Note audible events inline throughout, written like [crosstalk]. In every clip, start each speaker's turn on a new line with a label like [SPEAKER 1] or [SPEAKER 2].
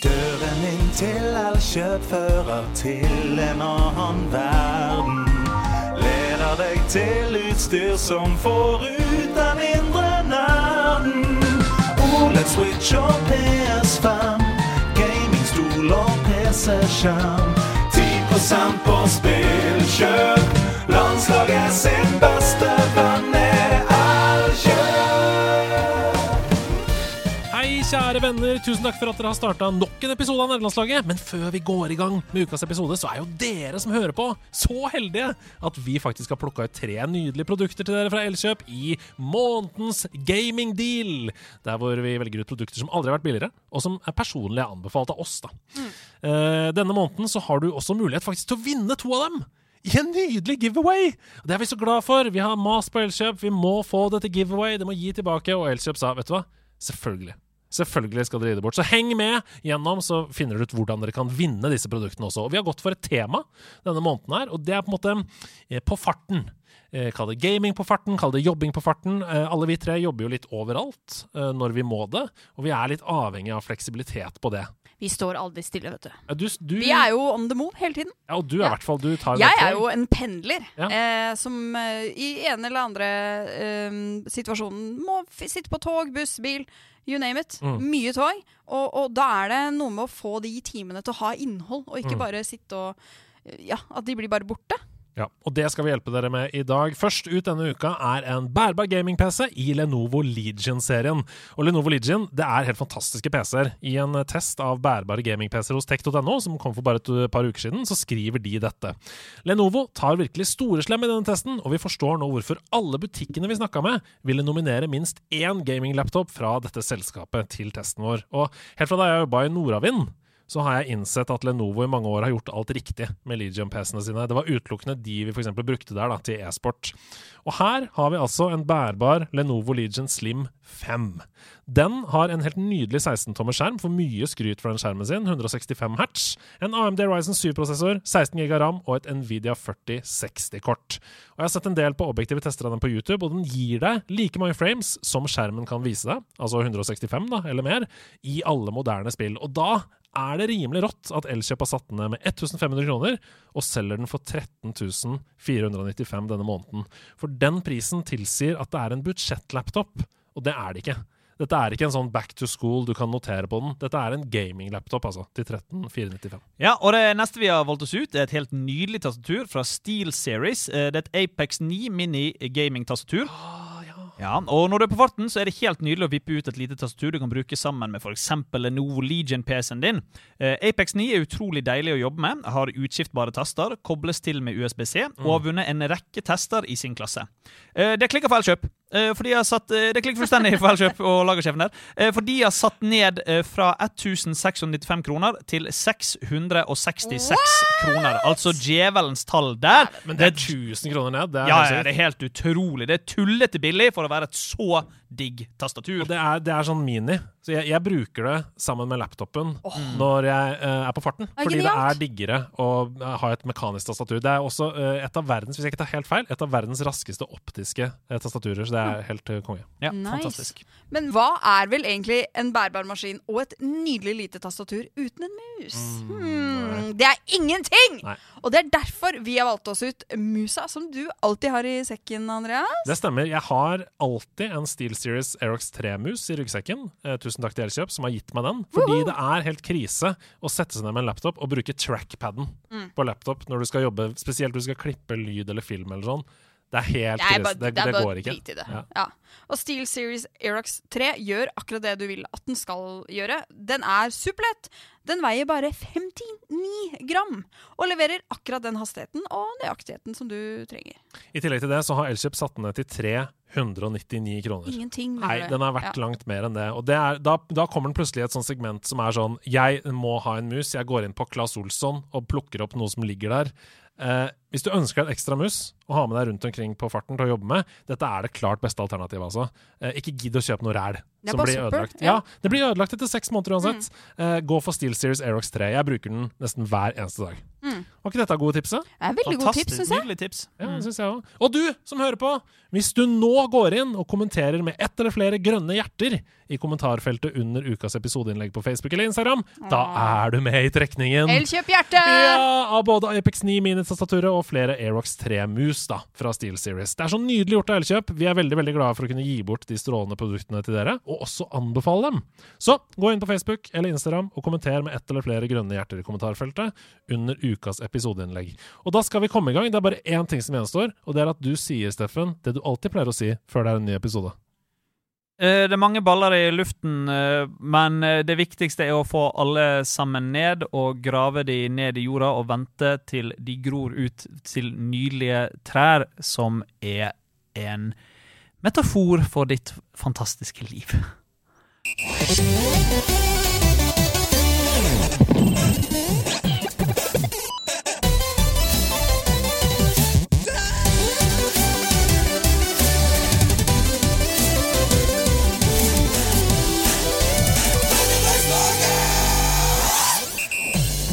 [SPEAKER 1] Døren inn til all kjøp fører til en annen verden. Leder deg til utstyr som får ut den indre nerden. OLED Switch og PS5, gamingstol og PC-skjerm. 10 på spillkjøp. Landslaget sin beste venn er Elkjøp.
[SPEAKER 2] Hei, kjære venner. Tusen takk for at dere har starta nok en episode av Nederlandslaget. Men før vi går i gang med ukas episode, så er jo dere som hører på, så heldige at vi faktisk har plukka ut tre nydelige produkter til dere fra Elkjøp i månedens gaming deal. Der hvor vi velger ut produkter som aldri har vært billigere, og som er personlig anbefalt av oss. da. Eh, denne måneden så har du også mulighet faktisk til å vinne to av dem i en nydelig giveaway! Og Det er vi så glad for. Vi har mas på Elkjøp. Vi må få det til giveaway. Det må gi tilbake. Og Elkjøp sa, vet du hva, selvfølgelig. Selvfølgelig skal dere gi det bort. Så heng med gjennom, så finner dere ut hvordan dere kan vinne disse produktene også. Og vi har gått for et tema denne måneden her, og det er på en måte eh, på farten. Eh, Kall det gaming på farten, kall det jobbing på farten. Eh, Alle vi tre jobber jo litt overalt eh, når vi må det, og vi er litt avhengig av fleksibilitet på det.
[SPEAKER 3] Vi står aldri stille, vet du.
[SPEAKER 2] Ja, Du, du,
[SPEAKER 3] Vi er jo on the move hele tiden.
[SPEAKER 2] ja, og du er i
[SPEAKER 3] ja.
[SPEAKER 2] hvert fall Du tar
[SPEAKER 3] Jeg
[SPEAKER 2] dette.
[SPEAKER 3] er jo en pendler
[SPEAKER 2] Ja.
[SPEAKER 3] eh, som eh, i ene eller andre eh, situasjonen må f sitte på tog, buss, bil, you name it.
[SPEAKER 2] Mm.
[SPEAKER 3] Mye tog. Og, og da er det noe med å få de timene til å ha innhold, og ikke
[SPEAKER 2] Mm.
[SPEAKER 3] bare sitte og eh, Ja, at de blir bare borte.
[SPEAKER 2] Ja, og det skal vi hjelpe dere med i dag. Først ut denne uka er en bærbar gaming-PC i Lenovo Legion-serien. Og Lenovo Legion det er helt fantastiske PC-er. I en test av bærbare gaming-PC-er hos tech.no, som kom for bare et eh, par uker siden, så skriver de dette. Lenovo tar virkelig storeslem i denne testen, og vi forstår nå hvorfor alle butikkene vi snakka med, ville nominere minst én gaming-laptop fra dette selskapet til testen vår. Og helt fra da jeg jobba i Nordavind, så har jeg innsett at Lenovo i mange år har gjort alt riktig med Legion-PC-ene sine. Det var utelukkende de vi f.eks. brukte der da, til e-sport. Og her har vi altså en bærbar Lenovo Legion Slim 5. Den har en helt nydelig 16-tommer skjerm, for mye skryt fra den skjermen sin, 165 hertz, en AMD Ryzen 7-prosessor, 16 GB RAM og et Nvidia 4060-kort. Og Jeg har sett en del på objektive tester av den på YouTube, og den gir deg like mange frames som skjermen kan vise deg, altså 165 da, eller mer, i alle moderne spill. Og da er det rimelig rått at Elkjøp har satt den ned med 1500 kroner, og selger den for 13 495 denne måneden. For den prisen tilsier at det er en budsjettlaptop, og det er det ikke. Dette er ikke en sånn back to school du kan notere på den. Dette er en gaminglaptop, altså, til 13 495.
[SPEAKER 4] Ja, og det neste vi har valgt oss ut, er et helt nydelig tastatur fra Steel Series. Eh, Det er et Apex 9 mini gaming-tastatur. Ja, og når du er på farten, så er det helt nydelig å vippe ut et lite tastatur du kan bruke sammen med f.eks. Lenovo Legion-PC-en din. Eh, Apex 9 er utrolig deilig å jobbe med, har utskiftbare taster, kobles til med USBC
[SPEAKER 2] Mm.
[SPEAKER 4] og har vunnet en rekke tester i sin klasse. Eh, Det klikker for Elkjøp. eh, For de har satt, eh, det klikker fullstendig for Elkjøp og lagersjefen der. Eh, For de har satt ned eh, fra 1695 kroner til 666 kroner. Altså djevelens tall der.
[SPEAKER 2] Men det er 1000 kroner ned. Det er,
[SPEAKER 4] Ja,
[SPEAKER 2] helt
[SPEAKER 4] ja,
[SPEAKER 2] sykt.
[SPEAKER 4] det er helt utrolig. Det er tullete billig for å være et så digg tastatur.
[SPEAKER 2] Og det er, det er sånn mini. Så jeg, jeg bruker det sammen med laptopen når jeg eh, er på farten.
[SPEAKER 3] er
[SPEAKER 2] fordi det
[SPEAKER 3] genialt.
[SPEAKER 2] er diggere å eh, ha et mekanisk tastatur. Det er også eh, et av verdens hvis jeg ikke tar helt feil, et av verdens raskeste optiske eh, tastaturer. Så det er helt eh, konge.
[SPEAKER 4] Ja,
[SPEAKER 3] Nice.
[SPEAKER 4] fantastisk.
[SPEAKER 3] Men hva er vel egentlig en bærbar maskin og et nydelig lite tastatur uten en mus? hmm, det er ingenting!
[SPEAKER 2] Mm, Nei.
[SPEAKER 3] Og det er derfor vi har valgt oss ut musa, som du alltid har i sekken, Andrea.
[SPEAKER 2] Det stemmer. Jeg har alltid en SteelSeries Aerox 3-mus i ryggsekken. Eh, tusen takk til Elkjøp, som har gitt meg den. Fordi det er helt krise å sette seg ned med en laptop og bruke trackpaden
[SPEAKER 3] Mm.
[SPEAKER 2] på laptop når du skal jobbe, spesielt når du skal klippe lyd eller film eller sånn. Det er helt
[SPEAKER 3] Det er
[SPEAKER 2] krise.
[SPEAKER 3] bare,
[SPEAKER 2] Det,
[SPEAKER 3] det er
[SPEAKER 2] det
[SPEAKER 3] bare
[SPEAKER 2] går ikke.
[SPEAKER 3] drit i det.
[SPEAKER 2] Ja.
[SPEAKER 3] Ja. Og Steel Series Aerox 3 gjør akkurat det du vil at den skal gjøre. Den er superlett. Den veier bare 59 gram og leverer akkurat den hastigheten og nøyaktigheten som du trenger.
[SPEAKER 2] I tillegg til det så har Elkjøp satt den ned til 399 kroner.
[SPEAKER 3] Ingenting. mener
[SPEAKER 2] Nei,
[SPEAKER 3] du?
[SPEAKER 2] den er verdt
[SPEAKER 3] ja.
[SPEAKER 2] langt mer enn det. Og det er, da, da kommer den plutselig i et sånt segment som er sånn Jeg må ha en mus. Jeg går inn på Claes Olsson og plukker opp noe som ligger der. Eh, hvis du ønsker deg en ekstra mus å ha med deg rundt omkring på farten til å jobbe med, dette er det klart beste alternativet, altså. Eh, ikke gidd å kjøpe noe ræl
[SPEAKER 3] Det er
[SPEAKER 2] som
[SPEAKER 3] bare
[SPEAKER 2] blir
[SPEAKER 3] søppel,
[SPEAKER 2] ødelagt.
[SPEAKER 3] ja. Mm.
[SPEAKER 2] Ja, det blir ødelagt etter seks måneder uansett. Eh, gå for SteelSeries Aerox 3. Jeg bruker den nesten hver eneste dag.
[SPEAKER 3] Mm.
[SPEAKER 2] Var ikke dette gode tipset?
[SPEAKER 3] Det er veldig godt tips,
[SPEAKER 4] Fantastisk
[SPEAKER 3] syns jeg.
[SPEAKER 4] nydelig tips.
[SPEAKER 2] Ja, det synes jeg også. Og du som hører på, hvis du nå går inn og kommenterer med ett eller flere grønne hjerter i kommentarfeltet under ukas episodeinnlegg på Facebook eller Instagram. Da er du med i trekningen!
[SPEAKER 3] Elkjøp hjerte!
[SPEAKER 2] Ja, av både Apex 9 minitastaturet og flere Aerox 3-mus da, fra SteelSeries. Det er så nydelig gjort av Elkjøp. Vi er veldig veldig glade for å kunne gi bort de strålende produktene til dere, og også anbefale dem. Så gå inn på Facebook eller Instagram og kommenter med ett eller flere grønne hjerter i kommentarfeltet under ukas episodeinnlegg. Og da skal vi komme i gang. Det er bare én ting som gjenstår, og det er at du sier, Steffen, det du alltid pleier å si før det er en ny episode.
[SPEAKER 4] Eh, Det er mange baller i luften, eh, men eh, det viktigste er å få alle sammen ned og grave de ned i jorda og vente til de gror ut til nydelige trær, som er en metafor for ditt fantastiske liv.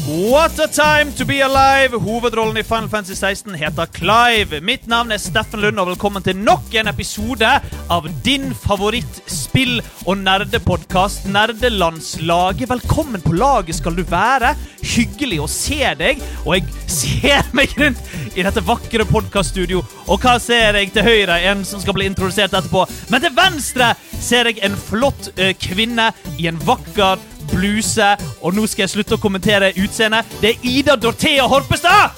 [SPEAKER 4] What a time to be alive! Hovedrollen i Final Fantasy 16 heter Clive. Mitt navn er Steffen Lund, og velkommen til nok en episode av din favorittspill- og nerdepodkast Nerdelandslaget. Velkommen på laget skal du være. Hyggelig å se deg. Og jeg ser meg rundt i dette vakre podkaststudio, og hva ser jeg til høyre? En som skal bli introdusert etterpå. Men til venstre ser jeg en flott eh, kvinne i en vakker bluse, og nå skal jeg slutte å kommentere utseendet. Det er Ida Dorthea Horpestad!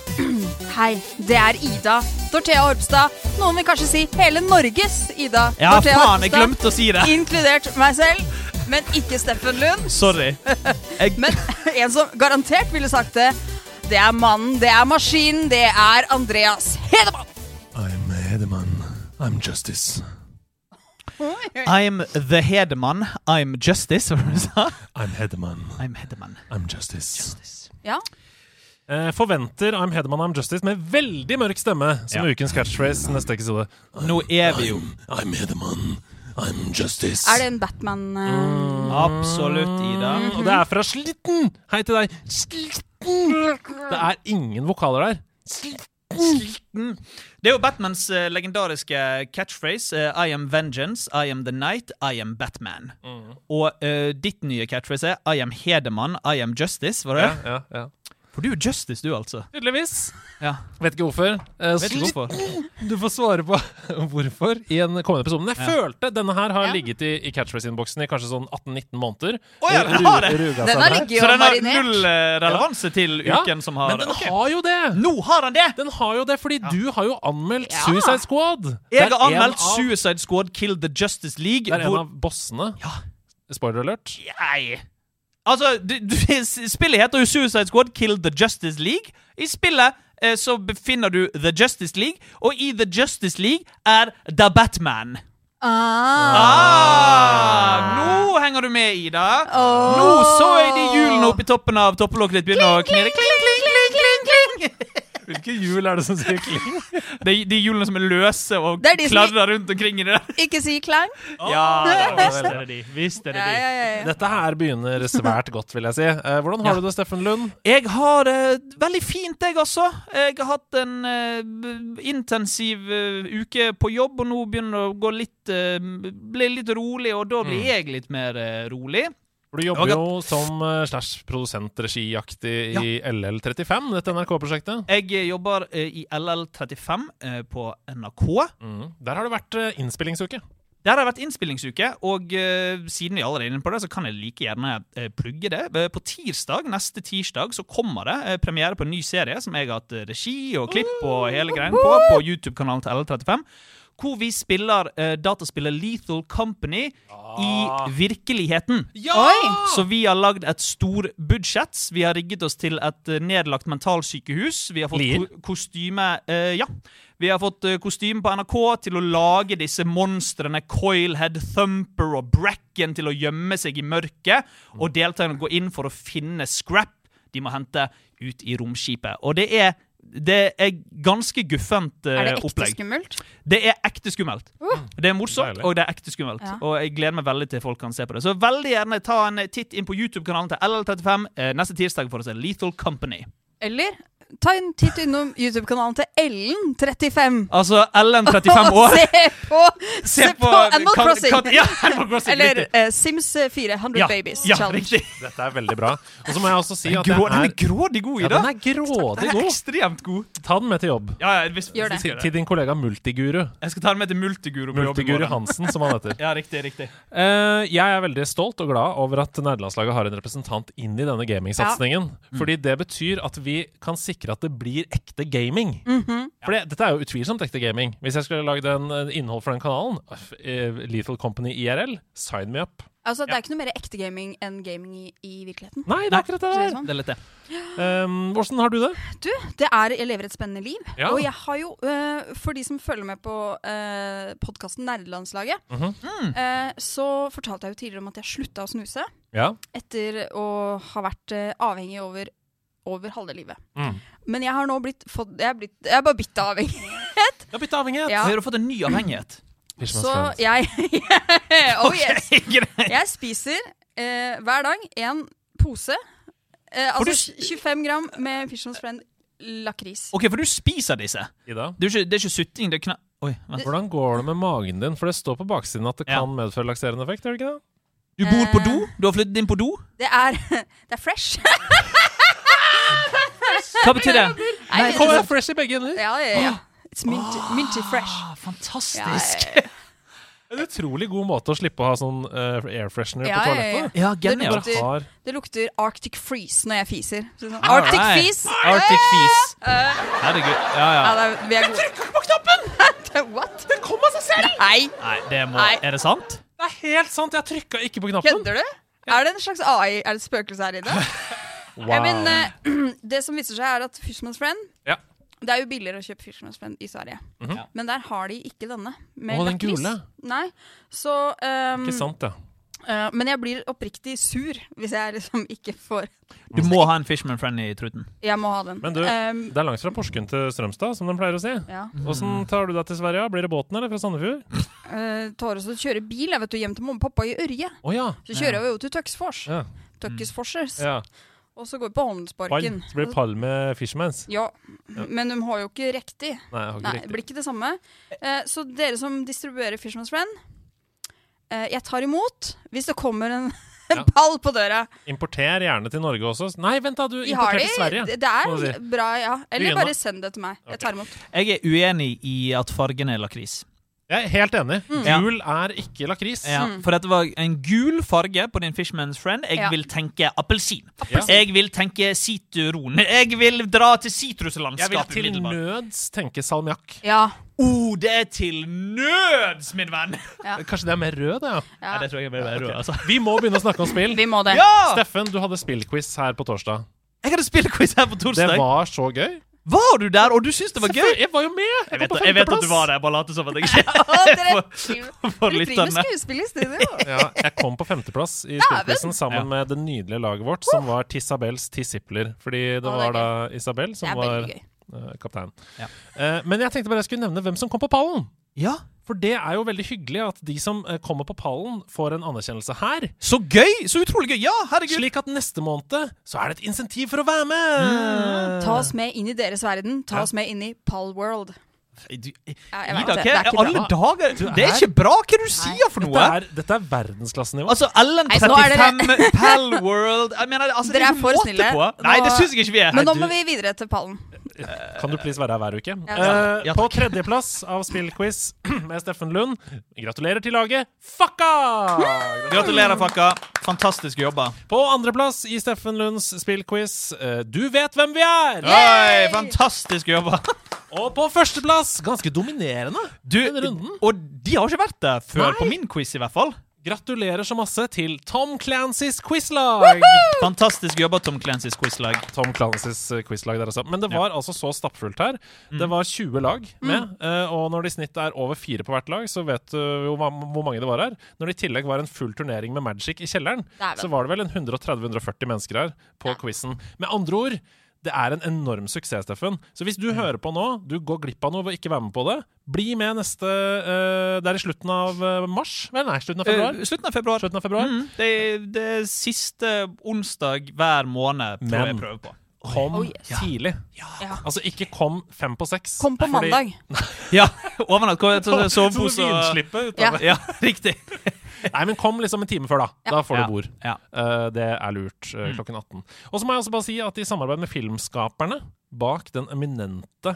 [SPEAKER 3] Hei, det er Ida Dorthea Horpstad. Noen vil kanskje si hele Norges Ida
[SPEAKER 4] Ja,
[SPEAKER 3] Dorthea
[SPEAKER 4] faen, jeg
[SPEAKER 3] Horpstad,
[SPEAKER 4] glemte å si det.
[SPEAKER 3] Inkludert meg selv, men ikke Steffen Lund.
[SPEAKER 2] [laughs]
[SPEAKER 4] Sorry. Jeg,
[SPEAKER 3] Men [laughs] en som garantert ville sagt det, det er mannen, det er maskinen, det er Andreas Hedemann.
[SPEAKER 2] I'm Hedemann. I'm Justice.
[SPEAKER 4] I'm the Hedemann. I'm Justice. hva var det du sa?
[SPEAKER 2] I'm Hedemann.
[SPEAKER 4] I'm Hedemann.
[SPEAKER 2] I'm Justice.
[SPEAKER 3] Ja,
[SPEAKER 2] Eh, forventer I'm Hedemann I'm Justice med veldig mørk stemme som
[SPEAKER 4] Ja.
[SPEAKER 2] ukens catchphrase neste episode.
[SPEAKER 4] Nå er vi jo
[SPEAKER 2] I'm Hedemann. I'm Justice.
[SPEAKER 3] er det en Batman
[SPEAKER 4] Mm.
[SPEAKER 3] eh,
[SPEAKER 4] Absolutt, Ida.
[SPEAKER 2] Og det er fra Slitten! Hei til deg. Slitten! Det er ingen vokaler der.
[SPEAKER 4] Mm. Det er jo Batmans eh, legendariske catchphrase. eh, I am vengeance, I am the night, I am Batman.
[SPEAKER 2] Mm.
[SPEAKER 4] Og eh, ditt nye catchphrase er I am Hedemann, I am justice, var det?
[SPEAKER 2] Ja, ja, ja.
[SPEAKER 4] For du er justice, du, altså.
[SPEAKER 2] Tydeligvis.
[SPEAKER 4] Ja.
[SPEAKER 2] Vet ikke hvorfor. Eh,
[SPEAKER 4] Vet ikke
[SPEAKER 2] Slitten!
[SPEAKER 4] hvorfor.
[SPEAKER 2] Du får svare på [laughs] hvorfor i en kommende episode. Men jeg følte denne her har
[SPEAKER 3] Ja.
[SPEAKER 2] ligget i, i catchphrase-innboksen i kanskje sånn 18-19 måneder.
[SPEAKER 4] Å ja,
[SPEAKER 2] Ru-
[SPEAKER 4] den har
[SPEAKER 2] ru-
[SPEAKER 4] det.
[SPEAKER 2] ruga seg
[SPEAKER 3] Den har
[SPEAKER 2] der.
[SPEAKER 3] ligget
[SPEAKER 4] Så
[SPEAKER 3] og
[SPEAKER 4] den har
[SPEAKER 3] marinert.
[SPEAKER 4] null eh, relevanse til
[SPEAKER 2] Ja,
[SPEAKER 4] uken som har
[SPEAKER 2] Men den
[SPEAKER 4] Ok.
[SPEAKER 2] har jo det!
[SPEAKER 4] Nå har han det!
[SPEAKER 2] Den har jo det, fordi du har jo anmeldt
[SPEAKER 3] Ja.
[SPEAKER 2] Suicide Squad. Det er
[SPEAKER 4] Jeg har
[SPEAKER 2] en
[SPEAKER 4] anmeldt
[SPEAKER 2] av-
[SPEAKER 4] Suicide Squad Kill the Justice League.
[SPEAKER 2] Det er en
[SPEAKER 4] hvor-
[SPEAKER 2] av bossene.
[SPEAKER 4] Ja.
[SPEAKER 2] Spoiler alert.
[SPEAKER 4] Nei. Altså, du, du, [laughs] spillet heter jo Suicide Squad Kill the Justice League. I spillet eh, så befinner du The Justice League, og i The Justice League er The Batman.
[SPEAKER 3] ah.
[SPEAKER 4] Ah, nå henger du med, Ida. Nå så jeg de hjulene oppi toppen av toppelokket ditt begynne å knirre. Kling, kling, kling, kling, kling.
[SPEAKER 2] Hvilke hjul er det som sier kling?
[SPEAKER 4] Det er [laughs] de hjulene som er løse og
[SPEAKER 3] Det er de som-
[SPEAKER 4] kladrer rundt omkring i det.
[SPEAKER 3] Ikke si klang.
[SPEAKER 4] Ja,
[SPEAKER 2] det er det.
[SPEAKER 4] de. Visst er
[SPEAKER 3] Ja, ja, ja, ja.
[SPEAKER 2] Dette her begynner svært godt, vil jeg si. Eh, hvordan har
[SPEAKER 4] Ja.
[SPEAKER 2] du det, Steffen Lund?
[SPEAKER 4] Jeg har det veldig fint, jeg også. Jeg har hatt en eh, b- intensiv eh, uke på jobb, og nå begynner det å gå litt eh, Bli litt rolig, og da blir jeg litt mer eh, rolig.
[SPEAKER 2] For Du jobber
[SPEAKER 4] Jeg
[SPEAKER 2] jo som eh, slash produsentregiaktig i LL35, dette NRK-prosjektet.
[SPEAKER 4] Jeg eh, jobber eh, i LL35 eh, på NRK.
[SPEAKER 2] Mm. Der har det vært eh, innspillingsuke.
[SPEAKER 4] Der har det vært innspillingsuke, og eh, siden vi allerede er inne på det, så kan jeg like gjerne eh, plugge det. Eh, på tirsdag, neste tirsdag, så kommer det eh, premiere på en ny serie som jeg har hatt eh, regi og klipp og hele greien på, på YouTube-kanalen til LL35. Hvor vi spiller eh, dataspillet Lethal Company i virkeligheten.
[SPEAKER 2] Ja!
[SPEAKER 4] Så vi har lagd et storbudsjett. Vi har rigget oss til et eh, nedlagt mentalsykehus. Vi har fått
[SPEAKER 2] Lier.
[SPEAKER 4] ko kostyme eh, Ja. Vi har fått eh, kostyme på NRK til å lage disse monstrene Coilhead, Thumper og Bracken til å gjemme seg i mørket. Og deltakerne går inn for å finne scrap de må hente ut i romskipet. Og det er, det er ganske guffent eh,
[SPEAKER 3] Er det ekte
[SPEAKER 4] opplegg.
[SPEAKER 3] skummelt?
[SPEAKER 4] Det er ekte skummelt. Det er morsomt,
[SPEAKER 2] Deilig.
[SPEAKER 4] og det er ekte skummelt.
[SPEAKER 3] Uh. Ja.
[SPEAKER 4] Og jeg gleder meg veldig til folk kan se på det. Så veldig gjerne ta en titt inn på YouTube-kanalen til LL35 eh, neste tirsdag for å se Lethal Company.
[SPEAKER 3] Eller ta en titt innom YouTube-kanalen til Ellen35.
[SPEAKER 4] Altså LN35
[SPEAKER 3] [laughs]
[SPEAKER 4] år. eh,
[SPEAKER 3] se på, se på Animal
[SPEAKER 4] kan-
[SPEAKER 3] Crossing!
[SPEAKER 4] kan- ja, Animal Crossing
[SPEAKER 3] Eller
[SPEAKER 4] riktig.
[SPEAKER 3] eh, Sims 400
[SPEAKER 4] ja,
[SPEAKER 3] Babies
[SPEAKER 4] ja,
[SPEAKER 3] Challenge.
[SPEAKER 4] Riktig.
[SPEAKER 2] Dette er veldig bra. Og så må jeg også si at det
[SPEAKER 4] Grå, den er
[SPEAKER 2] er
[SPEAKER 4] grådig god,
[SPEAKER 2] ja,
[SPEAKER 4] Ida.
[SPEAKER 2] den er grådig
[SPEAKER 4] Den er
[SPEAKER 2] god.
[SPEAKER 4] ekstremt god.
[SPEAKER 2] Ta den med til jobb.
[SPEAKER 4] Ja, ja, hvis,
[SPEAKER 3] Gjør
[SPEAKER 4] hvis
[SPEAKER 3] det.
[SPEAKER 4] vi
[SPEAKER 2] Til, til din kollega Multiguru.
[SPEAKER 4] Jeg skal ta den med til Multiguru. på jobb i
[SPEAKER 2] Multiguru
[SPEAKER 4] morgen.
[SPEAKER 2] Hansen, som han heter.
[SPEAKER 4] Ja, riktig, riktig.
[SPEAKER 2] Eh, jeg er veldig stolt og glad over at nerdelandslaget har en representant inn i denne gamingsatsingen.
[SPEAKER 3] Mm.
[SPEAKER 2] Fordi det betyr at vi kan sikre at det blir ekte gaming.
[SPEAKER 3] Mhm.
[SPEAKER 2] For det, dette er jo utvilsomt ekte gaming. Hvis jeg skulle lagd en, en innhold for den kanalen, f- eh, Lethal Company IRL, sign me up.
[SPEAKER 3] Altså, det er ikke noe mer ekte gaming enn gaming i, i virkeligheten.
[SPEAKER 2] Nei, det er akkurat
[SPEAKER 3] Så
[SPEAKER 2] det
[SPEAKER 3] det
[SPEAKER 2] der.
[SPEAKER 3] er
[SPEAKER 4] Det er litt det.
[SPEAKER 2] Um, Hvordan har du det?
[SPEAKER 3] Du, det er, jeg lever et spennende liv.
[SPEAKER 2] Ja.
[SPEAKER 3] Og jeg har jo, eh, for de som følger med på uh, podkasten Nerdelandslaget,
[SPEAKER 2] Mhm.
[SPEAKER 3] eh, så fortalte jeg jo tidligere om at jeg slutta å snuse
[SPEAKER 2] Ja.
[SPEAKER 3] etter å ha vært eh, avhengig over, over halve livet.
[SPEAKER 2] Mm.
[SPEAKER 3] Men jeg har nå blitt, fått, jeg er blitt Jeg er bare bitt avhengig.
[SPEAKER 2] Jeg har bytta avhengighet.
[SPEAKER 3] Ja.
[SPEAKER 4] Så har du fått en ny avhengighet.
[SPEAKER 3] Så jeg [laughs] Oh yes.
[SPEAKER 4] Ok, [laughs] greit.
[SPEAKER 3] Jeg spiser eh, hver dag en pose. Eh,
[SPEAKER 4] For du
[SPEAKER 3] altså 25 gram med Fisherman's Friend lakris.
[SPEAKER 4] OK, for du spiser disse.
[SPEAKER 2] Ida,
[SPEAKER 4] Det er jo ikke, det er ikke sutting, det er kna... Oi, vent.
[SPEAKER 2] hvordan går det med magen din? For det står på baksiden at det
[SPEAKER 4] Ja.
[SPEAKER 2] kan medføre lakserende effekt, gjør det ikke det?
[SPEAKER 4] Du bor på do? Du har flyttet inn på do?
[SPEAKER 3] Det er, [laughs] det er fresh.
[SPEAKER 4] Hva betyr det?
[SPEAKER 3] Nei,
[SPEAKER 2] Kommer
[SPEAKER 3] det, sånn-
[SPEAKER 2] jeg fresh i begge ender?
[SPEAKER 3] ja, ja, ja. [gasps] It's minty, minty fresh.
[SPEAKER 4] Ah,
[SPEAKER 3] Ja,
[SPEAKER 4] fantastisk.
[SPEAKER 3] ja, ja.
[SPEAKER 2] En utrolig god måte å slippe å ha sånn eh, air freshener
[SPEAKER 3] Ja,
[SPEAKER 2] på
[SPEAKER 3] ja,
[SPEAKER 2] toalettet.
[SPEAKER 3] ja.
[SPEAKER 4] Ja,
[SPEAKER 3] Det
[SPEAKER 4] genialt.
[SPEAKER 2] Bare
[SPEAKER 3] lukter-
[SPEAKER 2] har
[SPEAKER 3] det lukter Arctic freeze når jeg fiser. Så sånn,
[SPEAKER 4] All
[SPEAKER 3] Arctic
[SPEAKER 4] right.
[SPEAKER 3] freeze!
[SPEAKER 4] Ah, Arctic fis. Herregud. Ja,
[SPEAKER 3] Ja,
[SPEAKER 4] ja.
[SPEAKER 3] det er, vi er gode.
[SPEAKER 4] Trykk på knappen!
[SPEAKER 3] [laughs] What?
[SPEAKER 2] Den kom av seg selv!
[SPEAKER 3] Nei,
[SPEAKER 4] Nei, det må
[SPEAKER 3] Nei.
[SPEAKER 4] Er det sant?
[SPEAKER 2] Det er helt sant! Jeg trykka ikke på knappen.
[SPEAKER 3] kødder du? Er det en slags AI? Er det et spøkelse her
[SPEAKER 2] [laughs]
[SPEAKER 3] inne?
[SPEAKER 2] Wow.
[SPEAKER 3] Ja, men eh, [clears throat] det som viser seg er at Fisherman's Friend
[SPEAKER 2] Ja.
[SPEAKER 3] Det er jo billigere å kjøpe Fisherman's Friend i Sverige.
[SPEAKER 2] Mhm.
[SPEAKER 4] Ja.
[SPEAKER 3] Men der har de ikke denne. Med
[SPEAKER 2] Å, den
[SPEAKER 3] lakris.
[SPEAKER 2] gule.
[SPEAKER 3] Nei. Så ehm,
[SPEAKER 2] Ikke sant, ja.
[SPEAKER 3] eh, Men jeg blir oppriktig sur hvis jeg liksom ikke får [laughs]
[SPEAKER 4] Du må ha en Fishman Friend i truten.
[SPEAKER 3] Jeg må ha den.
[SPEAKER 2] Men du-
[SPEAKER 3] Ehm,
[SPEAKER 2] Det er langt fra Porsgrunn til Strømstad, som de pleier å si.
[SPEAKER 3] ja.
[SPEAKER 2] Åssen
[SPEAKER 4] Mm.
[SPEAKER 2] tar du deg til Sverige? Blir det båten eller fra Sandefjord? Å
[SPEAKER 3] Eh, tar oss og kjører bil jeg vet du, hjem til mamma og pappa i Ørje.
[SPEAKER 2] ja.
[SPEAKER 3] Så kjører vi jo til Tøksfors.
[SPEAKER 2] ja.
[SPEAKER 3] Tøkkesforsers.
[SPEAKER 2] ja.
[SPEAKER 3] Og så går vi på Handelsparken.
[SPEAKER 2] Palm. Så blir det Palme Fishmans.
[SPEAKER 3] Ja, men de har jo ikke riktig.
[SPEAKER 2] Nei, jeg har ikke
[SPEAKER 3] Nei, det
[SPEAKER 2] riktig.
[SPEAKER 3] blir ikke det samme. Eh, så dere som distribuerer Fisherman's Friend, eh, jeg tar imot hvis det kommer en, [laughs] en
[SPEAKER 2] Ja.
[SPEAKER 3] pall på døra.
[SPEAKER 2] Importer gjerne til Norge også. Nei, vent da, du
[SPEAKER 3] Vi har
[SPEAKER 2] importerer til Sverige.
[SPEAKER 3] det. Det
[SPEAKER 2] må du
[SPEAKER 3] er
[SPEAKER 2] si.
[SPEAKER 3] bra, ja. Eller
[SPEAKER 2] Begynn, da.
[SPEAKER 3] bare send det til meg. Jeg tar imot.
[SPEAKER 4] Jeg er uenig i at fargen er lakris.
[SPEAKER 2] Jeg er helt enig.
[SPEAKER 4] Mm. Ja.
[SPEAKER 2] Gul er ikke lakris.
[SPEAKER 4] Ja, for dette var en gul farge på din Fishman's Friend. Jeg
[SPEAKER 3] Mm. Ja.
[SPEAKER 4] vil tenke appelsin.
[SPEAKER 2] Ja.
[SPEAKER 4] Jeg vil tenke sitron. Jeg vil dra til
[SPEAKER 2] Jeg vil
[SPEAKER 4] sitruslandskapet
[SPEAKER 2] til
[SPEAKER 4] umiddelbart.
[SPEAKER 2] nøds tenke salmiakk.
[SPEAKER 3] Ja.
[SPEAKER 4] Oh, det er til nøds, min venn!
[SPEAKER 3] Ja.
[SPEAKER 2] Kanskje det er mer rød, det, ja.
[SPEAKER 4] Nei, det tror jeg er mer rød, altså.
[SPEAKER 2] Vi må begynne å snakke om
[SPEAKER 4] [laughs]
[SPEAKER 2] spill.
[SPEAKER 3] Vi må det. [laughs]
[SPEAKER 4] Ja!
[SPEAKER 2] Steffen, du hadde spillquiz her på torsdag.
[SPEAKER 4] Jeg hadde spillquiz her på
[SPEAKER 2] Det
[SPEAKER 4] torsdag. Var...
[SPEAKER 2] var så gøy.
[SPEAKER 4] du der, og du syntes det var gøy?
[SPEAKER 2] Jeg var jo med!
[SPEAKER 4] Jeg vet, jeg vet at du var der, bare late som at [laughs] jeg ikke
[SPEAKER 3] Å, dere
[SPEAKER 4] får
[SPEAKER 3] dere driver med
[SPEAKER 4] lytterne.
[SPEAKER 3] skuespill i studio.
[SPEAKER 2] Ja, jeg kom på femteplass
[SPEAKER 3] [laughs]
[SPEAKER 2] i spillquizen sammen med det nydelige laget vårt, som var Tissabels Tissipler. Fordi det
[SPEAKER 3] Å, det
[SPEAKER 2] var
[SPEAKER 3] er
[SPEAKER 2] da Isabel som
[SPEAKER 3] Det er
[SPEAKER 2] var
[SPEAKER 3] veldig gøy.
[SPEAKER 2] eh, kaptein.
[SPEAKER 4] Ja.
[SPEAKER 2] Eh, Men jeg tenkte bare jeg skulle nevne hvem som kom på pallen.
[SPEAKER 4] Ja,
[SPEAKER 2] For det er jo veldig hyggelig at de som eh, kommer på pallen, får en anerkjennelse her.
[SPEAKER 4] Så gøy! Så utrolig gøy! Ja, herregud.
[SPEAKER 2] Slik at neste måned så er det et insentiv for å være med!
[SPEAKER 3] Ta oss med inn i deres verden. Ta oss med inn i Pall World.
[SPEAKER 4] Du, eh,
[SPEAKER 3] Ja, jeg vet
[SPEAKER 4] Ida,
[SPEAKER 3] det.
[SPEAKER 4] hva
[SPEAKER 3] Det er
[SPEAKER 4] er
[SPEAKER 3] ikke
[SPEAKER 4] alle
[SPEAKER 3] bra.
[SPEAKER 4] dager? Det er ikke bra hva du sier for
[SPEAKER 2] Dette
[SPEAKER 4] noe!
[SPEAKER 2] er, dette er verdensklassenivå.
[SPEAKER 4] Altså,
[SPEAKER 3] Nei, så nå er [laughs]
[SPEAKER 4] LN35, Pal World Jeg mener, altså, det
[SPEAKER 3] Dere
[SPEAKER 4] er
[SPEAKER 3] er
[SPEAKER 4] ikke
[SPEAKER 3] for
[SPEAKER 4] måte
[SPEAKER 3] snille.
[SPEAKER 4] på! Nei, det
[SPEAKER 3] Nå-
[SPEAKER 4] syns jeg ikke vi er.
[SPEAKER 3] Men nå
[SPEAKER 4] Du-
[SPEAKER 3] må vi videre til pallen.
[SPEAKER 2] Kan du please være her hver uke?
[SPEAKER 3] Ja.
[SPEAKER 2] Eh,
[SPEAKER 4] Ja,
[SPEAKER 2] på tredjeplass av Spillquiz [clears throat] med Steffen Lund. Gratulerer til laget. Fucka!
[SPEAKER 4] Gratulerer, fucka. Fantastisk jobba.
[SPEAKER 2] På andreplass i Steffen Lunds spillquiz eh, Du vet hvem vi er!
[SPEAKER 4] Oi, fantastisk jobba. [laughs]
[SPEAKER 2] Og på førsteplass, ganske dominerende,
[SPEAKER 4] Du,
[SPEAKER 2] denne runden.
[SPEAKER 4] og de har ikke vært der før,
[SPEAKER 2] Nei.
[SPEAKER 4] på min quiz i hvert fall.
[SPEAKER 2] Gratulerer så masse til Tom Clancys quizlag!
[SPEAKER 4] Fantastisk jobba, Tom Clancys quizlag.
[SPEAKER 2] Tom Clancys eh, quizlag der også. Men det var altså så stappfullt her.
[SPEAKER 3] Mm.
[SPEAKER 2] Det var 20 lag med. eh, Og når det i snitt er over fire på hvert lag, så vet du jo hva- hvor mange det var her. Når det i tillegg var en full turnering med Magic i kjelleren,
[SPEAKER 3] Dæven.
[SPEAKER 2] så var det vel en 130-140 mennesker her på quizen. Med andre ord, det er en enorm suksess, Steffen. Så hvis
[SPEAKER 3] Mm.
[SPEAKER 2] du hører på nå, du går glipp av noe ved å ikke være med på det, bli med neste eh, Det er i slutten av eh, mars? Vel, nei, slutten av februar.
[SPEAKER 4] Eh, slutten av februar.
[SPEAKER 3] Mm.
[SPEAKER 2] Slutten av februar.
[SPEAKER 4] Mm, det, det er siste onsdag hver måned tror
[SPEAKER 2] Men-
[SPEAKER 4] jeg prøver på.
[SPEAKER 2] kom
[SPEAKER 3] Oh, yes.
[SPEAKER 2] tidlig.
[SPEAKER 3] Ja.
[SPEAKER 2] Altså ikke kom fem på seks.
[SPEAKER 3] Kom på
[SPEAKER 2] fordi-
[SPEAKER 3] mandag.
[SPEAKER 4] Ja, [laughs] overnatt. Kom, så,
[SPEAKER 2] [laughs]
[SPEAKER 4] [laughs] så,
[SPEAKER 2] Som vinslippet ut av
[SPEAKER 3] Ja.
[SPEAKER 2] det.
[SPEAKER 4] Ja, [laughs] riktig.
[SPEAKER 2] Nei, men kom liksom en time før, da. Da får
[SPEAKER 4] Ja. Mm.
[SPEAKER 2] du bord.
[SPEAKER 4] Ja.
[SPEAKER 2] Eh, det er lurt. eh, klokken 18. Og så må jeg også bare si at i samarbeid med filmskaperne bak den eminente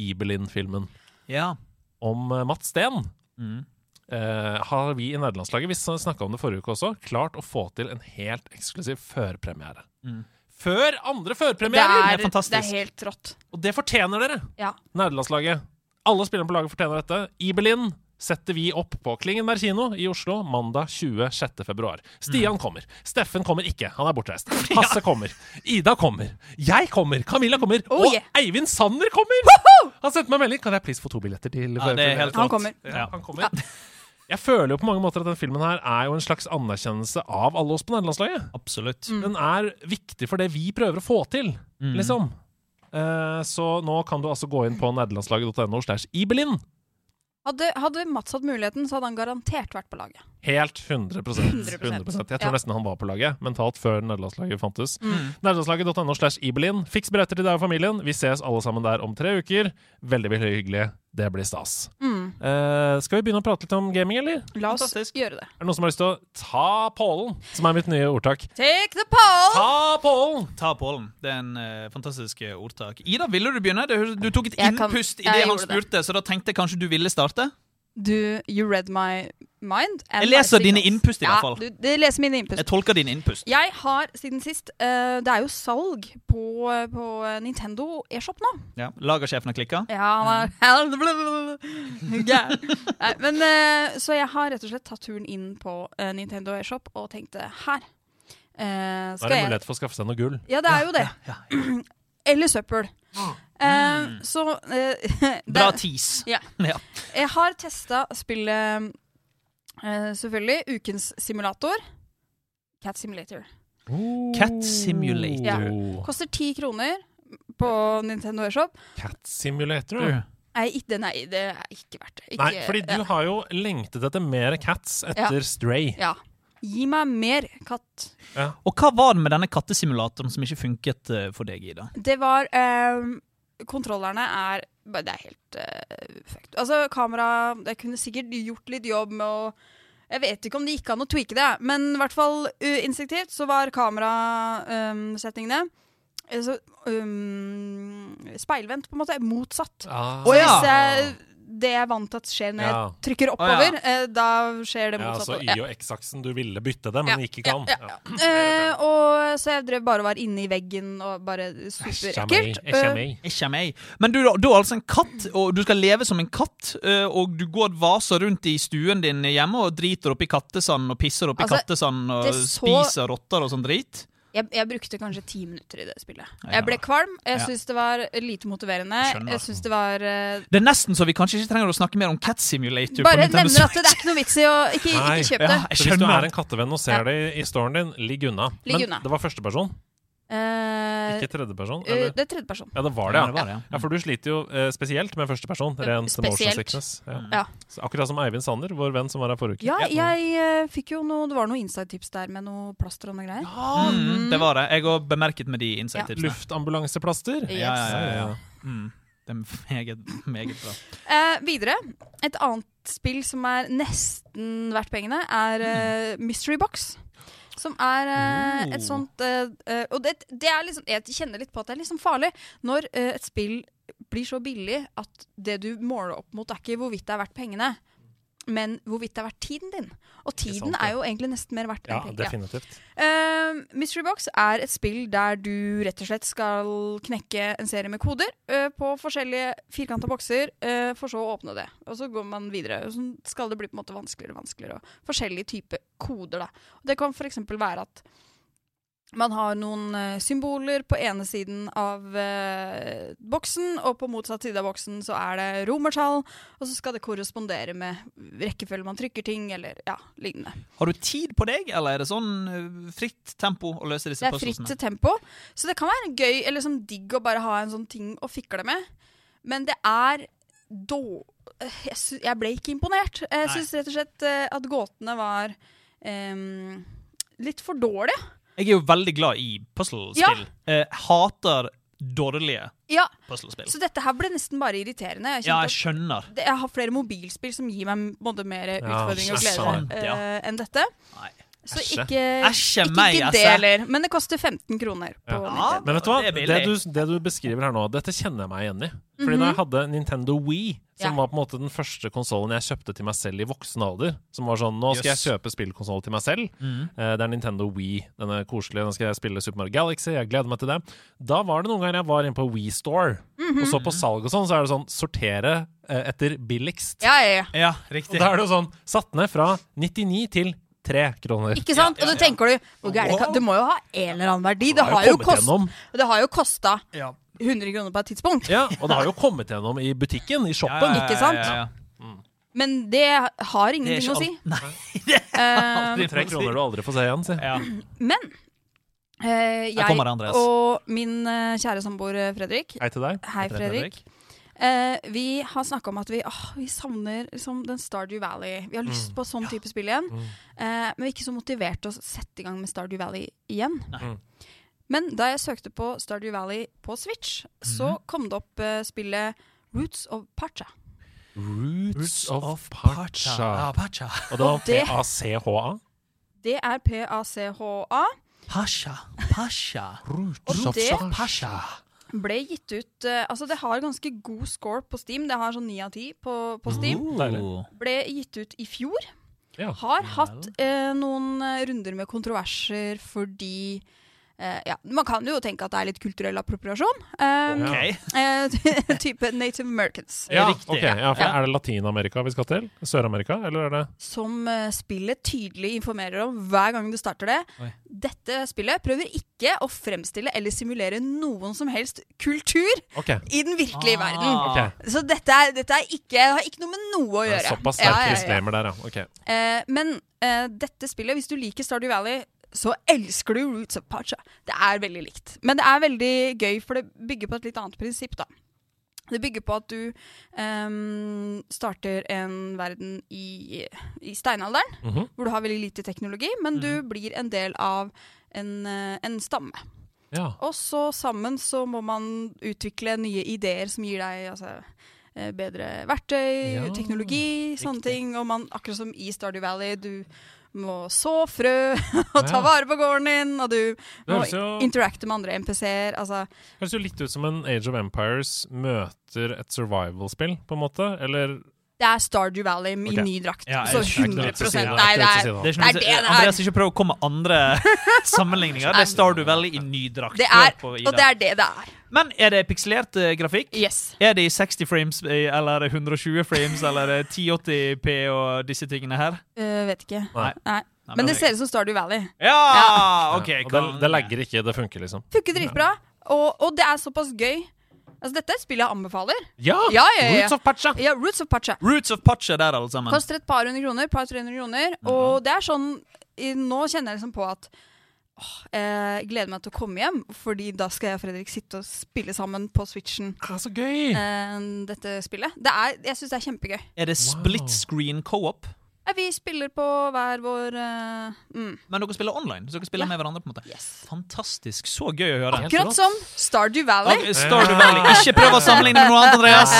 [SPEAKER 2] Ibelin-filmen
[SPEAKER 4] ja.
[SPEAKER 2] om eh, Mats Steen,
[SPEAKER 4] Mm.
[SPEAKER 2] eh, har vi i nederlandslaget, vi snakka om det forrige uke også, klart å få til en helt eksklusiv førpremiere.
[SPEAKER 4] Mm.
[SPEAKER 2] Før andre
[SPEAKER 3] Det
[SPEAKER 2] førpremierer!
[SPEAKER 3] er,
[SPEAKER 4] fantastisk.
[SPEAKER 3] det er helt rått.
[SPEAKER 2] Og det fortjener dere!
[SPEAKER 3] Ja.
[SPEAKER 2] Nerdelandslaget. Alle spillerne på laget fortjener dette. I Berlin setter vi opp på Klingenberg kino i Oslo mandag 26. februar.
[SPEAKER 4] Mm.
[SPEAKER 2] Stian kommer. Steffen kommer ikke, han er
[SPEAKER 3] [laughs]
[SPEAKER 2] bortreist. Hasse kommer. Ida kommer. Jeg kommer. Camilla kommer.
[SPEAKER 3] Oh,
[SPEAKER 2] og
[SPEAKER 3] yeah.
[SPEAKER 2] Eivind Sanner kommer! Han sendte meg en melding. Kan jeg please få to billetter til
[SPEAKER 4] Ja, det er helt
[SPEAKER 3] Han
[SPEAKER 4] rått.
[SPEAKER 3] kommer.
[SPEAKER 2] ja,
[SPEAKER 4] Ja.
[SPEAKER 2] han kommer. Jeg føler jo på mange måter at denne filmen her er jo en slags anerkjennelse av alle oss på nederlandslaget.
[SPEAKER 4] Absolutt.
[SPEAKER 3] Mm.
[SPEAKER 2] Den er viktig for det vi prøver å få til,
[SPEAKER 4] Mm.
[SPEAKER 2] liksom. Eh, så nå kan du altså gå inn på nederlandslaget.no slash Ibelin.
[SPEAKER 3] Hadde, hadde Mats hatt muligheten, så hadde han garantert vært på laget.
[SPEAKER 2] Helt 100, 100%.
[SPEAKER 3] 100%,
[SPEAKER 2] Jeg tror
[SPEAKER 3] ja. Mm.
[SPEAKER 2] nesten han var på laget mentalt før nederlandslaget fantes. Nederlandslaget.no slags Ibelin. Fiks billetter til deg og familien. Vi ses alle sammen der om tre uker. Veldig, veldig hyggelig. Det blir stas.
[SPEAKER 3] Mm.
[SPEAKER 2] Eh, skal vi begynne å prate litt om gaming, eller?
[SPEAKER 3] La oss
[SPEAKER 4] Fantastisk.
[SPEAKER 3] gjøre det.
[SPEAKER 2] Er det noen som har lyst til å ta pålen, som er mitt nye ordtak?
[SPEAKER 3] Take the poll!
[SPEAKER 2] Ta pålen!
[SPEAKER 4] Ta pollen. Det er en eh, fantastisk eh, ordtak. Ida, ville du begynne? Det høres- Du tok et
[SPEAKER 3] Jeg kan-
[SPEAKER 4] innpust i
[SPEAKER 3] jeg
[SPEAKER 4] det han
[SPEAKER 3] gjorde det.
[SPEAKER 4] spurte, så da tenkte jeg kanskje du ville starte?
[SPEAKER 3] Du, you read my mind. and
[SPEAKER 4] Jeg leser
[SPEAKER 3] my
[SPEAKER 4] dine
[SPEAKER 3] signals.
[SPEAKER 4] innpust i hvert fall.
[SPEAKER 3] Ja, du, du leser mine innpust.
[SPEAKER 4] Jeg tolker din innpust.
[SPEAKER 3] Jeg har siden sist eh, Det er jo salg på, på Nintendo eShop nå.
[SPEAKER 4] Ja. Lagersjefen har klikka?
[SPEAKER 3] Ja, han er Gæren. Nei, men, eh, Så jeg har rett og slett tatt turen inn på eh, Nintendo eShop og tenkte her eh,
[SPEAKER 2] Da er det
[SPEAKER 3] skal jeg
[SPEAKER 2] mulighet for å skaffe seg noe gull.
[SPEAKER 3] Ja, det er jo det. [clears throat] Eller søppel. Eh, så eh, [laughs] det-
[SPEAKER 4] Bra tis.
[SPEAKER 3] Ja.
[SPEAKER 4] [laughs] Ja.
[SPEAKER 3] Jeg har testa spillet eh, selvfølgelig Ukens simulator. Cat Simulator.
[SPEAKER 4] Cat Simulator.
[SPEAKER 3] Koster ti kroner på Nintendo eShop.
[SPEAKER 2] Cat Simulator, ja.
[SPEAKER 3] Nei, ikke- det, nei, det er ikke verdt det. Ikke,
[SPEAKER 2] Nei, fordi du har jo lengtet etter mer cats etter Stray.
[SPEAKER 3] Ja. Gi meg mer katt.
[SPEAKER 4] Og hva var det med denne kattesimulatoren som ikke funket eh, for deg, Ida?
[SPEAKER 3] Det var ehm, Kontrollerne er bare- Det er helt eh, fucked. Altså, kamera Jeg kunne sikkert gjort litt jobb med å Jeg vet ikke om det gikk an å tweake det, men i hvert fall uh, instinktivt så var kamerasettingene eh, så, um, speilvendt, på en måte. Motsatt.
[SPEAKER 2] Ah.
[SPEAKER 4] Å ja.
[SPEAKER 3] Hvis jeg, det jeg er vant til at skjer når
[SPEAKER 2] Ja.
[SPEAKER 3] jeg trykker oppover, eh, da skjer det
[SPEAKER 2] Ja,
[SPEAKER 3] motsatt.
[SPEAKER 2] altså
[SPEAKER 3] Ja.
[SPEAKER 2] Y- og X-aksen. Du ville bytte det, men ikke kan.
[SPEAKER 3] Ja, ja, ja. Eh, og så jeg drev bare og var inne i veggen og bare superekkelt.
[SPEAKER 2] Ikke
[SPEAKER 3] Eh,
[SPEAKER 2] meg.
[SPEAKER 4] Ikke meg. Men du, du er altså en katt, og du skal leve som en katt. eh, Og du går og vaser rundt i stuen din hjemme og driter oppi kattesand og pisser oppi
[SPEAKER 3] Altså,
[SPEAKER 4] kattesand og
[SPEAKER 3] det så-
[SPEAKER 4] spiser rotter og sånn drit.
[SPEAKER 3] jeg, jeg brukte kanskje ti minutter i det spillet.
[SPEAKER 4] Ja.
[SPEAKER 3] Jeg ble kvalm. Jeg
[SPEAKER 4] Ja.
[SPEAKER 3] syntes det var eh, lite motiverende.
[SPEAKER 4] Jeg skjønner.
[SPEAKER 3] Jeg synes det var eh,
[SPEAKER 4] Det er nesten så vi kanskje ikke trenger å snakke mer om Cat Simulator. på
[SPEAKER 3] Bare
[SPEAKER 4] Nintendo
[SPEAKER 3] nevner at
[SPEAKER 4] Switch.
[SPEAKER 3] det er ikke noe vits i å ikke,
[SPEAKER 2] Nei,
[SPEAKER 3] ikke kjøpe
[SPEAKER 4] ja.
[SPEAKER 3] det.
[SPEAKER 4] Jeg
[SPEAKER 2] Så hvis du
[SPEAKER 4] skjønner.
[SPEAKER 2] er en kattevenn og ser det i- i storen din, ligg unna.
[SPEAKER 3] Ligg
[SPEAKER 2] Men
[SPEAKER 3] unna.
[SPEAKER 2] det var førsteperson,
[SPEAKER 3] Eh,
[SPEAKER 2] ikke tredjeperson?
[SPEAKER 3] eh,
[SPEAKER 2] Eller?
[SPEAKER 3] det er tredjeperson.
[SPEAKER 2] Ja, det var det,
[SPEAKER 4] Ja,
[SPEAKER 2] ja.
[SPEAKER 4] det var det, ja.
[SPEAKER 2] Ja, For du sliter jo eh, spesielt med førsteperson. Rent motion
[SPEAKER 3] Spesielt.
[SPEAKER 2] sickness. Ja.
[SPEAKER 3] Ja.
[SPEAKER 2] Så Akkurat som Eivind Sanner, vår venn som var her forrige uke.
[SPEAKER 3] Ja, jeg eh, fikk jo noe Det var noe inside-tips der med noe plaster og noe greier.
[SPEAKER 4] Mm, det var det. Jeg har bemerket med de insight-tipsene.
[SPEAKER 2] Luftambulanseplaster.
[SPEAKER 4] Ja, ja, ja, ja.
[SPEAKER 2] Ja,
[SPEAKER 4] Mm. Det er meget, meget bra.
[SPEAKER 3] Eh, videre, et annet spill som er nesten verdt pengene, er eh, Mystery Box. Som er eh, et
[SPEAKER 4] Oh.
[SPEAKER 3] sånt eh, eh, Og det, det er liksom, jeg kjenner litt på at det er liksom farlig når eh, et spill blir så billig at det du måler opp mot, er ikke hvorvidt det er verdt pengene, men hvorvidt det er verdt tiden din. Og tiden
[SPEAKER 2] sant, ja.
[SPEAKER 3] er jo egentlig nesten mer verdt
[SPEAKER 2] ja,
[SPEAKER 3] enn penger.
[SPEAKER 2] definitivt.
[SPEAKER 3] Eh, Mystery Box er et spill der du rett og slett skal knekke en serie med koder eh, på forskjellige firkanta bokser, eh, for så å åpne det. Og så går man videre. Og så skal det bli på en måte vanskeligere og vanskeligere. Og forskjellige typer koder, da. Og det kan f.eks. være at man har noen eh, symboler på ene siden av eh, boksen, og på motsatt side av boksen så er det romertall, og så skal det korrespondere med rekkefølge man trykker ting, eller ja, lignende.
[SPEAKER 4] Har du tid på deg, eller er det sånn eh, fritt tempo å løse disse
[SPEAKER 3] Det er fritt
[SPEAKER 4] puzzlene?
[SPEAKER 3] tempo. Så det kan være gøy eller liksom digg å bare ha en sånn ting å fikle med. Men det er da jeg, sy- jeg ble ikke imponert. Jeg syns rett og slett eh, at gåtene var em, litt for dårlige.
[SPEAKER 4] Jeg er jo veldig glad i puzzlespill. Eh, hater dårlige
[SPEAKER 3] Ja,
[SPEAKER 4] puzzlespill.
[SPEAKER 3] Så dette her ble nesten bare irriterende. Jeg
[SPEAKER 4] Ja,
[SPEAKER 3] kjente
[SPEAKER 4] jeg skjønner.
[SPEAKER 3] at det- jeg har flere mobilspill som gir meg både mer utfordring og
[SPEAKER 2] ikke
[SPEAKER 3] glede
[SPEAKER 2] sant,
[SPEAKER 4] ja.
[SPEAKER 3] eh, enn dette.
[SPEAKER 4] Nei.
[SPEAKER 3] Så
[SPEAKER 2] Æsje.
[SPEAKER 3] ikke,
[SPEAKER 4] Æsje
[SPEAKER 3] ikke
[SPEAKER 4] meg,
[SPEAKER 3] gidd
[SPEAKER 4] altså.
[SPEAKER 3] det heller. Men det koster 15 kroner. på
[SPEAKER 2] Ja.
[SPEAKER 3] Nintendo.
[SPEAKER 2] Men vet du hva?
[SPEAKER 4] Det er
[SPEAKER 2] Det,
[SPEAKER 4] billig.
[SPEAKER 2] du, det du beskriver her nå, dette kjenner jeg meg igjen i. Fordi da jeg hadde Nintendo Wii, som
[SPEAKER 3] Mhm. Ja.
[SPEAKER 2] var på en måte den første konsollen jeg kjøpte til meg selv i voksen alder, som var sånn Nå skal jeg
[SPEAKER 4] Jøss. Mhm.
[SPEAKER 2] kjøpe spillkonsoll til meg selv. Eh, Det er Nintendo Wii. Den er koselig. Den skal jeg spille Super Mario Galaxy. Jeg gleder meg til det. Da var det noen ganger jeg var inne på Wii Store, og så på
[SPEAKER 4] Mhm.
[SPEAKER 2] salg og sånn, så er det sånn sortere eh, etter billigst.
[SPEAKER 3] Ja, ja, ja.
[SPEAKER 4] Ja,
[SPEAKER 2] Og
[SPEAKER 4] riktig.
[SPEAKER 2] da er det jo sånn satt ned fra 99 til 3 kroner.
[SPEAKER 3] Ikke sant? Og
[SPEAKER 4] ja,
[SPEAKER 3] så tenker du hvor gærent kan- Det må jo ha en eller annen verdi. Det
[SPEAKER 2] har jo
[SPEAKER 3] har jo
[SPEAKER 2] kommet
[SPEAKER 3] kost-
[SPEAKER 2] gjennom.
[SPEAKER 3] og det har jo kosta
[SPEAKER 4] Ja.
[SPEAKER 3] 100 kroner på et tidspunkt.
[SPEAKER 2] Ja, og det har jo kommet gjennom i butikken, i shoppen.
[SPEAKER 3] ikke sant? Men det har
[SPEAKER 4] Det er
[SPEAKER 3] ingenting
[SPEAKER 4] ikke
[SPEAKER 3] å si.
[SPEAKER 4] alt-
[SPEAKER 3] Eh,
[SPEAKER 2] De tre kroner du aldri får se igjen, si.
[SPEAKER 4] Ja.
[SPEAKER 3] men eh, jeg
[SPEAKER 4] kommer Andreas.
[SPEAKER 3] og min eh, kjære samboer eh, Fredrik
[SPEAKER 2] Hei til deg.
[SPEAKER 3] Hei, Fredrik. Eh, vi har snakka om at vi, åh, vi savner liksom, den Stardew Valley. Vi har
[SPEAKER 2] Mm.
[SPEAKER 3] lyst på sånn type spill igjen. Eh, men vi er ikke så motivert til å sette i gang med Stardew Valley igjen.
[SPEAKER 2] Nei.
[SPEAKER 3] Men da jeg søkte på Stardew Valley på Switch, så kom det opp eh, spillet Roots of Pacha.
[SPEAKER 2] Roots of
[SPEAKER 4] Ja,
[SPEAKER 2] Pacha.
[SPEAKER 4] Pacha.
[SPEAKER 2] Og det var
[SPEAKER 3] Og det-
[SPEAKER 2] P-A-C-H-A.
[SPEAKER 3] Det er PACHA.
[SPEAKER 4] Pasha. Pasha.
[SPEAKER 2] Roots
[SPEAKER 3] Og of det-
[SPEAKER 4] Pasha.
[SPEAKER 3] Ble gitt ut eh, Altså, det har ganske god score på Steam. Det har sånn ni av ti på, på Steam.
[SPEAKER 2] Oh. Deilig.
[SPEAKER 3] Ble gitt ut i fjor.
[SPEAKER 2] Ja.
[SPEAKER 3] Har hatt eh, noen eh, runder med kontroverser fordi eh, ja, Man kan jo tenke at det er litt kulturell appropriasjon. Um,
[SPEAKER 2] Ja.
[SPEAKER 4] OK.
[SPEAKER 3] [laughs] eh, type Native Americans.
[SPEAKER 2] Ja,
[SPEAKER 4] Riktig.
[SPEAKER 2] ok. ja, for
[SPEAKER 4] Ja.
[SPEAKER 2] Er det Latin-Amerika vi skal til? Sør-Amerika, eller er det
[SPEAKER 3] Som eh, spillet tydelig informerer om hver gang du starter det.
[SPEAKER 4] Oi.
[SPEAKER 3] Dette spillet prøver ikke å fremstille eller simulere noen som helst kultur
[SPEAKER 2] OK.
[SPEAKER 3] i den virkelige
[SPEAKER 4] Ah.
[SPEAKER 3] verden.
[SPEAKER 2] ok.
[SPEAKER 3] Så dette, er, dette er ikke, har ikke noe med noe å
[SPEAKER 2] Det er
[SPEAKER 3] gjøre.
[SPEAKER 2] Såpass
[SPEAKER 3] Ja,
[SPEAKER 2] sterk
[SPEAKER 3] ja, ja.
[SPEAKER 2] disclaimer der, ja. Ok.
[SPEAKER 3] Eh, men eh, dette spillet, hvis du liker Stardew Valley, så elsker du Roots of Pacha. Det er veldig likt. Men det er veldig gøy, for det bygger på et litt annet prinsipp, da. Det bygger på at du ehm, starter en verden i, i steinalderen,
[SPEAKER 2] Mhm.
[SPEAKER 3] hvor du har veldig lite teknologi, men du blir en del av en, eh, en stamme.
[SPEAKER 2] Ja.
[SPEAKER 3] Og så sammen så må man utvikle nye ideer som gir deg altså, eh, bedre verktøy,
[SPEAKER 2] Ja,
[SPEAKER 3] teknologi, sånne
[SPEAKER 4] riktig.
[SPEAKER 3] ting. Og man, akkurat som i Stardew Valley, du må så frø [laughs] og ta
[SPEAKER 2] Ja.
[SPEAKER 3] vare på gården din, og du
[SPEAKER 2] Det
[SPEAKER 3] må
[SPEAKER 2] høres jo-
[SPEAKER 3] interacte med andre MPC-er. Altså,
[SPEAKER 2] Høres jo litt ut som en Age of Empires møter et survival-spill, på en måte. Eller
[SPEAKER 3] det er Stardew Valley i
[SPEAKER 2] Ok.
[SPEAKER 3] ny drakt.
[SPEAKER 4] Ja,
[SPEAKER 3] så
[SPEAKER 4] jeg
[SPEAKER 3] 100
[SPEAKER 4] skjønner. Det er ikke noe å si,
[SPEAKER 3] Nei, det
[SPEAKER 2] det er ikke noe å si,
[SPEAKER 3] er,
[SPEAKER 4] Det er ikke noe,
[SPEAKER 3] det er det
[SPEAKER 4] Andreas, ikke prøv å komme med andre
[SPEAKER 3] [laughs]
[SPEAKER 4] sammenligninger. Det er Stardew Valley i ny drakt.
[SPEAKER 3] det er,
[SPEAKER 4] Hør på Ida.
[SPEAKER 3] og det er det det er.
[SPEAKER 4] Men er det pikselert eh, grafikk?
[SPEAKER 3] Yes.
[SPEAKER 4] Er det i 60 frames eh, eller 120 frames eller eh, 1080p og disse tingene her?
[SPEAKER 3] Eh, vet ikke.
[SPEAKER 2] Nei.
[SPEAKER 3] Nei.
[SPEAKER 4] Nei,
[SPEAKER 3] Men det ser ut som Stardew Valley.
[SPEAKER 4] Ja! OK.
[SPEAKER 2] Og det,
[SPEAKER 4] kan-
[SPEAKER 2] det legger ikke, det funker, liksom.
[SPEAKER 3] Funker dritbra, og, og det er såpass gøy. Altså, dette er spillet jeg anbefaler.
[SPEAKER 2] Ja!
[SPEAKER 3] Ja, ja, ja, ja.
[SPEAKER 2] Roots of Pacha!
[SPEAKER 3] Ja, Roots of Pacha.
[SPEAKER 4] Roots of Pacha der, alle sammen.
[SPEAKER 3] Koster et par hundre kroner, par 300 kroner. Og det er sånn i- Nå kjenner jeg liksom på at åh, eh, gleder meg til å komme hjem, fordi da skal jeg og Fredrik sitte og spille sammen på Switchen.
[SPEAKER 2] Ah, så gøy!
[SPEAKER 3] Eh, dette spillet. Det er, jeg syns det er kjempegøy.
[SPEAKER 4] Er det split screen co-op?
[SPEAKER 3] Ja, vi spiller på hver vår eh, mm,
[SPEAKER 4] Men dere spiller online, så dere spiller
[SPEAKER 3] Ja.
[SPEAKER 4] med hverandre. på en måte
[SPEAKER 3] Yes.
[SPEAKER 4] Fantastisk. Så gøy å høre.
[SPEAKER 2] Helt
[SPEAKER 3] Akkurat
[SPEAKER 2] rått.
[SPEAKER 3] som Stardew Valley.
[SPEAKER 4] Ok, Stardew Valley. Ikke prøv å sammenligne med noe annet, Andreas!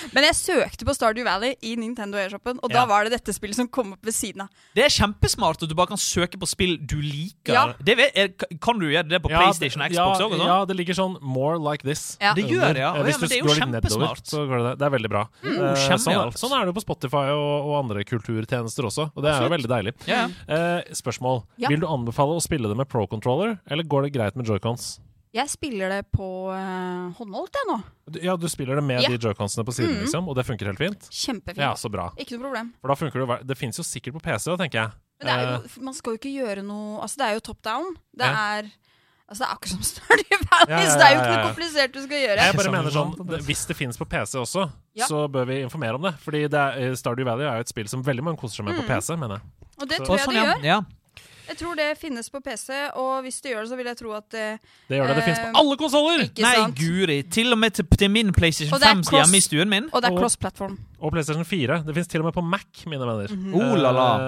[SPEAKER 3] [laughs] Men jeg søkte på Stardew Valley i Nintendo Airshopen, og
[SPEAKER 4] Ja.
[SPEAKER 3] da var det dette spillet som kom opp ved siden av.
[SPEAKER 4] Det er kjempesmart at du bare kan søke på spill du liker.
[SPEAKER 3] Ja.
[SPEAKER 4] Det vet, er, kan du gjøre det på
[SPEAKER 2] Ja,
[SPEAKER 4] PlayStation og
[SPEAKER 2] det-
[SPEAKER 4] Xbox òg?
[SPEAKER 2] Ja, ja, det ligger sånn 'more like this'.
[SPEAKER 3] Ja.
[SPEAKER 4] Det gjør det, ja.
[SPEAKER 2] Under. Eh,
[SPEAKER 4] Å,
[SPEAKER 2] Hvis
[SPEAKER 4] ja,
[SPEAKER 2] du
[SPEAKER 4] men det er jo
[SPEAKER 2] går litt nedover,
[SPEAKER 4] kjempesmart. Mm,
[SPEAKER 2] så går det der. Det er veldig bra. Eh, sånn, er-
[SPEAKER 4] kjempealt.
[SPEAKER 2] sånn er det jo på Spotify og, og andre kulturtjenester også, og det er jo veldig deilig.
[SPEAKER 4] Ja.
[SPEAKER 2] Eh, spørsmål.
[SPEAKER 3] Ja.
[SPEAKER 2] Vil du anbefale å spille det med pro-controller, eller går det greit med joycons?
[SPEAKER 3] Jeg spiller det på eh, håndholdt, jeg nå.
[SPEAKER 2] Du- Ja, du spiller det med
[SPEAKER 3] Ja.
[SPEAKER 2] de joyconsene på
[SPEAKER 4] Mm.
[SPEAKER 2] siden, liksom, og det funker helt fint?
[SPEAKER 3] Kjempefint.
[SPEAKER 2] Ja, så bra.
[SPEAKER 3] Ikke noe problem.
[SPEAKER 2] For da funker det jo hver- Det fins jo sikkert på PC, da, tenker jeg.
[SPEAKER 3] Men det er
[SPEAKER 2] Eh,
[SPEAKER 3] jo, for man skal jo ikke gjøre noe Altså, det er jo top down. Det
[SPEAKER 2] Ja.
[SPEAKER 3] er Altså, det er akkurat som [laughs] Stardew Valley,
[SPEAKER 2] Ja, ja,
[SPEAKER 3] så det er jo ikke
[SPEAKER 2] ja,
[SPEAKER 3] noe
[SPEAKER 2] ja.
[SPEAKER 3] komplisert du skal gjøre.
[SPEAKER 2] Jeg bare
[SPEAKER 4] Ikke
[SPEAKER 2] mener sånn,
[SPEAKER 4] sammenlignet
[SPEAKER 2] det- Hvis det finnes på PC også,
[SPEAKER 3] Ja.
[SPEAKER 2] så bør vi informere om det.
[SPEAKER 4] Mm.
[SPEAKER 2] Fordi det er, eh, Stardew Valley er jo et spill som veldig mange koser seg med på PC. mener jeg
[SPEAKER 3] Og det
[SPEAKER 2] Så-
[SPEAKER 3] tror jeg det gjør.
[SPEAKER 4] Sånn,
[SPEAKER 3] Mm.
[SPEAKER 4] ja.
[SPEAKER 3] Jeg tror det finnes på PC, og hvis det gjør det, så vil jeg tro at eh,
[SPEAKER 2] Det gjør det. Det finnes
[SPEAKER 3] Eh,
[SPEAKER 2] på alle konsoller!
[SPEAKER 3] Ikke
[SPEAKER 4] Nei,
[SPEAKER 3] sant?
[SPEAKER 4] guri. Til og med til, til min PlayStation
[SPEAKER 3] Og det er
[SPEAKER 4] 5 som er hjemme i
[SPEAKER 3] cross-
[SPEAKER 4] stuen min.
[SPEAKER 3] Og det er
[SPEAKER 2] Og-
[SPEAKER 3] cross-platform.
[SPEAKER 2] Og PlayStation 4. Det finnes til og med på Mac, mine venner.
[SPEAKER 3] Mhm.
[SPEAKER 4] Oh la la.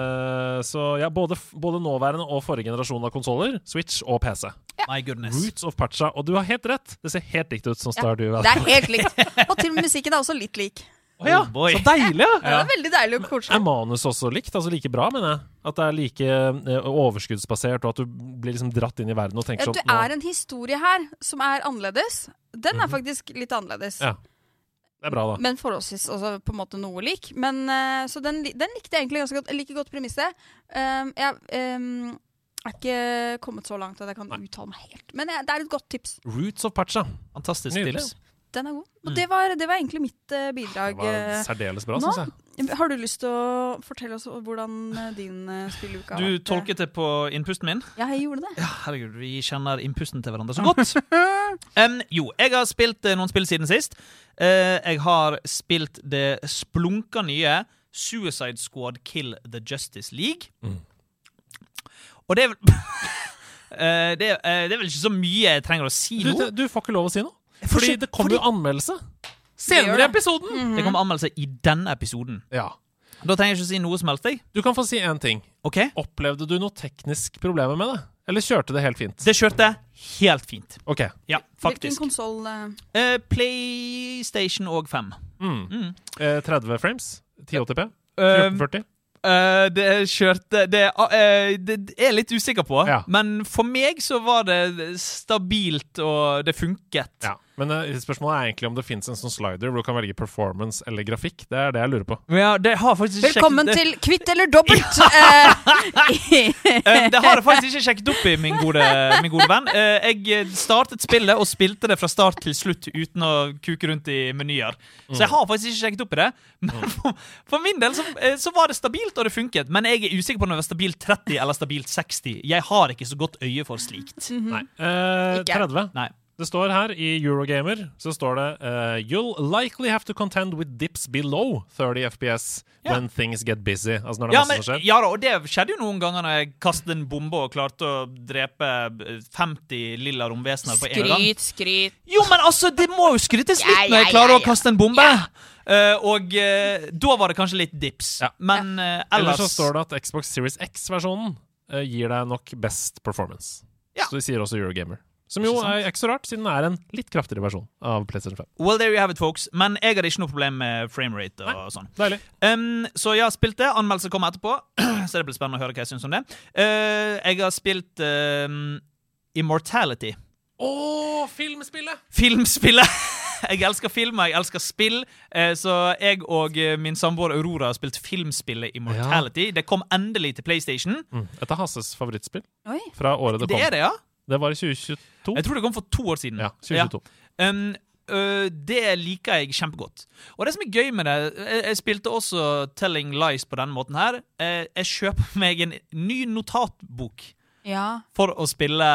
[SPEAKER 2] Eh, så ja, både, f- både nåværende og forrige generasjon av konsoller, Switch og PC.
[SPEAKER 4] My goodness.
[SPEAKER 2] Roots of Pacha. Og du har helt rett! Det ser helt likt ut sånn som
[SPEAKER 3] Ja,
[SPEAKER 2] Stardew
[SPEAKER 3] Det
[SPEAKER 2] Valley.
[SPEAKER 3] er helt likt. Og til og med musikken er også litt lik.
[SPEAKER 4] Å ja,
[SPEAKER 2] Oh
[SPEAKER 4] så deilig! ja.
[SPEAKER 3] Det er veldig deilig og
[SPEAKER 2] Er
[SPEAKER 3] koselig.
[SPEAKER 2] manus også likt? Altså like bra, mener jeg? At det er like eh, overskuddsbasert, og at du blir liksom dratt inn i verden og tenker
[SPEAKER 3] Ja,
[SPEAKER 2] sånn
[SPEAKER 3] det
[SPEAKER 2] nå-
[SPEAKER 3] er en historie her som er annerledes. Den
[SPEAKER 4] Mhm.
[SPEAKER 3] er faktisk litt annerledes.
[SPEAKER 2] Ja. Det er bra, da.
[SPEAKER 3] Men forholdsvis også på en måte noe lik. Men, eh, så den, li- den likte jeg egentlig ganske godt. Jeg liker godt premisset. Um, jeg um, er ikke kommet så langt at jeg kan uttale meg helt. Men jeg, det er et godt tips.
[SPEAKER 2] Roots of Pacha.
[SPEAKER 4] Fantastisk
[SPEAKER 2] Nydelig.
[SPEAKER 4] tips.
[SPEAKER 3] Den er god. Og
[SPEAKER 4] Mm.
[SPEAKER 3] det var, det var egentlig mitt eh,
[SPEAKER 2] Det
[SPEAKER 3] bidrag.
[SPEAKER 2] var
[SPEAKER 3] eh.
[SPEAKER 2] særdeles bra,
[SPEAKER 3] nå-
[SPEAKER 2] syns jeg.
[SPEAKER 3] Har du lyst til å fortelle oss hvordan eh, din eh, spilleuke har
[SPEAKER 4] Du
[SPEAKER 3] vært?
[SPEAKER 4] tolket det på innpusten min?
[SPEAKER 3] Ja, jeg gjorde det.
[SPEAKER 4] Ja, herregud, vi kjenner innpusten
[SPEAKER 2] [laughs]
[SPEAKER 4] til hverandre så godt. Em, jo, jeg har spilt eh, noen spill siden sist. Eh, jeg har spilt det splunka nye Suicide Squad Kill the Justice League.
[SPEAKER 2] Mm.
[SPEAKER 4] Og det er vel [laughs] Eh, det, eh, det er vel ikke så mye jeg trenger å si
[SPEAKER 2] Du,
[SPEAKER 4] nå.
[SPEAKER 2] du får ikke lov å si noe.
[SPEAKER 4] får
[SPEAKER 2] Fordi
[SPEAKER 4] ikke-
[SPEAKER 2] det kommer jo anmeldelse
[SPEAKER 3] gjør
[SPEAKER 2] senere i
[SPEAKER 3] det. Mm.
[SPEAKER 2] episoden!
[SPEAKER 4] Det kommer anmeldelse i denne episoden.
[SPEAKER 2] Ja.
[SPEAKER 4] Da trenger jeg ikke å si noe som helst. jeg.
[SPEAKER 2] Du kan få si én ting.
[SPEAKER 4] Ok?
[SPEAKER 2] Opplevde du noe teknisk problemer med det? Eller kjørte det helt fint?
[SPEAKER 4] Det kjørte jeg helt fint.
[SPEAKER 2] Ok.
[SPEAKER 4] Ja,
[SPEAKER 3] Hvilken
[SPEAKER 4] faktisk.
[SPEAKER 3] konsoll eh,
[SPEAKER 4] Eh, PlayStation og 5.
[SPEAKER 2] Mm.
[SPEAKER 4] Mm.
[SPEAKER 2] Eh, 30 frames? 1080p?
[SPEAKER 4] Eh,
[SPEAKER 2] 1440?
[SPEAKER 4] Eh, det kjørte det, eh, det det er jeg litt usikker på.
[SPEAKER 2] Ja.
[SPEAKER 4] Men for meg så var det stabilt, og det funket.
[SPEAKER 2] Ja. Men eh, spørsmålet er egentlig om det fins en sånn slider hvor du kan velge performance eller grafikk. Det er det jeg lurer på.
[SPEAKER 4] Men ja, det har jeg faktisk ikke
[SPEAKER 3] Velkommen
[SPEAKER 4] [laughs] sjekket,
[SPEAKER 3] til Kvitt eller dobbelt!
[SPEAKER 4] [laughs]
[SPEAKER 3] Eh,
[SPEAKER 4] det, eh, det har jeg faktisk ikke sjekket opp i, min gode, min gode venn. Eh, jeg startet spillet og spilte det fra start til slutt uten å kuke rundt i menyer. Så jeg
[SPEAKER 2] Mm.
[SPEAKER 4] har faktisk ikke sjekket opp i det. Men for, for min del så, eh, så var det stabilt, og det funket. Men jeg er usikker på om det var stabilt 30 eller stabilt 60. Jeg har ikke så godt øye for slikt.
[SPEAKER 3] Mm.
[SPEAKER 2] Nei. Eh,
[SPEAKER 3] Ikke.
[SPEAKER 2] 30.
[SPEAKER 4] Mhm. Nei.
[SPEAKER 2] Det står her i Eurogamer så står det eh, You'll likely have to contend with dips below 30 FPS
[SPEAKER 4] Ja.
[SPEAKER 2] when things get busy. Altså når det er
[SPEAKER 4] Ja,
[SPEAKER 2] masse
[SPEAKER 4] men,
[SPEAKER 2] som skjer.
[SPEAKER 4] ja da, og det skjedde jo noen ganger når jeg kastet en bombe og klarte å drepe eh, 50 lilla romvesener på en gang.
[SPEAKER 3] skryt.
[SPEAKER 4] Jo, men altså, det må jo skrytes litt
[SPEAKER 3] Ja, ja,
[SPEAKER 4] når jeg
[SPEAKER 3] ja,
[SPEAKER 4] klarer
[SPEAKER 3] ja.
[SPEAKER 4] å kaste en bombe! Eh, og eh, da var det kanskje litt dips.
[SPEAKER 2] Ja.
[SPEAKER 4] Men eh,
[SPEAKER 2] Ellers
[SPEAKER 4] ellers
[SPEAKER 2] så står det at Xbox Series X-versjonen eh, gir deg nok best performance.
[SPEAKER 4] Ja.
[SPEAKER 2] Så de sier også Eurogamer. Som jo
[SPEAKER 4] Ikke sant?
[SPEAKER 2] er ikke så rart, siden det er en litt kraftigere versjon av PlayStation 5.
[SPEAKER 4] Well, there you have it, folks. Men jeg hadde ikke noe problem med framerate og
[SPEAKER 2] Nei.
[SPEAKER 4] sånn.
[SPEAKER 2] Deilig.
[SPEAKER 4] Um, så jeg har spilt det. Anmeldelse kommer etterpå. [clears throat] så det blir spennende å høre hva jeg syns om det. Eh, jeg har spilt ehm, Immortality.
[SPEAKER 2] Å, filmspillet!
[SPEAKER 4] Filmspillet! [laughs] Jeg elsker film, og jeg elsker spill, eh, så jeg og eh, min samboer Aurora har spilt filmspillet Immortality. Det kom endelig til PlayStation.
[SPEAKER 2] Mm. Dette er Hasses favorittspill
[SPEAKER 3] Oi.
[SPEAKER 2] fra året det
[SPEAKER 4] Det
[SPEAKER 2] kom.
[SPEAKER 4] er det, ja?
[SPEAKER 2] Det var i 2022.
[SPEAKER 4] Jeg tror det kom for to år siden.
[SPEAKER 2] Ja, 2022.
[SPEAKER 4] Um, øh, det liker jeg kjempegodt. Og det som er gøy med det Jeg, jeg spilte også Telling Lies på denne måten her. Eh, jeg kjøper meg en ny notatbok
[SPEAKER 3] Ja.
[SPEAKER 4] for å spille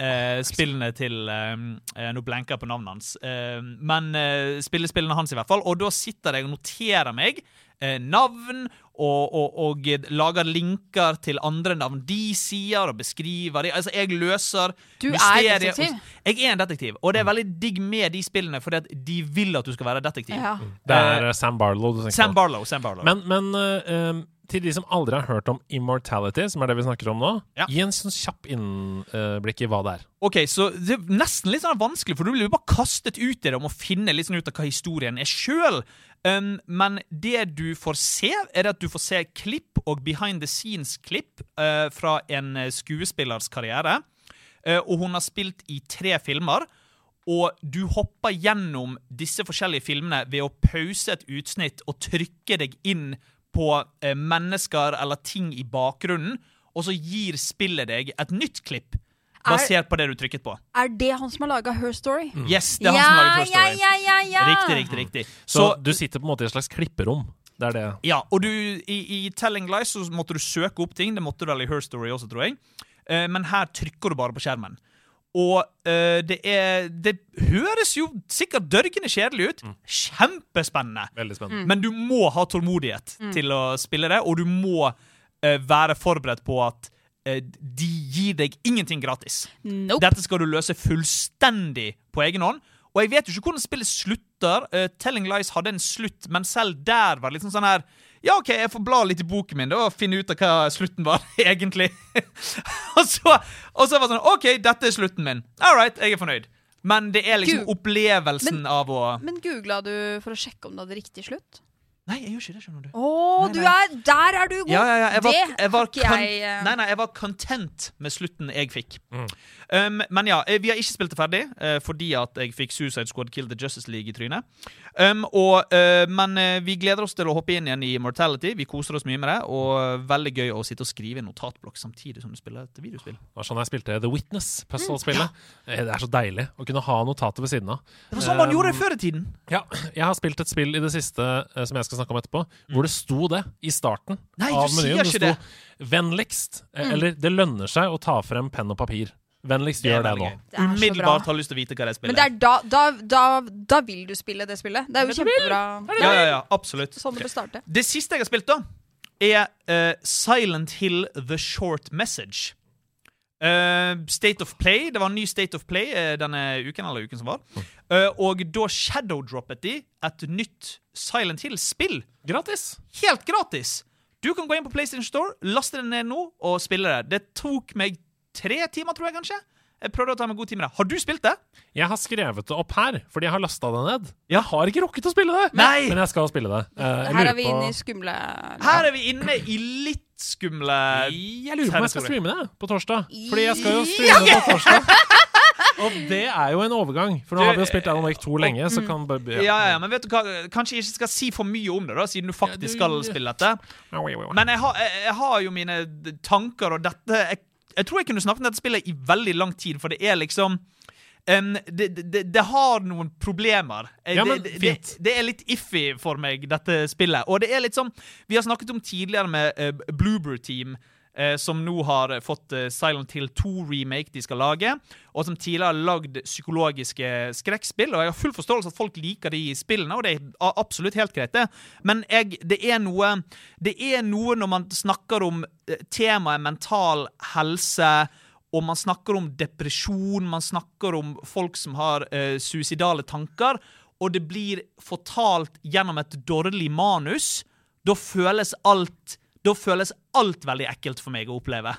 [SPEAKER 4] eh, spillene til eh, eh, Nå blenker jeg på navnet hans. Eh, men eh, spille spillene hans, i hvert fall. Og da sitter jeg og noterer meg eh, navn. Og, og, og lager linker til andre navn de sier, og beskriver de. Altså, jeg løser
[SPEAKER 3] Du er
[SPEAKER 4] mysterier-
[SPEAKER 3] detektiv.
[SPEAKER 4] Jeg er en detektiv, og det er veldig digg med de spillene, fordi at de vil at du skal være detektiv.
[SPEAKER 3] ja.
[SPEAKER 2] Det er eh, Sam Barlow du tenker
[SPEAKER 4] Sam
[SPEAKER 2] på.
[SPEAKER 4] Barlow. Sam Barlow.
[SPEAKER 2] Men, men eh, em, til de som aldri har hørt om immortality, som er det vi snakker om nå,
[SPEAKER 4] Ja.
[SPEAKER 2] gi en sånn kjapp innblikk i hva det er.
[SPEAKER 4] Ok, så det er nesten litt sånn vanskelig, for du blir jo bare kastet ut i det om å finne litt sånn ut av hva historien er sjøl. Um, men det du får se, er at du får se klipp og behind the scenes-klipp eh, fra en eh, skuespillers karriere. Eh, og hun har spilt i tre filmer. Og du hopper gjennom disse forskjellige filmene ved å pause et utsnitt og trykke deg inn på eh, mennesker eller ting i bakgrunnen, og så gir spillet deg et nytt klipp basert på det du trykket på.
[SPEAKER 3] Er det han som har laga Her Story?
[SPEAKER 4] Yes, Mm. det er han som lager Toy
[SPEAKER 3] ja,
[SPEAKER 4] Story.
[SPEAKER 3] ja, ja, ja!
[SPEAKER 4] Riktig, riktig, riktig.
[SPEAKER 2] Så,
[SPEAKER 4] Så,
[SPEAKER 2] du sitter på en måte i et slags klipperom. Det er det.
[SPEAKER 4] ja, og du, i, i Telling Lies så måtte du søke opp ting. Det måtte du vel i Her Story også, tror jeg. Eh, men her trykker du bare på skjermen. Og eh, det er Det høres jo sikkert dørgende kjedelig ut. Kjempespennende.
[SPEAKER 2] Veldig
[SPEAKER 3] Mm.
[SPEAKER 2] spennende.
[SPEAKER 4] Men du må ha tålmodighet til å spille det, og du må eh, være forberedt på at eh, de gir deg ingenting gratis.
[SPEAKER 3] Nope.
[SPEAKER 4] Dette skal du løse fullstendig på egen hånd. Og jeg vet jo ikke hvordan spillet slutter. Eh, Telling Lies hadde en slutt, men selv der var det liksom sånn her Ja, OK, jeg får bla litt i boken min da, og finne ut av hva slutten var, [laughs] egentlig. og, så, og så var det sånn OK, dette er slutten min. All right, jeg er fornøyd. Men det er liksom
[SPEAKER 3] Gud.
[SPEAKER 4] opplevelsen
[SPEAKER 3] Men-
[SPEAKER 4] av å
[SPEAKER 3] Men googla du for å sjekke om du hadde riktig slutt?
[SPEAKER 4] Nei, jeg gjør ikke det, skjønner du.
[SPEAKER 3] Å,
[SPEAKER 4] Nei,
[SPEAKER 3] du
[SPEAKER 4] nei.
[SPEAKER 3] er Der er du god!
[SPEAKER 4] Ja, ja, ja. Jeg var,
[SPEAKER 3] det
[SPEAKER 4] jeg var
[SPEAKER 3] har ikke
[SPEAKER 4] kon-
[SPEAKER 3] jeg eh,
[SPEAKER 4] Nei, nei, jeg var content med slutten jeg fikk.
[SPEAKER 2] Mm.
[SPEAKER 4] Um, men ja, eh, vi har ikke spilt det ferdig, eh, fordi at jeg fikk Suicide Squad Kill the Justice League i trynet. Um, og, eh, men eh, vi gleder oss til å hoppe inn igjen i Mortality. Vi koser oss mye med det. Og eh, veldig gøy å sitte og skrive i en notatblokk samtidig som du spiller et videospill.
[SPEAKER 2] Det var sånn jeg spilte The Witness, puzzle-spillet. Eh, Det er så deilig å kunne ha notater ved siden av.
[SPEAKER 4] Det var sånn
[SPEAKER 2] Um,
[SPEAKER 4] man gjorde det før i tiden.
[SPEAKER 2] Ja, jeg har spilt et spill i det siste eh, som jeg skal snakke om etterpå, hvor det sto det i starten
[SPEAKER 4] Nei, du
[SPEAKER 2] av
[SPEAKER 4] sier
[SPEAKER 2] menyen.
[SPEAKER 4] ikke
[SPEAKER 2] Det
[SPEAKER 4] det.
[SPEAKER 2] sto 'vennligst', eh, eller 'det lønner seg å ta frem penn og papir'. Vennligst gjør det
[SPEAKER 4] veldig
[SPEAKER 2] nå.
[SPEAKER 4] gøy.
[SPEAKER 3] Det er så
[SPEAKER 4] Umiddelbart
[SPEAKER 3] bra.
[SPEAKER 4] har lyst til å vite hva
[SPEAKER 3] Men
[SPEAKER 4] det spillet
[SPEAKER 3] det er da, da, da, da vil du spille det spillet. Det er jo kjempebra.
[SPEAKER 4] Ja, ja, ja, absolutt.
[SPEAKER 3] Sånn det bør starte.
[SPEAKER 4] Det siste jeg har spilt, da, er eh, Silent Hill The Short Message. Eh, State of Play. Det var en ny State of Play eh, denne uken, eller uken som var.
[SPEAKER 2] Mm.
[SPEAKER 4] Eh, og da shadowdroppet de et nytt Silent Hill-spill.
[SPEAKER 2] Gratis!
[SPEAKER 4] Helt gratis! Du kan gå inn på PlayStation Store, laste det ned nå og spille det. Det tok meg tre timer, tror jeg kanskje. Jeg prøvde å ta meg god tid med det. Har du spilt det?
[SPEAKER 2] Jeg har skrevet det opp her, fordi jeg har lasta det ned. Jeg har ikke rukket å spille det,
[SPEAKER 4] Nei!
[SPEAKER 2] men jeg skal spille det. Eh, jeg
[SPEAKER 3] Her
[SPEAKER 2] lurer
[SPEAKER 3] er vi
[SPEAKER 2] på-
[SPEAKER 3] inne i skumle
[SPEAKER 4] Her er vi inne i litt skumle
[SPEAKER 2] Jeg lurer på om jeg skal streame
[SPEAKER 4] territorier.
[SPEAKER 2] det på torsdag. Fordi jeg skal jo streame det på torsdag. [laughs] Og det er jo en overgang, for nå
[SPEAKER 4] Du, Mm.
[SPEAKER 2] har vi jo spilt Alan Wake 2 lenge. Så kan bare
[SPEAKER 4] Ja, ja, ja, men vet du hva? Kanskje jeg ikke skal si for mye om det, da, siden du faktisk skal spille dette. Men jeg har, jeg, jeg har jo mine d- tanker og dette jeg, jeg tror jeg kunne snakket om dette spillet i veldig lang tid, for det er liksom em, det, det, det- det har noen problemer. Eh,
[SPEAKER 2] Ja, men
[SPEAKER 4] det, det,
[SPEAKER 2] fint.
[SPEAKER 4] det, det er litt iffy for meg, dette spillet. Og det er litt sånn Vi har snakket om tidligere med eh, Bloober Team. eh, som nå har eh, fått eh, Silent Hill 2-remake de skal lage. Og som tidligere har lagd psykologiske skrekkspill. Og jeg har full forståelse at folk liker de spillene, og det er a- absolutt helt greit, det. Men jeg, det, er noe, det er noe når man snakker om eh, temaet mental helse og man snakker om depresjon, man snakker om folk som har eh, suicidale tanker, og det blir fortalt gjennom et dårlig manus, da føles alt Da føles alt veldig ekkelt for meg å oppleve,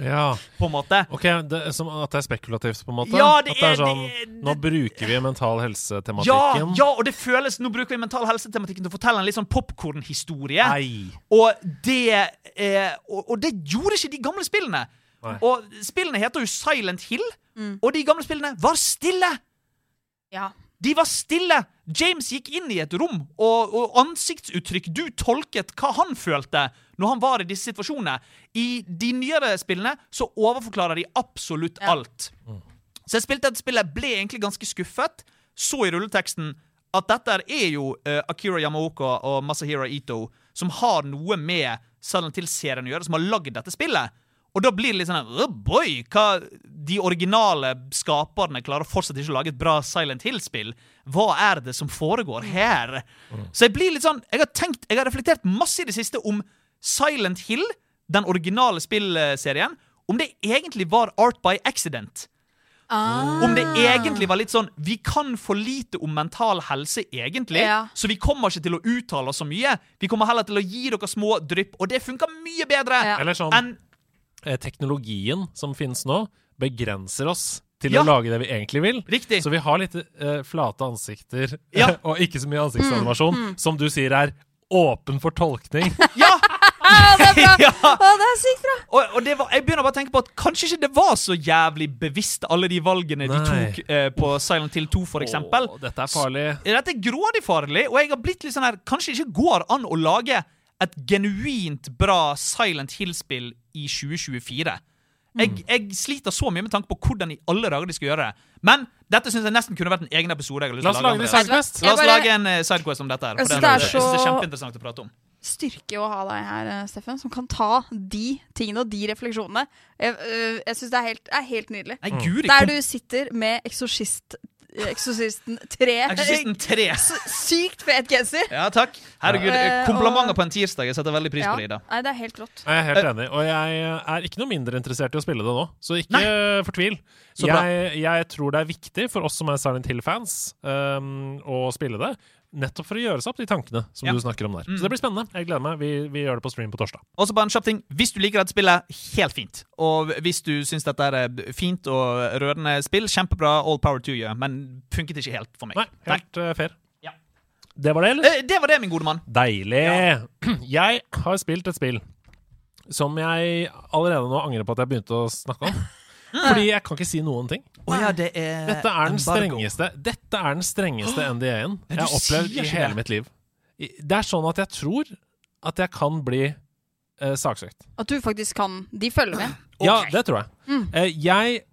[SPEAKER 2] Ja.
[SPEAKER 4] på en måte.
[SPEAKER 2] Ok, det, er som at det er spekulativt, på en måte?
[SPEAKER 4] Ja, det
[SPEAKER 2] at det
[SPEAKER 4] er-
[SPEAKER 2] er sånn
[SPEAKER 4] det er- det-
[SPEAKER 2] Nå bruker vi mental
[SPEAKER 4] Ja,
[SPEAKER 2] helse-tematikken.
[SPEAKER 4] ja, og det føles Nå bruker vi mental helse-tematikken til å fortelle en litt sånn popkornhistorie.
[SPEAKER 2] Nei.
[SPEAKER 4] Og det, eh, og, og det gjorde ikke de gamle spillene.
[SPEAKER 2] Nei.
[SPEAKER 4] Og spillene heter jo Silent Hill, og de gamle spillene var stille!
[SPEAKER 3] Ja.
[SPEAKER 4] De var stille! James gikk inn i et rom, og, og ansiktsuttrykk Du tolket hva han følte når han var i disse situasjonene. I de nyere spillene så overforklarer de absolutt
[SPEAKER 3] Ja.
[SPEAKER 4] alt. Så jeg spilte dette spillet, ble egentlig ganske skuffet. Så i rulleteksten at dette er jo eh, Akira Yamaoka og Masahiro Ito som har noe med Silent Hill-serien å gjøre, som har lagd dette spillet. Og da blir det litt sånn her, «Åh, boy, hva de originale skaperne klarer fortsatt ikke å lage et bra Silent Hill-spill. Hva er det som foregår her? Så jeg blir litt sånn Jeg har tenkt, jeg har reflektert masse i det siste om Silent Hill, den originale spillserien, om det egentlig var Art by Accident.
[SPEAKER 3] Ah.
[SPEAKER 4] Om det egentlig var litt sånn Vi kan for lite om mental helse, egentlig.
[SPEAKER 3] Ja.
[SPEAKER 4] Så vi kommer ikke til å uttale oss så mye. Vi kommer heller til å gi dere små drypp, og det funker mye bedre
[SPEAKER 3] Ja.
[SPEAKER 2] Eller sånn
[SPEAKER 4] enn
[SPEAKER 2] eh, Teknologien som finnes nå, begrenser oss til
[SPEAKER 4] Ja.
[SPEAKER 2] å lage det vi egentlig vil.
[SPEAKER 4] Riktig.
[SPEAKER 2] Så vi har litt eh, flate ansikter
[SPEAKER 4] Ja.
[SPEAKER 2] [laughs]
[SPEAKER 4] Mm,
[SPEAKER 2] og ikke så mye ansiktsanimasjon, som du sier er åpen for tolkning.
[SPEAKER 4] Ja!
[SPEAKER 3] Å, Ah, det er bra!
[SPEAKER 4] [laughs] ja.
[SPEAKER 3] Å, det er sykt bra!
[SPEAKER 4] Og, og det var, jeg begynner bare å tenke på at kanskje ikke det var så jævlig bevisst, alle de valgene de
[SPEAKER 2] Nei.
[SPEAKER 4] tok eh, på Silent Hill 2, for eksempel.
[SPEAKER 2] Å, dette er farlig.
[SPEAKER 4] Dette er grådig farlig, og jeg har blitt litt sånn her Kanskje det ikke går an å lage et genuint bra Silent Hill-spill i 2024.
[SPEAKER 2] Mm.
[SPEAKER 4] Jeg, jeg sliter så mye med tanke på hvordan i alle dager de skal gjøre det. Men dette syns jeg nesten kunne vært en egen episode. Jeg har lyst
[SPEAKER 2] La oss
[SPEAKER 4] til å
[SPEAKER 2] lage
[SPEAKER 4] lage
[SPEAKER 2] det i
[SPEAKER 4] om det.
[SPEAKER 2] Sidequest.
[SPEAKER 4] La oss
[SPEAKER 3] Jeg bare-
[SPEAKER 4] lage en eh, sidequest om dette. her
[SPEAKER 3] Jeg
[SPEAKER 4] for
[SPEAKER 3] synes
[SPEAKER 4] det,
[SPEAKER 3] det
[SPEAKER 4] er,
[SPEAKER 3] er
[SPEAKER 4] jeg synes det er
[SPEAKER 3] så-
[SPEAKER 4] kjempeinteressant å prate om.
[SPEAKER 3] Styrke å ha deg her, eh, Steffen, som kan ta de tingene og de refleksjonene.
[SPEAKER 2] Mm.
[SPEAKER 3] eh, Jeg, øh, jeg syns det er helt, er helt nydelig.
[SPEAKER 4] Nei, guri,
[SPEAKER 3] Der
[SPEAKER 4] kom-
[SPEAKER 3] du sitter med eksorsist eh, Exorcisten 3. [laughs]
[SPEAKER 4] Exorcisten 3.
[SPEAKER 3] Sykt fet genser.
[SPEAKER 4] Ja, takk. Herregud,
[SPEAKER 3] Ja. Eh,
[SPEAKER 4] komplimenter
[SPEAKER 3] og-
[SPEAKER 4] på en tirsdag. Jeg setter veldig pris på det, Ida.
[SPEAKER 3] Nei, det er helt rått.
[SPEAKER 2] Jeg er helt enig, og jeg eh, er ikke noe mindre interessert i å spille det nå, så ikke eh, fortvil.
[SPEAKER 4] Så bra.
[SPEAKER 2] jeg, jeg tror det er viktig for oss som er Silent Hill-fans um, å spille det, nettopp for å gjøre seg opp de tankene som
[SPEAKER 4] Ja.
[SPEAKER 2] du snakker om der. Så det blir spennende. Jeg gleder meg. Vi, vi gjør det på stream på torsdag.
[SPEAKER 4] Og så bare en kjapp ting. Hvis du liker dette spillet, helt fint. Og hvis du syns dette er fint og rørende spill, kjempebra. All power to you. Men funket ikke helt for meg.
[SPEAKER 2] Nei, helt eh, fair.
[SPEAKER 4] Ja.
[SPEAKER 2] Det var det, eller?
[SPEAKER 4] Eh, Det var det, min gode mann.
[SPEAKER 2] Deilig! [clears throat] Jeg har spilt et spill som jeg allerede nå angrer på at jeg begynte å snakke
[SPEAKER 4] [laughs]
[SPEAKER 2] om. Fordi jeg kan ikke si noen ting.
[SPEAKER 4] Å ja, det er
[SPEAKER 2] Dette er den
[SPEAKER 4] embargo.
[SPEAKER 2] strengeste Dette er den strengeste NDA-en
[SPEAKER 4] Nei,
[SPEAKER 2] jeg
[SPEAKER 4] du
[SPEAKER 2] har opplevd
[SPEAKER 4] sier
[SPEAKER 2] i
[SPEAKER 4] ikke det.
[SPEAKER 2] hele mitt liv. I- Det er sånn at jeg tror at jeg kan bli eh, saksøkt.
[SPEAKER 3] At du faktisk kan De følger med.
[SPEAKER 2] Ja, det tror jeg.
[SPEAKER 4] Mm.
[SPEAKER 2] Eh, jeg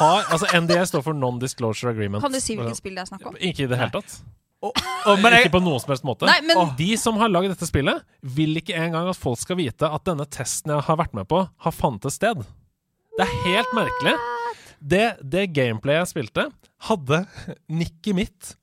[SPEAKER 2] har Altså, NDA står for Non-Disclosure Agreement.
[SPEAKER 3] Kan du si hvilket spill det er snakk om?
[SPEAKER 2] Ikke i det hele tatt.
[SPEAKER 4] Å, men jeg,
[SPEAKER 2] Ikke på noen som helst måte.
[SPEAKER 3] Nei, men-
[SPEAKER 2] Og De som har lagd dette spillet, vil ikke engang at folk skal vite at denne testen jeg har vært med på, har fantes sted. Det er helt merkelig. Det, det gameplayet jeg spilte, hadde nikket mitt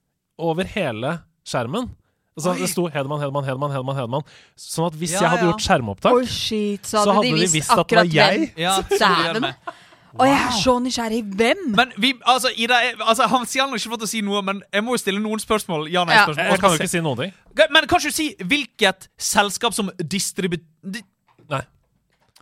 [SPEAKER 2] over hele skjermen. Altså, det sto Hedman, Hedman, Hedman, Hedman, Hedman. Sånn at hvis
[SPEAKER 4] Ja,
[SPEAKER 2] jeg hadde
[SPEAKER 4] ja.
[SPEAKER 2] gjort skjermopptak
[SPEAKER 3] Oh shit, så
[SPEAKER 2] Så
[SPEAKER 3] hadde,
[SPEAKER 2] hadde
[SPEAKER 3] de
[SPEAKER 2] de
[SPEAKER 3] visst,
[SPEAKER 2] visst at det var
[SPEAKER 3] akkurat hvem.
[SPEAKER 2] jeg.
[SPEAKER 4] Ja, så
[SPEAKER 3] [laughs]
[SPEAKER 4] gjør det
[SPEAKER 3] Dæven!
[SPEAKER 4] meg.
[SPEAKER 3] Og jeg er så nysgjerrig. Hvem?
[SPEAKER 4] men vi, altså, Ida, jeg, altså, han sier han har ikke fått å si noe, men jeg må jo stille noen spørsmål. Ja, nei,
[SPEAKER 3] Ja.
[SPEAKER 4] spørsmål.
[SPEAKER 2] Jeg kan jo ikke si noen ting.
[SPEAKER 4] Men kan ikke du si hvilket selskap som distribu... di-
[SPEAKER 2] Nei.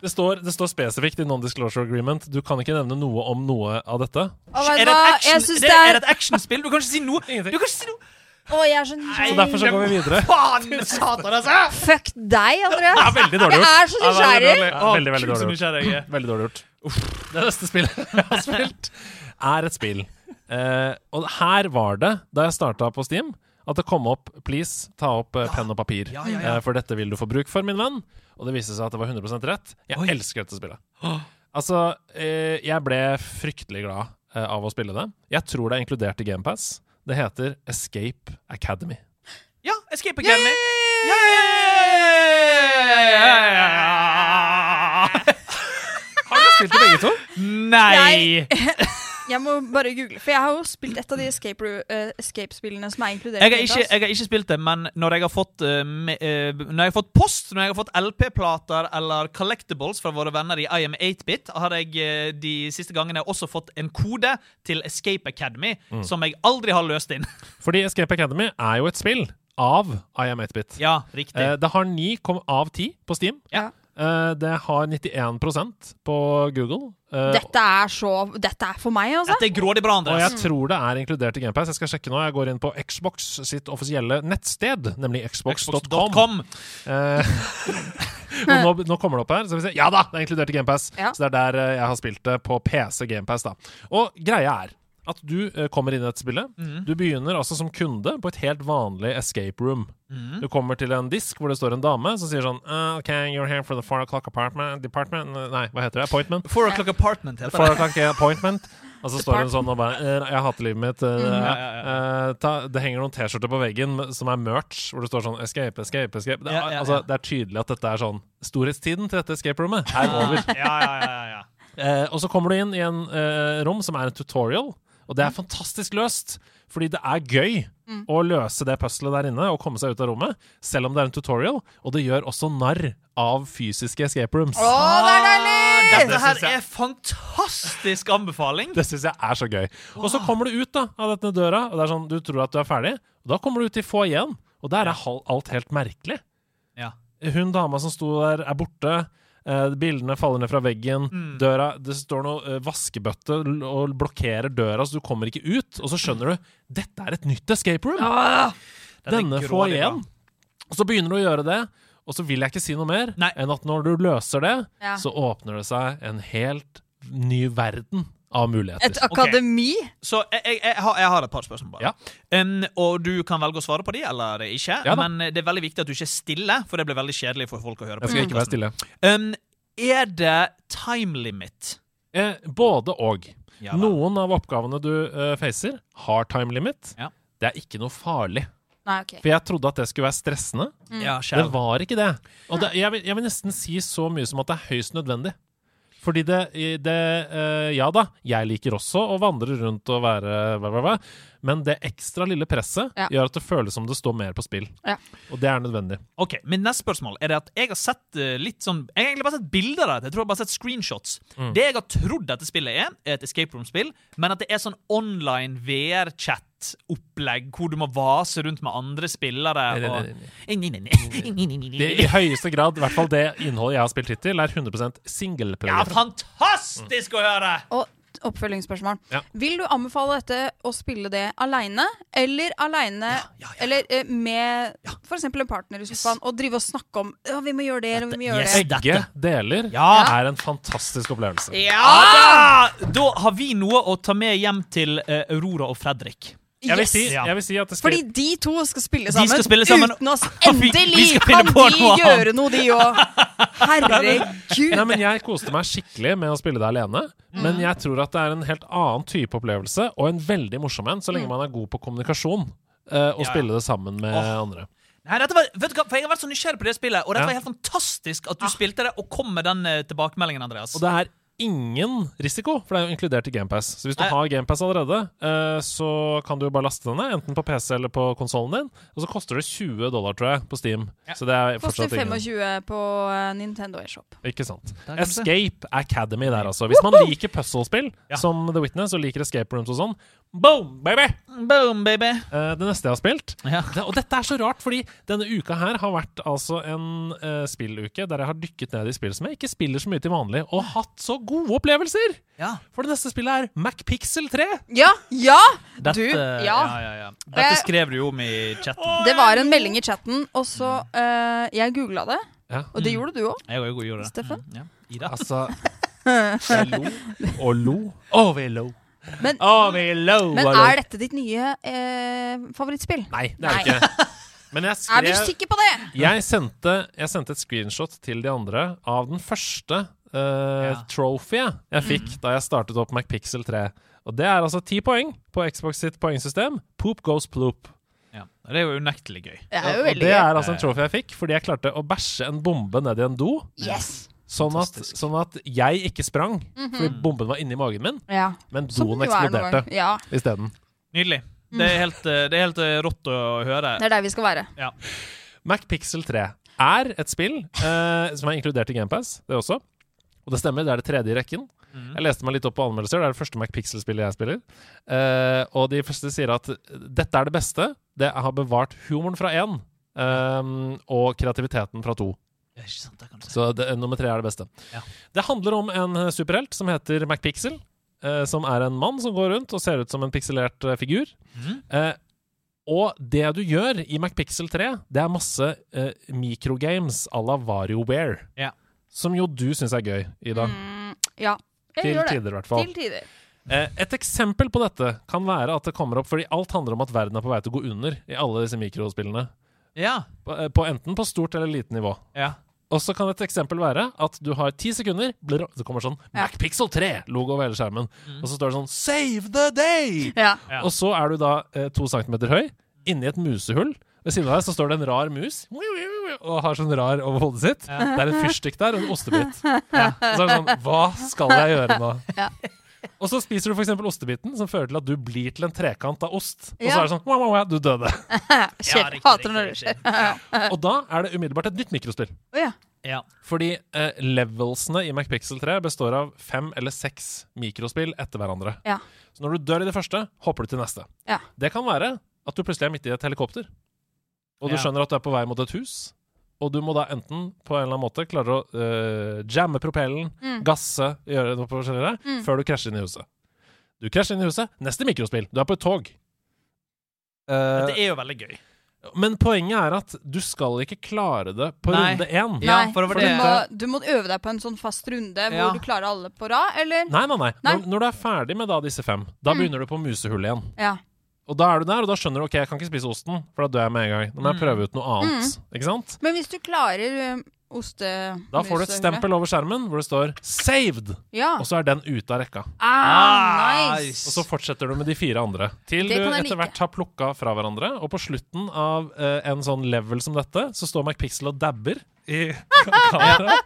[SPEAKER 2] Det står, det står spesifikt i Non-Disclosure Agreement. Du kan ikke nevne noe om noe av dette.
[SPEAKER 3] Å, vet
[SPEAKER 4] Er
[SPEAKER 3] du
[SPEAKER 4] det et
[SPEAKER 3] hva? Jeg
[SPEAKER 4] action-
[SPEAKER 3] syns
[SPEAKER 4] det
[SPEAKER 3] det
[SPEAKER 4] er
[SPEAKER 3] er
[SPEAKER 4] et actionspill? Du kan ikke si noe! Du
[SPEAKER 2] Ingenting.
[SPEAKER 4] kan ikke si noe.
[SPEAKER 3] Å, jeg er
[SPEAKER 2] Så
[SPEAKER 3] så nysgjerrig.
[SPEAKER 2] derfor så går vi videre.
[SPEAKER 4] Faen, satan, altså!
[SPEAKER 3] Fuck deg, Andreas.
[SPEAKER 2] Det er veldig dårlig
[SPEAKER 3] Jeg
[SPEAKER 2] gjort.
[SPEAKER 3] er så
[SPEAKER 2] Ja, det er
[SPEAKER 3] nysgjerrig.
[SPEAKER 2] veldig,
[SPEAKER 4] Å,
[SPEAKER 2] veldig, veldig
[SPEAKER 4] kult
[SPEAKER 2] dårlig
[SPEAKER 4] så
[SPEAKER 2] gjort.
[SPEAKER 4] nysgjerrig jeg er.
[SPEAKER 2] Veldig dårlig gjort. Det neste spillet jeg
[SPEAKER 4] [laughs]
[SPEAKER 2] har spilt, er et spill. Eh, og her var det, da jeg starta på Steam, at det kom opp 'please, ta opp eh, penn og papir',
[SPEAKER 4] Ja, ja, ja.
[SPEAKER 2] Eh, for dette vil du få bruk for, min venn. Og det viste seg at det var 100 rett. Jeg
[SPEAKER 4] Oi.
[SPEAKER 2] elsker dette spillet. Altså, eh, jeg ble fryktelig glad eh, av å spille det. Jeg tror det er inkludert i GamePass. Det heter Escape Academy.
[SPEAKER 4] Ja, Escape Academy. Yeah!
[SPEAKER 2] Har dere spilt det begge to?
[SPEAKER 4] Nei!
[SPEAKER 3] Jeg må bare google, for jeg har jo spilt et av de escape, ru- eh, escape-spillene som er inkludert.
[SPEAKER 4] Jeg har,
[SPEAKER 3] i
[SPEAKER 4] ikke,
[SPEAKER 3] Windows.
[SPEAKER 4] jeg har ikke spilt det, men når jeg har fått, eh, me, eh, når jeg har fått post, når jeg har fått LP-plater eller collectibles fra våre venner i I am 8-bit, har jeg eh, de siste gangene også fått en kode til Escape Academy
[SPEAKER 2] Mm.
[SPEAKER 4] som jeg aldri har løst inn.
[SPEAKER 2] Fordi Escape Academy er jo et spill av I am 8-bit.
[SPEAKER 4] Ja, riktig.
[SPEAKER 2] Eh, det har 9 kom- av 10 på Steam.
[SPEAKER 4] Ja.
[SPEAKER 2] Eh, det har 91 på Google. Eh,
[SPEAKER 3] Dette er så Dette er for meg, altså.
[SPEAKER 4] Dette er grådig bra,
[SPEAKER 2] og
[SPEAKER 4] Andreas.
[SPEAKER 2] jeg tror det er inkludert i GamePass. Jeg skal sjekke nå. Jeg går inn på Xbox sitt offisielle nettsted, nemlig xbox.com.
[SPEAKER 4] Xbox.com.
[SPEAKER 2] Eh, [laughs] og nå, nå kommer det opp her. Så vi ser. Ja da, det er inkludert i GamePass.
[SPEAKER 3] Ja.
[SPEAKER 2] Så det er der eh, jeg har spilt det, på PC GamePass. da. Og greia er at du eh, kommer inn i dette spillet. Du begynner altså som kunde på et helt vanlig escape room. Du kommer til en disk hvor det står en dame som sier sånn «Ah, OK, you're here for the four o'clock apartment department Nei, hva heter det? Appointment?
[SPEAKER 4] Four O'Clock Apartment heter
[SPEAKER 2] Four
[SPEAKER 4] det.
[SPEAKER 2] o'clock appointment. Og så står hun sånn og bare eh, Jeg hater livet mitt.
[SPEAKER 4] Mm,
[SPEAKER 2] eh, eh, ta, det henger noen T-skjorter på veggen som er merch, hvor det står sånn Escape, escape, escape. Det, er-
[SPEAKER 4] Ja, ja, ja.
[SPEAKER 2] Altså, det er tydelig at dette er sånn Storhetstiden til dette escape rommet er over.
[SPEAKER 4] Ja, ja, ja, ja.
[SPEAKER 2] Eh, og så kommer du inn i en eh, rom som er en tutorial, og det er
[SPEAKER 4] Mm.
[SPEAKER 2] fantastisk løst. Fordi det er gøy å løse det puzzlet der inne og komme seg ut av rommet, selv om det er en tutorial, og det gjør også narr av fysiske escape rooms.
[SPEAKER 3] Å, det er
[SPEAKER 4] Ah,
[SPEAKER 3] deilig!
[SPEAKER 4] Dette her er fantastisk anbefaling.
[SPEAKER 2] [laughs] Det syns jeg er så gøy. Og så kommer du ut da, av denne døra, og det er sånn, du tror at du er ferdig. Og da kommer du ut i foajeen, og der er hal- alt helt merkelig.
[SPEAKER 4] [laughs] Ja.
[SPEAKER 2] Hun dama som sto der, er borte. eh, Bildene faller ned fra veggen.
[SPEAKER 3] Mm.
[SPEAKER 2] Døra, det står noe eh, vaskebøtte l- og blokkerer døra, så du kommer ikke ut. Og så skjønner du dette er et nytt escape room.
[SPEAKER 4] Dette er
[SPEAKER 2] Denne
[SPEAKER 4] grådig
[SPEAKER 2] foajeen.
[SPEAKER 4] bra.
[SPEAKER 2] Og så begynner du å gjøre det, og så vil jeg ikke si noe mer
[SPEAKER 4] Nei.
[SPEAKER 2] enn at når du løser det,
[SPEAKER 3] Ja.
[SPEAKER 2] så åpner det seg en helt ny verden av muligheter.
[SPEAKER 3] Et akademi?
[SPEAKER 4] Så jeg, jeg, jeg, har, jeg har et par spørsmål. bare
[SPEAKER 2] Ja.
[SPEAKER 4] Em, Og du kan velge å svare på de eller ikke.
[SPEAKER 2] Ja da.
[SPEAKER 4] men eh, det er veldig viktig at du ikke er stille, for det blir veldig kjedelig for folk å høre på.
[SPEAKER 2] Jeg skal ikke være stille.
[SPEAKER 4] Em, er det time limit?
[SPEAKER 2] Eh, både og.
[SPEAKER 4] Ja, vel.
[SPEAKER 2] Noen av oppgavene du eh, facer, har time limit.
[SPEAKER 4] Ja.
[SPEAKER 2] Det er ikke noe farlig.
[SPEAKER 3] Nei, OK.
[SPEAKER 2] For jeg trodde at det skulle være stressende.
[SPEAKER 4] Ja,
[SPEAKER 2] Det
[SPEAKER 4] skjell.
[SPEAKER 2] var ikke det. Og det, jeg, vil, jeg vil nesten si så mye som at det er høyst nødvendig. Fordi det, det eh, Ja da, jeg liker også å vandre rundt og være hva, hva, hva, men det ekstra lille presset
[SPEAKER 3] Ja.
[SPEAKER 2] gjør at det føles som det står mer på spill.
[SPEAKER 3] Ja.
[SPEAKER 2] Og det er nødvendig.
[SPEAKER 4] Ok, Mitt neste spørsmål er det at jeg har sett eh, litt sånn Jeg har egentlig bare sett bilder av det. Jeg tror jeg har bare sett screenshots.
[SPEAKER 2] Mm.
[SPEAKER 4] Det jeg har trodd dette spillet er, er et escape room-spill, men at det er sånn online VR-chat-opplegg hvor du må vase rundt med andre spillere
[SPEAKER 2] Nei, nei,
[SPEAKER 4] og
[SPEAKER 2] nei, nei.
[SPEAKER 4] Nei, nei, nei.
[SPEAKER 2] Det, I høyeste grad, i hvert fall det innholdet jeg har spilt hittil, er 100
[SPEAKER 4] Ja,
[SPEAKER 2] singleplayer.
[SPEAKER 4] fantastisk å høre!
[SPEAKER 3] Og oppfølgingsspørsmål.
[SPEAKER 2] Ja.
[SPEAKER 3] Vil du anbefale dette å spille det aleine, eller aleine
[SPEAKER 4] ja, ja.
[SPEAKER 3] Eller eh, med for f.eks. en partner i sofaen, og drive og snakke om ja, 'vi må gjøre det', eller 'vi må gjøre
[SPEAKER 4] yes.
[SPEAKER 3] det'.
[SPEAKER 2] Begge deler
[SPEAKER 4] Ja.
[SPEAKER 2] er en fantastisk opplevelse.
[SPEAKER 3] Ja!
[SPEAKER 4] Da, Ah! da har vi noe å ta med hjem til eh, Aurora og Fredrik.
[SPEAKER 2] Jeg vil
[SPEAKER 3] Yes.
[SPEAKER 2] si,
[SPEAKER 4] Ja.
[SPEAKER 2] jeg vil si at det
[SPEAKER 3] Fordi
[SPEAKER 2] skal,
[SPEAKER 3] de to skal spille
[SPEAKER 4] De
[SPEAKER 3] sammen,
[SPEAKER 4] skal spille sammen,
[SPEAKER 3] uten
[SPEAKER 4] [laughs]
[SPEAKER 3] oss.
[SPEAKER 4] og vi- vi
[SPEAKER 3] Endelig
[SPEAKER 4] skal finne
[SPEAKER 3] kan
[SPEAKER 4] på
[SPEAKER 3] de
[SPEAKER 4] noe annet.
[SPEAKER 3] gjøre noe, de
[SPEAKER 4] [laughs]
[SPEAKER 3] òg! Herregud.
[SPEAKER 2] Nei, men Jeg koste meg skikkelig med å spille det alene, men jeg tror at det er en helt annen type opplevelse, og en veldig morsom en, så lenge man er god på kommunikasjon, eh, å
[SPEAKER 4] ja.
[SPEAKER 2] spille det sammen med andre.
[SPEAKER 4] Nei, dette var, vet du hva, for Jeg har vært så nysgjerrig på det spillet, og dette
[SPEAKER 2] Ja.
[SPEAKER 4] var helt fantastisk at du spilte det og kom med den eh, tilbakemeldingen. Andreas
[SPEAKER 2] Og det er ingen risiko, for det er jo inkludert i GamePass. Så hvis du
[SPEAKER 4] Nei.
[SPEAKER 2] har GamePass allerede, eh, så kan du jo bare laste den ned, enten på PC eller på konsollen din. Og så koster det 20 dollar, tror jeg, på Steam. Så det er
[SPEAKER 3] Koster
[SPEAKER 2] fortsatt ingen
[SPEAKER 3] 25 på eh, Nintendo eShop.
[SPEAKER 2] Ikke sant.
[SPEAKER 4] Der kan du se.
[SPEAKER 2] Escape Academy der, altså. Hvis man liker puzzlespill,
[SPEAKER 4] Ja.
[SPEAKER 2] som The Witness, og liker escape rooms og sånn, boom, baby!
[SPEAKER 4] Boom, baby!
[SPEAKER 2] Eh, Det neste jeg har spilt
[SPEAKER 4] Ja.
[SPEAKER 2] det, Og dette er så rart, fordi denne uka her har vært altså en eh, spilluke der jeg har dykket ned i spill som jeg ikke spiller så mye til vanlig, og hatt så gode opplevelser!
[SPEAKER 4] Ja.
[SPEAKER 2] For det neste spillet er MacPixel 3.
[SPEAKER 3] Ja! Ja!
[SPEAKER 4] Dette,
[SPEAKER 3] du, ja. Eh.
[SPEAKER 4] ja, ja, ja. Dette
[SPEAKER 3] Jeg-
[SPEAKER 4] skrev du jo om i chatten.
[SPEAKER 3] Det var en melding i chatten, og så eh, Jeg googla det,
[SPEAKER 2] Ja.
[SPEAKER 3] og
[SPEAKER 4] Mm.
[SPEAKER 3] det gjorde du òg,
[SPEAKER 4] Jeg, jeg, gjorde det. Mm,
[SPEAKER 3] Steffen.
[SPEAKER 4] Ja. Ida.
[SPEAKER 2] Altså Jeg lo og lo. Og vi lo.
[SPEAKER 3] Men-
[SPEAKER 2] og vi lo
[SPEAKER 3] Men
[SPEAKER 2] og lo.
[SPEAKER 3] er dette ditt nye eh, favorittspill?
[SPEAKER 2] Nei, det er det ikke. Men jeg
[SPEAKER 3] Er du
[SPEAKER 2] skrev
[SPEAKER 3] sikker på det?
[SPEAKER 2] jeg sendte, jeg sendte et screenshot til de andre av den første eh,
[SPEAKER 4] Ja.
[SPEAKER 2] trophyet jeg fikk da jeg startet opp MacPixel 3. Og det er altså ti poeng på Xbox sitt poengsystem. Poop goes ploop.
[SPEAKER 4] Ja. Det er jo unektelig gøy.
[SPEAKER 3] Det er jo
[SPEAKER 2] Og
[SPEAKER 3] veldig
[SPEAKER 2] det
[SPEAKER 3] gøy.
[SPEAKER 2] er altså en trophy jeg fikk fordi jeg klarte å bæsje en bombe ned i en do,
[SPEAKER 3] Yes!
[SPEAKER 2] sånn at,
[SPEAKER 4] Fantastisk.
[SPEAKER 2] sånn at jeg ikke sprang fordi bomben var inni magen min,
[SPEAKER 3] Ja.
[SPEAKER 2] men
[SPEAKER 3] Som
[SPEAKER 2] doen
[SPEAKER 3] det jo er noen
[SPEAKER 2] eksploderte
[SPEAKER 3] ganger. Ja,
[SPEAKER 2] isteden.
[SPEAKER 4] Nydelig. Det er helt, eh, det er helt eh, rått å
[SPEAKER 3] Mm.
[SPEAKER 4] høre.
[SPEAKER 3] det er der vi skal være.
[SPEAKER 4] Ja.
[SPEAKER 2] MacPixel 3 er et spill eh, som er inkludert i GamePass, det også. Og det stemmer, det er det tredje i rekken. Jeg leste meg litt opp på anmeldelser, det er det første MacPixel-spillet jeg spiller. Eh, og de første sier at eh, dette er det beste, det har bevart humoren fra én. ehm, og kreativiteten fra to.
[SPEAKER 4] Det er ikke sant, det kan du si.
[SPEAKER 2] Så det, nummer tre er det beste.
[SPEAKER 4] Ja.
[SPEAKER 2] Det handler om en eh, superhelt som heter MacPixel. eh, som er en mann som går rundt og ser ut som en pikselert eh, figur.
[SPEAKER 4] Mhm.
[SPEAKER 2] Eh, og det du gjør i MacPixel 3, det er masse eh, microgames à la VarioWare.
[SPEAKER 4] Ja.
[SPEAKER 2] Som jo du syns er gøy, Ida.
[SPEAKER 3] Mm, ja. Jeg
[SPEAKER 2] Til
[SPEAKER 3] gjør det.
[SPEAKER 2] tider, i hvert fall.
[SPEAKER 3] Til tider.
[SPEAKER 2] Eh, et eksempel på dette kan være at det kommer opp fordi alt handler om at verden er på vei til å gå under i alle disse mikrospillene.
[SPEAKER 4] Ja.
[SPEAKER 2] På, eh, på enten på stort eller lite nivå.
[SPEAKER 4] ja.
[SPEAKER 2] Og så kan et eksempel være at du har ti sekunder blr, Det kommer sånn
[SPEAKER 3] Ja. Mm.
[SPEAKER 2] MacPixel 3-logo over hele skjermen. Og så står det sånn Save the day!
[SPEAKER 3] Ja. [laughs]
[SPEAKER 4] Ja.
[SPEAKER 2] Og så er du da eh, to centimeter høy, inni et musehull. Ved siden av deg så står det en rar mus og har sånn rar over hodet sitt.
[SPEAKER 3] [laughs]
[SPEAKER 4] Ja.
[SPEAKER 2] Det er en fyrstikk der og en ostebit. Og Så er det sånn Hva skal jeg gjøre nå?
[SPEAKER 3] Ja.
[SPEAKER 2] Og så spiser du f.eks. ostebiten, som fører til at du blir til en trekant av ost. Og så
[SPEAKER 3] Ja.
[SPEAKER 2] er det sånn wow, wow, wow, Du døde.
[SPEAKER 4] Ja,
[SPEAKER 3] Skjer.
[SPEAKER 4] riktig,
[SPEAKER 3] Hater når det
[SPEAKER 4] riktig,
[SPEAKER 3] skjer. [laughs]
[SPEAKER 4] riktig. Ja.
[SPEAKER 2] Og da er det umiddelbart et nytt mikrospill.
[SPEAKER 3] Å ja.
[SPEAKER 4] Ja.
[SPEAKER 2] Fordi eh, levelsene i MacPixel 3 består av fem eller seks mikrospill etter hverandre.
[SPEAKER 3] Ja.
[SPEAKER 2] Så når du dør i det første, hopper du til neste.
[SPEAKER 3] Ja.
[SPEAKER 2] Det kan være at du plutselig er midt i et helikopter, og du
[SPEAKER 4] Ja.
[SPEAKER 2] skjønner at du er på vei mot et hus. Og du må da enten på en eller annen måte klare å eh, jamme propellen,
[SPEAKER 3] Mm.
[SPEAKER 2] gasse, gjøre noe forskjellig,
[SPEAKER 3] Mm.
[SPEAKER 2] før du krasjer inn i huset. Du krasjer inn i huset. Neste mikrospill. Du er på et tog.
[SPEAKER 4] Dette
[SPEAKER 2] Eh,
[SPEAKER 4] er jo veldig gøy.
[SPEAKER 2] men poenget er at du skal ikke klare det på
[SPEAKER 4] Nei.
[SPEAKER 2] runde én.
[SPEAKER 4] Ja,
[SPEAKER 3] Nei,
[SPEAKER 4] for det var
[SPEAKER 3] du,
[SPEAKER 4] det-
[SPEAKER 3] må, du må øve deg på en sånn fast runde
[SPEAKER 4] Ja.
[SPEAKER 3] hvor du klarer alle på rad, eller?
[SPEAKER 2] Nei, nei, nei.
[SPEAKER 3] Nei.
[SPEAKER 2] Når, når du er ferdig med da disse fem, da
[SPEAKER 3] Mm.
[SPEAKER 2] begynner du på musehullet igjen.
[SPEAKER 3] Ja.
[SPEAKER 2] Og da er du der, og da skjønner du ok, jeg kan ikke spise osten, for da dør jeg med en gang. Nå må jeg
[SPEAKER 4] Mm.
[SPEAKER 2] prøve ut noe annet.
[SPEAKER 3] Mm.
[SPEAKER 2] Ikke sant?
[SPEAKER 3] Men hvis du klarer um, ostemuset
[SPEAKER 2] Da får du et stempel over skjermen hvor det står 'saved',
[SPEAKER 3] Ja.
[SPEAKER 2] og så er den ute av rekka.
[SPEAKER 3] Ah, nice.
[SPEAKER 2] Og så fortsetter du med de fire andre, til
[SPEAKER 3] Det
[SPEAKER 2] du
[SPEAKER 3] kan jeg
[SPEAKER 2] etter
[SPEAKER 3] like.
[SPEAKER 2] hvert har plukka fra hverandre. Og på slutten [laughs]
[SPEAKER 3] [laughs]
[SPEAKER 2] av eh, en sånn level som dette, så står MacPixel og dabber i kameraet.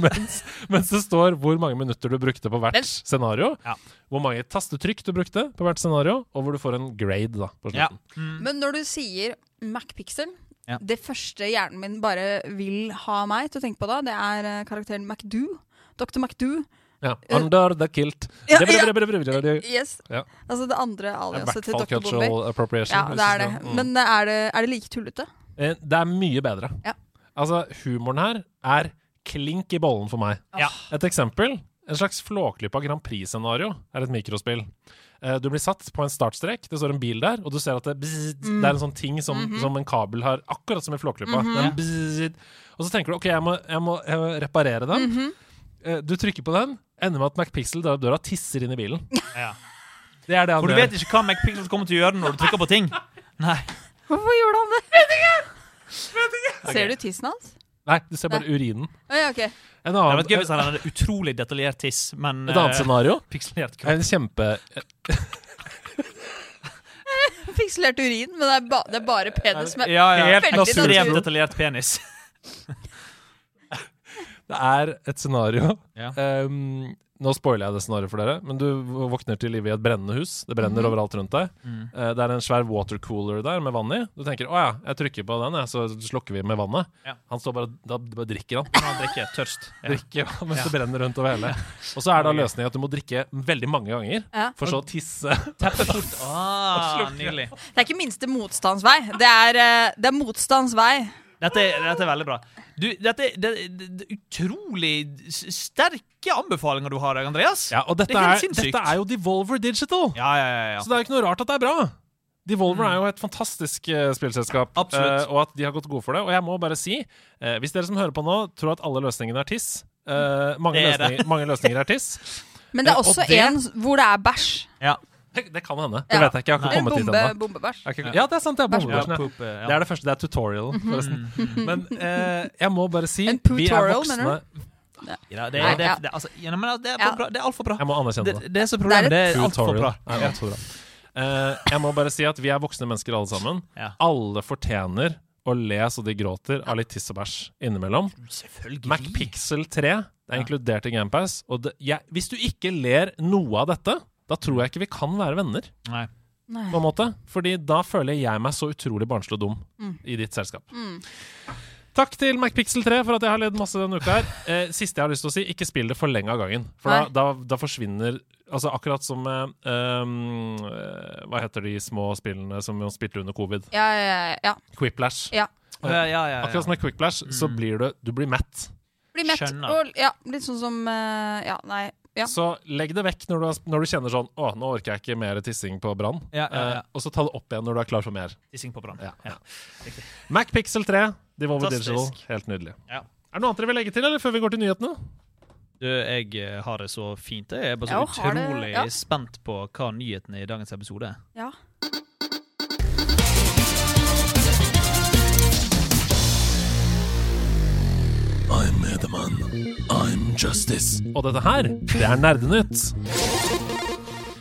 [SPEAKER 2] [laughs] Mens, mens det står hvor mange minutter du brukte på hvert scenario,
[SPEAKER 4] Ja.
[SPEAKER 2] hvor mange tastetrykk du brukte på hvert scenario, og hvor du får en grade da, på
[SPEAKER 4] Ja.
[SPEAKER 2] slutten.
[SPEAKER 3] Men når du sier MacPixel
[SPEAKER 4] Ja.
[SPEAKER 3] Det første hjernen min bare vil ha meg til å tenke på da, det er eh, karakteren MacDoo. Dr. MacDoo.
[SPEAKER 2] Ja. Under the kilt.
[SPEAKER 3] Ja,
[SPEAKER 2] Det-
[SPEAKER 3] ja.
[SPEAKER 2] det- det- det- det- det-
[SPEAKER 3] Yes.
[SPEAKER 2] Ja.
[SPEAKER 3] Altså det andre aliaset til
[SPEAKER 2] Blackfall
[SPEAKER 3] Dr. Bomber.
[SPEAKER 2] cultural appropriation.
[SPEAKER 3] Ja, det er det.
[SPEAKER 2] hvis du skal-
[SPEAKER 3] Men eh, er det, er det like tullete?
[SPEAKER 2] Eh, Det er mye bedre.
[SPEAKER 3] Ja.
[SPEAKER 2] Altså, humoren her er klink i bollen for meg.
[SPEAKER 4] Ja.
[SPEAKER 2] Et eksempel. En slags flåklypa Grand Prix-scenario er et mikrospill. Eh, Du blir satt på en startstrek, det står en bil der, og du ser at det, bzzzt, det er en sånn ting som, som en kabel har, akkurat som i flåklypa. Den bzzzt. Og så tenker du OK, jeg må, jeg må, jeg må reparere den. Eh, Du trykker på den, ender med at McPixel drar opp døra og tisser inn i bilen.
[SPEAKER 4] Ja.
[SPEAKER 2] Det er det han
[SPEAKER 4] For du
[SPEAKER 2] gjør.
[SPEAKER 4] vet ikke hva MacPixel kommer til å gjøre når du trykker på ting. [laughs] Nei.
[SPEAKER 3] Hvorfor gjorde han det? Vet ikke! Ser du tissen hans?
[SPEAKER 2] Nei, du ser bare urinen.
[SPEAKER 3] Å, ja, ok.
[SPEAKER 2] En
[SPEAKER 4] Det
[SPEAKER 2] annen,
[SPEAKER 4] hadde vært gøy hvis han hadde en utrolig detaljert tiss, men
[SPEAKER 2] et annet
[SPEAKER 4] eh,
[SPEAKER 2] scenario
[SPEAKER 4] pikselert
[SPEAKER 2] er
[SPEAKER 4] kropp.
[SPEAKER 2] en kjempe...
[SPEAKER 3] Fikselert urin, men det er, ba, det er bare penis. Men
[SPEAKER 4] Ja, ja.
[SPEAKER 2] Helt
[SPEAKER 3] Veldig
[SPEAKER 2] naturlig.
[SPEAKER 4] Ekstremt detaljert penis.
[SPEAKER 2] Det er et scenario.
[SPEAKER 4] Ja.
[SPEAKER 2] Ehm, nå spoiler jeg det scenarioet for dere, men du våkner til live i et brennende hus. Det brenner overalt rundt deg. Eh, det er en svær watercooler der med vann i. Du tenker å ja, jeg trykker på den, jeg, så slukker vi med vannet.
[SPEAKER 4] Ja.
[SPEAKER 2] Han står bare, da bare drikker han.
[SPEAKER 4] Han drikker tørst. Ja.
[SPEAKER 2] Drikker vann mens det brenner rundt over hele. Og så er da løsningen at du må drikke veldig mange ganger,
[SPEAKER 3] Ja.
[SPEAKER 2] for så å tisse.
[SPEAKER 4] Teppet fort. Ah, nydelig.
[SPEAKER 3] Det er ikke minste motstandsvei. Det er, eh, det er motstandsvei.
[SPEAKER 4] Dette, er- dette er veldig bra. Du, dette er det, det, det, er utrolig s- sterke anbefalinger du har, Andreas.
[SPEAKER 2] Ja, og dette
[SPEAKER 4] Det er
[SPEAKER 2] er,
[SPEAKER 4] helt sinnssykt.
[SPEAKER 2] dette er jo Devolver Digital,
[SPEAKER 4] ja, ja. ja, ja.
[SPEAKER 2] så det er jo ikke noe rart at det er bra. Devolver er jo et fantastisk eh, spillselskap,
[SPEAKER 4] Absolutt.
[SPEAKER 2] eh, og at de har gått gode for det. Og jeg må bare si, eh, hvis dere som hører på nå tror at alle løsningene er tiss eh, mange,
[SPEAKER 4] Det er det.
[SPEAKER 2] løsninger, mange løsninger er
[SPEAKER 4] [laughs]
[SPEAKER 2] tiss.
[SPEAKER 3] Men det
[SPEAKER 2] Eh,
[SPEAKER 3] er
[SPEAKER 2] og
[SPEAKER 3] også
[SPEAKER 2] det-
[SPEAKER 3] en hvor det er bæsj.
[SPEAKER 4] ja.
[SPEAKER 2] Det det kan hende. Det
[SPEAKER 3] Ja.
[SPEAKER 2] vet jeg ikke. Jeg har
[SPEAKER 3] Eller
[SPEAKER 2] ikke kommet dit
[SPEAKER 3] bombe,
[SPEAKER 2] ennå.
[SPEAKER 3] bombebæsj.
[SPEAKER 2] Jeg har ikke- Ja, det er sant. Det er
[SPEAKER 4] Ja,
[SPEAKER 2] bombeversjonen.
[SPEAKER 4] poop, eh,
[SPEAKER 2] Det
[SPEAKER 4] ja.
[SPEAKER 2] er det første. Det er tutorialen, forresten. Men
[SPEAKER 3] [laughs]
[SPEAKER 2] eh, jeg må bare si
[SPEAKER 3] Mhm. En
[SPEAKER 2] vi er
[SPEAKER 3] tutorial, mener
[SPEAKER 2] voksne.
[SPEAKER 4] Ja, det,
[SPEAKER 3] Nei,
[SPEAKER 4] det,
[SPEAKER 3] ja.
[SPEAKER 4] det, altså, ja, men det er
[SPEAKER 3] Ja.
[SPEAKER 4] for bra. Det er altfor bra.
[SPEAKER 2] Jeg må anerkjenne
[SPEAKER 4] Det,
[SPEAKER 2] det.
[SPEAKER 4] det er så problemet.
[SPEAKER 3] Det
[SPEAKER 4] Det
[SPEAKER 3] er
[SPEAKER 4] er altfor bra.
[SPEAKER 2] Tutorial er alt for bra. Eh, jeg må bare si at vi er voksne mennesker alle sammen.
[SPEAKER 4] Ja.
[SPEAKER 2] Alle fortjener å le så de gråter av litt tiss og bæsj innimellom.
[SPEAKER 4] Selvfølgelig.
[SPEAKER 2] MacPixel 3 det er inkludert i GamePass. Og det, jeg, hvis du ikke ler noe av dette, da tror jeg ikke vi kan være venner.
[SPEAKER 4] Nei.
[SPEAKER 2] på en måte Fordi da føler jeg meg så utrolig barnslig og dum i ditt selskap. Takk til MacPixel 3 for at jeg har ledd masse denne uka. her eh, Siste jeg har lyst til å si, ikke spill det for lenge av gangen. For da,
[SPEAKER 3] Nei.
[SPEAKER 2] da, da forsvinner Altså Akkurat som med ehm, eh, Hva heter de små spillene som vi spilte under covid?
[SPEAKER 3] Ja, ja, ja.
[SPEAKER 2] Quiplash.
[SPEAKER 3] ja.
[SPEAKER 4] Ja, ja, ja, Mm. ja.
[SPEAKER 2] Akkurat som med Quiplash, så blir du, du blir mett.
[SPEAKER 3] Bli mett.
[SPEAKER 4] Skjønner.
[SPEAKER 3] Og, ja, litt sånn som eh, Ja, nei. Ja.
[SPEAKER 2] Så legg det vekk når du, har- når du kjenner sånn Å, nå orker jeg ikke mer tissing på brann.
[SPEAKER 4] Ja, ja, ja.
[SPEAKER 2] eh, og så ta det opp igjen når du er klar for mer.
[SPEAKER 4] Tissing på brann.
[SPEAKER 2] Ja.
[SPEAKER 4] Ja.
[SPEAKER 2] MacPixel 3, Devolver
[SPEAKER 4] Fantastisk.
[SPEAKER 2] Digital. Helt nydelig.
[SPEAKER 4] Ja.
[SPEAKER 2] Er det noe annet dere vil legge til, eller før vi går til nyhetene?
[SPEAKER 4] Du, jeg eh, har det så fint. Jeg er bare så
[SPEAKER 3] Ja, har det-
[SPEAKER 4] utrolig
[SPEAKER 3] ja.
[SPEAKER 4] spent på hva nyhetene i dagens episode er.
[SPEAKER 3] ja.
[SPEAKER 1] I'm Edaman. I'm Justice.
[SPEAKER 2] Og dette her, det er Nerdenytt.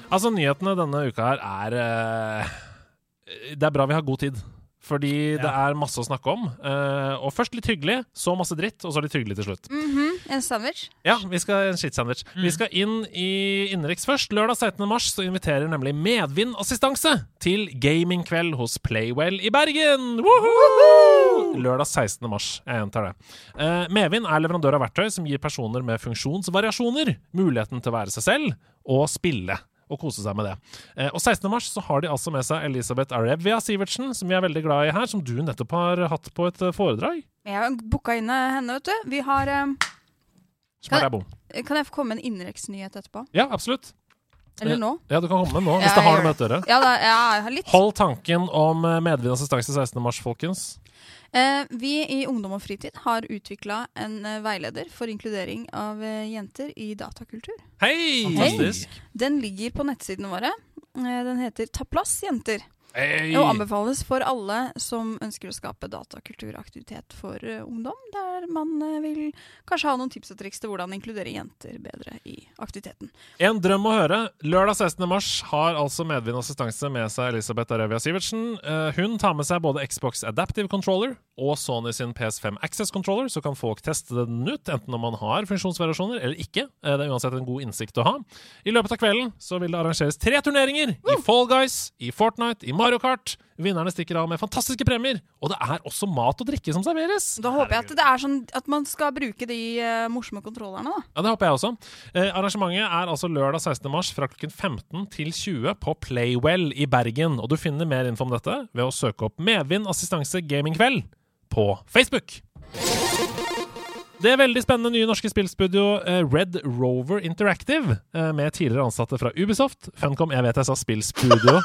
[SPEAKER 2] Altså, nyhetene denne uka her er eh, Det er bra vi har god tid. Fordi det er masse å snakke om. Eh, og først litt hyggelig, så masse dritt, og så litt hyggelig til slutt.
[SPEAKER 3] Mhm. En sandwich.
[SPEAKER 2] Ja, vi skal en shit-sandwich.
[SPEAKER 3] Mm.
[SPEAKER 2] Vi skal inn i innenriks først. Lørdag 16. mars så inviterer nemlig Medvind Assistanse til gamingkveld hos Playwell i Bergen. Woohoo! Lørdag 16. mars. Jeg gjentar det. Eh, Medvind er leverandør av verktøy som gir personer med funksjonsvariasjoner muligheten til å være seg selv og spille. Og kose seg med det. Eh, og 16. mars så har de altså med seg Elisabeth Arevia Sivertsen, som vi er veldig glad i her, som du nettopp har hatt på et eh, foredrag.
[SPEAKER 3] Jeg har booka inn eh, henne, vet du. Vi har eh,
[SPEAKER 2] Som er bom.
[SPEAKER 3] Kan jeg få komme med en innenriksnyhet etterpå?
[SPEAKER 2] Ja, absolutt.
[SPEAKER 3] Eller nå?
[SPEAKER 2] Ja, du kan komme med nå, hvis
[SPEAKER 3] Ja,
[SPEAKER 2] det har
[SPEAKER 3] jeg
[SPEAKER 2] noe med dette å gjøre.
[SPEAKER 3] Ja, da, ja jeg har litt.
[SPEAKER 2] Hold tanken om eh, medvind assistanse 16. mars, folkens.
[SPEAKER 3] Eh, vi i Ungdom og fritid har utvikla en eh, veileder for inkludering av eh, jenter i datakultur.
[SPEAKER 2] Hei!
[SPEAKER 4] Fantastisk.
[SPEAKER 3] Den ligger på nettsidene våre. Eh, den heter Ta plass, jenter.
[SPEAKER 2] Hei!
[SPEAKER 3] Og anbefales for alle som ønsker å skape datakulturaktivitet for eh, ungdom, der man eh, vil kanskje ha noen tips og triks til hvordan inkludere jenter bedre i aktiviteten.
[SPEAKER 2] En drøm å høre. Lørdag 16. mars har altså medvind assistanse med seg Elisabeth Arevia Sivertsen. Eh, Hun tar med seg både Xbox Adaptive Controller og Sony sin PS5 Access Controller, så kan folk teste den ut, enten om man har funksjonsvariasjoner eller ikke. Eh, Det er uansett en god innsikt å ha. I løpet av kvelden så vil det arrangeres tre turneringer i Fall Guys, i Fortnite, i Mario Kart. Vinnerne stikker av med fantastiske premier, og det er også mat og drikke som serveres.
[SPEAKER 3] Da håper jeg at det er sånn at man skal bruke de eh, morsomme kontrollerne, da.
[SPEAKER 2] Ja, Det håper jeg også. Eh, arrangementet er altså lørdag 16. mars fra klokken 15 til 20 på Playwell i Bergen. Og du finner mer info om dette ved å søke opp Medvind assistanse gamingkveld på Facebook. Det veldig spennende nye norske spillstudio eh, Red Rover Interactive, eh, med tidligere ansatte fra Ubisoft, Funcom Jeg vet jeg sa spillstudio,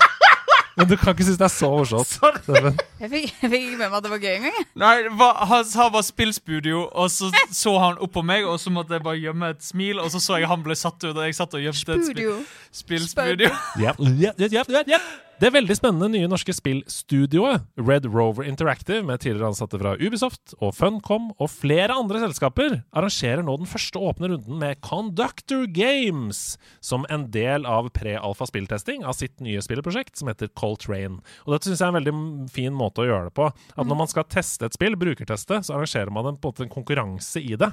[SPEAKER 2] men du kan ikke synes det er så morsomt. Steffen.
[SPEAKER 3] Jeg fikk, jeg fikk ikke med meg at det var gøy engang. jeg.
[SPEAKER 4] Nei, det var- han sa bare 'spillstudio', og så så han opp på meg, og så måtte jeg bare gjemme et smil, og så så jeg han ble satt ut, og jeg satt og gjemte et
[SPEAKER 3] Studio.
[SPEAKER 4] smil. Spillstudio.
[SPEAKER 2] Yep, yep, yep, yep, yep, yep. Det veldig spennende nye norske spillstudioet Red Rover Interactive, med tidligere ansatte fra Ubisoft og Funcom og flere andre selskaper, arrangerer nå den første åpne runden med Conductor Games, som en del av pre-alfa spilltesting av sitt nye spillprosjekt som heter Coltrane. Og dette syns jeg er en veldig fin måte å gjøre det på. At når man skal teste et spill, brukerteste, så arrangerer man en, på en måte en konkurranse i det.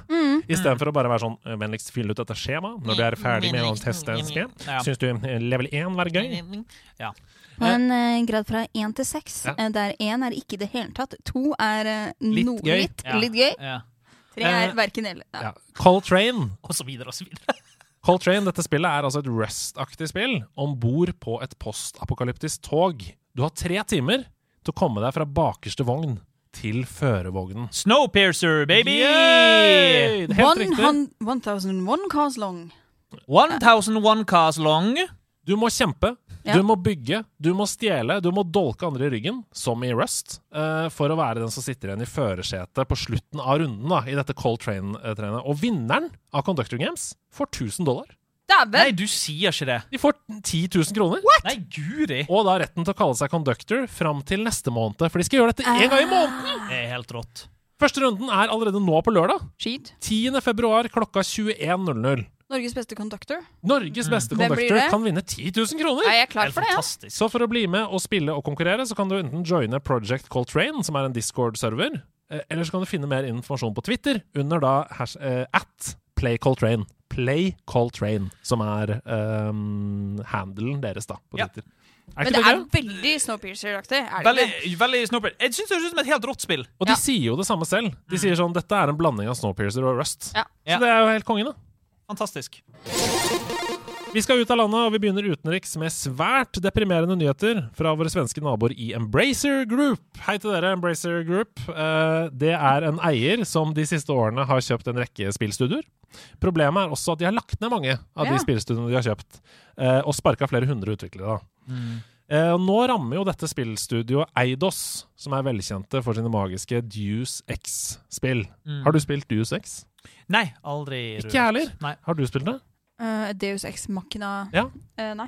[SPEAKER 2] Istedenfor å bare være sånn eh, Vennligst fyll ut dette skjemaet når du er ferdig med å teste en spill.
[SPEAKER 4] Ja.
[SPEAKER 2] Syns du eh, level 1 var gøy?
[SPEAKER 4] Ja.
[SPEAKER 3] På en eh, grad fra én til seks,
[SPEAKER 2] Ja.
[SPEAKER 3] eh, der én er ikke i det hele tatt, to er eh,
[SPEAKER 2] Litt
[SPEAKER 3] no,
[SPEAKER 2] gøy.
[SPEAKER 3] Litt, litt gøy,
[SPEAKER 4] Ja.
[SPEAKER 3] tre
[SPEAKER 2] Eh,
[SPEAKER 3] er verken eller.
[SPEAKER 2] Ja.
[SPEAKER 3] Ja.
[SPEAKER 2] Coltrane.
[SPEAKER 4] Og så videre og så videre.
[SPEAKER 2] Coltrane, dette spillet er altså et Rust-aktig spill om bord på et postapokalyptisk tog. Du har tre timer til å komme deg fra bakerste vogn til førervognen.
[SPEAKER 4] [laughs] Snowpiercer, baby!
[SPEAKER 2] Yay! Det er Helt
[SPEAKER 3] One
[SPEAKER 2] riktig.
[SPEAKER 3] hun- 1001 cars long.
[SPEAKER 4] 1001 cars long.
[SPEAKER 2] Du må kjempe,
[SPEAKER 3] Ja.
[SPEAKER 2] du må bygge, du må stjele, du må dolke andre i ryggen, som i Rust, eh, for å være den som sitter igjen i førersetet på slutten av runden da, i dette Coltrane-trenet. Og vinneren av Conductor Games får 1000 dollar.
[SPEAKER 4] Nei,
[SPEAKER 3] Dæven!
[SPEAKER 4] du sier ikke det.
[SPEAKER 2] De får 10 000 kroner.
[SPEAKER 4] Nei, guri.
[SPEAKER 2] Og da retten til å kalle seg conductor fram til neste måned. For de skal gjøre dette én gang i
[SPEAKER 3] Ah.
[SPEAKER 2] måneden!
[SPEAKER 4] Det er helt rått.
[SPEAKER 2] Første runden er allerede nå på lørdag.
[SPEAKER 3] Cheat.
[SPEAKER 2] 10. februar klokka 21.00.
[SPEAKER 3] Norges beste conductor.
[SPEAKER 2] Norges beste
[SPEAKER 3] Mm. Hvem blir
[SPEAKER 2] conductor
[SPEAKER 3] det?
[SPEAKER 2] kan vinne 10 000 kroner!
[SPEAKER 3] Er jeg klar
[SPEAKER 4] Helt
[SPEAKER 3] for det? Ja?
[SPEAKER 4] fantastisk.
[SPEAKER 2] Så for å bli med og spille og konkurrere, så kan du enten joine Project Coltrane, som er en Discord-server, eh, eller så kan du finne mer informasjon på Twitter under da hash, eh, at playcoltrane. Play Coltrane, som er eh, handelen deres, da, på
[SPEAKER 4] Ja.
[SPEAKER 2] Twitter. Er ikke
[SPEAKER 3] Men det
[SPEAKER 2] det
[SPEAKER 3] er
[SPEAKER 2] gøy?
[SPEAKER 3] veldig Snowpiercer-aktig. Er det
[SPEAKER 4] Veldig,
[SPEAKER 3] ikke?
[SPEAKER 4] veldig Snowpiercer. Jeg syns det høres ut som et helt rått spill.
[SPEAKER 2] Og de
[SPEAKER 3] Ja. Mm.
[SPEAKER 2] sier jo det samme selv. De sier sånn dette er en blanding av Snowpiercer og Rust.
[SPEAKER 3] Ja.
[SPEAKER 4] Ja.
[SPEAKER 2] Så det er jo helt kongen, da.
[SPEAKER 4] Fantastisk.
[SPEAKER 2] Vi skal ut av landet, og vi begynner utenriks med svært deprimerende nyheter fra våre svenske naboer i Embracer Group. Hei til dere, Embracer Group. Eh, Det er en eier som de siste årene har kjøpt en rekke spillstudioer. Problemet er også at de har lagt ned mange av
[SPEAKER 3] Ja.
[SPEAKER 2] de spillstudioene de har kjøpt, eh, og sparka flere hundre utviklere. da.
[SPEAKER 4] Mm.
[SPEAKER 2] Eh, og nå rammer jo dette spillstudioet Eidos, som er velkjente for sine magiske Deuce X-spill. Har du spilt Deuce X?
[SPEAKER 4] Nei, aldri.
[SPEAKER 2] Ikke
[SPEAKER 4] rørt.
[SPEAKER 2] jeg heller.
[SPEAKER 4] Nei.
[SPEAKER 2] Har du spilt det?
[SPEAKER 3] Eh, Deus Ex Machina
[SPEAKER 2] Ja.
[SPEAKER 3] Eh, Nei.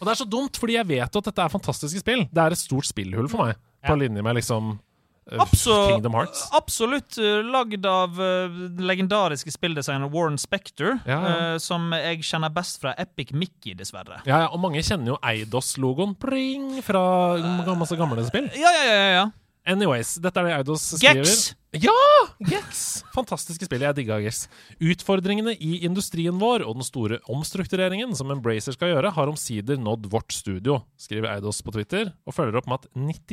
[SPEAKER 2] Og det er så dumt, fordi jeg vet jo at dette er fantastiske spill. Det er et stort spillhull for meg, på
[SPEAKER 4] Ja.
[SPEAKER 2] linje med liksom eh,
[SPEAKER 4] Abso-
[SPEAKER 2] Kingdom Hearts.
[SPEAKER 4] Absolutt eh, lagd av eh, den legendariske spilldesigner Warren Spector,
[SPEAKER 2] Ja, ja.
[SPEAKER 4] eh, som jeg kjenner best fra Epic Mickey, dessverre.
[SPEAKER 2] Ja, ja, og mange kjenner jo Eidos-logoen pring, fra ga- masse gamle spill.
[SPEAKER 4] Ja, ja, ja. ja, ja.
[SPEAKER 2] Anyways, dette er det Eidos skriver.
[SPEAKER 4] Gex!
[SPEAKER 2] Ja! Gex! Fantastiske spill. Jeg digga Gex. Utfordringene i industrien vår og den store omstruktureringen som Embracer skal gjøre, har omsider nådd vårt studio, skriver Eidos på Twitter, og følger opp med at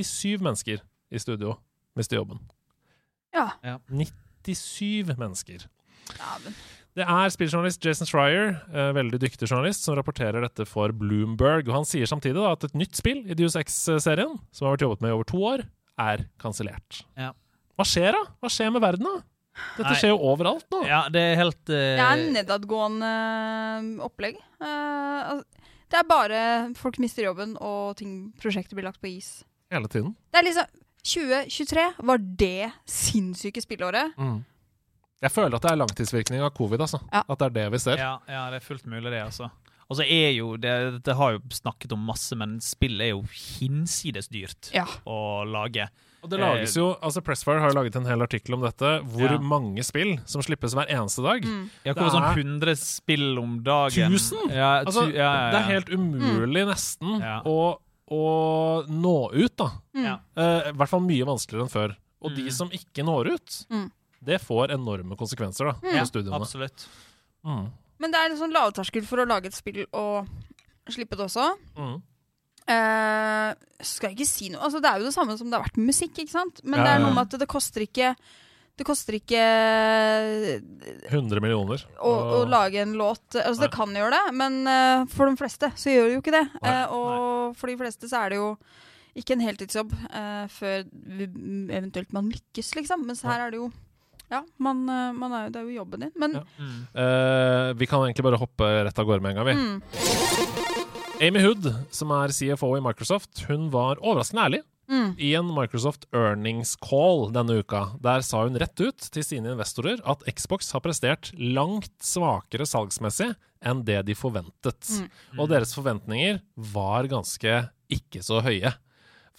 [SPEAKER 2] 97 mennesker i studio mister jobben.
[SPEAKER 3] Ja.
[SPEAKER 2] 97 mennesker.
[SPEAKER 3] Dæven.
[SPEAKER 2] Det er spilljournalist Jason Schreier, eh, veldig dyktig journalist, som rapporterer dette for Bloomberg. Og han sier samtidig da, at et nytt spill i Deus Ex-serien, som har vært jobbet med i over to år, er kansellert.
[SPEAKER 4] Ja.
[SPEAKER 2] Hva skjer da? Hva skjer med verden da? Dette
[SPEAKER 4] Nei.
[SPEAKER 2] skjer jo overalt nå.
[SPEAKER 4] Ja, det er helt eh,
[SPEAKER 3] Det er nedadgående eh, opplegg. Eh, al- det er bare folk mister jobben, og ting, prosjekter blir lagt på is.
[SPEAKER 2] Hele tiden.
[SPEAKER 3] Det er liksom 2023 var det sinnssyke spillåret.
[SPEAKER 2] Mm. Jeg føler at det er langtidsvirkning av covid, altså.
[SPEAKER 3] Ja.
[SPEAKER 2] At det er det vi ser.
[SPEAKER 4] Ja, ja, det er fullt mulig, det, altså. Og så er jo det, det har jo snakket om masse, men spill er jo hinsides dyrt
[SPEAKER 3] Ja.
[SPEAKER 4] å lage.
[SPEAKER 2] Og det lages jo, altså Pressfire har jo laget en hel artikkel om dette, hvor
[SPEAKER 4] Ja.
[SPEAKER 2] mange spill som slippes hver eneste dag.
[SPEAKER 3] Mm.
[SPEAKER 4] Jeg
[SPEAKER 2] Det
[SPEAKER 4] kommer
[SPEAKER 2] er-
[SPEAKER 4] sånn 100 spill om dagen.
[SPEAKER 2] Tusen?
[SPEAKER 4] Ja, tu,
[SPEAKER 2] Altså,
[SPEAKER 4] ja, ja, ja.
[SPEAKER 2] Det er helt umulig
[SPEAKER 3] Mm.
[SPEAKER 2] nesten
[SPEAKER 4] Ja.
[SPEAKER 2] å, å nå ut, da.
[SPEAKER 4] Ja.
[SPEAKER 3] Mm.
[SPEAKER 2] Eh, I hvert fall mye vanskeligere enn før. Og de
[SPEAKER 4] Mm.
[SPEAKER 2] som ikke når ut,
[SPEAKER 3] Mm.
[SPEAKER 2] det får enorme konsekvenser da,
[SPEAKER 4] Ja,
[SPEAKER 2] for studiene.
[SPEAKER 4] absolutt.
[SPEAKER 2] Mm.
[SPEAKER 3] Men det er en sånn lavterskel for å lage et spill og slippe det også.
[SPEAKER 2] Mm.
[SPEAKER 3] Eh, skal jeg ikke si noe altså, Det er jo det samme som det har vært med musikk, ikke sant? Men
[SPEAKER 2] Ja,
[SPEAKER 3] det
[SPEAKER 2] ja,
[SPEAKER 3] er
[SPEAKER 2] ja.
[SPEAKER 3] noe med at det koster ikke det koster ikke
[SPEAKER 2] 100 millioner.
[SPEAKER 3] å, å lage en låt Altså, det
[SPEAKER 2] Nei.
[SPEAKER 3] kan gjøre det, men eh, for de fleste så gjør det jo ikke det.
[SPEAKER 2] Nei,
[SPEAKER 3] Eh, og for de fleste så er det jo ikke en heltidsjobb eh, før vi- m- eventuelt man lykkes, liksom. Mens her er det jo Ja, man, eh, man er jo, det er jo jobben din. Men
[SPEAKER 2] Ja.
[SPEAKER 4] Mm.
[SPEAKER 2] Eh, vi kan egentlig bare hoppe rett av gårde med en gang, vi.
[SPEAKER 3] mm,
[SPEAKER 2] Amy Hood, som er CFO i Microsoft, hun var overraskende ærlig
[SPEAKER 3] mm,
[SPEAKER 2] i en Microsoft earnings call denne uka. Der sa hun rett ut til sine investorer at Xbox har prestert langt svakere salgsmessig enn det de forventet. Og deres forventninger var ganske ikke så høye,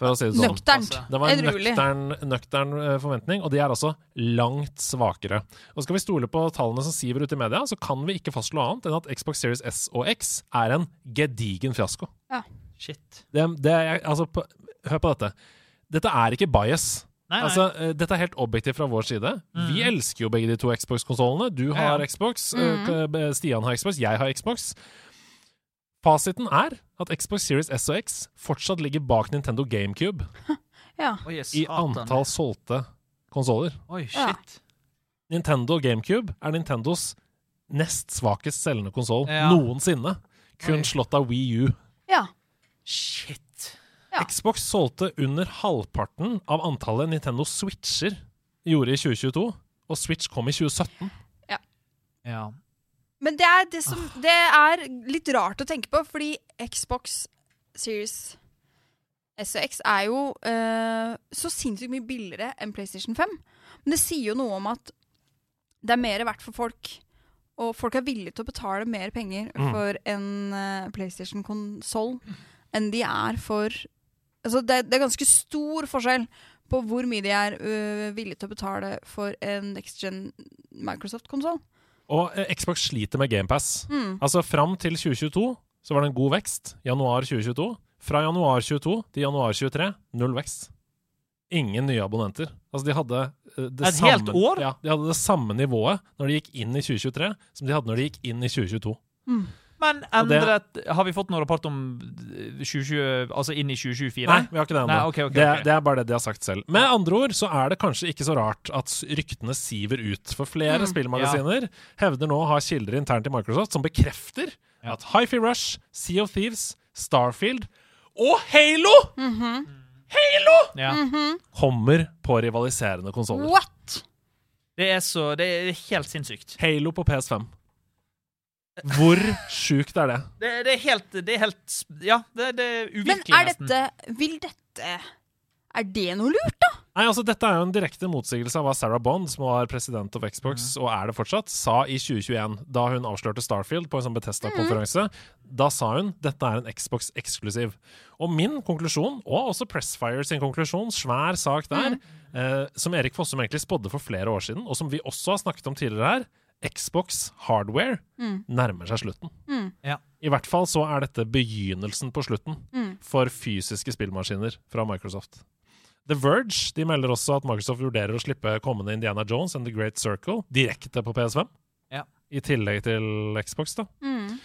[SPEAKER 2] for å si det sånn.
[SPEAKER 3] nøkternt.
[SPEAKER 4] altså,
[SPEAKER 2] Det var en
[SPEAKER 3] Edruelig.
[SPEAKER 2] nøktern, nøktern eh, forventning, og de er altså langt svakere. Og Skal vi stole på tallene som siver ut i media, så kan vi ikke fastslå annet enn at Xbox Series S og X er en gedigen fiasko.
[SPEAKER 4] Shit.
[SPEAKER 2] Det, det er, altså, på, hør på dette. Dette er ikke bias.
[SPEAKER 4] Nei, nei.
[SPEAKER 2] Altså, eh, dette er helt objektivt fra vår side. Vi elsker jo begge de to Xbox-konsollene. Du
[SPEAKER 4] Ja, ja.
[SPEAKER 2] har Xbox, eh, k- Stian har Xbox, jeg har Xbox. Fasiten er at Xbox Series S og X fortsatt ligger bak Nintendo GameCube
[SPEAKER 3] Ja.
[SPEAKER 4] Oi,
[SPEAKER 2] i
[SPEAKER 4] satan.
[SPEAKER 2] antall solgte konsoller.
[SPEAKER 4] Oi, shit.
[SPEAKER 2] Nintendo GameCube er Nintendos nest svakest selgende konsoll
[SPEAKER 4] Ja.
[SPEAKER 2] noensinne.
[SPEAKER 4] Oi.
[SPEAKER 2] Kun slått av Wii U.
[SPEAKER 3] ja.
[SPEAKER 4] Shit.
[SPEAKER 3] Ja.
[SPEAKER 2] Xbox solgte under halvparten av antallet Nintendo Switcher gjorde i 2022, og Switch kom i 2017.
[SPEAKER 4] Ja.
[SPEAKER 3] Men det er, det, som, det er litt rart å tenke på, fordi Xbox Series S og X er jo eh, så sinnssykt mye billigere enn PlayStation 5. Men det sier jo noe om at det er mer verdt for folk, og folk er villige til å betale mer penger
[SPEAKER 2] Mm.
[SPEAKER 3] for en eh, PlayStation-konsoll enn de er for Altså, det, det er ganske stor forskjell på hvor mye de er eh, villige til å betale for en next gen Microsoft-konsoll.
[SPEAKER 2] Og eh, Xbox sliter med GamePass.
[SPEAKER 3] Mm.
[SPEAKER 2] Altså fram til 2022 så var det en god vekst. Januar 2022. Fra januar 22 til januar 23 null vekst. Ingen nye abonnenter. Altså de hadde eh, det
[SPEAKER 4] Et
[SPEAKER 2] samme,
[SPEAKER 4] helt år?
[SPEAKER 2] Ja, de hadde det samme nivået når de gikk inn i 2023 som de hadde når de gikk inn i 2022.
[SPEAKER 3] Mm.
[SPEAKER 4] Men
[SPEAKER 2] Og det-
[SPEAKER 4] endret Har vi fått noen rapport om 2020, altså inn i 2024?
[SPEAKER 2] Nei, vi har ikke det ennå.
[SPEAKER 4] Nei, ok, ok,
[SPEAKER 2] det,
[SPEAKER 4] ok.
[SPEAKER 2] det er bare det de har sagt selv. Med andre ord så er det kanskje ikke så rart at s- ryktene siver ut. For flere
[SPEAKER 4] Mm,
[SPEAKER 2] spillmagasiner hevder nå å ha kilder internt i Microsoft som bekrefter
[SPEAKER 4] Ja.
[SPEAKER 2] at Hifi Rush, Sea of Thieves, Starfield og Halo
[SPEAKER 4] Mm-hmm.
[SPEAKER 2] Halo!
[SPEAKER 4] Ja.
[SPEAKER 3] Mhm.
[SPEAKER 2] kommer på rivaliserende konsoller.
[SPEAKER 3] What?!
[SPEAKER 4] Det er så Det er helt sinnssykt.
[SPEAKER 2] Halo på PS5. Hvor sjukt er det?
[SPEAKER 4] Det, det er helt Det er helt Ja, det, det er
[SPEAKER 3] Men
[SPEAKER 4] uvirkelig,
[SPEAKER 3] er
[SPEAKER 4] nesten.
[SPEAKER 3] dette Vil dette Er det noe lurt, da?
[SPEAKER 2] Nei, altså Dette er jo en direkte motsigelse av hva Sarah Bond, som var president av Xbox, og er det fortsatt, sa i 2021, da hun avslørte Starfield på en sånn Bethesda-konferanse. Da sa hun dette er en Xbox-eksklusiv. Og min konklusjon, og også Pressfire sin konklusjon, svær sak der, eh, som Erik Fossum egentlig spådde for flere år siden, og som vi også har snakket om tidligere her, Xbox hardware nærmer seg slutten.
[SPEAKER 4] Ja.
[SPEAKER 2] I hvert fall så er dette begynnelsen på slutten
[SPEAKER 3] Mm.
[SPEAKER 2] for fysiske spillmaskiner fra Microsoft. The Verge de melder også at Microsoft vurderer å slippe kommende Indiana Jones and The Great Circle direkte på PS5.
[SPEAKER 4] Ja.
[SPEAKER 2] I tillegg til Xbox, da.
[SPEAKER 3] Mm.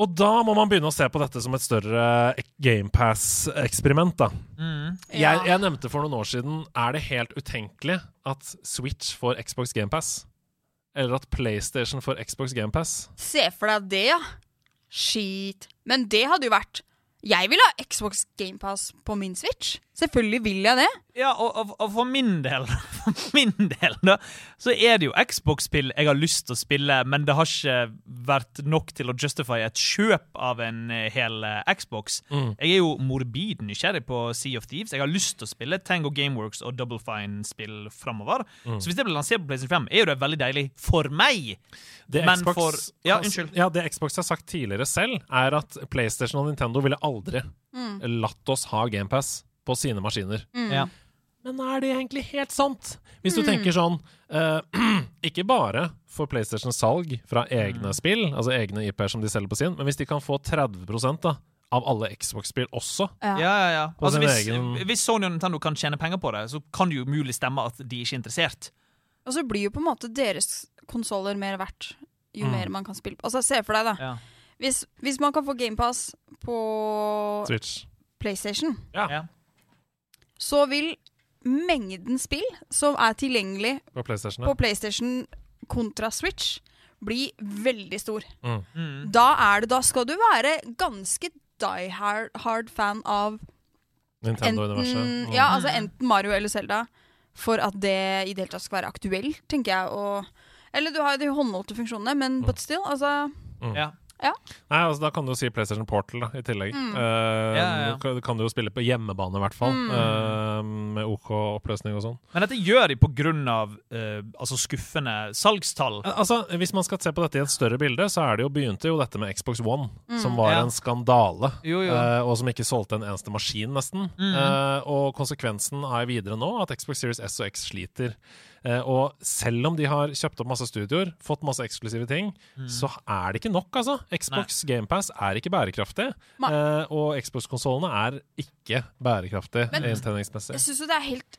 [SPEAKER 2] Og da må man begynne å se på dette som et større GamePass-eksperiment, da.
[SPEAKER 4] Mm.
[SPEAKER 3] Ja.
[SPEAKER 2] Jeg, jeg nevnte for noen år siden Er det helt utenkelig at Switch får Xbox GamePass? Eller at PlayStation får Xbox GamePass?
[SPEAKER 3] Se for deg det, ja. Shit. Men det hadde jo vært Jeg vil ha Xbox GamePass på min Switch. Selvfølgelig vil jeg det.
[SPEAKER 4] Ja, og, og, og for min del [laughs] For min del, da, så er det jo Xbox-spill jeg har lyst til å spille, men det har ikke vært nok til å justify et kjøp av en eh, hel eh, Xbox.
[SPEAKER 2] Mm.
[SPEAKER 4] Jeg er jo morbid nysgjerrig på Sea of Thieves. Jeg har lyst til å spille Tango Gameworks og Double Fine-spill framover.
[SPEAKER 2] Mm.
[SPEAKER 4] Så hvis det blir lansert på PlayStation 5, er jo det veldig deilig for meg.
[SPEAKER 2] Det
[SPEAKER 4] Men
[SPEAKER 2] Xbox,
[SPEAKER 4] for- ja, unnskyld.
[SPEAKER 2] Ja, det Xbox har sagt tidligere selv, er at PlayStation og Nintendo ville aldri
[SPEAKER 3] Mm.
[SPEAKER 2] latt oss ha GamePass på sine maskiner.
[SPEAKER 4] Ja.
[SPEAKER 2] Men er det egentlig helt sant? Hvis du
[SPEAKER 3] Mm.
[SPEAKER 2] tenker sånn eh, [clears throat] Ikke bare for
[SPEAKER 3] Mm.
[SPEAKER 2] PlayStation salg fra egne spill, altså egne IP-er som de selger på sin, men hvis de kan få 30 da, av alle Xbox-spill også.
[SPEAKER 3] Ja.
[SPEAKER 4] Ja, ja, ja.
[SPEAKER 2] På
[SPEAKER 4] Altså,
[SPEAKER 2] sin
[SPEAKER 4] hvis,
[SPEAKER 2] egen-
[SPEAKER 4] hvis Sony og Nintendo kan tjene penger på det, så kan det jo mulig stemme at de ikke er interessert.
[SPEAKER 3] Og så blir jo på en måte deres konsoller mer verdt jo
[SPEAKER 2] Mm.
[SPEAKER 3] mer man kan spille på. Altså, se for deg, da.
[SPEAKER 4] Ja.
[SPEAKER 3] Hvis, hvis man kan få GamePass på
[SPEAKER 2] Switch.
[SPEAKER 3] PlayStation,
[SPEAKER 2] Ja.
[SPEAKER 4] Ja.
[SPEAKER 3] så vil mengden spill som er tilgjengelig
[SPEAKER 2] På PlayStation.
[SPEAKER 3] på
[SPEAKER 2] Ja.
[SPEAKER 3] PlayStation kontra Switch, bli veldig stor.
[SPEAKER 2] Mm.
[SPEAKER 4] Mm.
[SPEAKER 3] Da er det Da skal du være ganske die hard, hard fan av
[SPEAKER 2] Nintendo-universet.
[SPEAKER 3] enten,
[SPEAKER 2] Mm.
[SPEAKER 3] ja, altså enten Mario eller Zelda for at det i det hele tatt skal være aktuelt, tenker jeg. Og, eller du har jo de håndholdte funksjonene, men but still, altså
[SPEAKER 2] Mm.
[SPEAKER 4] Ja.
[SPEAKER 2] Nei, altså Da kan du jo si PlayStation Portal da, i tillegg.
[SPEAKER 3] Mm.
[SPEAKER 2] Eh,
[SPEAKER 4] Ja, ja, ja.
[SPEAKER 2] du kan- kan du jo spille på hjemmebane, i hvert fall. eh, med OK oppløsning og sånn.
[SPEAKER 4] Men dette gjør de pga. Uh, altså skuffende salgstall.
[SPEAKER 2] Eh, Altså, Hvis man skal se på dette i et større bilde, så er det jo begynte jo dette med Xbox One, som var
[SPEAKER 4] Mm. Ja.
[SPEAKER 2] en skandale.
[SPEAKER 4] Jo, jo. Mm.
[SPEAKER 2] eh, og som ikke solgte en eneste maskin, nesten. Eh, og konsekvensen er videre nå at Xbox Series S og X sliter. Eh, og selv om de har kjøpt opp masse studioer, fått masse eksklusive ting,
[SPEAKER 4] Mm.
[SPEAKER 2] så er det ikke nok, altså. Xbox GamePass er ikke bærekraftig.
[SPEAKER 3] Nei.
[SPEAKER 2] eh, og Xbox-konsollene er ikke bærekraftige
[SPEAKER 3] Men-
[SPEAKER 2] inntjeningsmessig.
[SPEAKER 3] Jeg syns jo det er helt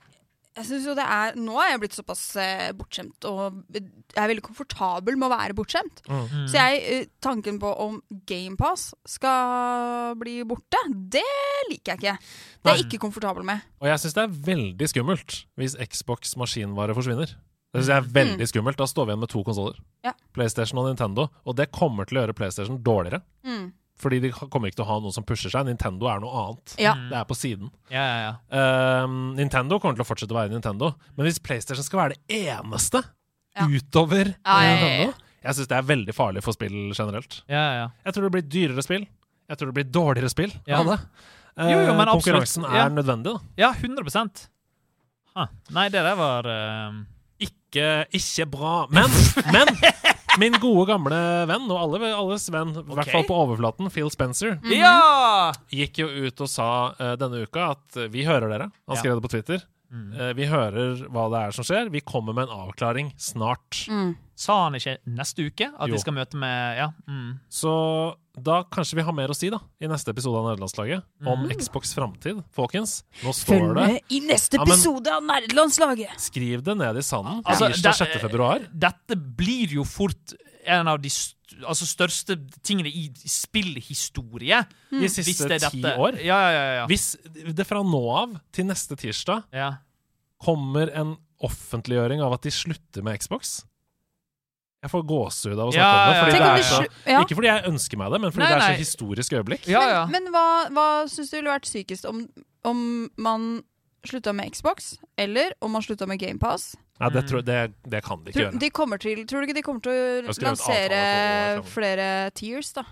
[SPEAKER 3] jeg synes jo det er, Nå er jeg blitt såpass eh, bortskjemt, og jeg er veldig komfortabel med å være bortskjemt.
[SPEAKER 2] Mm.
[SPEAKER 3] Så jeg, eh, tanken på om GamePass skal bli borte, det liker jeg ikke. Det er jeg ikke komfortabel med.
[SPEAKER 2] Og jeg syns det er veldig skummelt hvis Xbox maskinvare forsvinner. Det synes jeg er veldig skummelt. Da står vi igjen med to konsoller.
[SPEAKER 3] Mm. Ja.
[SPEAKER 2] PlayStation og Nintendo. Og det kommer til å gjøre PlayStation dårligere.
[SPEAKER 3] Mm.
[SPEAKER 2] Fordi de kommer ikke til å ha noen som pusher seg. Nintendo er noe annet.
[SPEAKER 3] Ja.
[SPEAKER 2] Det er på siden.
[SPEAKER 4] Ja, ja, ja.
[SPEAKER 2] Ehm, Nintendo kommer til å fortsette å være Nintendo. Men hvis PlayStation skal være det eneste
[SPEAKER 3] Ja.
[SPEAKER 2] utover
[SPEAKER 3] Ja, ja, ja, ja.
[SPEAKER 2] Nintendo Jeg syns det er veldig farlig for spill generelt.
[SPEAKER 4] ja, ja, ja.
[SPEAKER 2] Jeg tror det blir dyrere spill. Jeg tror det blir dårligere spill
[SPEAKER 4] Ja.
[SPEAKER 2] av det.
[SPEAKER 4] Jo, jo, men
[SPEAKER 2] Eh,
[SPEAKER 4] absolutt.
[SPEAKER 2] Konkurransen er
[SPEAKER 4] Ja.
[SPEAKER 2] nødvendig, da.
[SPEAKER 4] Ja, 100 ah. Nei, det der var eh,
[SPEAKER 2] ikke, ikke bra. Men, men min gode gamle venn, og alle, alles venn, i hvert fall på overflaten, Phil Spencer,
[SPEAKER 3] Mhm.
[SPEAKER 4] Ja!
[SPEAKER 2] gikk jo ut og sa eh, denne uka at eh, vi hører dere. Han
[SPEAKER 4] Ja. Mm.
[SPEAKER 2] skrev det på Twitter. Eh, vi hører hva det er som skjer. Vi kommer med en avklaring snart.
[SPEAKER 4] Sa han ikke neste uke at
[SPEAKER 2] Jo.
[SPEAKER 4] de skal møte med Ja. Mm.
[SPEAKER 2] Så da kanskje vi har mer å si da i neste episode av Nederlandslaget om
[SPEAKER 4] Mm.
[SPEAKER 2] Xbox framtid. Folkens, nå står det
[SPEAKER 3] i neste
[SPEAKER 2] Ja, men-
[SPEAKER 3] av Nerdelandslaget!
[SPEAKER 2] Skriv det ned i sanden.
[SPEAKER 4] Altså,
[SPEAKER 2] Tirsdag 6.
[SPEAKER 4] det-
[SPEAKER 2] februar.
[SPEAKER 4] Dette blir jo fort en av de st altså største tingene i spillhistorie.
[SPEAKER 3] Mhm.
[SPEAKER 2] De
[SPEAKER 4] Hvis
[SPEAKER 2] siste
[SPEAKER 4] det er
[SPEAKER 2] ti
[SPEAKER 4] dette.
[SPEAKER 2] år.
[SPEAKER 4] Ja, ja, ja. ja.
[SPEAKER 2] Hvis det fra nå av til neste tirsdag
[SPEAKER 4] ja.
[SPEAKER 2] kommer en offentliggjøring av at de slutter med Xbox. Jeg får gåsehud av å snakke
[SPEAKER 4] Ja, ja,
[SPEAKER 2] om det. Fordi det
[SPEAKER 4] ja. Tenk
[SPEAKER 2] er
[SPEAKER 4] om
[SPEAKER 2] så,
[SPEAKER 4] det
[SPEAKER 3] ja.
[SPEAKER 2] Ikke fordi jeg ønsker meg det, men fordi
[SPEAKER 4] Nei,
[SPEAKER 2] det er
[SPEAKER 4] nei.
[SPEAKER 2] så historisk øyeblikk.
[SPEAKER 4] ja, ja.
[SPEAKER 3] Men, men hva, hva syns du ville vært sykest? Om, om man slutta med Xbox, eller om man slutta med GamePass?
[SPEAKER 2] Nei, det, tror, det, det kan de ikke
[SPEAKER 3] Tror,
[SPEAKER 2] gjøre.
[SPEAKER 3] de kommer til, tror du ikke de kommer til
[SPEAKER 2] har
[SPEAKER 3] å
[SPEAKER 2] skrevet
[SPEAKER 3] lansere
[SPEAKER 2] avtaler for å- sånn.
[SPEAKER 3] flere tiers, da?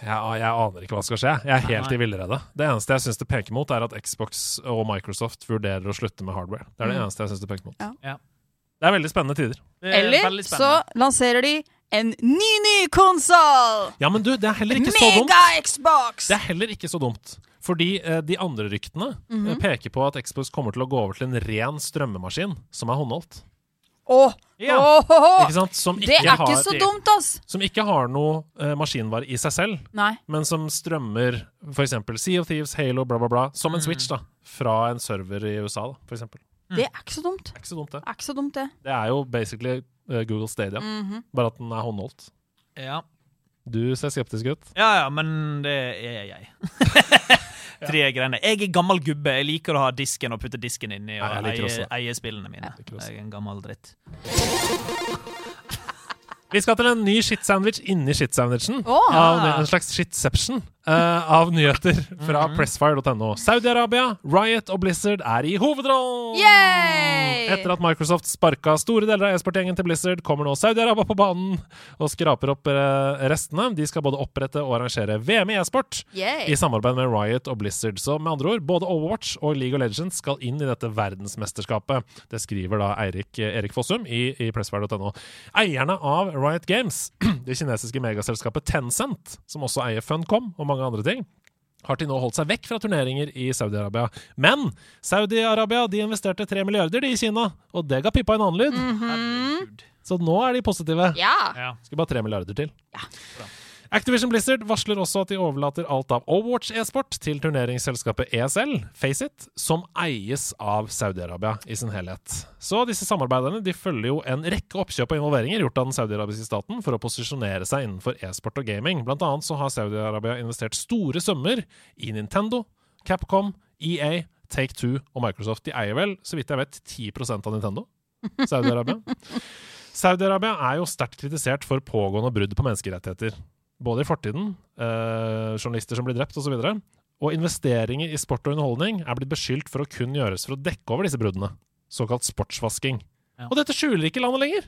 [SPEAKER 2] Jeg, jeg aner ikke hva som skal skje. Jeg er helt i
[SPEAKER 4] Nei.
[SPEAKER 2] villrede. Det eneste jeg syns det peker mot, er at Xbox og Microsoft vurderer å slutte med hardware. Det er det
[SPEAKER 3] Mm.
[SPEAKER 2] eneste jeg syns det peker mot.
[SPEAKER 3] Ja.
[SPEAKER 4] Ja.
[SPEAKER 2] Det er veldig spennende tider.
[SPEAKER 4] Det er
[SPEAKER 3] Eller
[SPEAKER 4] veldig
[SPEAKER 3] så
[SPEAKER 4] spennende.
[SPEAKER 3] lanserer de en ny, ny konsoll!
[SPEAKER 2] Ja, men du, det er heller ikke så dumt.
[SPEAKER 3] Mega-Xbox!
[SPEAKER 2] Det er heller ikke så dumt. Fordi eh, de andre ryktene eh, peker på at Xbox kommer til å gå over til en ren strømmemaskin som er håndholdt.
[SPEAKER 3] Åh,
[SPEAKER 4] Ja.
[SPEAKER 3] åh, åh, åh.
[SPEAKER 2] Ikke sant? Som ikke
[SPEAKER 3] Det er ikke
[SPEAKER 2] har,
[SPEAKER 3] så dumt, ass!
[SPEAKER 2] Som ikke har noe eh, maskinvare i seg selv,
[SPEAKER 3] Nei.
[SPEAKER 2] men som strømmer f.eks. Sea of Thieves, Halo, bla, bla, bla, som
[SPEAKER 3] Mm.
[SPEAKER 2] en Switch, da. Fra en server i USA, da, f.eks. Det
[SPEAKER 3] Det er ikke så dumt.
[SPEAKER 2] er ikke så dumt, det.
[SPEAKER 3] Det er ikke så dumt, det.
[SPEAKER 2] Det er jo basically eh, Google Stadia,
[SPEAKER 3] Mhm.
[SPEAKER 2] bare at den er håndholdt.
[SPEAKER 4] Ja.
[SPEAKER 2] Du ser skeptisk ut.
[SPEAKER 4] Ja, ja, men det er
[SPEAKER 2] [laughs]
[SPEAKER 4] jeg. Tre greiene. Jeg er gammel gubbe. Jeg liker å ha disken og putte disken inni og
[SPEAKER 2] Ja, jeg liker også
[SPEAKER 4] eie,
[SPEAKER 2] det.
[SPEAKER 4] eie spillene mine.
[SPEAKER 2] liker også.
[SPEAKER 4] Jeg er en gammel dritt.
[SPEAKER 2] Vi skal til en ny shit-sandwich inni shit-sandwichen.
[SPEAKER 3] Åh.
[SPEAKER 2] av ny- En slags shitception eh, av nyheter fra
[SPEAKER 3] Mhm.
[SPEAKER 2] pressfire.no. Saudi-Arabia, Riot og Blizzard er i hovedrollen!
[SPEAKER 3] Yay!
[SPEAKER 2] Etter at Microsoft sparka store deler av e-sportgjengen til Blizzard, kommer nå Saudi-Arabia på banen og skraper opp eh, restene. De skal både opprette og arrangere VM i e-sport
[SPEAKER 3] Yay.
[SPEAKER 2] i samarbeid med Riot og Blizzard. Så med andre ord, både Overwatch og League of Legends skal inn i dette verdensmesterskapet. Det skriver da Eirik, Erik Fossum i, i pressfire.no. Eierne av Riot Games, [clears throat] det kinesiske megaselskapet Tencent, som også eier Funcom og mange andre ting, har til nå holdt seg vekk fra turneringer i Saudi-Arabia. Men Saudi-Arabia de investerte 3 milliarder de i Kina, og det ga pippa en annen
[SPEAKER 4] Mm.
[SPEAKER 2] lyd.
[SPEAKER 4] Herregud.
[SPEAKER 2] Så nå er de positive.
[SPEAKER 3] Ja.
[SPEAKER 4] Ja.
[SPEAKER 2] Skal bare 3 milliarder til. Activision Blizzard varsler også at de overlater alt av Overwatch e-sport til turneringsselskapet E ESL, Faceit, som eies av Saudi-Arabia i sin helhet. Så disse samarbeiderne de følger jo en rekke oppkjøp og involveringer gjort av den saudiarabiske staten for å posisjonere seg innenfor e-sport og gaming. Blant annet så har Saudi-Arabia investert store summer i Nintendo, Capcom, EA, Take Two og Microsoft. De eier vel, så vidt jeg vet, 10 av Nintendo. Saudi-Arabia. Saudi-Arabia er jo sterkt kritisert for pågående brudd på menneskerettigheter. Både i fortiden, eh, journalister som blir drept osv., og, så videre, og investeringer i sport og underholdning er blitt beskyldt for å kun gjøres for å dekke over disse bruddene. Såkalt sportsvasking.
[SPEAKER 4] Ja.
[SPEAKER 2] Og dette skjuler ikke landet lenger!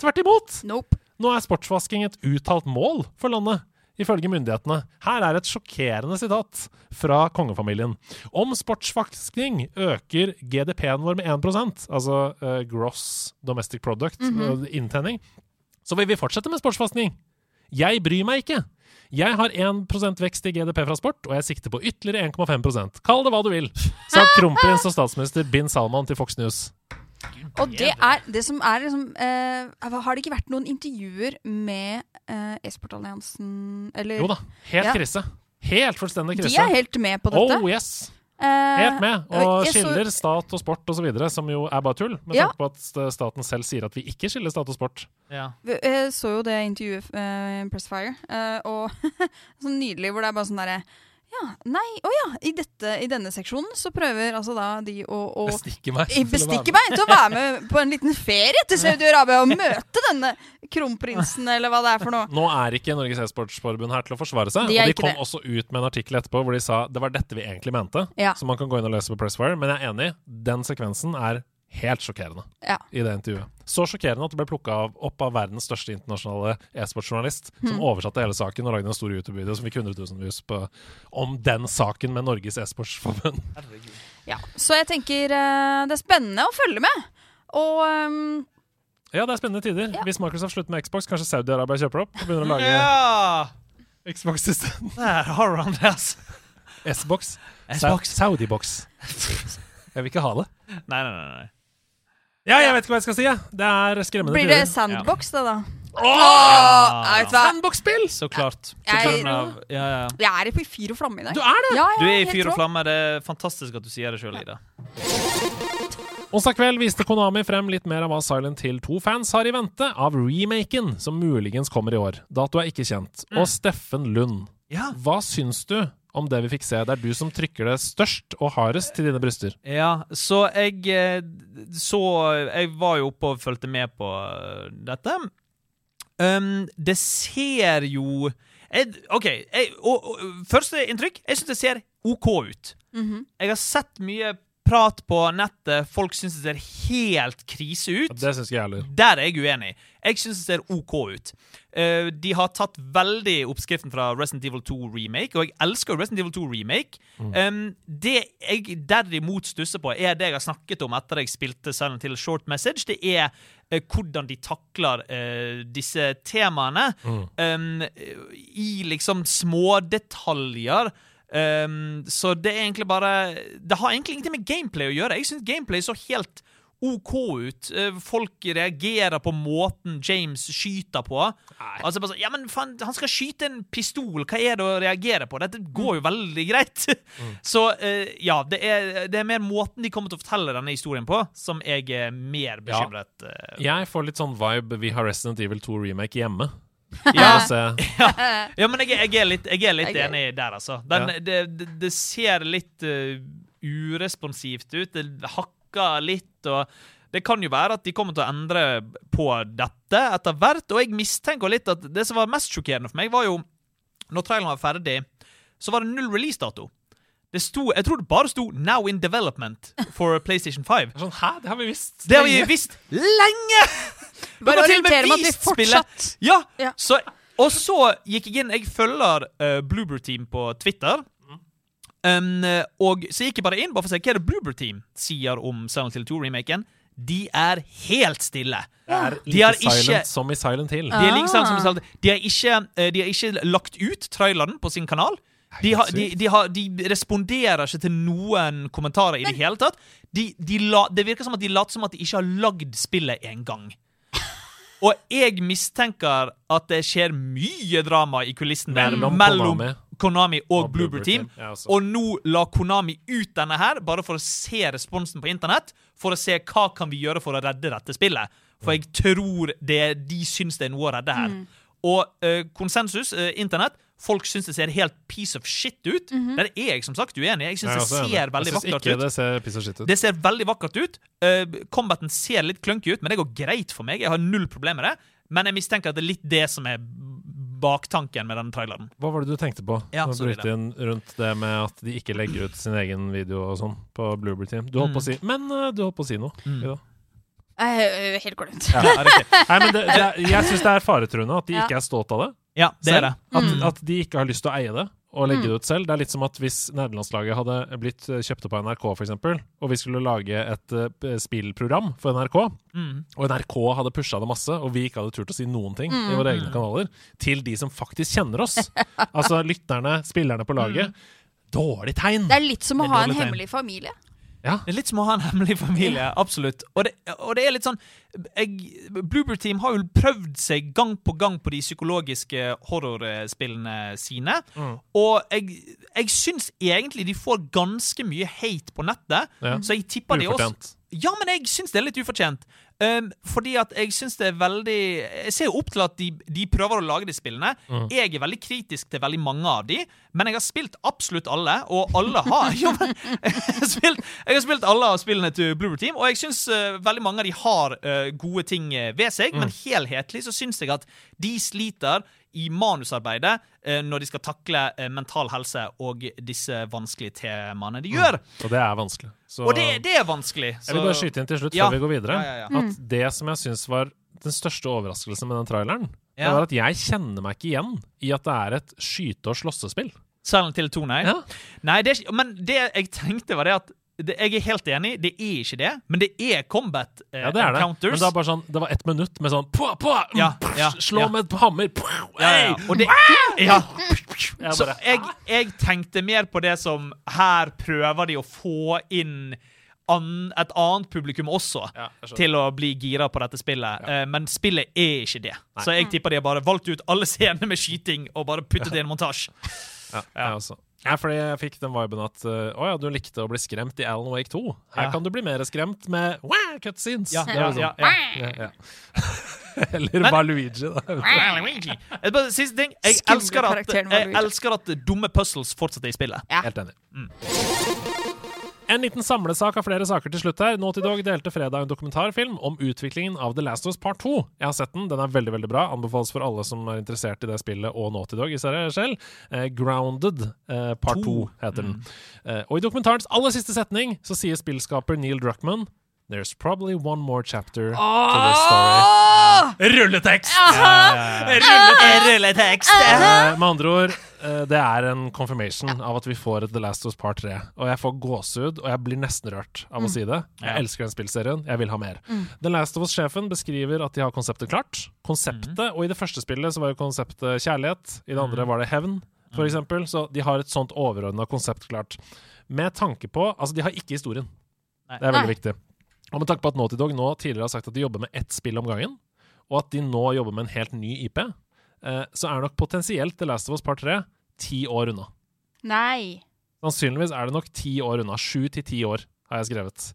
[SPEAKER 2] Tvert imot!
[SPEAKER 3] Nope.
[SPEAKER 2] Nå er sportsvasking et uttalt mål for landet, ifølge myndighetene. Her er et sjokkerende sitat fra kongefamilien. Om sportsvasking øker GDP-en vår med 1 altså eh, gross domestic product,
[SPEAKER 3] Mhm.
[SPEAKER 2] eh, inntjening, så vil vi fortsette med sportsvasking. Jeg bryr meg ikke. Jeg har 1 vekst i GDP fra sport, og jeg sikter på ytterligere 1,5 Kall det hva du vil,
[SPEAKER 3] [laughs]
[SPEAKER 2] sa kronprins og statsminister bin Salman til Fox News.
[SPEAKER 3] Og det er det som er liksom eh, Har det ikke vært noen intervjuer med eh, e-sportalliansen, eller
[SPEAKER 2] Jo da, helt
[SPEAKER 3] Ja.
[SPEAKER 2] krise. Helt fullstendig
[SPEAKER 3] De
[SPEAKER 2] krise.
[SPEAKER 3] er helt med på dette.
[SPEAKER 2] Oh yes!
[SPEAKER 3] Eh,
[SPEAKER 2] Helt med. Og
[SPEAKER 3] jeg så-
[SPEAKER 2] skiller stat og sport osv., som jo er bare tull, med
[SPEAKER 3] Ja.
[SPEAKER 2] tanke på at staten selv sier at vi ikke skiller stat og sport.
[SPEAKER 4] Ja.
[SPEAKER 3] Jeg så jo det intervjuet eh, Pressfire, eh, og [laughs] sånn nydelig hvor det er bare sånn derre Ja, nei, å ja. I, dette, I denne seksjonen så prøver altså da de å, å
[SPEAKER 2] Bestikke meg.
[SPEAKER 3] i- bestikke meg til å være med
[SPEAKER 2] [laughs]
[SPEAKER 3] på en liten ferie til Saudi-Arabia og møte denne
[SPEAKER 2] [laughs]
[SPEAKER 3] kronprinsen, eller hva det er for noe.
[SPEAKER 2] Nå er ikke Norges e-sportsforbund her til å forsvare seg.
[SPEAKER 3] De
[SPEAKER 2] og
[SPEAKER 3] er
[SPEAKER 2] de
[SPEAKER 3] ikke
[SPEAKER 2] kom
[SPEAKER 3] det.
[SPEAKER 2] også ut med en artikkel etterpå hvor de sa det var dette vi egentlig mente.
[SPEAKER 3] Ja.
[SPEAKER 2] Så man kan gå inn og lese på Pressfire. Men jeg er enig, den sekvensen er helt sjokkerende
[SPEAKER 3] Ja.
[SPEAKER 2] i det intervjuet. Så sjokkerende at det ble plukka opp av verdens største internasjonale e-sportsjournalist,
[SPEAKER 3] Mm.
[SPEAKER 2] som oversatte hele saken og lagde en stor YouTube-video som fikk 100 000 views på, om den saken med Norges e-sportsforbund.
[SPEAKER 3] Ja, så jeg tenker eh, det er spennende å følge med. Og ehm,
[SPEAKER 2] Ja, det er spennende tider. Hvis Microsoft slutter med Xbox, kanskje Saudi-Arabia kjøper det opp og begynner å lage
[SPEAKER 4] ja!
[SPEAKER 2] Xbox isteden.
[SPEAKER 4] Der har han det, altså.
[SPEAKER 2] S-box.
[SPEAKER 4] S-box.
[SPEAKER 2] Sa- Saudi-box. Jeg vil ikke ha det.
[SPEAKER 4] Nei, nei, nei. nei.
[SPEAKER 2] Ja, jeg vet ikke hva jeg skal si. jeg. Det er skremmende
[SPEAKER 3] blir det
[SPEAKER 2] tider.
[SPEAKER 3] sandbox, det da?
[SPEAKER 2] Åh!
[SPEAKER 3] Nei, vet du hva?
[SPEAKER 2] Sandbox-spill!
[SPEAKER 4] Så klart. Så
[SPEAKER 3] Jeg-
[SPEAKER 4] klart av- ja, ja.
[SPEAKER 3] Jeg er i fyr og flamme i dag.
[SPEAKER 2] Du er det!
[SPEAKER 3] Ja, ja,
[SPEAKER 4] Du er i
[SPEAKER 3] helt
[SPEAKER 4] fyr og
[SPEAKER 3] rå.
[SPEAKER 4] flamme. Det er fantastisk at du sier det sjøl, Ida.
[SPEAKER 2] Onsdag kveld viste Konami frem litt mer av hva Silent Hill 2-fans har i vente av remaken, som muligens kommer i år. Dato er ikke kjent. Og Steffen Lund,
[SPEAKER 4] Ja.
[SPEAKER 2] hva syns du om det vi fikk se? Det er du som trykker det størst og hardest til dine bryster.
[SPEAKER 4] Ja, så jeg eh, Så Jeg var jo oppe og fulgte med på eh, dette. Um, det ser jo jeg, OK. Jeg, og, og, første inntrykk Jeg syns det ser OK ut. Jeg har sett mye prat på nettet. Folk syns det ser helt krise ut.
[SPEAKER 2] Det syns ikke jeg heller.
[SPEAKER 4] Der er jeg uenig. Jeg syns det ser OK ut. Eh, de har tatt veldig oppskriften fra Resident Evil 2 Remake, og jeg elsker Resident Evil 2 Remake. Um, det jeg derimot stusser på, er det jeg har snakket om etter jeg spilte Silent Hill Short Message. Det er eh, hvordan de takler eh, disse temaene um, i liksom smådetaljer. Um, så det er egentlig bare Det har egentlig ingenting med gameplay å gjøre. Jeg syns gameplay så helt OK ut. Eh, Folk reagerer på måten James skyter på. Altså bare sånn, ja, men faen, Han skal skyte en pistol, hva er det å reagere på? Dette går jo veldig greit. [laughs] Så eh, ja, det er, det er mer måten de kommer til å fortelle denne historien på, som jeg er mer
[SPEAKER 2] Ja.
[SPEAKER 4] bekymret eh,
[SPEAKER 2] Jeg får litt sånn vibe vi har Resident Evil 2 remake hjemme.
[SPEAKER 4] Ja,
[SPEAKER 2] Og se-
[SPEAKER 4] ja men jeg, jeg er litt, jeg er litt
[SPEAKER 3] Jeg er-
[SPEAKER 4] enig der, altså. Den, det, det, det ser litt eh, uresponsivt ut. Det hakker litt, og det kan jo være at de kommer til å endre på dette etter hvert. Og jeg mistenker litt at det som var mest sjokkerende for meg, var jo når traileren var ferdig, så var det null releasedato. Det sto, jeg tror det bare sto 'Now in development' for PlayStation 5.
[SPEAKER 2] Sånn, Hæ, det har vi visst.
[SPEAKER 4] Det har vi visst lenge!
[SPEAKER 3] Bare
[SPEAKER 4] Dere har til og med
[SPEAKER 3] orientere meg at vi
[SPEAKER 4] vist spillet.
[SPEAKER 3] fortsatt
[SPEAKER 4] Ja,
[SPEAKER 3] Ja.
[SPEAKER 4] Så, og så gikk jeg inn Jeg følger uh, Bluebird Team på Twitter. Um, eh, og så gikk jeg bare inn bare for å se hva er det Bluebird Team sier om Silent Hill 2-remaken. De er helt stille.
[SPEAKER 2] Det er like
[SPEAKER 4] De har ikke-
[SPEAKER 2] silent som i Silent Hill.
[SPEAKER 4] De er like sant som de sa alltid. De har ikke, eh, de har ikke lagt ut traileren på sin kanal. De, har, de, de, har, de responderer ikke til noen kommentarer i det hele tatt. De, de la, det virker som at de later som at de ikke har lagd spillet engang. Og jeg mistenker at det skjer mye drama i kulissen der
[SPEAKER 2] Mellom
[SPEAKER 4] mellom,
[SPEAKER 2] Konami.
[SPEAKER 4] Konami. og,
[SPEAKER 2] Og Bloober
[SPEAKER 4] Bloober Team.
[SPEAKER 2] Team. Ja, altså.
[SPEAKER 4] og nå la Konami ut denne her, bare for å se responsen på internett. For å se hva kan vi gjøre for å redde dette spillet. For jeg tror det, de syns det er noe å redde her. Og eh, konsensus, eh, internett, folk syns det ser helt piece of shit ut. Der er jeg som sagt uenig. Jeg syns
[SPEAKER 2] altså, Jeg er også enig.
[SPEAKER 4] det ser veldig
[SPEAKER 2] jeg synes
[SPEAKER 4] vakkert
[SPEAKER 2] ikke
[SPEAKER 4] ut.
[SPEAKER 2] det ser piss og skitt ut.
[SPEAKER 4] Det ser veldig vakkert ut. Eh, combaten ser litt clunky ut, men det går greit for meg. Jeg har null problemer med det. Men jeg mistenker at det er litt det som er baktanken med denne traileren.
[SPEAKER 2] Hva var det du tenkte på
[SPEAKER 4] Ja,
[SPEAKER 2] når du
[SPEAKER 4] sorry,
[SPEAKER 2] brukte inn rundt det med at de ikke legger ut sin egen video og sånn på Bloober Team? Du holdt på å
[SPEAKER 4] Mm.
[SPEAKER 2] si Men eh, du holdt på å si noe. Ida.
[SPEAKER 3] Eh, helt glemt.
[SPEAKER 4] Ja, er det ok?
[SPEAKER 2] Nei, men det, det, er- jeg syns det er faretruende at de
[SPEAKER 3] Ja.
[SPEAKER 2] ikke er stolt av det.
[SPEAKER 4] ja, det er det.
[SPEAKER 2] At, at de ikke har lyst til å eie det og legge det ut selv. Det er litt som at hvis nederlandslaget hadde blitt eh, kjøpt opp av NRK, for eksempel, og vi skulle lage et eh, p- spillprogram for NRK,
[SPEAKER 4] Mm.
[SPEAKER 2] og NRK hadde pusha det masse, og vi ikke hadde turt å si noen ting i våre
[SPEAKER 4] Mm.
[SPEAKER 2] egne kanaler, til de som faktisk kjenner oss, altså lytterne, spillerne på laget Dårlig tegn!
[SPEAKER 3] Det er litt som å
[SPEAKER 4] Det er
[SPEAKER 3] ha en
[SPEAKER 4] dårlig tegn.
[SPEAKER 3] hemmelig familie.
[SPEAKER 4] Det er litt som å ha en hemmelig familie, absolutt. Og det, og det er litt sånn jeg, Bloober Team har jo prøvd seg gang på gang på de psykologiske horrorspillene sine.
[SPEAKER 2] Mm.
[SPEAKER 4] Og jeg, jeg syns egentlig de får ganske mye hate på nettet,
[SPEAKER 2] Ja.
[SPEAKER 4] så jeg tipper de også
[SPEAKER 2] Ufortjent.
[SPEAKER 4] Ja, men jeg syns det er litt ufortjent. Ehm, fordi at jeg syns det er veldig Jeg ser jo opp til at de, de prøver å lage de spillene.
[SPEAKER 2] Mm.
[SPEAKER 4] Jeg er veldig kritisk til veldig mange av de, men jeg har spilt absolutt alle, og alle har [laughs] jo, men, jeg, har spilt, jeg har spilt alle av spillene til Bloober Team, og jeg syns eh, veldig mange av de har eh, gode ting eh, ved seg,
[SPEAKER 2] Mm.
[SPEAKER 4] men helhetlig så syns jeg at de sliter i manusarbeidet eh, når de skal takle eh, mental helse og disse vanskelige temaene de gjør.
[SPEAKER 2] Og det er vanskelig. Mm. Så
[SPEAKER 4] Og det, det er vanskelig.
[SPEAKER 2] jeg vil bare skyte inn til slutt,
[SPEAKER 4] Ja.
[SPEAKER 2] før vi går videre,
[SPEAKER 4] Ja, ja,
[SPEAKER 2] at det som jeg syns var den største overraskelsen med den traileren, det
[SPEAKER 4] Ja.
[SPEAKER 2] var at jeg kjenner meg ikke igjen i at det er et skyte- og slåssespill.
[SPEAKER 4] Silent Hill 2, nei.
[SPEAKER 2] Ja.
[SPEAKER 4] nei det er, ikke- men det jeg tenkte, var det at det, Jeg er helt enig, det er ikke det, men det er combat eh,
[SPEAKER 2] Ja, det er det. Men
[SPEAKER 4] encounters.
[SPEAKER 2] det er bare sånn, det var ett minutt med sånn pua, pua, mm,
[SPEAKER 4] Ja,
[SPEAKER 2] pff,
[SPEAKER 4] ja,
[SPEAKER 2] Slå
[SPEAKER 4] ja.
[SPEAKER 2] med et hammer pua,
[SPEAKER 4] ja, ja.
[SPEAKER 2] ei!
[SPEAKER 4] Og det,
[SPEAKER 2] [laughs]
[SPEAKER 4] ja.
[SPEAKER 2] Jeg
[SPEAKER 4] Så
[SPEAKER 2] Ah! bare,
[SPEAKER 4] jeg, jeg tenkte mer på det som Her prøver de å få inn an, et annet publikum også.
[SPEAKER 2] Ja, jeg skjønner.
[SPEAKER 4] Til å bli gira på dette spillet. Eh, Men spillet er ikke det. Så jeg tipper de har bare valgt ut alle scenene med skyting og bare puttet det i en
[SPEAKER 2] [laughs]
[SPEAKER 4] montasje.
[SPEAKER 2] Ja, jeg også. Ja, fordi jeg fikk den viben at uh, å ja, du likte å bli skremt i Alan Wake 2. Her
[SPEAKER 4] Ja.
[SPEAKER 2] kan du bli mer skremt med wow, cutscenes.
[SPEAKER 4] Ja,
[SPEAKER 2] Det er
[SPEAKER 4] ja,
[SPEAKER 2] liksom-
[SPEAKER 4] ja, ja.
[SPEAKER 2] Ja, [laughs] ja. Eller Valuigi, da.
[SPEAKER 4] Jeg bare, siste ting. Jeg
[SPEAKER 3] Skumle
[SPEAKER 4] elsker, at,
[SPEAKER 3] karakteren
[SPEAKER 4] jeg
[SPEAKER 3] Maruja.
[SPEAKER 4] elsker at dumme puzzles fortsatt er i spillet.
[SPEAKER 3] Ja.
[SPEAKER 2] Helt enig. Mm. En liten samlesak av flere saker til slutt her. Naughty Dog delte fredag en dokumentarfilm om utviklingen av The Last of Us Part 2. Jeg har sett den. Den er veldig veldig bra. Anbefales for alle som er interessert i det spillet og Naughty Dog i seg selv. Eh, Grounded eh, Part 2 heter den. Eh, og i dokumentarens aller siste setning så sier spillskaper Neil Druckmann There's probably one more chapter to this story.
[SPEAKER 3] Åh!
[SPEAKER 2] Rulletekst!
[SPEAKER 4] Rulletekst!
[SPEAKER 3] Ah.
[SPEAKER 2] Eh, med andre ord, eh, det er en confirmation av at vi får et The Last of Us Part 3. Og jeg får gåsehud, og jeg blir nesten rørt av å si det. Jeg
[SPEAKER 4] Ja.
[SPEAKER 2] elsker den spillserien, jeg vil ha mer. The Last of Us-sjefen beskriver at de har konseptet klart. Konseptet, og i det første spillet så var jo konseptet kjærlighet, i det andre var det hevn, for eksempel. Så de har et sånt overordna konsept klart. Med tanke på Altså, de har ikke historien.
[SPEAKER 4] Nei.
[SPEAKER 2] Det er veldig
[SPEAKER 3] Nei.
[SPEAKER 2] viktig. Og med tanke på at Naughty Dog nå tidligere har sagt at de jobber med ett spill om gangen, og at de nå jobber med en helt ny IP, eh, så er nok potensielt The Last of Us Part 3 ti år unna.
[SPEAKER 3] Nei.
[SPEAKER 2] Sannsynligvis er det nok ti år unna. Sju til ti år, har jeg skrevet.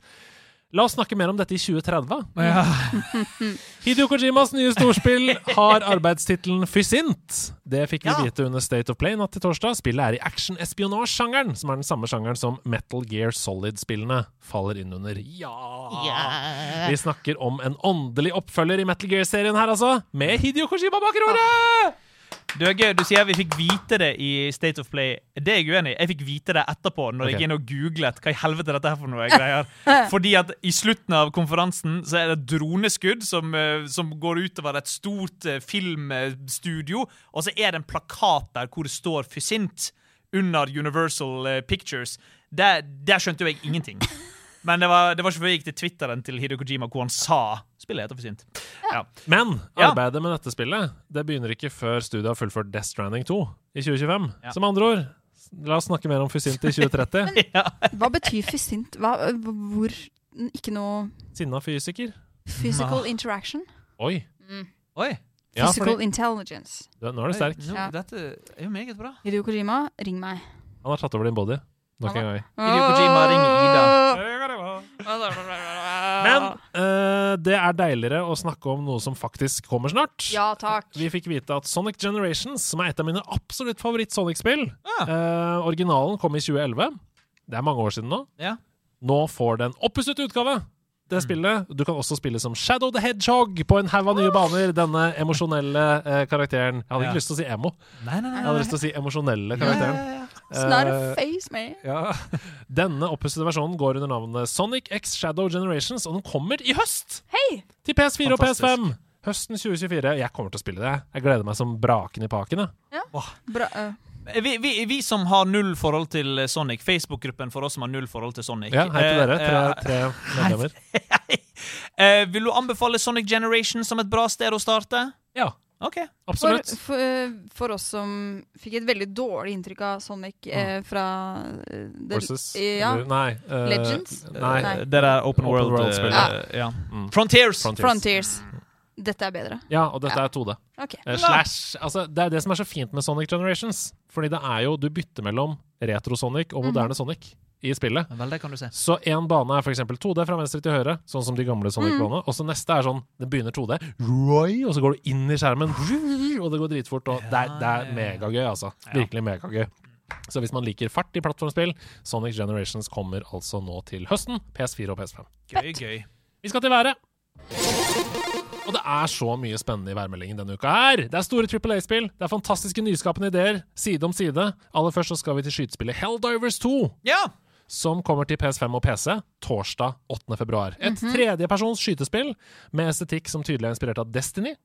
[SPEAKER 2] La oss snakke mer om dette i 2030. [laughs] Hideo Kojimas nye storspill har arbeidstittelen Fysint. Det fikk vi
[SPEAKER 4] Ja.
[SPEAKER 2] vite under State of Play natt til torsdag. Spillet er i action-espionasje-sjangeren, som er den samme sjangeren som Metal Gear Solid-spillene faller inn under. Ja. Vi snakker om en åndelig oppfølger i Metal Gear-serien her, altså, med Hideo Kojima bak roret!
[SPEAKER 4] Du er gøy, du sier vi fikk vite det i State of Play. Det er jeg uenig i. Jeg fikk vite det etterpå, når jeg
[SPEAKER 2] Ok.
[SPEAKER 4] gikk inn og googlet hva i helvete er dette her for noe greier. Fordi at i slutten av konferansen så er det et droneskudd som, eh, som går utover et stort eh, filmstudio, og så er det en plakat der hvor det står Fysint under Universal eh, Pictures. Der, der skjønte jo jeg ingenting. Men det var, det var ikke før jeg gikk til Twitteren til Hideo Kojima hvor han sa spillet heter Fysint. Ja.
[SPEAKER 2] Men
[SPEAKER 4] Ja.
[SPEAKER 2] arbeidet med dette spillet det begynner ikke før studiet har fullført Death Stranding 2 i 2025.
[SPEAKER 4] Ja.
[SPEAKER 2] Som andre ord, la oss snakke mer om Fysint i
[SPEAKER 4] [laughs]
[SPEAKER 2] 2030.
[SPEAKER 3] Hva betyr fysint? Hva, hvor Ikke noe
[SPEAKER 2] Sinna fysiker.
[SPEAKER 3] physical interaction?
[SPEAKER 2] Oi.
[SPEAKER 3] Mm.
[SPEAKER 4] Oi!
[SPEAKER 2] Ja,
[SPEAKER 3] Physical
[SPEAKER 2] fordi,
[SPEAKER 3] intelligence.
[SPEAKER 2] du, nå er du
[SPEAKER 4] oi,
[SPEAKER 2] sterk.
[SPEAKER 4] Nå,
[SPEAKER 3] Ja.
[SPEAKER 4] Dette er jo meget bra.
[SPEAKER 3] Hideo Kojima, ring meg.
[SPEAKER 2] Han har tatt over din body. Nok en gang.
[SPEAKER 4] Hideo Kojima, ring
[SPEAKER 3] Ah.
[SPEAKER 4] Ida.
[SPEAKER 2] Men eh, det er deiligere å snakke om noe som faktisk kommer snart.
[SPEAKER 3] Ja takk.
[SPEAKER 2] Vi fikk vite at Sonic Generations, som er et av mine absolutt favoritt-Sonic-spill
[SPEAKER 4] Ja.
[SPEAKER 2] eh, Originalen kom i 2011. Det er mange år siden nå.
[SPEAKER 4] Ja. Mm.
[SPEAKER 2] Nå får den oppusset utgave. Det spillet, Du kan også spille som Shadow the Hedgehog på en haug av nye baner. Denne emosjonelle eh, karakteren. Jeg hadde
[SPEAKER 4] Ah. Ja.
[SPEAKER 2] ikke lyst til å si emo.
[SPEAKER 4] Nei, nei,
[SPEAKER 2] Jeg
[SPEAKER 4] nei.
[SPEAKER 2] hadde lyst til å si emosjonelle karakteren. Eh,
[SPEAKER 3] Snarface me.
[SPEAKER 2] ja. [laughs] Denne oppussede versjonen går under navnet Sonic X Shadow Generations, og den kommer i høst!
[SPEAKER 3] Hei!
[SPEAKER 2] Til PS4
[SPEAKER 4] Fantastisk.
[SPEAKER 2] og PS5! Høsten 2024. Jeg kommer til å spille det. Jeg gleder meg som braken i paken. jeg.
[SPEAKER 3] Bra. eh,
[SPEAKER 4] Vi, vi, vi som har null forhold til eh, Sonic, Facebook-gruppen for oss som har null forhold til Sonic
[SPEAKER 2] Ja, hei til
[SPEAKER 4] eh,
[SPEAKER 2] dere. Tre,
[SPEAKER 4] eh,
[SPEAKER 2] tre medlemmer.
[SPEAKER 4] Eh, vil du anbefale Sonic Generation som et bra sted å starte?
[SPEAKER 2] Ja,
[SPEAKER 4] Ok.
[SPEAKER 3] For,
[SPEAKER 2] absolutt.
[SPEAKER 3] for, eh, for oss som fikk et veldig dårlig inntrykk av Sonic eh,
[SPEAKER 2] Mm.
[SPEAKER 3] fra eh, det-
[SPEAKER 2] Versus.
[SPEAKER 3] Ja.
[SPEAKER 2] Eller, nei. eh,
[SPEAKER 3] Legends?
[SPEAKER 2] Nei.
[SPEAKER 3] Nei.
[SPEAKER 4] Det der er open,
[SPEAKER 2] Open
[SPEAKER 4] world.
[SPEAKER 2] world
[SPEAKER 4] eh,
[SPEAKER 2] spill.
[SPEAKER 4] ja.
[SPEAKER 2] Mm.
[SPEAKER 4] Frontiers!
[SPEAKER 2] Frontiers.
[SPEAKER 3] Frontiers. Dette er bedre.
[SPEAKER 2] Ja, og dette
[SPEAKER 3] Ja.
[SPEAKER 2] er 2D.
[SPEAKER 3] Ok.
[SPEAKER 2] Eh, slash altså, Det er det som er så fint med Sonic Generations. Fordi det er jo Du bytter mellom retro-Sonic
[SPEAKER 3] Mhm.
[SPEAKER 2] og moderne Sonic i spillet.
[SPEAKER 4] Vel, det kan du se.
[SPEAKER 2] Så én bane er for eksempel 2D fra venstre til høyre, sånn som de gamle
[SPEAKER 4] Mm.
[SPEAKER 2] Sonic-banene. Og så neste er sånn Det begynner 2D, Roy, og så går du inn i skjermen, og det går dritfort. Og det er, det
[SPEAKER 4] Ja, ja,
[SPEAKER 2] er
[SPEAKER 4] ja.
[SPEAKER 2] megagøy, altså. Virkelig megagøy. Så hvis man liker fart i plattformspill, Sonic Generations kommer altså nå til høsten. PS4 og PS5.
[SPEAKER 4] Gøy, gøy.
[SPEAKER 2] Vi skal til været. Og det er så mye spennende i værmeldingen denne uka her. Det er store Triple A-spill, det er fantastiske nyskapende ideer, side om side. Aller først så skal vi til skytespillet Helldivers 2,
[SPEAKER 4] Ja!
[SPEAKER 2] som kommer til PS5 og PC torsdag 8. februar. Et tredjepersons skytespill med estetikk som tydelig er inspirert av Destiny.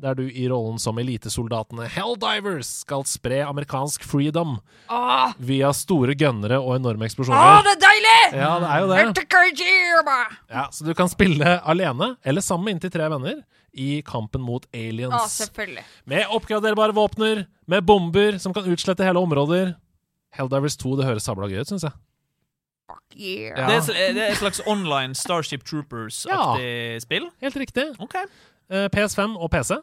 [SPEAKER 2] Der du i rollen som elitesoldatene Helldivers skal spre amerikansk freedom
[SPEAKER 3] Åh,
[SPEAKER 2] via store gønnere og enorme
[SPEAKER 3] åh,
[SPEAKER 2] eksplosjoner.
[SPEAKER 3] Ah, det er deilig!
[SPEAKER 2] Ja, det er jo det.
[SPEAKER 3] Dette Kojima!
[SPEAKER 2] Ja, Så du kan spille alene eller sammen med inntil tre venner i kampen mot
[SPEAKER 3] Ja,
[SPEAKER 2] aliens.
[SPEAKER 3] Ah, selvfølgelig.
[SPEAKER 2] Med oppgraderbare våpner, med bomber som kan utslette hele områder. Helldivers 2 det høres sabla gøy ut, syns jeg.
[SPEAKER 3] Fuck yeah.
[SPEAKER 2] Ja.
[SPEAKER 4] Det, er, sl- eh, det er et slags online Starship Troopers-aktig spill.
[SPEAKER 2] Helt riktig.
[SPEAKER 4] Ok.
[SPEAKER 2] Eh, PS5 og PC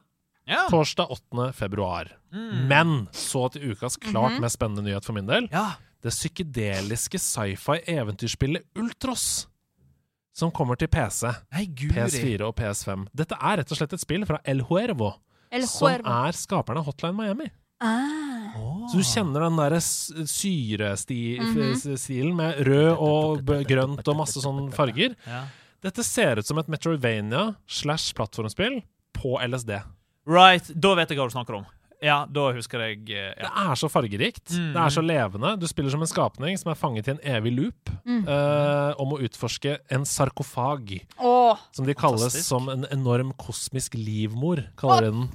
[SPEAKER 4] Ja.
[SPEAKER 2] torsdag 8. februar.
[SPEAKER 3] Mm.
[SPEAKER 2] Men så til ukas klart
[SPEAKER 3] Mhm.
[SPEAKER 2] mest spennende nyhet for min del.
[SPEAKER 4] ja.
[SPEAKER 2] Det psykedeliske sci-fi-eventyrspillet Ultros, som kommer til PC,
[SPEAKER 4] Nei, guri.
[SPEAKER 2] PS4 og PS5. Dette er rett og slett et spill fra El Huervo,
[SPEAKER 3] El
[SPEAKER 2] som
[SPEAKER 3] Cuervo.
[SPEAKER 2] er skaperne av Hotline Miami.
[SPEAKER 3] Ah. Mhm.
[SPEAKER 4] Åh.
[SPEAKER 2] Så du kjenner den der s- syrestilen med rød og b- grønt og masse sånne farger.
[SPEAKER 4] Ja.
[SPEAKER 2] Dette ser ut som et Metrovania slash plattformspill på LSD.
[SPEAKER 4] Right, da vet jeg hva du snakker om. Ja, da husker jeg eh,
[SPEAKER 2] Det
[SPEAKER 4] ja.
[SPEAKER 2] er så fargerikt, det er
[SPEAKER 3] Mm.
[SPEAKER 2] så levende. Du spiller som en skapning som er fanget i en evig loop
[SPEAKER 3] Mm.
[SPEAKER 2] eh, om å utforske en sarkofag,
[SPEAKER 3] Åh,
[SPEAKER 2] som de kalles
[SPEAKER 4] Fantastisk.
[SPEAKER 2] som en enorm kosmisk livmor, kaller de den.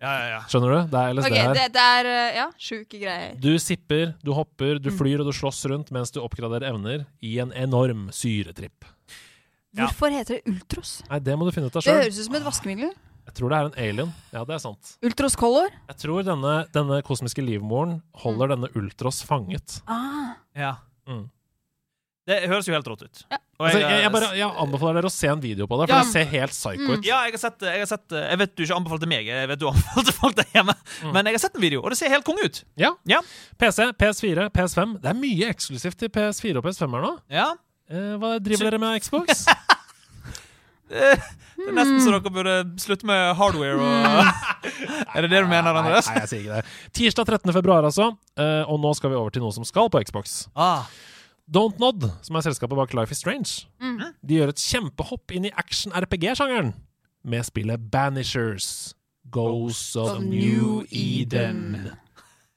[SPEAKER 4] Ja, ja, ja.
[SPEAKER 2] Skjønner du? Det er LSD
[SPEAKER 3] ok,
[SPEAKER 2] her.
[SPEAKER 3] det, det er eh, ja, sjuke greier.
[SPEAKER 2] Du sipper, du hopper,
[SPEAKER 3] Mm.
[SPEAKER 2] du flyr og du slåss rundt mens du oppgraderer evner i en enorm syretripp.
[SPEAKER 4] Ja.
[SPEAKER 3] Hvorfor heter det Ultros?
[SPEAKER 2] Nei, det må du finne ut av
[SPEAKER 3] Det
[SPEAKER 2] sjøl.
[SPEAKER 3] høres ut som et vaskemiddel.
[SPEAKER 2] Jeg tror det er en alien. Ja, det er sant.
[SPEAKER 3] Ultros Color?
[SPEAKER 2] Jeg tror denne, denne kosmiske livmoren
[SPEAKER 3] Mm.
[SPEAKER 2] holder denne Ultros fanget.
[SPEAKER 3] Ah.
[SPEAKER 4] ja.
[SPEAKER 2] Mm.
[SPEAKER 4] Det høres jo helt rått ut.
[SPEAKER 3] Ja.
[SPEAKER 4] Og
[SPEAKER 2] Altså, jeg,
[SPEAKER 4] eh,
[SPEAKER 2] jeg, bare, jeg anbefaler dere å se en video på det, for
[SPEAKER 3] Ja.
[SPEAKER 2] det ser helt psycho ut.
[SPEAKER 4] Ja, jeg har sett, jeg har sett eh, Jeg vet du ikke anbefalte meg, jeg vet du anbefalte folk der hjemme.
[SPEAKER 2] Mm.
[SPEAKER 4] Men jeg har sett en video, og det ser helt konge ut.
[SPEAKER 2] Ja.
[SPEAKER 4] Ja.
[SPEAKER 2] PC, PS4, PS5. Det er mye eksklusivt til PS4 og PS5 her nå.
[SPEAKER 4] Ja.
[SPEAKER 2] Eh, hva driver dere med Xbox?
[SPEAKER 4] Eh, Det er nesten så dere burde slutte med hardware og [laughs] Er det det du mener, Andreas?
[SPEAKER 2] Mm. Nei, nei, jeg sier ikke det. Tirsdag 13. februar, altså. Eh, og nå skal vi over til noe som skal på Xbox.
[SPEAKER 4] Ah,
[SPEAKER 2] Don't Nod, som er selskapet bak Life is Strange, de gjør et kjempehopp inn i action-RPG-sjangeren med spillet Banishers Ghosts of,
[SPEAKER 3] Of
[SPEAKER 2] New
[SPEAKER 3] New
[SPEAKER 2] Eden.
[SPEAKER 3] Eden.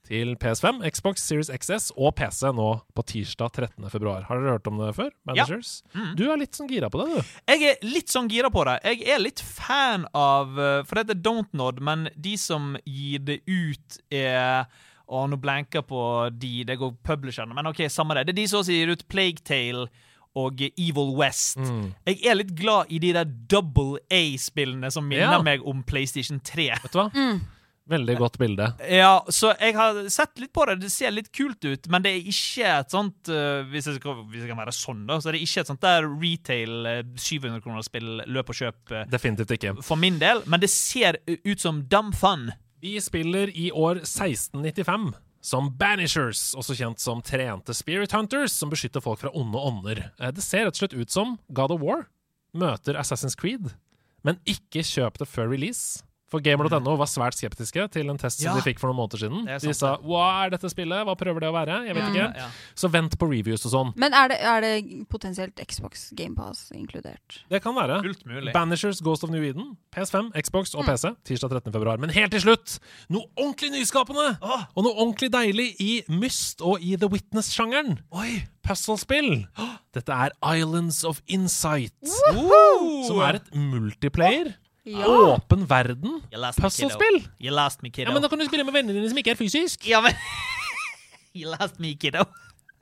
[SPEAKER 2] Til PS5, Xbox Series XS og PC nå på tirsdag 13. februar. Har dere hørt om det før? Banishers? Du er litt sånn gira på det, du.
[SPEAKER 4] jeg er litt sånn gira på det. Jeg er litt fan av eh, For dette er Don't Nod, men de som gir det ut, er Å, nå blanker jeg på de. Det går publisherne. Men OK, samme det. Det er de som også gir ut Plague Tale og Evil West. Jeg er litt glad i de der double A-spillene som minner
[SPEAKER 2] Ja.
[SPEAKER 4] meg om PlayStation 3.
[SPEAKER 2] Vet du hva? Veldig godt bilde.
[SPEAKER 4] Ja, så jeg har sett litt på det. Det ser litt kult ut, men det er ikke et sånt eh, Hvis jeg, skal, hvis jeg kan være sånn, da, så er det ikke et sånt der retail eh, 700 kroner spill, løp og kjøp, eh,
[SPEAKER 2] Definitivt ikke.
[SPEAKER 4] for min del. Men det ser ut som dumb fun.
[SPEAKER 2] Vi spiller i år 1695 som Banishers, også kjent som trente Spirit Hunters, som beskytter folk fra onde ånder. Eh, Det ser rett og slett ut som God of War møter Assassin's Creed, men ikke kjøp det før release. For gamer.no var svært skeptiske til en test som
[SPEAKER 4] Ja.
[SPEAKER 2] de fikk for noen måneder siden.
[SPEAKER 4] Det er
[SPEAKER 2] De
[SPEAKER 4] sant,
[SPEAKER 2] sa 'hva er dette spillet, hva prøver det å være', jeg vet
[SPEAKER 3] Ja.
[SPEAKER 2] ikke.
[SPEAKER 4] Ja.
[SPEAKER 2] Så vent på reviews og sånn.
[SPEAKER 3] Men er det, er det potensielt Xbox GamePass inkludert?
[SPEAKER 2] Det kan være.
[SPEAKER 4] [laughs] Fullt mulig.
[SPEAKER 2] Banishers, Ghost of New Eden, PS5, Xbox og PC tirsdag 13. februar. Men helt til slutt, noe ordentlig nyskapende!
[SPEAKER 4] Åh,
[SPEAKER 2] Og noe ordentlig deilig i Myst og i The Witness-sjangeren.
[SPEAKER 4] oi! Ah.
[SPEAKER 2] Puzzlespill. Dette er Islands of Insight, som er et multiplayer, åpen verden,
[SPEAKER 4] You lost me, kiddo.
[SPEAKER 2] puzzlespill.
[SPEAKER 4] You lost me, kiddo.
[SPEAKER 2] Ja, men da kan du spille med vennene dine som ikke er fysisk.
[SPEAKER 4] Ja, men- [laughs] You lost me, kiddo.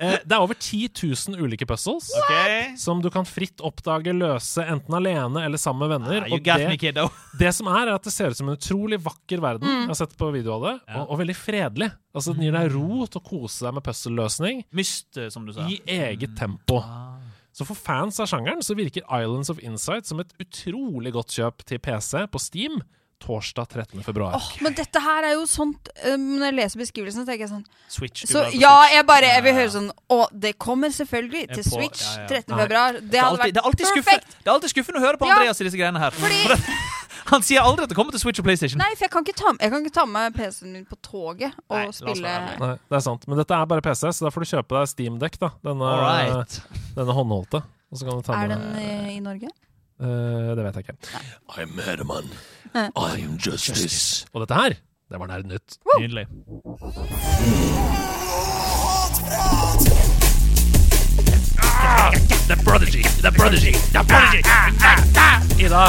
[SPEAKER 2] Eh, det er over 10 000 ulike puzzles.
[SPEAKER 4] Okay.
[SPEAKER 2] Som du kan fritt oppdage, løse enten alene eller sammen med venner.
[SPEAKER 4] Ah, you
[SPEAKER 2] og
[SPEAKER 4] got me,
[SPEAKER 2] det,
[SPEAKER 4] kiddo.
[SPEAKER 2] det som er, er at det ser ut som en utrolig vakker verden.
[SPEAKER 3] Mm.
[SPEAKER 2] Jeg har sett på video av det,
[SPEAKER 4] Ja. Mm.
[SPEAKER 2] og, og veldig fredelig. Altså, Den gir deg ro til å kose deg med puzzle-løsning
[SPEAKER 4] Myst, eh, som du sa.
[SPEAKER 2] i eget tempo.
[SPEAKER 4] Ah.
[SPEAKER 2] Så for fans av sjangeren så virker Islands of Insight som et utrolig godt kjøp til PC på Steam torsdag 13. februar.
[SPEAKER 3] Åh, men dette her er jo sånt eh, Når jeg leser beskrivelsen, tenker jeg sånn
[SPEAKER 4] Switch. du
[SPEAKER 3] så,
[SPEAKER 4] la på
[SPEAKER 3] Ja,
[SPEAKER 4] Switch.
[SPEAKER 3] jeg bare jeg vil
[SPEAKER 4] Ja, ja.
[SPEAKER 3] høre sånn Å, det kommer selvfølgelig
[SPEAKER 4] Jeg
[SPEAKER 3] til
[SPEAKER 4] på-
[SPEAKER 3] Switch
[SPEAKER 4] ja, ja.
[SPEAKER 3] 13.
[SPEAKER 2] Nei.
[SPEAKER 3] februar. Det
[SPEAKER 4] Det er
[SPEAKER 3] hadde
[SPEAKER 4] alltid, det er
[SPEAKER 3] vært
[SPEAKER 4] alltid skuffende,
[SPEAKER 3] perfekt!
[SPEAKER 4] det er alltid skuffende å høre på
[SPEAKER 3] Ja.
[SPEAKER 4] Andreas i disse greiene her.
[SPEAKER 3] Fordi-
[SPEAKER 4] [laughs] Han sier aldri at det kommer til Switch og PlayStation.
[SPEAKER 3] Nei, for jeg kan ikke ta, jeg kan ikke ta med PC-en min på toget og
[SPEAKER 4] Nei, la oss
[SPEAKER 3] spille
[SPEAKER 4] være ærlige.
[SPEAKER 2] Nei, det er sant. Men dette er bare PC, så da får du kjøpe deg Steamdekk, da. Denne,
[SPEAKER 4] All right.
[SPEAKER 2] denne håndholdte. Og så kan du ta
[SPEAKER 3] Er
[SPEAKER 2] med
[SPEAKER 3] den i, i Norge?
[SPEAKER 2] Eh, Det vet jeg ikke.
[SPEAKER 1] I'm Herman.
[SPEAKER 3] Eh.
[SPEAKER 1] I'm Justice.
[SPEAKER 2] Og dette her, det var nær nytt.
[SPEAKER 4] Nydelig.
[SPEAKER 2] The Prodigy, The Prodigy, The Prodigy! Ida,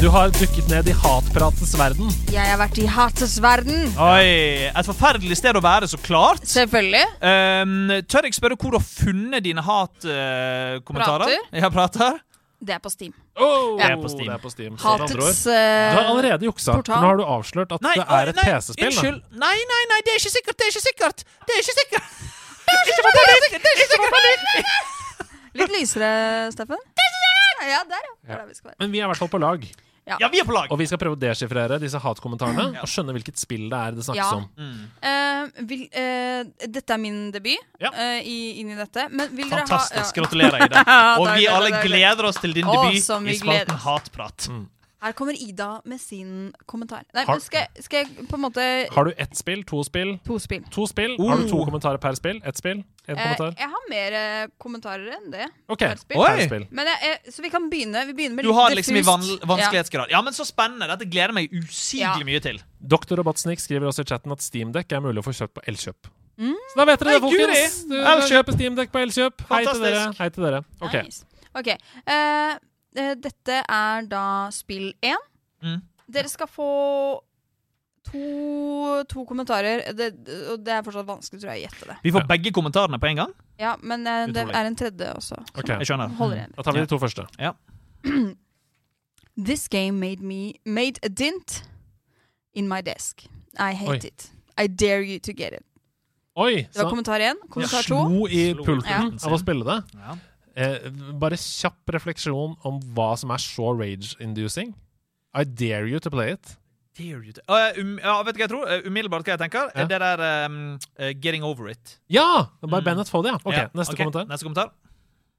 [SPEAKER 2] du har dukket ned i hatpratens verden.
[SPEAKER 3] Jeg har vært i hatets verden!
[SPEAKER 4] Oi, Et forferdelig sted å være, så klart.
[SPEAKER 3] Selvfølgelig.
[SPEAKER 4] Um, tør jeg spørre hvor du har funnet dine hatkommentarer?
[SPEAKER 3] Prater?
[SPEAKER 4] ja, prater.
[SPEAKER 3] Det er på Steam.
[SPEAKER 2] Oh,
[SPEAKER 4] Ja. Det er på Steam.
[SPEAKER 2] Det er på Steam. Så med andre ord,
[SPEAKER 3] Hatets
[SPEAKER 2] Du har
[SPEAKER 3] eh,
[SPEAKER 2] allerede juksa. for
[SPEAKER 3] Portal.
[SPEAKER 2] Nå har du avslørt at det er
[SPEAKER 4] oi,
[SPEAKER 2] et PC-spill. da.
[SPEAKER 4] Unnskyld. Nei, nei, nei, det er ikke sikkert! Det er ikke sikkert! Det er ikke sikkert! Ikke få panikk! Ikke få panikk!
[SPEAKER 3] Litt lysere, Steffen. Ja, der, ja. Det er der vi skal være.
[SPEAKER 2] Men vi er i hvert fall på lag,
[SPEAKER 4] Ja, vi er på lag.
[SPEAKER 2] og vi skal prøve å deschiffrere disse hatkommentarene og skjønne hvilket spill det er det snakkes
[SPEAKER 3] Ja.
[SPEAKER 2] om.
[SPEAKER 4] Mm.
[SPEAKER 3] Eh, vil, eh, dette er min debut
[SPEAKER 2] Ja.
[SPEAKER 3] eh, i, inn i dette. Men vil dere ha
[SPEAKER 4] Fantastisk.
[SPEAKER 3] ja.
[SPEAKER 4] Gratulerer, Ida.
[SPEAKER 3] [laughs] Ja,
[SPEAKER 4] Og
[SPEAKER 3] takk,
[SPEAKER 4] vi
[SPEAKER 3] takk,
[SPEAKER 4] alle
[SPEAKER 3] takk, takk.
[SPEAKER 4] gleder oss til din
[SPEAKER 3] Å,
[SPEAKER 4] debut
[SPEAKER 3] som
[SPEAKER 4] i
[SPEAKER 3] vi gleder
[SPEAKER 4] spalten
[SPEAKER 3] oss.
[SPEAKER 4] Hatprat.
[SPEAKER 2] Mm.
[SPEAKER 3] Her kommer Ida med sin kommentar. Nei,
[SPEAKER 2] Har-
[SPEAKER 3] men skal, jeg- skal jeg på en måte
[SPEAKER 2] Har du ett spill, to spill,
[SPEAKER 3] To spill.
[SPEAKER 2] to spill? Har du to kommentarer per spill? Ett spill? En
[SPEAKER 3] Eh,
[SPEAKER 2] kommentar?
[SPEAKER 3] jeg har mer eh, kommentarer enn det.
[SPEAKER 2] OK.
[SPEAKER 3] per spill.
[SPEAKER 2] Per
[SPEAKER 4] Oi.
[SPEAKER 2] spill.
[SPEAKER 3] Men jeg, jeg, så vi kan begynne. Vi begynner med
[SPEAKER 4] Du
[SPEAKER 3] litt
[SPEAKER 4] har liksom i
[SPEAKER 3] diffust.
[SPEAKER 4] van vanskelighetsgrad. Ja, men så spennende. Dette gleder jeg meg usigelig
[SPEAKER 3] Ja.
[SPEAKER 4] mye til.
[SPEAKER 2] Doktor Robotsnik skriver også i chatten at Steamdekk er mulig å få kjøpt på Elkjøp. Så da vet dere det,
[SPEAKER 4] Nei,
[SPEAKER 2] folkens!
[SPEAKER 4] guri!
[SPEAKER 2] Du
[SPEAKER 4] Elkjøp.
[SPEAKER 2] kjøper Steamdekk på Elkjøp. Hei til dere.
[SPEAKER 4] Fantastisk.
[SPEAKER 2] Hei til dere. Ok.
[SPEAKER 3] Nice. Ok, eh, eh, dette er da spill én.
[SPEAKER 4] Mm.
[SPEAKER 3] Dere skal få to, to kommentarer. Det, og det er fortsatt vanskelig, tror jeg, å gjette det.
[SPEAKER 4] Vi får
[SPEAKER 2] Ja.
[SPEAKER 4] begge kommentarene på en gang.
[SPEAKER 3] Ja, Men eh, det
[SPEAKER 4] Utrolig.
[SPEAKER 3] er en tredje også.
[SPEAKER 2] ok.
[SPEAKER 4] Jeg skjønner. Mm.
[SPEAKER 3] Holder igjen.
[SPEAKER 2] Da tar vi de to første.
[SPEAKER 3] This game made me made a dint in my desk. I hate
[SPEAKER 2] Oi.
[SPEAKER 3] it. I dare you to get it.
[SPEAKER 2] Oi!
[SPEAKER 3] Det var
[SPEAKER 2] Så
[SPEAKER 3] kommentar én. Kommentar to.
[SPEAKER 2] slo i
[SPEAKER 4] Slo i
[SPEAKER 2] pulten
[SPEAKER 3] pulten
[SPEAKER 2] av å
[SPEAKER 4] sin.
[SPEAKER 2] spille det.
[SPEAKER 4] Ja.
[SPEAKER 2] Eh, bare kjapp refleksjon om hva som er så rage-inducing. I dare you to play it.
[SPEAKER 4] Dare you to- Eh, um, ja, vet du hva jeg tror? Eh, umiddelbart hva jeg tenker?
[SPEAKER 2] Ja.
[SPEAKER 4] Det der um, eh, 'getting over it'.
[SPEAKER 2] Ja! By
[SPEAKER 4] Mm.
[SPEAKER 2] Bennett Foddy, ja. Ok,
[SPEAKER 4] Ja,
[SPEAKER 2] Neste
[SPEAKER 4] ok,
[SPEAKER 2] kommentar.
[SPEAKER 4] Neste kommentar.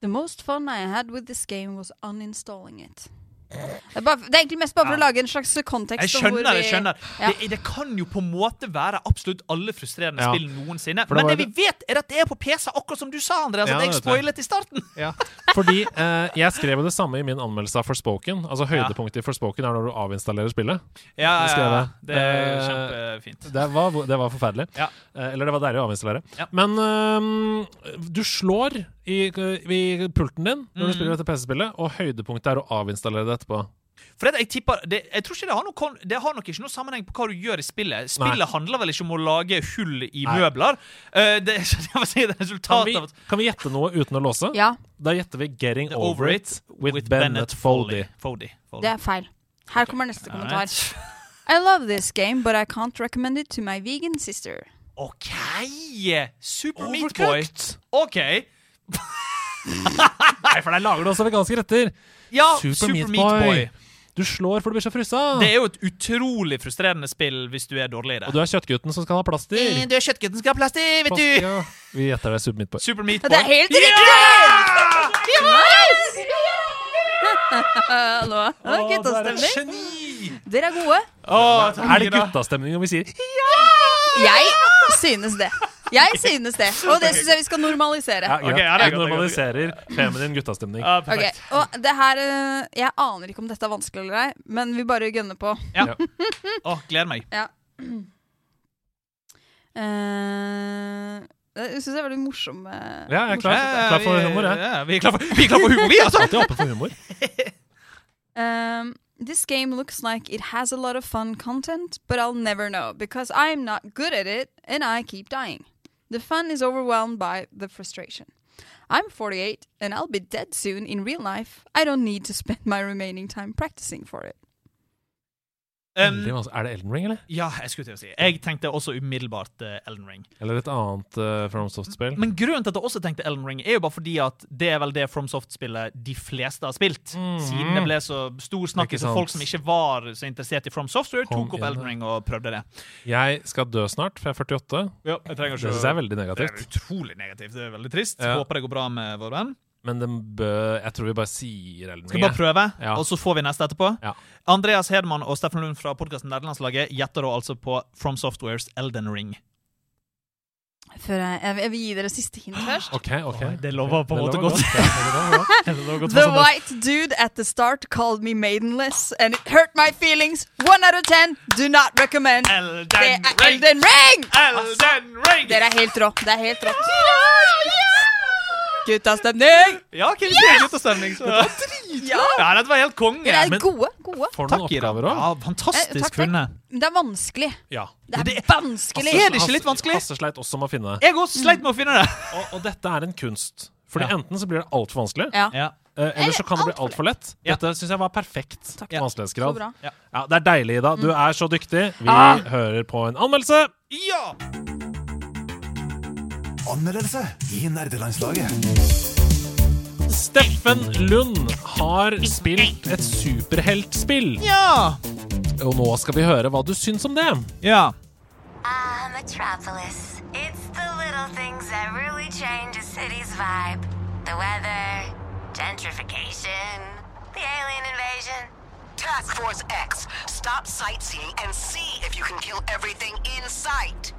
[SPEAKER 3] The most fun I had with this game was uninstalling it. Det er, bare, det er egentlig mest bare for å
[SPEAKER 4] Ja.
[SPEAKER 3] lage en slags kontekst. om
[SPEAKER 4] Jeg skjønner,
[SPEAKER 3] hvor vi-
[SPEAKER 4] jeg skjønner.
[SPEAKER 3] Ja.
[SPEAKER 4] Det, det kan jo på en måte være absolutt alle frustrerende
[SPEAKER 2] Ja.
[SPEAKER 4] spill noensinne.
[SPEAKER 2] For det
[SPEAKER 4] Men
[SPEAKER 2] var
[SPEAKER 4] det vi vet, er at det er på PC, akkurat som du sa, Andreas.
[SPEAKER 2] Ja,
[SPEAKER 4] at jeg
[SPEAKER 2] det vet jeg.
[SPEAKER 4] spoilet i starten.
[SPEAKER 2] Ja. Fordi eh, jeg skrev jo det samme i min anmeldelse av Forspoken. Altså Høydepunktet i Forspoken er når du avinstallerer spillet.
[SPEAKER 4] [laughs] Ja,
[SPEAKER 2] Det skal jeg være.
[SPEAKER 4] Det er
[SPEAKER 2] Eh,
[SPEAKER 4] kjempefint.
[SPEAKER 2] Det var, det var forferdelig.
[SPEAKER 4] Ja.
[SPEAKER 2] Eh, eller det var deilig å avinstallere.
[SPEAKER 4] Ja.
[SPEAKER 2] Men eh, du slår i, i pulten din når du spiller dette PC-spillet, og høydepunktet er å avinstallere det etterpå.
[SPEAKER 4] For det, jeg tipper det, Jeg tror ikke det har, noe, kon- det har nok ikke noe sammenheng på hva du gjør i spillet. Spillet
[SPEAKER 2] Nei.
[SPEAKER 4] handler vel ikke om å lage hull i
[SPEAKER 2] Nei.
[SPEAKER 4] møbler. Eh, det, [laughs] så det var sikkert et
[SPEAKER 2] Kan
[SPEAKER 4] resultat
[SPEAKER 2] vi,
[SPEAKER 4] av at
[SPEAKER 2] kan vi gjette noe uten å låse?
[SPEAKER 3] Ja,
[SPEAKER 2] Da gjetter vi 'Getting
[SPEAKER 4] The
[SPEAKER 2] Over It' with, Bennett, Foldy.
[SPEAKER 4] Foldy. Foldy.
[SPEAKER 3] det er feil. Her kommer neste
[SPEAKER 4] All
[SPEAKER 3] kommentar.
[SPEAKER 4] right.
[SPEAKER 3] I love this game, but I can't recommend it to my vegan sister.
[SPEAKER 4] OK! Super Meat Boy. OK.
[SPEAKER 2] Nei, for der lager du også veganske retter.
[SPEAKER 4] Ja,
[SPEAKER 2] Super, Meat Boy. Du slår for du blir så frussa.
[SPEAKER 4] Det er jo et utrolig frustrerende spill hvis du er dårlig i det. Eh,
[SPEAKER 2] Og du er kjøttgutten som skal ha plaster.
[SPEAKER 4] er kjøttgutten som skal ha plass til, vet
[SPEAKER 2] plaster ja. Vi gjetter det er Super Meat Boy.
[SPEAKER 4] Super Meat
[SPEAKER 3] Ja,
[SPEAKER 4] Boy.
[SPEAKER 3] det er helt riktig! Yes! Hallo. Det er guttastemning.
[SPEAKER 4] geni!
[SPEAKER 3] Dere er gode.
[SPEAKER 2] Er det guttastemning når vi sier
[SPEAKER 3] Jeg synes det. Jeg synes det, og det synes jeg vi skal normalisere.
[SPEAKER 2] greit.
[SPEAKER 4] Ok, ja,
[SPEAKER 2] Jeg
[SPEAKER 4] det er godt, det er godt.
[SPEAKER 2] normaliserer feminin guttastemning.
[SPEAKER 4] Ja,
[SPEAKER 3] Ok,
[SPEAKER 4] perfekt.
[SPEAKER 3] og det her eh, Jeg aner ikke om dette er vanskelig eller ei, men vi bare gønner på.
[SPEAKER 4] Åh, gleder meg.
[SPEAKER 3] Ja. Eh, jeg syns det er veldig morsom eh,
[SPEAKER 2] Ja, jeg er klar.
[SPEAKER 4] Ja, ja,
[SPEAKER 2] Klar for
[SPEAKER 4] vi-
[SPEAKER 2] humor, jeg.
[SPEAKER 4] ja, vi er klar for, vi er klar for humor, vi,
[SPEAKER 2] [laughs]
[SPEAKER 4] altså!
[SPEAKER 2] Alltid åpen
[SPEAKER 4] [laughs]
[SPEAKER 2] for humor.
[SPEAKER 3] Um, this game looks like it has a lot of fun content, but I'll never know because I'm not good at it and I keep dying. The fun is overwhelmed by the frustration. I'm 48 and I'll be dead soon in real life. I don't need to [laughs] spend my remaining time practicing for it.
[SPEAKER 4] Um,
[SPEAKER 2] Veldig vanskelig. er det Elden Ring, eller?
[SPEAKER 4] ja, jeg skulle til å si. Jeg tenkte også umiddelbart eh, Elden Ring.
[SPEAKER 2] Eller et annet uh, FromSoft-spill?
[SPEAKER 4] Men grunnen til at jeg også tenkte Elden Ring, er jo bare fordi at det er vel det FromSoft-spillet de fleste har spilt.
[SPEAKER 2] Mhm.
[SPEAKER 4] Siden det ble så stor snakk
[SPEAKER 2] Ikke
[SPEAKER 4] så
[SPEAKER 2] sant.
[SPEAKER 4] folk som Mm. ikke var så interessert i From Software,
[SPEAKER 2] Kom
[SPEAKER 4] tok opp
[SPEAKER 2] igjen, da.
[SPEAKER 4] Elden Ring og prøvde det.
[SPEAKER 2] Jeg skal dø snart, for jeg er 48.
[SPEAKER 4] Ja, jeg
[SPEAKER 2] Det
[SPEAKER 4] trenger
[SPEAKER 2] syns jeg er veldig
[SPEAKER 4] Det er
[SPEAKER 2] negativt.
[SPEAKER 4] utrolig negativt. Det er veldig trist.
[SPEAKER 2] Ja.
[SPEAKER 4] Håper det går bra med vår venn.
[SPEAKER 2] Men den bø... Jeg tror vi bare sier Elden
[SPEAKER 4] Skal vi
[SPEAKER 2] Ring.
[SPEAKER 4] bare
[SPEAKER 2] jeg.
[SPEAKER 4] prøve,
[SPEAKER 2] Ja.
[SPEAKER 4] og så får vi neste etterpå?
[SPEAKER 2] Ja.
[SPEAKER 4] Andreas Hedman og Steffen Lund fra podkasten Nederlandslaget gjetter da altså på From Softwares Elden [laughs] Ring.
[SPEAKER 3] Før jeg, jeg, vil- jeg vil gi dere siste [gasps] hint først.
[SPEAKER 2] OK, OK.
[SPEAKER 4] Oi, det lover på en måte
[SPEAKER 2] lover
[SPEAKER 4] godt.
[SPEAKER 2] Ja, det lover godt.
[SPEAKER 3] The white dude at the start called me maidenless, and it hurt my feelings. One out of ten. Do not recommend. Det
[SPEAKER 4] Elden
[SPEAKER 3] er
[SPEAKER 4] Ring!
[SPEAKER 3] Elden Ring!
[SPEAKER 4] Elden Ring!
[SPEAKER 3] Dere er helt rå. Det er helt rått. Guttastemning!
[SPEAKER 4] Ja, Kim, det er guttestemning. så-
[SPEAKER 3] Ja!
[SPEAKER 4] Ja, dette var
[SPEAKER 3] Dere
[SPEAKER 4] helt konge.
[SPEAKER 3] er
[SPEAKER 2] men-
[SPEAKER 3] gode. gode.
[SPEAKER 2] Får du noen
[SPEAKER 4] Takk, Ida.
[SPEAKER 2] oppgaver òg?
[SPEAKER 4] Ja,
[SPEAKER 3] Eh,
[SPEAKER 4] fantastisk
[SPEAKER 3] takk, takk.
[SPEAKER 4] funnet.
[SPEAKER 3] Men det er vanskelig.
[SPEAKER 2] Ja.
[SPEAKER 3] Det er
[SPEAKER 4] Det-
[SPEAKER 3] vanskelig.
[SPEAKER 4] Er Altså, det ikke litt vanskelig?
[SPEAKER 2] Hasse sleit også med å finne.
[SPEAKER 4] Jeg også sleit med å finne det.
[SPEAKER 2] Og, og dette er en kunst. Fordi
[SPEAKER 4] Ja.
[SPEAKER 2] enten så blir det altfor vanskelig,
[SPEAKER 3] Ja.
[SPEAKER 4] Ja.
[SPEAKER 2] eh, eller så kan det bli
[SPEAKER 3] Eller alt
[SPEAKER 2] altfor lett.
[SPEAKER 4] Ja.
[SPEAKER 2] Dette syns jeg var perfekt
[SPEAKER 3] Takk.
[SPEAKER 4] Ja. Mm.
[SPEAKER 3] Så
[SPEAKER 2] vanskelighetsgrad.
[SPEAKER 3] bra.
[SPEAKER 2] Ja, det er deilig, Ida. Du er så dyktig. Vi
[SPEAKER 3] Ah.
[SPEAKER 2] hører på en anmeldelse.
[SPEAKER 4] ja.
[SPEAKER 1] Anmeldelse i nerdelandslaget.
[SPEAKER 2] Steffen Lund har spilt et superheltspill.
[SPEAKER 4] Ja.
[SPEAKER 2] Og nå skal vi høre hva du syns om det.
[SPEAKER 4] ja.
[SPEAKER 5] Ah, Metropolis. It's the little things that really change a city's vibe. The weather, gentrification, the alien invasion.
[SPEAKER 6] Task Force X, stop sightseeing and see if you can kill everything in sight.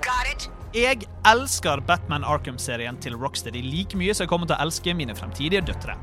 [SPEAKER 6] Got it?
[SPEAKER 4] Jeg elsker Batman Arkham-serien til Rocksteady like mye som jeg kommer til å elske mine fremtidige døtre.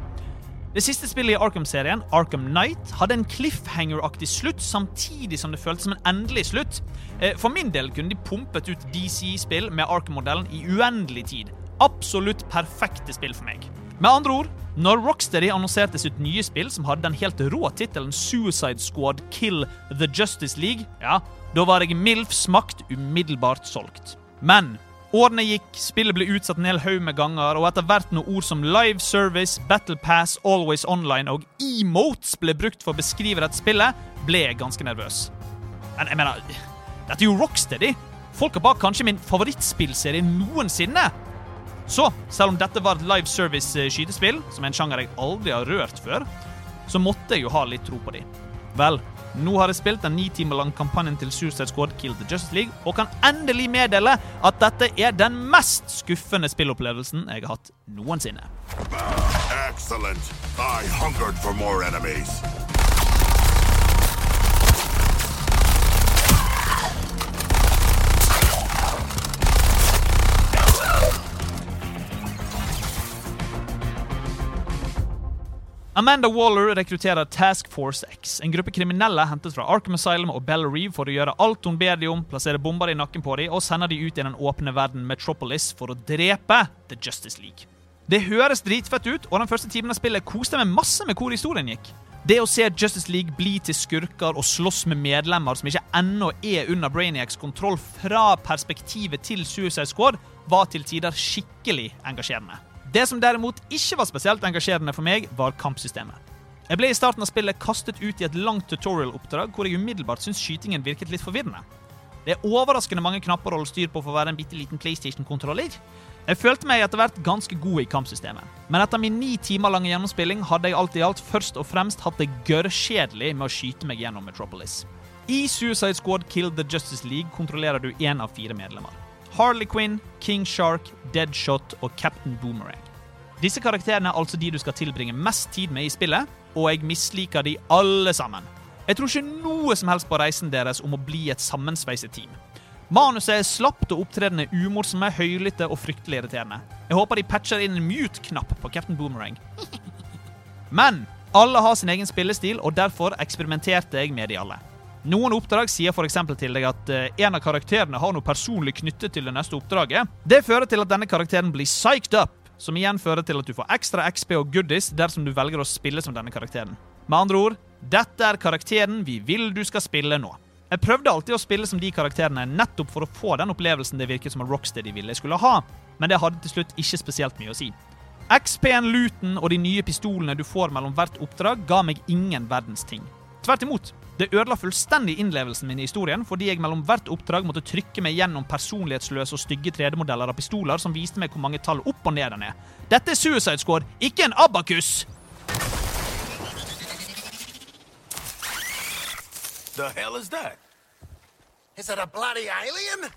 [SPEAKER 4] Det siste spillet i Arkham-serien, Arkham Knight, hadde en cliffhanger-aktig slutt, samtidig som det føltes som en endelig slutt. Eh, For min del kunne de pumpet ut DC-spill med Arkham-modellen i uendelig tid. Absolutt perfekte spill for meg. Med andre ord, når Rocksteady annonserte sitt nye spill, som hadde den helt rå tittelen Suicide Squad Kill The Justice League, ja, da var jeg Milfs makt umiddelbart solgt. Men årene gikk, spillet ble utsatt en hel haug med ganger, og etter hvert når ord som live service, battle pass, always online og emotes ble brukt for å beskrive dette spillet, ble jeg ganske nervøs. Men jeg mener, dette er jo Rocksteady. Folk har bak kanskje min favorittspillserie noensinne. Så, selv om dette var et live service eh, skytespill, som er en sjanger jeg aldri har rørt før, så måtte jeg jo ha litt tro på de. Vel, nå har jeg spilt den ni timer lange kampanjen til Suicide Squad Kill the Justice League, og kan endelig meddele at dette er den mest skuffende spillopplevelsen jeg har hatt noensinne.
[SPEAKER 7] Excellent. I hungered for more enemies.
[SPEAKER 4] Amanda Waller rekrutterer Task Force X, en gruppe kriminelle hentet fra Arkham Asylum og Bell Reeve for å gjøre alt hun ber de om, plassere bomber i nakken på dem og sende de ut i den åpne verden Metropolis for å drepe The Justice League. Det høres dritfett ut, og den første timen av spillet koste jeg meg masse med hvor historien gikk. Det å se Justice League bli til skurker og slåss med medlemmer som ikke ennå er under Brainiacs kontroll fra perspektivet til Suicide Squad, var til tider skikkelig engasjerende. Det som derimot ikke var spesielt engasjerende for meg, var kampsystemet. Jeg ble i starten av spillet kastet ut i et langt tutorial-oppdrag hvor jeg umiddelbart syntes skytingen virket litt forvirrende. Det er overraskende mange knapper å holde styr på for å være en bitte liten PlayStation-kontroller. Jeg følte meg etter hvert ganske god i kampsystemet, men etter min ni timer lange gjennomspilling hadde jeg alt i alt først og fremst hatt det gørrkjedelig med å skyte meg gjennom Metropolis. I Suicide Squad Kill the Justice League kontrollerer du én av fire medlemmer. Harley Quinn, King Shark, Deadshot og Captain Boomerang. Disse karakterene er altså de du skal tilbringe mest tid med i spillet, og jeg misliker de alle sammen. Jeg tror ikke noe som helst på reisen deres om å bli et sammensveiset team. Manuset er slapt og opptredende umorsomme, høylytte og fryktelig irriterende. Jeg håper de patcher inn en mute-knapp på Captain Boomerang. Men alle har sin egen spillestil, og derfor eksperimenterte jeg med de alle. Noen oppdrag sier for eksempel til deg at eh, en av karakterene har noe personlig knyttet til det neste oppdraget. Det fører til at denne karakteren blir psyched up, som igjen fører til at du får ekstra XP og goodies dersom du velger å spille som denne karakteren. Med andre ord, dette er karakteren vi vil du skal spille nå. Jeg prøvde alltid å spille som de karakterene nettopp for å få den opplevelsen det virket som at Rocksteady ville jeg skulle ha, men det hadde til slutt ikke spesielt mye å si. XP-en, looten og de nye pistolene du får mellom hvert oppdrag, ga meg ingen verdens ting. Tvert imot. Det ødela fullstendig innlevelsen min i historien fordi jeg mellom hvert oppdrag måtte trykke meg gjennom personlighetsløse og stygge 3D-modeller av pistoler som viste meg hvor mange tall opp og ned den er. Dette er Suicide Squad, ikke en abakus!
[SPEAKER 7] The hell is that? Is it a bloody alien?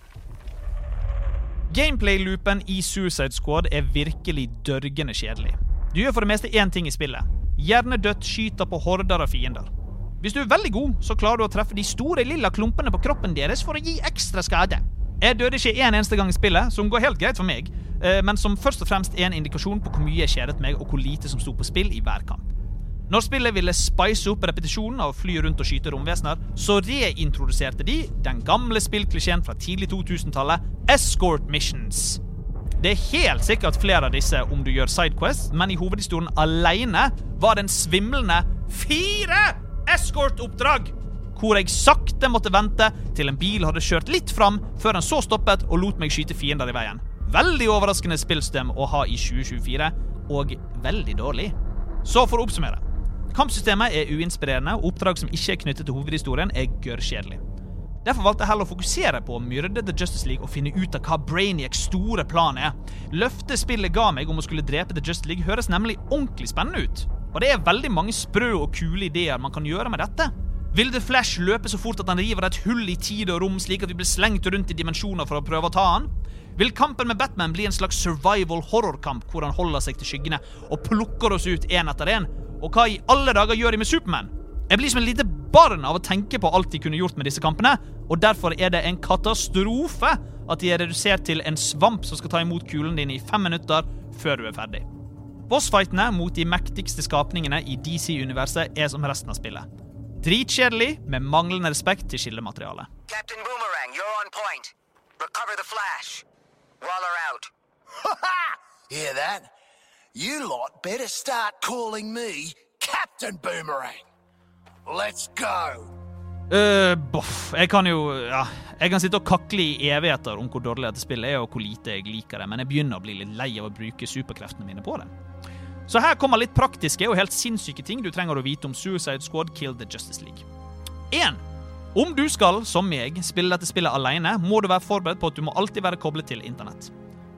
[SPEAKER 4] Gameplay-loopen i Suicide Squad er virkelig dørgende kjedelig. Du gjør for det meste én ting i spillet. Hjernedødt skyter på horder av fiender. Hvis du er veldig god, så klarer du å treffe de store lilla klumpene på kroppen deres for å gi ekstra skade. Jeg døde ikke en eneste gang i spillet, som går helt greit for meg, eh, men som først og fremst er en indikasjon på hvor mye jeg kjedet meg, og hvor lite som sto på spill i hver kamp. Når spillet ville spice opp repetisjonen av å fly rundt og skyte romvesener, så reintroduserte de den gamle spillklisjeen fra tidlig 2000-tallet, escort missions. Det er helt sikkert flere av disse om du gjør sidequests, men i hovedhistorien alene var det en svimlende fire escort-oppdrag! Hvor jeg sakte måtte vente til en bil hadde kjørt litt fram, før den så stoppet og lot meg skyte fiender i veien. Veldig overraskende spillsystem å ha i 2024, og veldig dårlig. Så for å oppsummere. Kampsystemet er uinspirerende, og oppdrag som ikke er knyttet til hovedhistorien, er gørrkjedelig. Derfor valgte jeg heller å fokusere på å myrde The Justice League og finne ut av hva Brainiacs store plan er. Løftet spillet ga meg om å skulle drepe The Justice League, høres nemlig ordentlig spennende ut. Og det er veldig mange sprø og kule ideer man kan gjøre med dette. Vil The Flash løpe så fort at han river et hull i tid og rom, slik at vi blir slengt rundt i dimensjoner for å prøve å ta han? Vil kampen med Batman bli en slags survival horrorkamp hvor han holder seg til skyggene og plukker oss ut én etter én? Og hva i alle dager gjør de med Supermann? Jeg blir som et lite barn av å tenke på alt de kunne gjort med disse kampene, og derfor er det en katastrofe at de er redusert til en svamp som skal ta imot kulen din i fem minutter før du er ferdig. Bossfightene mot de mektigste skapningene i DC-universet er som resten av spillet. Dritkjedelig, med manglende respekt til kildematerialet.
[SPEAKER 6] Captain Boomerang, you're on point. Recover the flash. Waller out.
[SPEAKER 8] Hear that? You lot better start calling me Captain Boomerang. Let's go.
[SPEAKER 4] Øh, boff. Jeg kan jo ja, Jeg kan sitte og kakle i evigheter om hvor dårlig dette spillet er, og hvor lite jeg liker det, men jeg begynner å bli litt lei av å bruke superkreftene mine på det. Så her kommer litt praktiske og helt sinnssyke ting du trenger å vite om Suicide Squad Kill the Justice League. 1. Om du skal, som meg, spille dette spillet alene, må du være forberedt på at du må alltid være koblet til internett.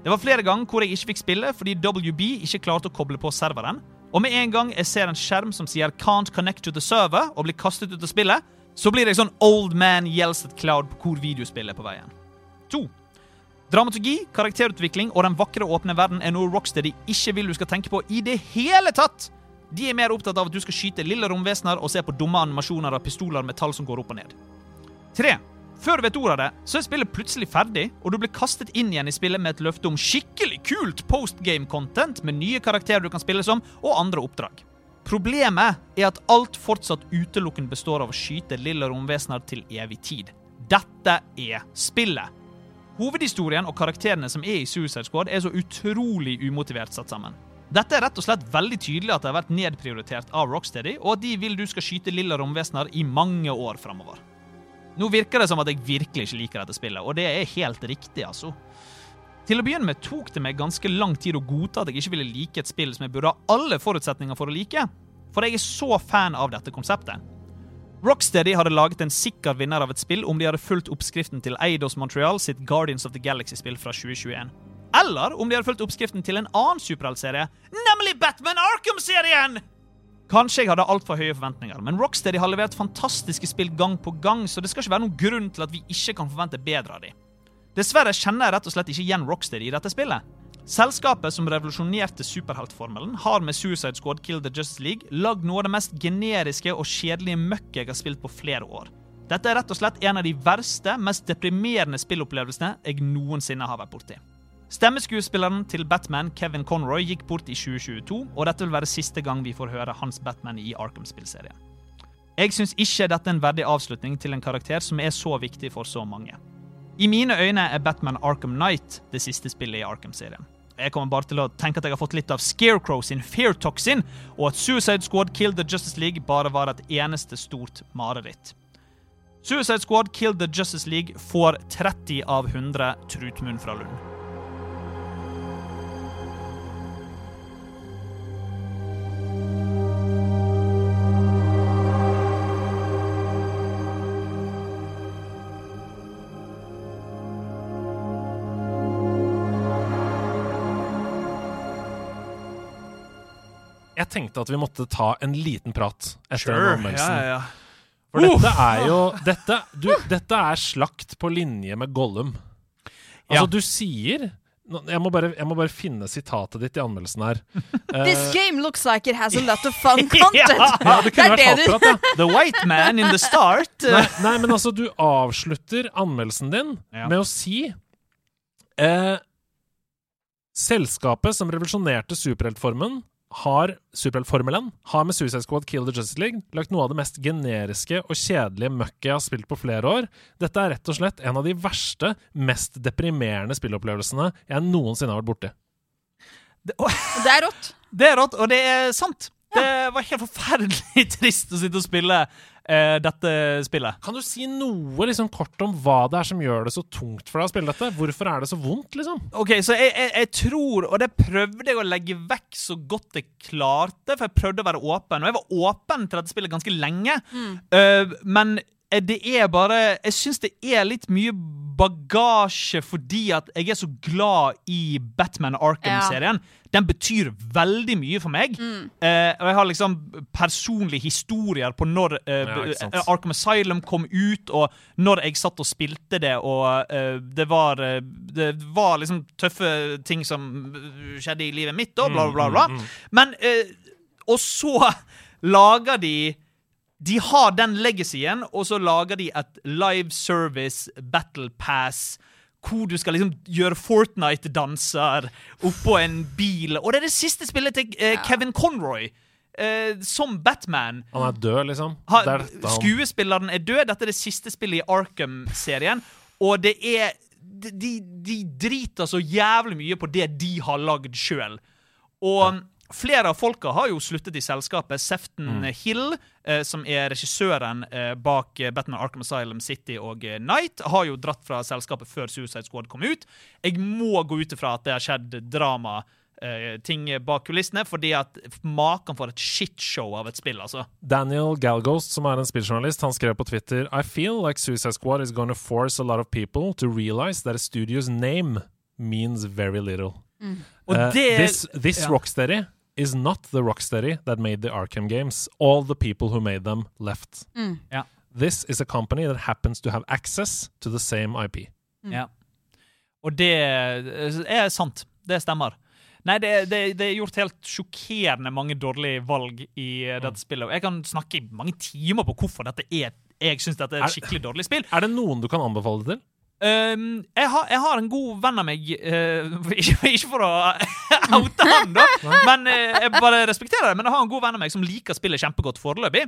[SPEAKER 4] Det var flere ganger hvor jeg ikke fikk spille fordi WB ikke klarte å koble på serveren, og med en gang jeg ser en skjerm som sier 'Can't connect to the server' og blir kastet ut av spillet, så blir jeg sånn old man yells at cloud på hvor videospillet er på veien. 2. Dramaturgi, karakterutvikling og den vakre åpne verden er noe Rocksteady ikke vil du skal tenke på i det hele tatt! De er mer opptatt av at du skal skyte lille romvesener og se på dumme animasjoner av pistoler med tall som går opp og ned. 3. Før du vet ordet av det, så er spillet plutselig ferdig, og du blir kastet inn igjen i spillet med et løfte om skikkelig kult postgame-content med nye karakterer du kan spille som, og andre oppdrag. Problemet er at alt fortsatt utelukkende består av å skyte lille romvesener til evig tid. Dette er spillet. Hovedhistorien og karakterene som er i Suicide Squad, er så utrolig umotivert satt sammen. Dette er rett og slett veldig tydelig at det har vært nedprioritert av Rocksteady, og at de vil du skal skyte lilla romvesener i mange år framover. Nå virker det som at jeg virkelig ikke liker dette spillet, og det er helt riktig, altså. Til å begynne med tok det meg ganske lang tid å godta at jeg ikke ville like et spill som jeg burde ha alle forutsetninger for å like. For jeg er så fan av dette konseptet. Rocksteady hadde laget en sikker vinner av et spill om de hadde fulgt oppskriften til Eidos Montreal sitt Guardians of the Galaxy-spill fra 2021. Eller om de hadde fulgt oppskriften til en annen superheltserie, nemlig Batman Arkham-serien! Kanskje jeg hadde altfor høye forventninger, men Rocksteady har levert fantastiske spill gang på gang, så det skal ikke være noen grunn til at vi ikke kan forvente bedre av dem. Dessverre kjenner jeg rett og slett ikke igjen Rocksteady i dette spillet. Selskapet som revolusjonerte superheltformelen, har med Suicide Squad Kill the Justice League lagd noe av det mest generiske og kjedelige møkket jeg har spilt på flere år. Dette er rett og slett en av de verste, mest deprimerende spillopplevelsene jeg noensinne har vært borti. Stemmeskuespilleren til Batman, Kevin Conroy, gikk bort i 2022, og dette vil være siste gang vi får høre hans Batman i Arkham-spillserien. Jeg syns ikke dette er en verdig avslutning til en karakter som er så viktig for så mange. I mine øyne er Batman Arkham Knight det siste spillet i Arkham-serien. Jeg kommer bare til å tenke at jeg har fått litt av Scarecrow sin Fear Toxin, og at Suicide Squad Kill the Justice League bare var et eneste stort mareritt. Suicide Squad Kill the Justice League får 30 av 100 Trutmunn fra Lund.
[SPEAKER 2] Jeg tenkte at vi måtte ta en liten prat etter
[SPEAKER 4] Sure.
[SPEAKER 2] sure. anmeldelsen.
[SPEAKER 4] Ja, ja, ja.
[SPEAKER 2] For dette er jo dette, du, dette er slakt på linje med Gollum. Altså,
[SPEAKER 4] Ja.
[SPEAKER 2] du sier nå- jeg må, bare, jeg må bare finne sitatet ditt i anmeldelsen her.
[SPEAKER 4] Eh,
[SPEAKER 3] This game looks like it has a lot of
[SPEAKER 4] [laughs]
[SPEAKER 3] fun content.
[SPEAKER 2] Ja, det kunne
[SPEAKER 3] Det er
[SPEAKER 2] vært
[SPEAKER 3] det du-
[SPEAKER 2] hatprat, ja.
[SPEAKER 4] The white man in the start.
[SPEAKER 2] Nei, nei, men altså, du avslutter anmeldelsen din
[SPEAKER 4] Ja.
[SPEAKER 2] med å si eh, Selskapet som revolusjonerte superheltformen, har superheltformelen, har med Suicide Squad Kill the Justice League lagt noe av det mest generiske og kjedelige møkket jeg har spilt på flere år. Dette er rett og slett en av de verste, mest deprimerende spillopplevelsene jeg noensinne har vært borti.
[SPEAKER 3] Det er rått.
[SPEAKER 4] Det er rått, og det er sant. Det var helt forferdelig [laughs] trist å sitte og spille eh, dette spillet.
[SPEAKER 2] Kan du si noe liksom, kort om hva det er som gjør det så tungt for deg å spille dette? Hvorfor er det så vondt, liksom?
[SPEAKER 4] Ok, Så jeg, jeg, jeg tror, og det prøvde jeg å legge vekk så godt jeg klarte, for jeg prøvde å være åpen. Og jeg var åpen til dette spillet ganske lenge, Eh, men eh, det er bare Jeg syns det er litt mye bagasje fordi at jeg er så glad i Batman Arkham-serien. Den betyr veldig mye for meg. Eh, og jeg har liksom personlige historier på når eh,
[SPEAKER 2] Ja, ikke sant.
[SPEAKER 4] eh, Arkham Asylum kom ut, og når jeg satt og spilte det, og eh, det var eh, Det var liksom tøffe ting som eh, skjedde i livet mitt, og bla,
[SPEAKER 2] Mm,
[SPEAKER 4] bla, bla. bla. Men eh, Og så lager de de har den legacyen, og så lager de et live service battle pass hvor du skal liksom gjøre Fortnite-danser oppå en bil. Og det er det siste spillet til eh, Kevin Conroy eh, som Batman.
[SPEAKER 2] Han er død, liksom.
[SPEAKER 4] Ha,
[SPEAKER 2] Det er dette han-
[SPEAKER 4] skuespilleren er død. Dette er det siste spillet i Arkham-serien, og det er de, de- de driter så jævlig mye på det de har lagd sjøl. Og flere av folka har jo sluttet i selskapet. Sefton Hill, eh, som er regissøren eh, bak eh, Batman Arkham Asylum City og eh, Night, har jo dratt fra selskapet før Suicide Squad kom ut. Jeg må gå ut ifra at det har skjedd drama. eh, ting bak kulissene, fordi at maken for et shitshow av et spill, altså.
[SPEAKER 2] Daniel Galgost, som er en spilljournalist, han skrev på Twitter I feel like Suicide Squad is gonna force a lot of people to realize that a studio's name means very little.
[SPEAKER 4] Og
[SPEAKER 2] Uh,
[SPEAKER 4] det
[SPEAKER 2] this this
[SPEAKER 4] ja.
[SPEAKER 2] Rocksteady is not the Rocksteady that made the Arkham games. All the people who made them left.
[SPEAKER 4] Ja.
[SPEAKER 2] This is a company that happens to have access to the same IP.
[SPEAKER 4] Ja. Og det eh, er sant. Det stemmer. Nei, det, det, det er gjort helt sjokkerende mange dårlige valg i eh, dette
[SPEAKER 2] Mm.
[SPEAKER 4] spillet. Og jeg kan snakke i mange timer på hvorfor dette er jeg syns dette er et
[SPEAKER 2] Er-
[SPEAKER 4] skikkelig dårlig spill.
[SPEAKER 2] Er det noen du kan anbefale det til?
[SPEAKER 4] Ehm, jeg, har, jeg har en god venn av meg eh, [laughs] ikke, ikke for å [laughs] oute han, da, men eh, jeg bare respekterer det. Men jeg har en god venn av meg som liker spillet kjempegodt foreløpig.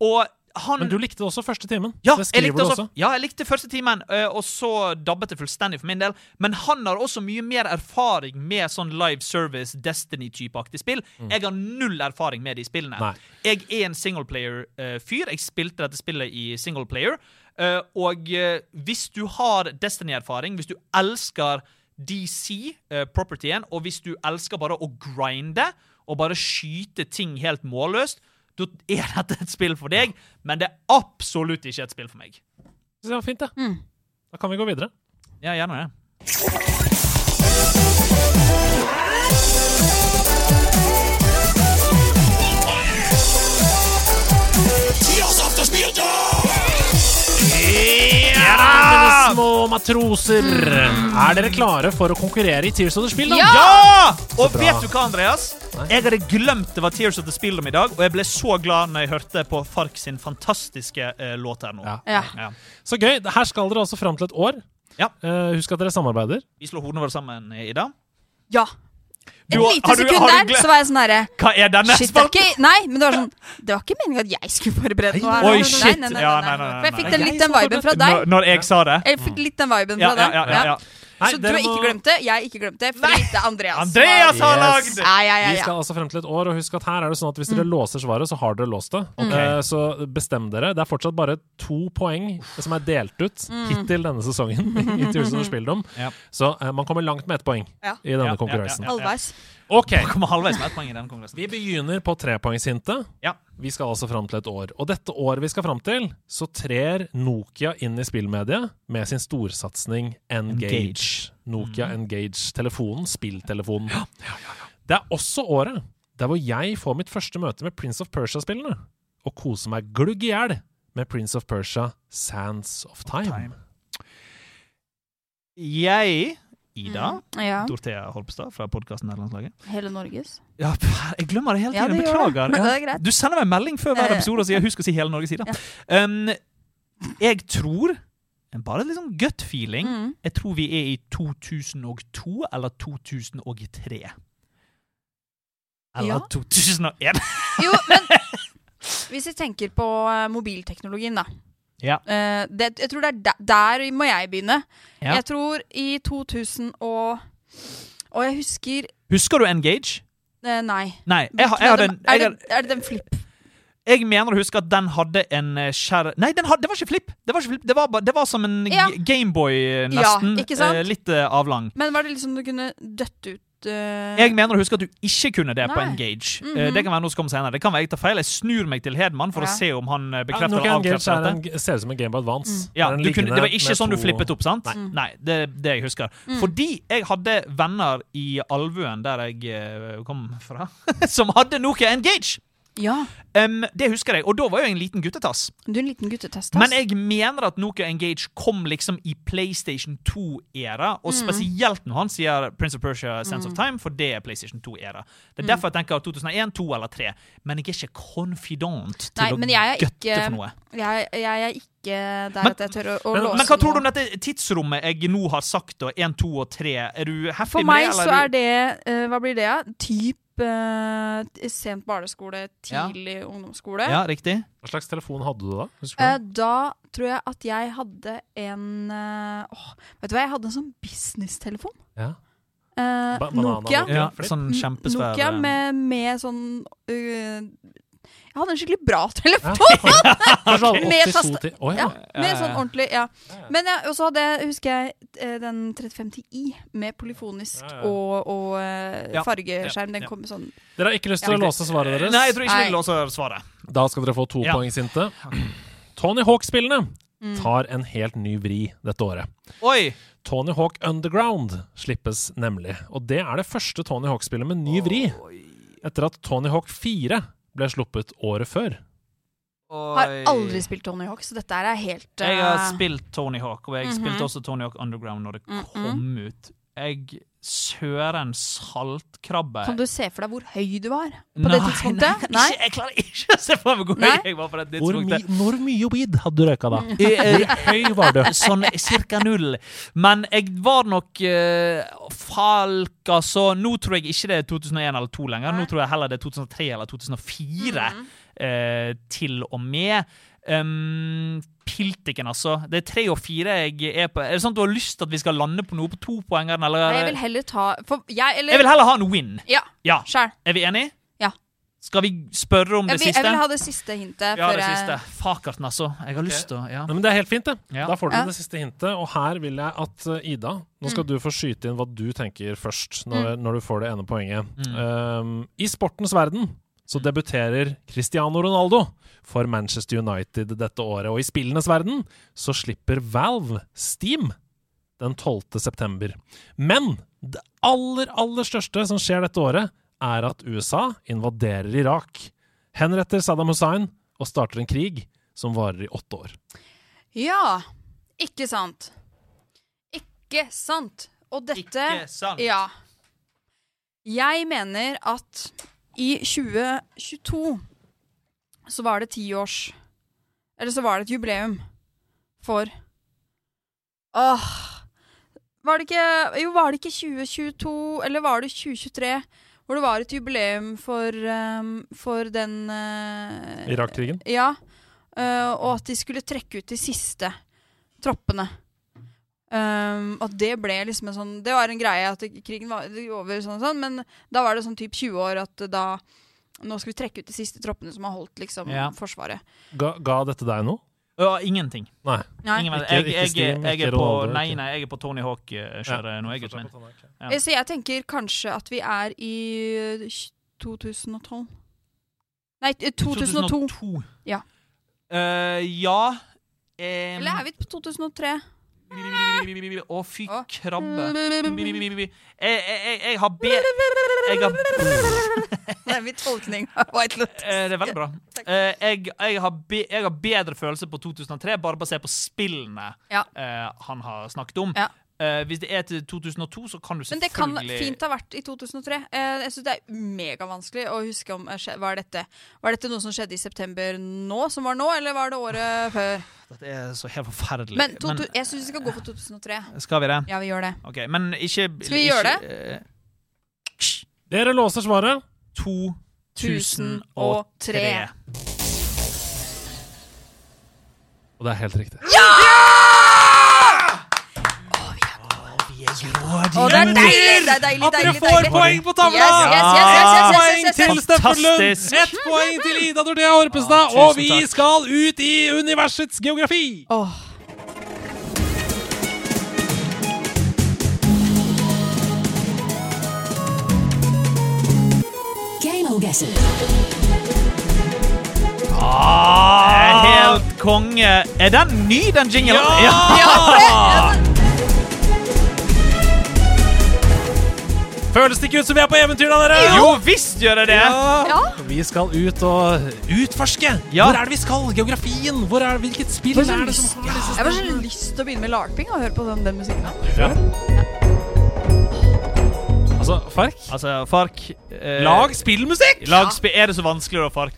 [SPEAKER 4] Og han
[SPEAKER 2] Men du likte det også første timen.
[SPEAKER 4] ja,
[SPEAKER 2] det
[SPEAKER 4] jeg
[SPEAKER 2] skriver du
[SPEAKER 4] likte også,
[SPEAKER 2] også.
[SPEAKER 4] ja, jeg likte første timen, ø, og så dabbet det fullstendig for min del. Men han har også mye mer erfaring med sånn live service, Destiny-typeaktig spill. Jeg har null erfaring med de spillene.
[SPEAKER 2] Mm. Nei.
[SPEAKER 4] Jeg er en singleplayer-fyr. Jeg spilte dette spillet i singleplayer. ø, Og ø, hvis du har Destiny-erfaring, hvis du elsker eh, DC-propertyen, og hvis du elsker bare å grinde og bare skyte ting helt målløst da er dette et spill for deg, men det er absolutt ikke et spill for meg.
[SPEAKER 2] Så Det var fint, det.
[SPEAKER 4] Mm.
[SPEAKER 2] Da kan vi gå videre.
[SPEAKER 4] Ja, gjerne det.
[SPEAKER 3] Ah!
[SPEAKER 2] Ja da, mine små matroser! Er dere klare for å konkurrere i Tears of the Spill, da?
[SPEAKER 3] Mm. Ja!
[SPEAKER 4] Ja! Ah! Og
[SPEAKER 2] bra.
[SPEAKER 4] vet du hva, Andreas? Jeg hadde glemt det var Tears of the Spill om i dag, og jeg ble så glad når jeg hørte på Fark sin fantastiske eh, låt her nå.
[SPEAKER 2] Ja.
[SPEAKER 3] Ja.
[SPEAKER 4] Ja.
[SPEAKER 2] Så gøy. Her skal dere altså fram til et år.
[SPEAKER 4] Ja.
[SPEAKER 2] Eh, husk at dere samarbeider.
[SPEAKER 4] Vi slår hodene våre sammen, eh, Ida.
[SPEAKER 3] Ja. Et
[SPEAKER 4] Du har-
[SPEAKER 3] lite
[SPEAKER 4] har du-
[SPEAKER 3] sekund
[SPEAKER 4] har du
[SPEAKER 3] der,
[SPEAKER 4] gle-
[SPEAKER 3] så var jeg sånn herre
[SPEAKER 4] Hva er denne
[SPEAKER 3] Shit, det er
[SPEAKER 4] spalten?
[SPEAKER 3] ikke Nei, men det var sånn Det var ikke meningen at jeg skulle forberede noe. her.
[SPEAKER 4] Oi,
[SPEAKER 3] Nei, nei,
[SPEAKER 4] shit.
[SPEAKER 3] nei, nei,
[SPEAKER 4] Ja,
[SPEAKER 3] nei,
[SPEAKER 4] nei, nei, nei,
[SPEAKER 3] For jeg fikk
[SPEAKER 4] nei.
[SPEAKER 3] den, litt den viben fra
[SPEAKER 4] Når,
[SPEAKER 3] deg.
[SPEAKER 4] når jeg sa det.
[SPEAKER 3] Jeg fikk litt den viben
[SPEAKER 4] Ja,
[SPEAKER 3] fra
[SPEAKER 4] ja,
[SPEAKER 3] deg.
[SPEAKER 4] ja, ja, ja.
[SPEAKER 2] Nei,
[SPEAKER 3] Så du
[SPEAKER 2] dere
[SPEAKER 3] har ikke
[SPEAKER 2] må-
[SPEAKER 3] glemt det, jeg ikke glemt det, fordi det er Andreas.
[SPEAKER 4] Andreas har
[SPEAKER 2] Yes.
[SPEAKER 4] lagd!
[SPEAKER 3] Ja, ja, ja, Mm.
[SPEAKER 2] Vi
[SPEAKER 3] ja.
[SPEAKER 2] skal altså frem til et år, og husk at her er det sånn at hvis dere låser svaret, så har dere låst det. Eh, Så bestem dere. Det er fortsatt bare to poeng som er delt ut
[SPEAKER 3] Mm.
[SPEAKER 2] hittil denne sesongen. i Tears of the Spilldom.
[SPEAKER 4] Ja.
[SPEAKER 2] Så eh, man kommer langt med ett poeng
[SPEAKER 3] Ja.
[SPEAKER 2] i denne
[SPEAKER 4] Ja, ja,
[SPEAKER 2] konkurransen.
[SPEAKER 4] ja, ja.
[SPEAKER 3] Halvveis.
[SPEAKER 2] OK.
[SPEAKER 4] Jeg kommer halvveis med et poeng i denne kongressen.
[SPEAKER 2] Vi begynner på trepoengshintet.
[SPEAKER 4] Ja.
[SPEAKER 2] Vi skal altså fram til et år. Og dette året vi skal fram til, så trer Nokia inn i spillmediet med sin storsatsing Engage.
[SPEAKER 4] Engage.
[SPEAKER 2] Nokia Engage. Telefonen. Spilltelefonen. Det er også året der hvor jeg får mitt første møte med Prince of Persia-spillene, og koser meg glugg i hjel med Prince of Persia Sands of Time.
[SPEAKER 4] Time. Jeg, Ida,
[SPEAKER 3] Mm. Ja.
[SPEAKER 4] Dorthea Holpstad fra podkasten Nederlandslaget
[SPEAKER 3] Hele Norges.
[SPEAKER 4] Ja, p- jeg glemmer det hele
[SPEAKER 3] [laughs] Ja,
[SPEAKER 4] tiden.
[SPEAKER 3] det gjør det.
[SPEAKER 4] Beklager.
[SPEAKER 3] Men
[SPEAKER 4] Ja.
[SPEAKER 3] det er greit.
[SPEAKER 4] Du sender meg en melding før hver
[SPEAKER 3] Eh.
[SPEAKER 4] episode og sier 'husk å si hele Norges side'. Um, jeg tror Bare litt sånn gut feeling.
[SPEAKER 3] Mm.
[SPEAKER 4] Jeg tror vi er i 2002 eller 2003. Eller
[SPEAKER 3] Ja.
[SPEAKER 4] 2001.
[SPEAKER 3] Jo, men hvis jeg tenker på eh, mobilteknologien, da.
[SPEAKER 4] Ja.
[SPEAKER 3] Eh, det, jeg tror det er der, der må jeg begynne.
[SPEAKER 4] Ja.
[SPEAKER 3] Jeg tror i 2000 og Og jeg husker
[SPEAKER 4] Husker du Engage?
[SPEAKER 3] eh, Nei.
[SPEAKER 4] Nei. Jeg, har- jeg, hadde en, jeg,
[SPEAKER 3] er,
[SPEAKER 4] hadde-
[SPEAKER 3] det, er det den flipp?
[SPEAKER 4] jeg mener å huske at den hadde en eh, skjær... Nei, den hadde, det var ikke flip! Det var, ikke flip. Det var, ba- det var som en
[SPEAKER 3] Ja.
[SPEAKER 4] G- Gameboy, eh,
[SPEAKER 3] Ja,
[SPEAKER 4] nesten.
[SPEAKER 3] ikke sant?
[SPEAKER 4] Eh, litt eh, avlang.
[SPEAKER 3] Men var det liksom du kunne døtte ut eh,
[SPEAKER 4] Jeg mener å huske at du ikke kunne det på
[SPEAKER 3] Nei.
[SPEAKER 4] Engage. Eh,
[SPEAKER 3] Mhm.
[SPEAKER 4] Det kan være noe som kommer senere. Det kan være jeg tar feil. Jeg snur meg til Hedman for
[SPEAKER 3] Ja.
[SPEAKER 4] å se om han eh,
[SPEAKER 2] Ja,
[SPEAKER 4] bekrefter
[SPEAKER 2] Nokia
[SPEAKER 4] eller
[SPEAKER 2] Engage
[SPEAKER 4] avkrefter
[SPEAKER 2] er
[SPEAKER 4] dette.
[SPEAKER 2] en, ser ut som en Game of Advance.
[SPEAKER 4] Ja,
[SPEAKER 2] er en
[SPEAKER 4] du kunne,
[SPEAKER 2] liggende
[SPEAKER 4] det var ikke
[SPEAKER 2] med
[SPEAKER 4] sånn du
[SPEAKER 2] to-
[SPEAKER 4] flippet opp, sant?
[SPEAKER 2] Nei.
[SPEAKER 4] Nei, det er det jeg husker.
[SPEAKER 3] Mm.
[SPEAKER 4] Fordi jeg hadde venner i Alvøen, der jeg eh, kom fra, [laughs] som hadde Nokia Engage!
[SPEAKER 3] Ja.
[SPEAKER 4] Em, det husker jeg, og da var jo jeg en liten guttetass.
[SPEAKER 3] Du er en liten guttetest.
[SPEAKER 4] Men jeg mener at Nokia Engage kom liksom i PlayStation 2-æra,
[SPEAKER 3] Mm.
[SPEAKER 4] og spesielt når han sier Prince of Persia Sense of Time, for det er PlayStation 2-æra.
[SPEAKER 3] Mm.
[SPEAKER 4] Det er derfor jeg tenker 2001, 2 eller 3. Men jeg er ikke confident til
[SPEAKER 3] Nei, men jeg
[SPEAKER 4] å
[SPEAKER 3] er
[SPEAKER 4] gutte
[SPEAKER 3] ikke-
[SPEAKER 4] for noe.
[SPEAKER 3] jeg, jeg er ikke der
[SPEAKER 4] Men-
[SPEAKER 3] at jeg tør å, å
[SPEAKER 2] men-
[SPEAKER 3] låse
[SPEAKER 4] Men hva tror du om
[SPEAKER 3] noe.
[SPEAKER 4] dette tidsrommet jeg nå har sagt, da? 1, 2 og 3? Er du heftig
[SPEAKER 3] For meg
[SPEAKER 4] med
[SPEAKER 3] så er det eh, Hva blir det? ja? Typ eh, t- sent barneskole,
[SPEAKER 4] Ja.
[SPEAKER 3] tidlig ungdomsskole.
[SPEAKER 4] Ja, riktig.
[SPEAKER 2] Hva slags telefon hadde du da? Husker du?
[SPEAKER 3] Eh, da tror jeg at jeg hadde en eh, åh, Vet du hva, jeg hadde en sånn businesstelefon.
[SPEAKER 2] Ja.
[SPEAKER 3] Eh,
[SPEAKER 2] Ba- banana-
[SPEAKER 3] Nokia.
[SPEAKER 4] Ja,
[SPEAKER 2] flipp.
[SPEAKER 4] sånn kjempesvær
[SPEAKER 3] Nokia
[SPEAKER 4] eh,
[SPEAKER 3] med, med sånn eh, Jeg hadde en skikkelig bra [laughs] telefon!
[SPEAKER 2] Ja. Kanskje du hadde
[SPEAKER 3] Med
[SPEAKER 2] 82
[SPEAKER 3] taste-
[SPEAKER 2] til- Å, ja.
[SPEAKER 3] Ja, mer sånn
[SPEAKER 4] sånn ja.
[SPEAKER 3] ordentlig. ja. Men ja, og så hadde jeg, husker jeg, eh, den 3510i med polyfonisk
[SPEAKER 2] Ja, ja.
[SPEAKER 3] og, og eh,
[SPEAKER 4] Ja,
[SPEAKER 3] fargeskjerm. Den
[SPEAKER 4] ja.
[SPEAKER 3] kom med sånn
[SPEAKER 2] Dere har ikke lyst til å
[SPEAKER 4] Ja.
[SPEAKER 2] låse svaret deres?
[SPEAKER 4] Nei, jeg tror ikke
[SPEAKER 3] Nei.
[SPEAKER 4] vi låser svaret.
[SPEAKER 2] Da skal dere få to
[SPEAKER 4] Ja. Mm.
[SPEAKER 2] poeng, Sinte. Tony Hawk-spillene tar en helt ny vri dette året.
[SPEAKER 4] Oi!
[SPEAKER 2] Tony Hawk Underground slippes nemlig. Og det er det første Tony Hawk-spillet med ny vri. Etter at Tony Hawk 4 ble sluppet året før.
[SPEAKER 3] Har aldri spilt Tony Hawk, så dette her er helt
[SPEAKER 4] Jeg har
[SPEAKER 3] eh,
[SPEAKER 4] spilt Tony Hawk, og jeg
[SPEAKER 3] Mhm.
[SPEAKER 4] spilte også Tony Hawk Underground når det kom ut. Jeg Søren saltkrabbe
[SPEAKER 3] Kan du se for deg hvor høy du var på
[SPEAKER 4] Nei,
[SPEAKER 3] det tidspunktet?
[SPEAKER 4] Nei, ikke- jeg klarer ikke å se for meg hvor
[SPEAKER 3] Nei.
[SPEAKER 4] høy jeg var på det
[SPEAKER 2] Hvor, mi,
[SPEAKER 4] tidspunktet.
[SPEAKER 2] hvor mye weed hadde du røyka da?
[SPEAKER 4] [laughs] Eh, eh,
[SPEAKER 2] Høy var du.
[SPEAKER 4] Sånn cirka null. Men jeg var nok eh, Falk, altså. Nå tror jeg ikke det er 2001 eller 2002 lenger. Nå tror jeg heller det er 2003 eller 2004
[SPEAKER 3] Mm.
[SPEAKER 4] eh, til og med. Um, Piltiken, altså. Det er tre og fire jeg er på. Er det sånn at du har lyst til at vi skal lande på noe på topoengeren, eller?
[SPEAKER 3] Nei, jeg vil heller ta for, jeg, eller,
[SPEAKER 4] Jeg vil heller ha en win.
[SPEAKER 3] Ja,
[SPEAKER 4] Ja.
[SPEAKER 3] sjæl.
[SPEAKER 4] Er vi enige?
[SPEAKER 3] Ja.
[SPEAKER 4] Skal vi spørre om
[SPEAKER 3] Jeg,
[SPEAKER 4] det
[SPEAKER 3] vil-
[SPEAKER 4] siste?
[SPEAKER 3] jeg vil ha det siste hintet.
[SPEAKER 4] ja,
[SPEAKER 3] før eh,
[SPEAKER 4] det
[SPEAKER 3] jeg-
[SPEAKER 4] siste. Fakerten, altså. Jeg har lyst til å ja.
[SPEAKER 2] Nei, men Det er helt fint, det.
[SPEAKER 4] Ja. Mm.
[SPEAKER 2] Da får du
[SPEAKER 3] Ja.
[SPEAKER 2] det siste hintet. Og her vil jeg at eh, Ida, nå skal du få skyte
[SPEAKER 4] Mm.
[SPEAKER 2] inn hva du tenker først, når, når du får det ene poenget. Um, I Ehm, sportens verden så debuterer Cristiano Ronaldo for Manchester United dette året. Og i spillenes verden så slipper Valve Steam den 12. september. Men det aller, aller største som skjer dette året, er at USA invaderer Irak. Henretter Saddam Hussein og starter en krig som varer i åtte år.
[SPEAKER 3] Ja, ikke sant. Ikke sant. Og dette
[SPEAKER 4] Ikke sant.
[SPEAKER 3] Ja. Jeg mener at i 2022 så var det ti års Eller så var det et jubileum for Åh Var det ikke Jo, var det ikke 2022, eller var det 2023? Hvor det var et jubileum for, ehm, for den eh,
[SPEAKER 2] Irak-krigen.
[SPEAKER 3] ja, øh, og at de skulle trekke ut de siste troppene. Um, og det ble liksom en sånn Det var en greie at krigen var over, sånn og sånn, men da var det sånn typ 20 år at da Nå skal vi trekke ut de siste troppene som har holdt liksom
[SPEAKER 4] Ja.
[SPEAKER 3] Forsvaret.
[SPEAKER 2] Ga, ga dette deg noe?
[SPEAKER 4] Ja, ingenting.
[SPEAKER 2] Nei.
[SPEAKER 3] Nei.
[SPEAKER 4] Ingen,
[SPEAKER 2] Ikke-
[SPEAKER 4] jeg,
[SPEAKER 2] ikke
[SPEAKER 4] jeg, jeg,
[SPEAKER 2] Steam, ikke
[SPEAKER 4] er på,
[SPEAKER 2] Ronaldo,
[SPEAKER 4] nei,
[SPEAKER 2] ikke-
[SPEAKER 4] nei, jeg er på Tony eh, Hawk-kjøret nå. Jeg, gutten min. Ja.
[SPEAKER 3] Eh, Så jeg tenker kanskje at vi er i øh, 2012. Nei, eh, 2002.
[SPEAKER 4] 2002.
[SPEAKER 3] Ja.
[SPEAKER 4] Eh, ja eh,
[SPEAKER 3] Eller er vi på 2003?
[SPEAKER 4] Å, fy
[SPEAKER 3] Å.
[SPEAKER 4] krabbe.
[SPEAKER 3] Eh,
[SPEAKER 4] Jeg, jeg, jeg har be... Jeg har
[SPEAKER 3] [laughs] Det er min tolkning av White Lotus.
[SPEAKER 4] Eh, Det er veldig bra. Eh, jeg, jeg, har be, jeg har bedre følelse på 2003, bare basert på spillene
[SPEAKER 3] Ja.
[SPEAKER 4] eh, han har snakket om.
[SPEAKER 3] Ja.
[SPEAKER 4] Eh, hvis det er til 2002, så kan du
[SPEAKER 3] Men det kan
[SPEAKER 4] selvfølgelig
[SPEAKER 3] fint ha vært i 2003. Eh, jeg synes Det er megavanskelig å huske om eh, skje- var dette, var dette noe som skjedde i september nå, som var nå, eller var det året før?
[SPEAKER 4] Dette er så helt forferdelig. eh,
[SPEAKER 3] Men, to, to, jeg syns vi skal gå for 2003.
[SPEAKER 4] Skal vi det?
[SPEAKER 3] Ja, vi gjør det.
[SPEAKER 4] OK, men ikke eh,
[SPEAKER 3] Skal vi gjøre
[SPEAKER 4] det?
[SPEAKER 2] Dere låser svaret.
[SPEAKER 4] 2003.
[SPEAKER 2] Og det er helt riktig.
[SPEAKER 3] Å, det er deilig! Det er deilig,
[SPEAKER 2] At dere
[SPEAKER 3] deilig,
[SPEAKER 2] får
[SPEAKER 3] deilig.
[SPEAKER 2] poeng på tavla!
[SPEAKER 3] Yes, yes, yes, yes, yes, yes, yes, yes, yes.
[SPEAKER 2] Poeng til Steffen Lund!
[SPEAKER 4] Fantastisk.
[SPEAKER 2] Ett poeng til Ida Dorthea Horpestad!
[SPEAKER 4] Ja,
[SPEAKER 2] og
[SPEAKER 4] tusen
[SPEAKER 2] vi
[SPEAKER 4] takk.
[SPEAKER 2] skal ut i universets geografi!
[SPEAKER 3] Åh.
[SPEAKER 9] Game guesses.
[SPEAKER 4] Er helt konge. Er den ny, den jingelen?
[SPEAKER 2] Ja! Føles det ikke ut som vi er på eventyr, da, dere?
[SPEAKER 4] Jo visst gjør det det!
[SPEAKER 3] Ja.
[SPEAKER 2] Vi skal ut og utforske!
[SPEAKER 4] Ja.
[SPEAKER 2] Hvor er det vi skal? Geografien? Hvor er, hvilket spill
[SPEAKER 3] så
[SPEAKER 2] er det
[SPEAKER 3] lyst-
[SPEAKER 2] som har disse
[SPEAKER 3] sånn- Jeg får så lyst til å begynne med larping og høre på den, den musikken. da.
[SPEAKER 2] Altså, Fark?
[SPEAKER 4] Altså, Fark eh,
[SPEAKER 2] Lag spillmusikk!
[SPEAKER 4] Lag spi- Er det så vanskelig da, Fark?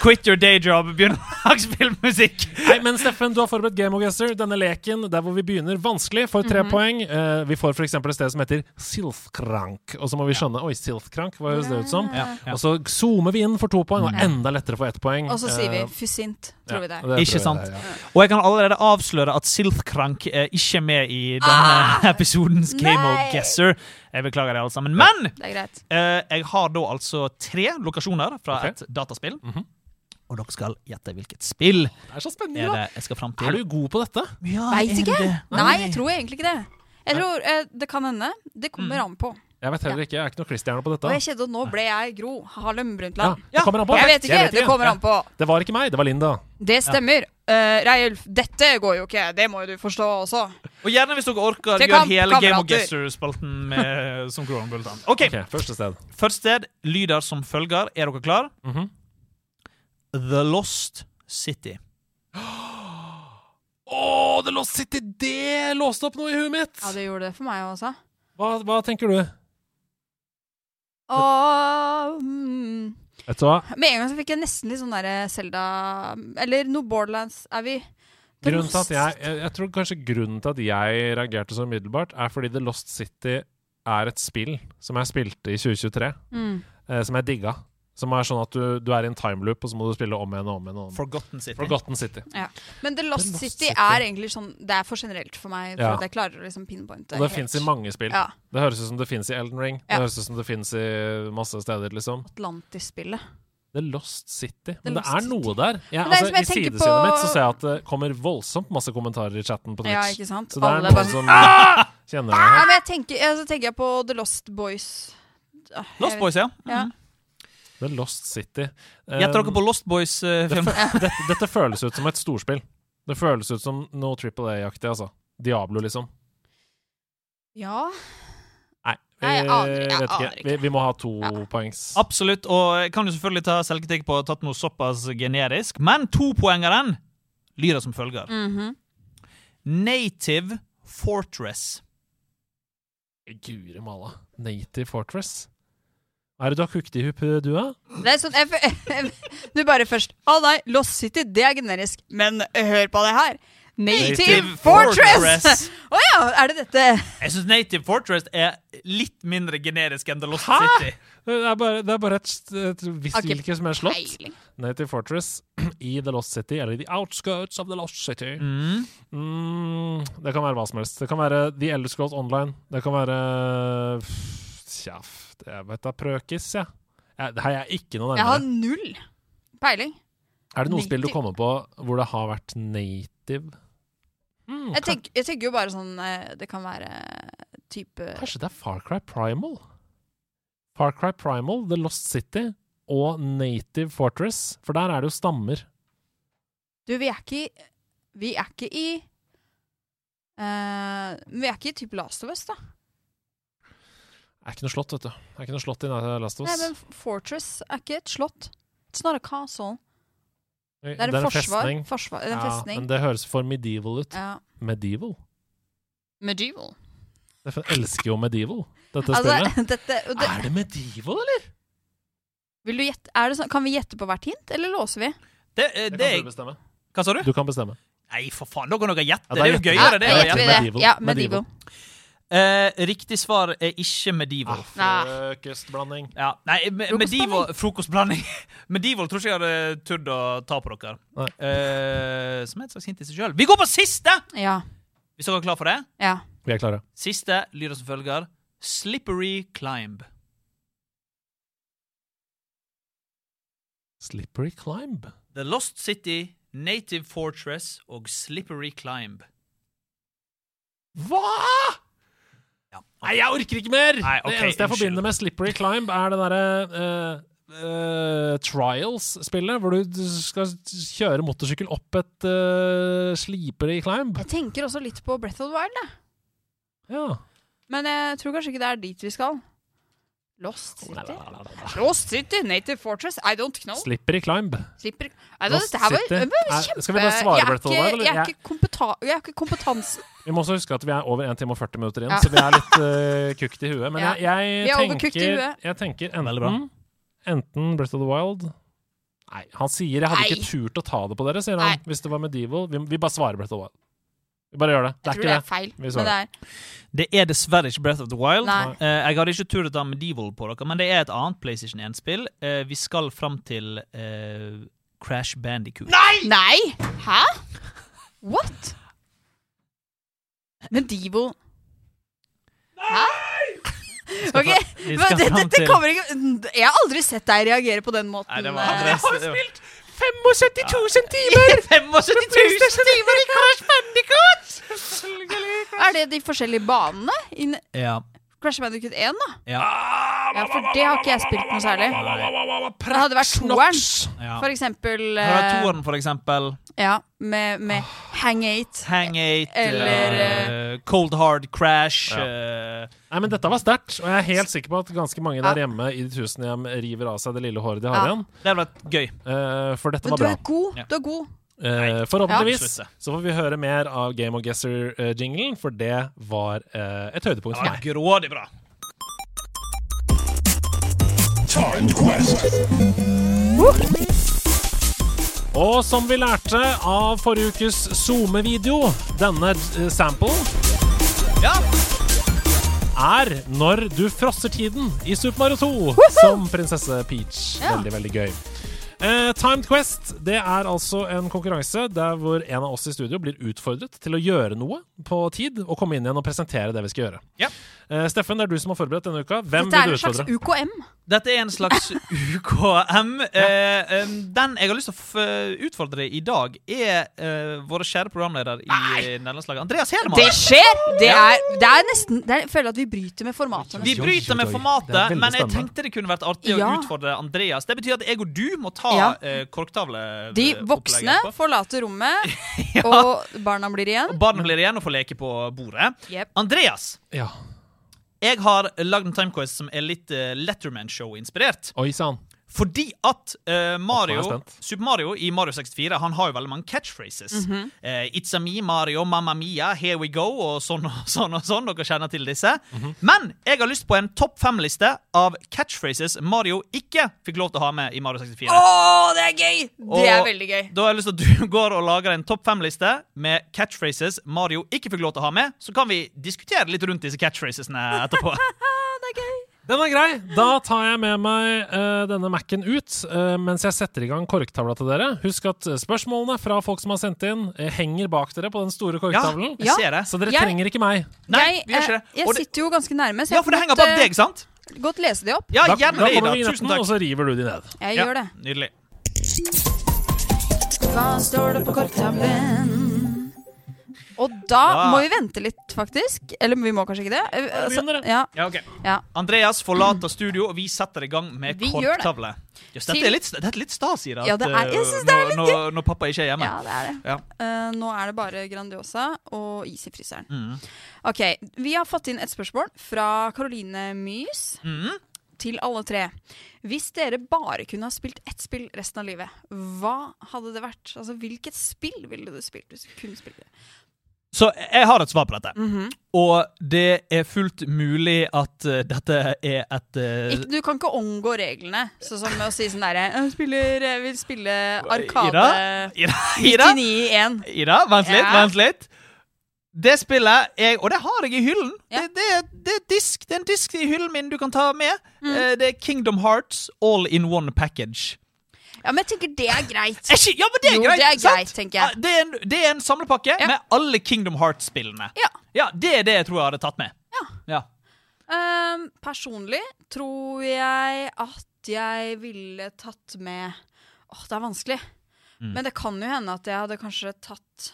[SPEAKER 4] Quit your day job, begynn å lage spillmusikk!
[SPEAKER 2] Nei, men Steffen, du har forberedt Game of Guesser. Denne leken der hvor vi begynner vanskelig, får tre
[SPEAKER 3] Mhm.
[SPEAKER 2] poeng. Eh, vi får f.eks. et sted som heter Silfkrank, og så må vi skjønne Oi, Silfkrank, hva høres det ut som? Og så zoomer vi inn for to poeng, og enda lettere for ett poeng.
[SPEAKER 3] Mm. Og så sier vi
[SPEAKER 2] Eh,
[SPEAKER 3] fysint, tror vi det.
[SPEAKER 2] ja,
[SPEAKER 3] er.
[SPEAKER 2] tror
[SPEAKER 4] Ikke
[SPEAKER 2] jeg
[SPEAKER 4] sant?
[SPEAKER 2] det er, ja.
[SPEAKER 4] Og jeg kan allerede avsløre at Silthkrank er ikke med i denne episodens Game of
[SPEAKER 3] Nei!
[SPEAKER 4] Guesser. Jeg beklager det, alle sammen. Men
[SPEAKER 3] Det er greit.
[SPEAKER 4] eh, jeg har da altså tre lokasjoner fra
[SPEAKER 2] Ok.
[SPEAKER 4] et dataspill. Og dere skal gjette hvilket spill
[SPEAKER 2] Det er så spennende,
[SPEAKER 4] er
[SPEAKER 2] da.
[SPEAKER 4] det jeg skal fram til.
[SPEAKER 2] Er du god på dette?
[SPEAKER 4] Ja,
[SPEAKER 3] Veit
[SPEAKER 4] er
[SPEAKER 3] ikke.
[SPEAKER 4] det?
[SPEAKER 3] Nei, jeg tror egentlig ikke det. Jeg tror eh, Det kan hende. Det
[SPEAKER 2] Mm.
[SPEAKER 3] kommer an på.
[SPEAKER 2] Jeg vet heller ikke. Jeg er ikke noe Christian på
[SPEAKER 3] Og
[SPEAKER 2] dette.
[SPEAKER 3] jeg kjente at nå ble jeg Gro Harlem
[SPEAKER 2] Ja,
[SPEAKER 3] Brundtland.
[SPEAKER 2] det kommer an på.
[SPEAKER 3] Jeg vet ikke, det kommer
[SPEAKER 2] Ja.
[SPEAKER 3] an på.
[SPEAKER 2] Det var ikke meg, det var Linda.
[SPEAKER 3] Det stemmer. Eh, Reiulf, dette går jo ikke. Det må jo du forstå også.
[SPEAKER 4] Og gjerne hvis dere orker,
[SPEAKER 3] Til
[SPEAKER 4] gjør
[SPEAKER 3] kamp,
[SPEAKER 4] hele Game of
[SPEAKER 3] kamerater.
[SPEAKER 4] Guesser-spalten med- [laughs] som Groran Bultan. OK,
[SPEAKER 2] Ok, Første sted.
[SPEAKER 4] Første sted lyder som følger. Er dere klare?
[SPEAKER 2] Mhm.
[SPEAKER 4] The Lost City.
[SPEAKER 2] Å, The Lost City! Det låste opp noe i huet mitt!
[SPEAKER 3] Ja, det gjorde det for meg også.
[SPEAKER 2] Hva, hva tenker du?
[SPEAKER 3] Og, mm,
[SPEAKER 2] Vet du hva?
[SPEAKER 3] med en gang så fikk jeg nesten litt sånn derre Selda Eller noe Borderlands er vi. Det
[SPEAKER 2] Grunnen til at
[SPEAKER 3] lost-
[SPEAKER 2] jeg, jeg, jeg tror kanskje grunnen til at jeg reagerte så umiddelbart, er fordi The Lost City er et spill som jeg spilte i 2023,
[SPEAKER 3] Mm.
[SPEAKER 2] eh, som jeg digga. Som er sånn at du, du er i en timeloop, og så må du spille om igjen og om igjen. og om igjen.
[SPEAKER 4] Forgotten City.
[SPEAKER 2] Forgotten City.
[SPEAKER 3] Men The Lost,
[SPEAKER 2] The Lost
[SPEAKER 3] City
[SPEAKER 2] City.
[SPEAKER 3] er egentlig sånn Det er for generelt for meg. For
[SPEAKER 2] Ja.
[SPEAKER 3] at jeg klarer å liksom pinpointe.
[SPEAKER 2] Og det
[SPEAKER 3] helt.
[SPEAKER 2] fins i mange spill.
[SPEAKER 3] Ja.
[SPEAKER 2] Det høres ut som det fins i Elden Ring.
[SPEAKER 3] Ja.
[SPEAKER 2] Det høres ut som det fins i masse steder, liksom.
[SPEAKER 3] Atlantis-spillet.
[SPEAKER 2] The Lost City. Men det
[SPEAKER 3] Lost
[SPEAKER 2] er noe der. Jeg,
[SPEAKER 3] Men det er
[SPEAKER 2] altså,
[SPEAKER 3] som jeg
[SPEAKER 2] I
[SPEAKER 3] tenker
[SPEAKER 2] sidesynet
[SPEAKER 3] på-
[SPEAKER 2] mitt så ser jeg at det kommer voldsomt masse kommentarer i chatten på Twitch.
[SPEAKER 3] Ja, ikke sant?
[SPEAKER 2] Så det er
[SPEAKER 3] Alle
[SPEAKER 2] noen
[SPEAKER 3] bare-
[SPEAKER 2] som eh, kjenner det.
[SPEAKER 3] [laughs] Ja,
[SPEAKER 2] her.
[SPEAKER 3] men jeg tenker, ja, så tenker jeg på The Lost Boys. Ah, jeg
[SPEAKER 4] Lost
[SPEAKER 3] vet-
[SPEAKER 4] Boys, ja.
[SPEAKER 3] Ja.
[SPEAKER 4] Mhm.
[SPEAKER 2] The Lost City. Eh,
[SPEAKER 4] Gjett dere på Lost
[SPEAKER 3] [laughs]
[SPEAKER 4] Boys-film.
[SPEAKER 2] dette, dette føles ut som et storspill. Det føles ut som noe Triple A-aktig, altså. Diablo, liksom.
[SPEAKER 3] Ja.
[SPEAKER 2] Nei, vi,
[SPEAKER 3] Nei, jeg aner- jeg
[SPEAKER 2] vet
[SPEAKER 3] aner
[SPEAKER 2] ikke.
[SPEAKER 3] ikke.
[SPEAKER 2] Vi, vi må ha to
[SPEAKER 3] Ja.
[SPEAKER 2] poengs.
[SPEAKER 4] Absolutt, og jeg kan jo selvfølgelig ta selvkritikk på å ha tatt noe såpass generisk, men topoengeren lyder som følger.
[SPEAKER 3] Mhm.
[SPEAKER 4] Native Fortress.
[SPEAKER 2] Guri malla. Native Fortress. Hva er det du har kukt i hupp, du, da?
[SPEAKER 3] Det er sånn jeg f- [laughs] Du bare først Å nei, Lost City, det er generisk. Men eh, hør på det her. Native,
[SPEAKER 4] Native
[SPEAKER 3] Fortress!
[SPEAKER 4] Fortress.
[SPEAKER 3] [laughs] Å ja, er det dette?
[SPEAKER 4] Jeg syns Native Fortress er litt mindre generisk enn The Lost City.
[SPEAKER 2] Det er bare, det er bare et, et visst
[SPEAKER 3] Har ikke
[SPEAKER 2] hvilket som helst slott.
[SPEAKER 3] Peiling.
[SPEAKER 2] Native Fortress [clears throat] i The Lost City, eller The Outskirts of The Lost City.
[SPEAKER 4] Mm.
[SPEAKER 2] Mm, det kan være hva som helst. Det kan være The Elder Scrolls Online. Det kan være pff, Tja, f- det- jeg vet da prøkis, jeg. jeg. Det her er ikke noe
[SPEAKER 3] Jeg har
[SPEAKER 2] nærmere.
[SPEAKER 3] null peiling.
[SPEAKER 2] Er det noen spill du
[SPEAKER 3] native.
[SPEAKER 2] kommer på hvor det har vært native? Mm,
[SPEAKER 3] Jeg
[SPEAKER 2] kan-
[SPEAKER 3] tenker, jeg tenker jo bare sånn eh, Det kan være type
[SPEAKER 2] Kanskje det er Far Cry Primal? Far Cry Primal, The Lost City og Native Fortress, for der er det jo stammer.
[SPEAKER 3] Du, vi er ikke i Vi er ikke i eh, Vi er ikke i type Last of Us, da.
[SPEAKER 2] Det er ikke noe slott, vet du. Det er ikke noe slott i Last of
[SPEAKER 3] Nei,
[SPEAKER 2] Us.
[SPEAKER 3] men Fortress er ikke et slott. It's not a castle.
[SPEAKER 2] Det
[SPEAKER 3] Det er en forsvar.
[SPEAKER 2] festning.
[SPEAKER 3] forsvar det er en
[SPEAKER 2] Ja,
[SPEAKER 3] festning.
[SPEAKER 2] men det høres for medieval ut.
[SPEAKER 3] Ja.
[SPEAKER 2] Medieval?
[SPEAKER 3] Medieval.
[SPEAKER 2] Jeg elsker jo medieval, dette spillet.
[SPEAKER 3] Altså, dette, og [laughs] det,
[SPEAKER 2] er det medieval, eller?
[SPEAKER 3] vil du gjette, er det sånn, kan vi gjette på hvert hint, eller låser vi?
[SPEAKER 4] Det, eh, det,
[SPEAKER 2] du
[SPEAKER 4] er-
[SPEAKER 2] bestemme.
[SPEAKER 4] hva sa du?
[SPEAKER 2] Du kan bestemme.
[SPEAKER 4] Nei, for faen, da kan dere gjette.
[SPEAKER 2] Ja,
[SPEAKER 4] Det
[SPEAKER 2] da
[SPEAKER 4] er jo
[SPEAKER 2] gjetter vi.
[SPEAKER 4] gøyere, det.
[SPEAKER 2] Ja,
[SPEAKER 4] å
[SPEAKER 2] gjetter vi.
[SPEAKER 4] gjette.
[SPEAKER 2] Medieval.
[SPEAKER 3] Ja,
[SPEAKER 2] Medieval.
[SPEAKER 3] medieval.
[SPEAKER 4] Eh, riktig svar er ikke
[SPEAKER 2] Ah.
[SPEAKER 4] medieval.
[SPEAKER 3] Nei.
[SPEAKER 2] Frokostblanding.
[SPEAKER 4] Ja, nei, me-
[SPEAKER 3] Frokostblanding.
[SPEAKER 4] medieval Frokostblanding. [laughs] medieval tror ikke jeg hadde turt å ta på dere.
[SPEAKER 2] Nei.
[SPEAKER 4] Eh, som er et slags hint i seg sjøl. Vi går på siste!
[SPEAKER 3] Ja.
[SPEAKER 4] Hvis dere er klar for det.
[SPEAKER 3] ja.
[SPEAKER 2] Vi er klare.
[SPEAKER 4] Siste lyder som følger Slippery Climb.
[SPEAKER 2] Slippery Climb.
[SPEAKER 4] The Lost City, Native Fortress og Slippery Climb.
[SPEAKER 2] Hva?! Nei, jeg orker ikke mer!
[SPEAKER 4] Nei, ok,
[SPEAKER 2] det eneste jeg
[SPEAKER 4] unnskyld.
[SPEAKER 2] forbinder med Slippery Climb, er det derre eh, eh, Trials-spillet, hvor du skal kjøre motorsykkel opp et uh, slipere i climb.
[SPEAKER 3] Jeg tenker også litt på Breath of the Wild, jeg.
[SPEAKER 2] Ja.
[SPEAKER 3] men jeg tror kanskje ikke det er dit vi skal. Lost City? Lost City, Native Fortress, I don't know.
[SPEAKER 2] Slippery Climb.
[SPEAKER 3] Slipper Nei, da,
[SPEAKER 2] Lost
[SPEAKER 3] dette her var,
[SPEAKER 2] City.
[SPEAKER 3] det var
[SPEAKER 2] Er-
[SPEAKER 3] kjempe...
[SPEAKER 2] skal vi bare svare
[SPEAKER 3] jeg er
[SPEAKER 2] Breath of the Wild,
[SPEAKER 3] ikke- Jeg
[SPEAKER 2] eller?
[SPEAKER 3] er ikke, kompeta jeg er ikke kompetansen.
[SPEAKER 2] Vi må også huske at vi er over 1 time og 40 minutter inn,
[SPEAKER 3] Ja.
[SPEAKER 2] så vi er litt uh, kukt i huet. Men
[SPEAKER 3] Ja.
[SPEAKER 2] jeg, jeg,
[SPEAKER 3] Vi er
[SPEAKER 2] tenker,
[SPEAKER 3] overkukt i huet.
[SPEAKER 2] jeg tenker
[SPEAKER 4] Veldig bra.
[SPEAKER 2] enten, enten Breath of the Wild Nei, han sier 'jeg hadde
[SPEAKER 3] Nei.
[SPEAKER 2] ikke turt å ta det på dere', sier han. Hvis det var medieval. Vi, vi bare svarer Breath of the Wild. Vi bare gjør det. Det
[SPEAKER 3] Jeg
[SPEAKER 2] er
[SPEAKER 3] tror det
[SPEAKER 2] ikke
[SPEAKER 3] er feil.
[SPEAKER 2] Vi
[SPEAKER 3] Men
[SPEAKER 2] svarer.
[SPEAKER 3] det er
[SPEAKER 4] Det er dessverre ikke Breath of the Wild.
[SPEAKER 3] Nei.
[SPEAKER 4] Eh, jeg hadde ikke turt å ta Medieval på dere, men det er et annet PlayStation 1-spill. Eh, vi skal fram til eh, Crash Bandicoot.
[SPEAKER 3] Nei! Hæ? What? Medieval Hæ? Ok,
[SPEAKER 4] vi
[SPEAKER 3] men
[SPEAKER 4] skal
[SPEAKER 3] det,
[SPEAKER 4] fram
[SPEAKER 3] dette
[SPEAKER 4] til-
[SPEAKER 3] kommer ikke Jeg har aldri sett deg reagere på den måten.
[SPEAKER 4] Nei, det var
[SPEAKER 3] eh,
[SPEAKER 4] Andres. det var-
[SPEAKER 2] 75 000
[SPEAKER 4] [laughs]
[SPEAKER 2] timer!
[SPEAKER 4] 75 000 timer i Crash Bandicoot!
[SPEAKER 3] Er det de forskjellige banene? In
[SPEAKER 4] Ja.
[SPEAKER 3] Crash Bandicoot 1, da?
[SPEAKER 4] ja.
[SPEAKER 3] Ja, for det har ikke jeg spilt noe særlig. Det hadde vært toeren,
[SPEAKER 4] ja.
[SPEAKER 3] for eksempel.
[SPEAKER 4] Her er
[SPEAKER 3] eh,
[SPEAKER 4] toeren, for eksempel.
[SPEAKER 3] ja, med, med Hang Eight.
[SPEAKER 4] Hang Eight,
[SPEAKER 3] Eller,
[SPEAKER 4] eh, Cold Hard Crash eh,
[SPEAKER 2] Nei, men dette var sterkt, og jeg er helt sikker på at ganske mange der hjemme i de tusen hjem river av seg det lille håret de har
[SPEAKER 3] Ja.
[SPEAKER 2] igjen.
[SPEAKER 4] Det hadde vært gøy.
[SPEAKER 2] Eh, for dette
[SPEAKER 3] Men
[SPEAKER 2] var
[SPEAKER 3] du
[SPEAKER 2] bra.
[SPEAKER 3] er god.
[SPEAKER 4] Ja.
[SPEAKER 3] Du er god.
[SPEAKER 2] Eh, forhåpentligvis
[SPEAKER 4] Ja.
[SPEAKER 2] så får vi høre mer av Game of Guesser-jinglen, for det var eh, et høydepunkt for
[SPEAKER 4] Ja,
[SPEAKER 2] meg.
[SPEAKER 4] grådig bra.
[SPEAKER 7] Time Quest.
[SPEAKER 2] Og som vi lærte av forrige ukes SoMe-video, denne eh, samplen
[SPEAKER 4] Ja.
[SPEAKER 2] er når du frosser tiden i Super Mario 2 som prinsesse Peach. Veldig, veldig gøy. Eh, Timed Quest det er altså en konkurranse der hvor en av oss i studio blir utfordret til å gjøre noe på tid, og komme inn igjen og presentere det vi skal gjøre.
[SPEAKER 4] Ja.
[SPEAKER 2] Eh, Steffen, det er du som har forberedt denne uka. Hvem
[SPEAKER 3] Dette
[SPEAKER 2] vil
[SPEAKER 3] er
[SPEAKER 2] du
[SPEAKER 3] en slags
[SPEAKER 2] utfordre?
[SPEAKER 3] UKM.
[SPEAKER 4] Dette er en
[SPEAKER 3] [laughs]
[SPEAKER 4] slags UKM. Eh, em, den jeg har lyst til å f eh, utfordre i dag, er eh, våre kjære programleder i eh, Nederlandslaget, Andreas
[SPEAKER 3] Det
[SPEAKER 4] Hedemann.
[SPEAKER 3] skjer! Det er, det er nesten det er, Jeg føler at vi bryter med formatet.
[SPEAKER 4] Vi
[SPEAKER 3] nesten.
[SPEAKER 4] bryter
[SPEAKER 2] Oi, oi, oi.
[SPEAKER 4] med
[SPEAKER 2] Det er
[SPEAKER 4] formatet,
[SPEAKER 2] veldig
[SPEAKER 4] men jeg
[SPEAKER 2] spennende.
[SPEAKER 4] tenkte det kunne vært artig å
[SPEAKER 3] Ja.
[SPEAKER 4] utfordre Andreas. Det betyr at jeg og du må ta
[SPEAKER 3] Ja.
[SPEAKER 4] eh, korktavle.
[SPEAKER 3] De
[SPEAKER 4] eh,
[SPEAKER 3] voksne
[SPEAKER 4] opplegget etterpå.
[SPEAKER 3] forlater
[SPEAKER 4] [laughs]
[SPEAKER 3] rommet, og barna blir igjen.
[SPEAKER 4] Og Barna blir igjen og får leke på bordet.
[SPEAKER 3] Jep.
[SPEAKER 4] Andreas,
[SPEAKER 2] Ja.
[SPEAKER 4] jeg har lagd en timequest som er litt eh, Letterman-show-inspirert.
[SPEAKER 2] Oi sann.
[SPEAKER 4] Fordi at eh,
[SPEAKER 2] Åh, nå er
[SPEAKER 4] Mario,
[SPEAKER 2] jeg spent.
[SPEAKER 4] Super Mario i Mario 64 Han har jo veldig mange catchphrases.
[SPEAKER 3] Mhm.
[SPEAKER 4] Eh, It's a me, Mario, Mamma Mia, Here we go og sånn og [laughs] sånn. og sånn Dere kjenner til disse.
[SPEAKER 2] Mhm.
[SPEAKER 4] Men jeg har lyst på en topp fem-liste av catchphrases Mario ikke fikk lov til å ha med i Mario 64.
[SPEAKER 3] Å, det er gøy! Det er
[SPEAKER 4] Og
[SPEAKER 3] veldig gøy.
[SPEAKER 4] Da har jeg lyst til at du [laughs] går og lager en topp fem-liste med catchphrases Mario ikke fikk lov til å ha med. Så kan vi diskutere litt rundt disse catchphrasesene
[SPEAKER 2] [laughs]
[SPEAKER 4] etterpå.
[SPEAKER 3] Ja, det er gøy.
[SPEAKER 2] Den er grei. Da tar jeg med meg eh, denne Mac-en ut eh, mens jeg setter i gang korktavla til dere. Husk at spørsmålene fra folk som har sendt inn, eh, henger bak dere på den store
[SPEAKER 4] Ja,
[SPEAKER 2] korktavlen.
[SPEAKER 4] jeg
[SPEAKER 3] Ja.
[SPEAKER 4] ser det.
[SPEAKER 2] Så dere
[SPEAKER 3] Jeg-
[SPEAKER 2] trenger ikke meg.
[SPEAKER 4] Nei,
[SPEAKER 3] jeg,
[SPEAKER 4] vi gjør ikke
[SPEAKER 3] eh,
[SPEAKER 4] det. Og
[SPEAKER 3] jeg
[SPEAKER 4] det
[SPEAKER 3] sitter jo ganske nærme, så
[SPEAKER 4] ja,
[SPEAKER 3] jeg
[SPEAKER 4] for det
[SPEAKER 3] kan
[SPEAKER 4] henger
[SPEAKER 3] godt,
[SPEAKER 4] bak
[SPEAKER 3] eh,
[SPEAKER 4] deg, sant?
[SPEAKER 3] godt lese de opp.
[SPEAKER 4] Ja,
[SPEAKER 2] Da, da
[SPEAKER 4] gjerne det, Ida.
[SPEAKER 2] kommer vignetten,
[SPEAKER 4] Tusen takk.
[SPEAKER 2] og så river du de ned.
[SPEAKER 3] Jeg
[SPEAKER 4] Ja,
[SPEAKER 3] gjør det.
[SPEAKER 4] Nydelig.
[SPEAKER 3] Hva står det på korktavlen? Og da
[SPEAKER 4] Ja.
[SPEAKER 3] må vi vente litt, faktisk. Eller vi må kanskje ikke det. Eh,
[SPEAKER 2] vi
[SPEAKER 3] altså,
[SPEAKER 2] begynner, da.
[SPEAKER 3] ja,
[SPEAKER 4] Ja, ok.
[SPEAKER 3] ja.
[SPEAKER 4] Andreas forlater studio, og vi setter i gang med
[SPEAKER 3] Vi gjør det.
[SPEAKER 4] korktavle. Yes, dette,
[SPEAKER 3] Til-
[SPEAKER 4] er litt, dette er litt stas, Ida.
[SPEAKER 3] Ja,
[SPEAKER 4] at,
[SPEAKER 3] det er- jeg
[SPEAKER 4] eh,
[SPEAKER 3] synes det er
[SPEAKER 4] når-
[SPEAKER 3] litt
[SPEAKER 4] når, når pappa ikke er hjemme.
[SPEAKER 3] ja, det er det.
[SPEAKER 4] Ja.
[SPEAKER 3] Eh, nå er det bare Grandiosa og is i fryseren. Ok, Vi har fått inn et spørsmål fra Caroline Mys til alle tre. Hvis dere bare kunne ha spilt ett spill resten av livet, hva hadde det vært? Altså, Hvilket spill ville du spilt hvis du kunne spilt det?
[SPEAKER 4] Så jeg har et svar på dette.
[SPEAKER 3] Mhm.
[SPEAKER 4] Og det er fullt mulig at eh, dette er et eh,
[SPEAKER 3] Ikke, du kan ikke omgå reglene, sånn som med å si sånn derre «Jeg spiller- Jeg vil spille
[SPEAKER 4] Ida?
[SPEAKER 3] Arkade
[SPEAKER 4] Ida?
[SPEAKER 3] 99
[SPEAKER 4] Ida?
[SPEAKER 3] i 1.
[SPEAKER 4] Ida, vent litt,
[SPEAKER 3] Ja.
[SPEAKER 4] vent litt. Det spillet jeg, Og det har jeg i hyllen.
[SPEAKER 3] Ja.
[SPEAKER 4] Det, det, er- det er disk Det er en disk i hyllen min du kan ta med. Eh, Det er Kingdom Hearts All in One Package.
[SPEAKER 3] Ja, men jeg tenker det er greit.
[SPEAKER 4] Er ikke, ja, men det er
[SPEAKER 3] Jo,
[SPEAKER 4] greit,
[SPEAKER 3] det er
[SPEAKER 4] sant?
[SPEAKER 3] greit, tenker jeg.
[SPEAKER 4] Ja, Det er en, det er en samlepakke
[SPEAKER 3] Ja.
[SPEAKER 4] med alle Kingdom Hearts-spillene.
[SPEAKER 3] Ja.
[SPEAKER 4] Det er det jeg tror jeg hadde tatt med.
[SPEAKER 3] Ja. Ehm, personlig tror jeg at jeg ville tatt med Åh, det er vanskelig. Men det kan jo hende at jeg hadde kanskje tatt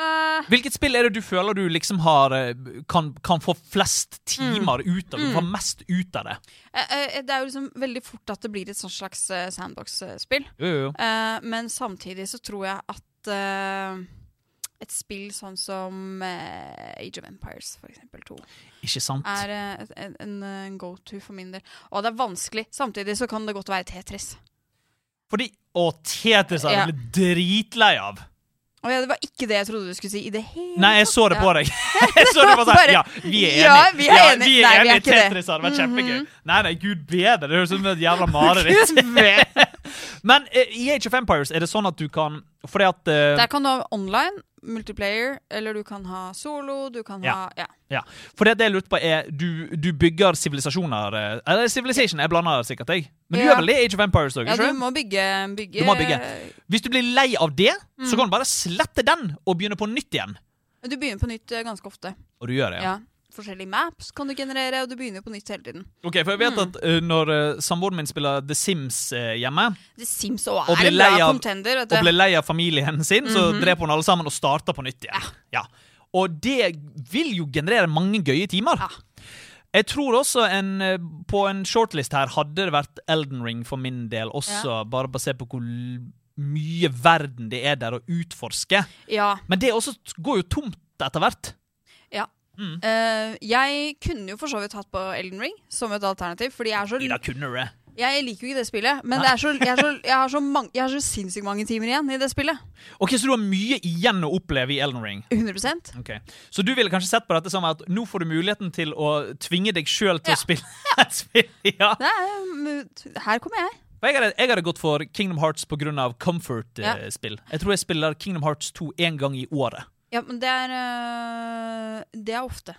[SPEAKER 3] Eh,
[SPEAKER 4] Hvilket spill er det du føler du liksom har eh, kan, kan få flest timer ut av? Du får mest ut av det.
[SPEAKER 3] eh, eh, Det er jo liksom veldig fort at det blir et sånt slags eh, sandbox-spill.
[SPEAKER 4] Jo, jo, jo.
[SPEAKER 3] Eh, men samtidig så tror jeg at eh, et spill sånn som eh, Age of Empires, for eksempel, 2,
[SPEAKER 4] Ikke sant?
[SPEAKER 3] er eh, en, en, en go-to for min del. Og det er vanskelig. Samtidig så kan det godt være Tetris.
[SPEAKER 4] Fordi Å, Tetris er jeg
[SPEAKER 3] Ja.
[SPEAKER 4] blitt dritlei av.
[SPEAKER 3] Og ja, det var ikke det jeg trodde du skulle si i det hele
[SPEAKER 4] Nei, jeg så det på
[SPEAKER 3] Ja.
[SPEAKER 4] deg. [laughs] Jeg så det på deg.
[SPEAKER 3] Bare-
[SPEAKER 4] Ja, vi er enige.
[SPEAKER 3] Ja, vi er enige.
[SPEAKER 4] vi
[SPEAKER 3] Nei, vi er
[SPEAKER 4] enige.
[SPEAKER 3] ikke det. Mhm.
[SPEAKER 4] Tetris hadde vært kjempegøy. Nei, nei, gud bedre. Det høres ut som et jævla mareritt.
[SPEAKER 3] [laughs] Gud bedre.
[SPEAKER 4] [laughs] Men eh, i Age of Empires er det sånn at du kan Fordi at eh,
[SPEAKER 3] Der kan du ha online, multiplayer, eller du kan ha solo, du kan
[SPEAKER 4] Ja.
[SPEAKER 3] ha Ja.
[SPEAKER 4] Ja, for det jeg lurte på er Du, du bygger sivilisasjoner eh, Eller Civilization, jeg blander sikkert jeg Men du
[SPEAKER 3] Ja.
[SPEAKER 4] gjør vel det i Age of Empires også,
[SPEAKER 3] ja
[SPEAKER 4] ikke
[SPEAKER 3] du må bygge, bygge
[SPEAKER 4] Du må bygge. Hvis du blir lei av det
[SPEAKER 3] Mm.
[SPEAKER 4] Så kan du bare slette den og begynne på nytt igjen
[SPEAKER 3] Du begynner på nytt eh, ganske ofte.
[SPEAKER 4] Og du gjør det,
[SPEAKER 3] Ja.
[SPEAKER 4] ja,
[SPEAKER 3] Forskjellige maps kan du generere, og du begynner jo på nytt hele tiden.
[SPEAKER 4] Ok, for
[SPEAKER 3] Mm.
[SPEAKER 4] jeg vet at eh, når eh, samboeren min spiller The Sims eh, hjemme
[SPEAKER 3] The Sims òg
[SPEAKER 4] Og
[SPEAKER 3] er
[SPEAKER 4] blir
[SPEAKER 3] en
[SPEAKER 4] lei
[SPEAKER 3] bra
[SPEAKER 4] av-
[SPEAKER 3] contender. Vet
[SPEAKER 4] Og ble
[SPEAKER 3] du.
[SPEAKER 4] lei av familien sin Så dreper hun alle sammen og starter på nytt igjen Mhm. Ja, og det vil jo generere mange gøye timer
[SPEAKER 3] Ja.
[SPEAKER 4] Jeg tror også en, eh, på en shortlist her hadde det vært Elden Ring for min del også, bare basert på hvor l- mye verden det er der å utforske.
[SPEAKER 3] Ja.
[SPEAKER 4] Men det også t- går jo tomt etter hvert.
[SPEAKER 3] ja.
[SPEAKER 4] Mm.
[SPEAKER 3] Eh, jeg kunne jo for så vidt hatt på Elden Ring som et alternativ, fordi jeg er så
[SPEAKER 4] Ida kunne du det.
[SPEAKER 3] Jeg liker jo ikke det spillet, men det er så, jeg, er så, jeg, har så mange, jeg har så sinnssykt mange timer igjen i det spillet.
[SPEAKER 4] Ok, Så du har mye igjen å oppleve i Elden Ring.
[SPEAKER 3] 100
[SPEAKER 4] Ok. Så du ville kanskje sett på dette som at nå får du muligheten til å tvinge deg sjøl til
[SPEAKER 3] Ja.
[SPEAKER 4] å spille [laughs] et spill? Ja.
[SPEAKER 3] Det er, mm, Her kommer jeg.
[SPEAKER 4] For Jeg hadde, jeg hadde gått for Kingdom Hearts pga.
[SPEAKER 3] Ja.
[SPEAKER 4] comfort-spill. eh, Jeg tror jeg spiller Kingdom Hearts 2 én gang i
[SPEAKER 3] [laughs]
[SPEAKER 4] året.
[SPEAKER 3] Ja, men det er øh, Det er ofte.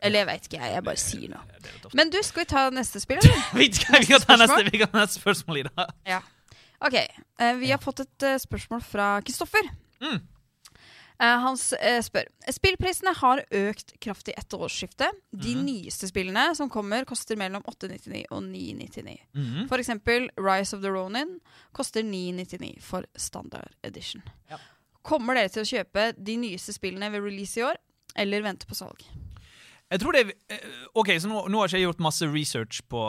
[SPEAKER 3] Eller jeg veit ikke, jeg. Jeg bare sier noe. Men du, skal vi ta neste spill, eller?
[SPEAKER 4] Vi kan, vi kan ta
[SPEAKER 3] Neste spørsmål?
[SPEAKER 4] neste, vi kan ta neste spørsmål, Ida.
[SPEAKER 3] Ja. OK. eh, vi har fått et eh, spørsmål fra Kristoffer. Eh, han s- eh, spør Spillprisene har økt kraftig etter årsskiftet. De nyeste spillene som kommer, koster mellom 899 og 999. For eksempel Rise of the Ronin koster 999 for standard edition. Kommer dere til å kjøpe de nyeste spillene ved release i år, eller vente på salg?
[SPEAKER 4] Jeg tror det er, eh, Ok, så nå, nå har ikke jeg gjort masse research på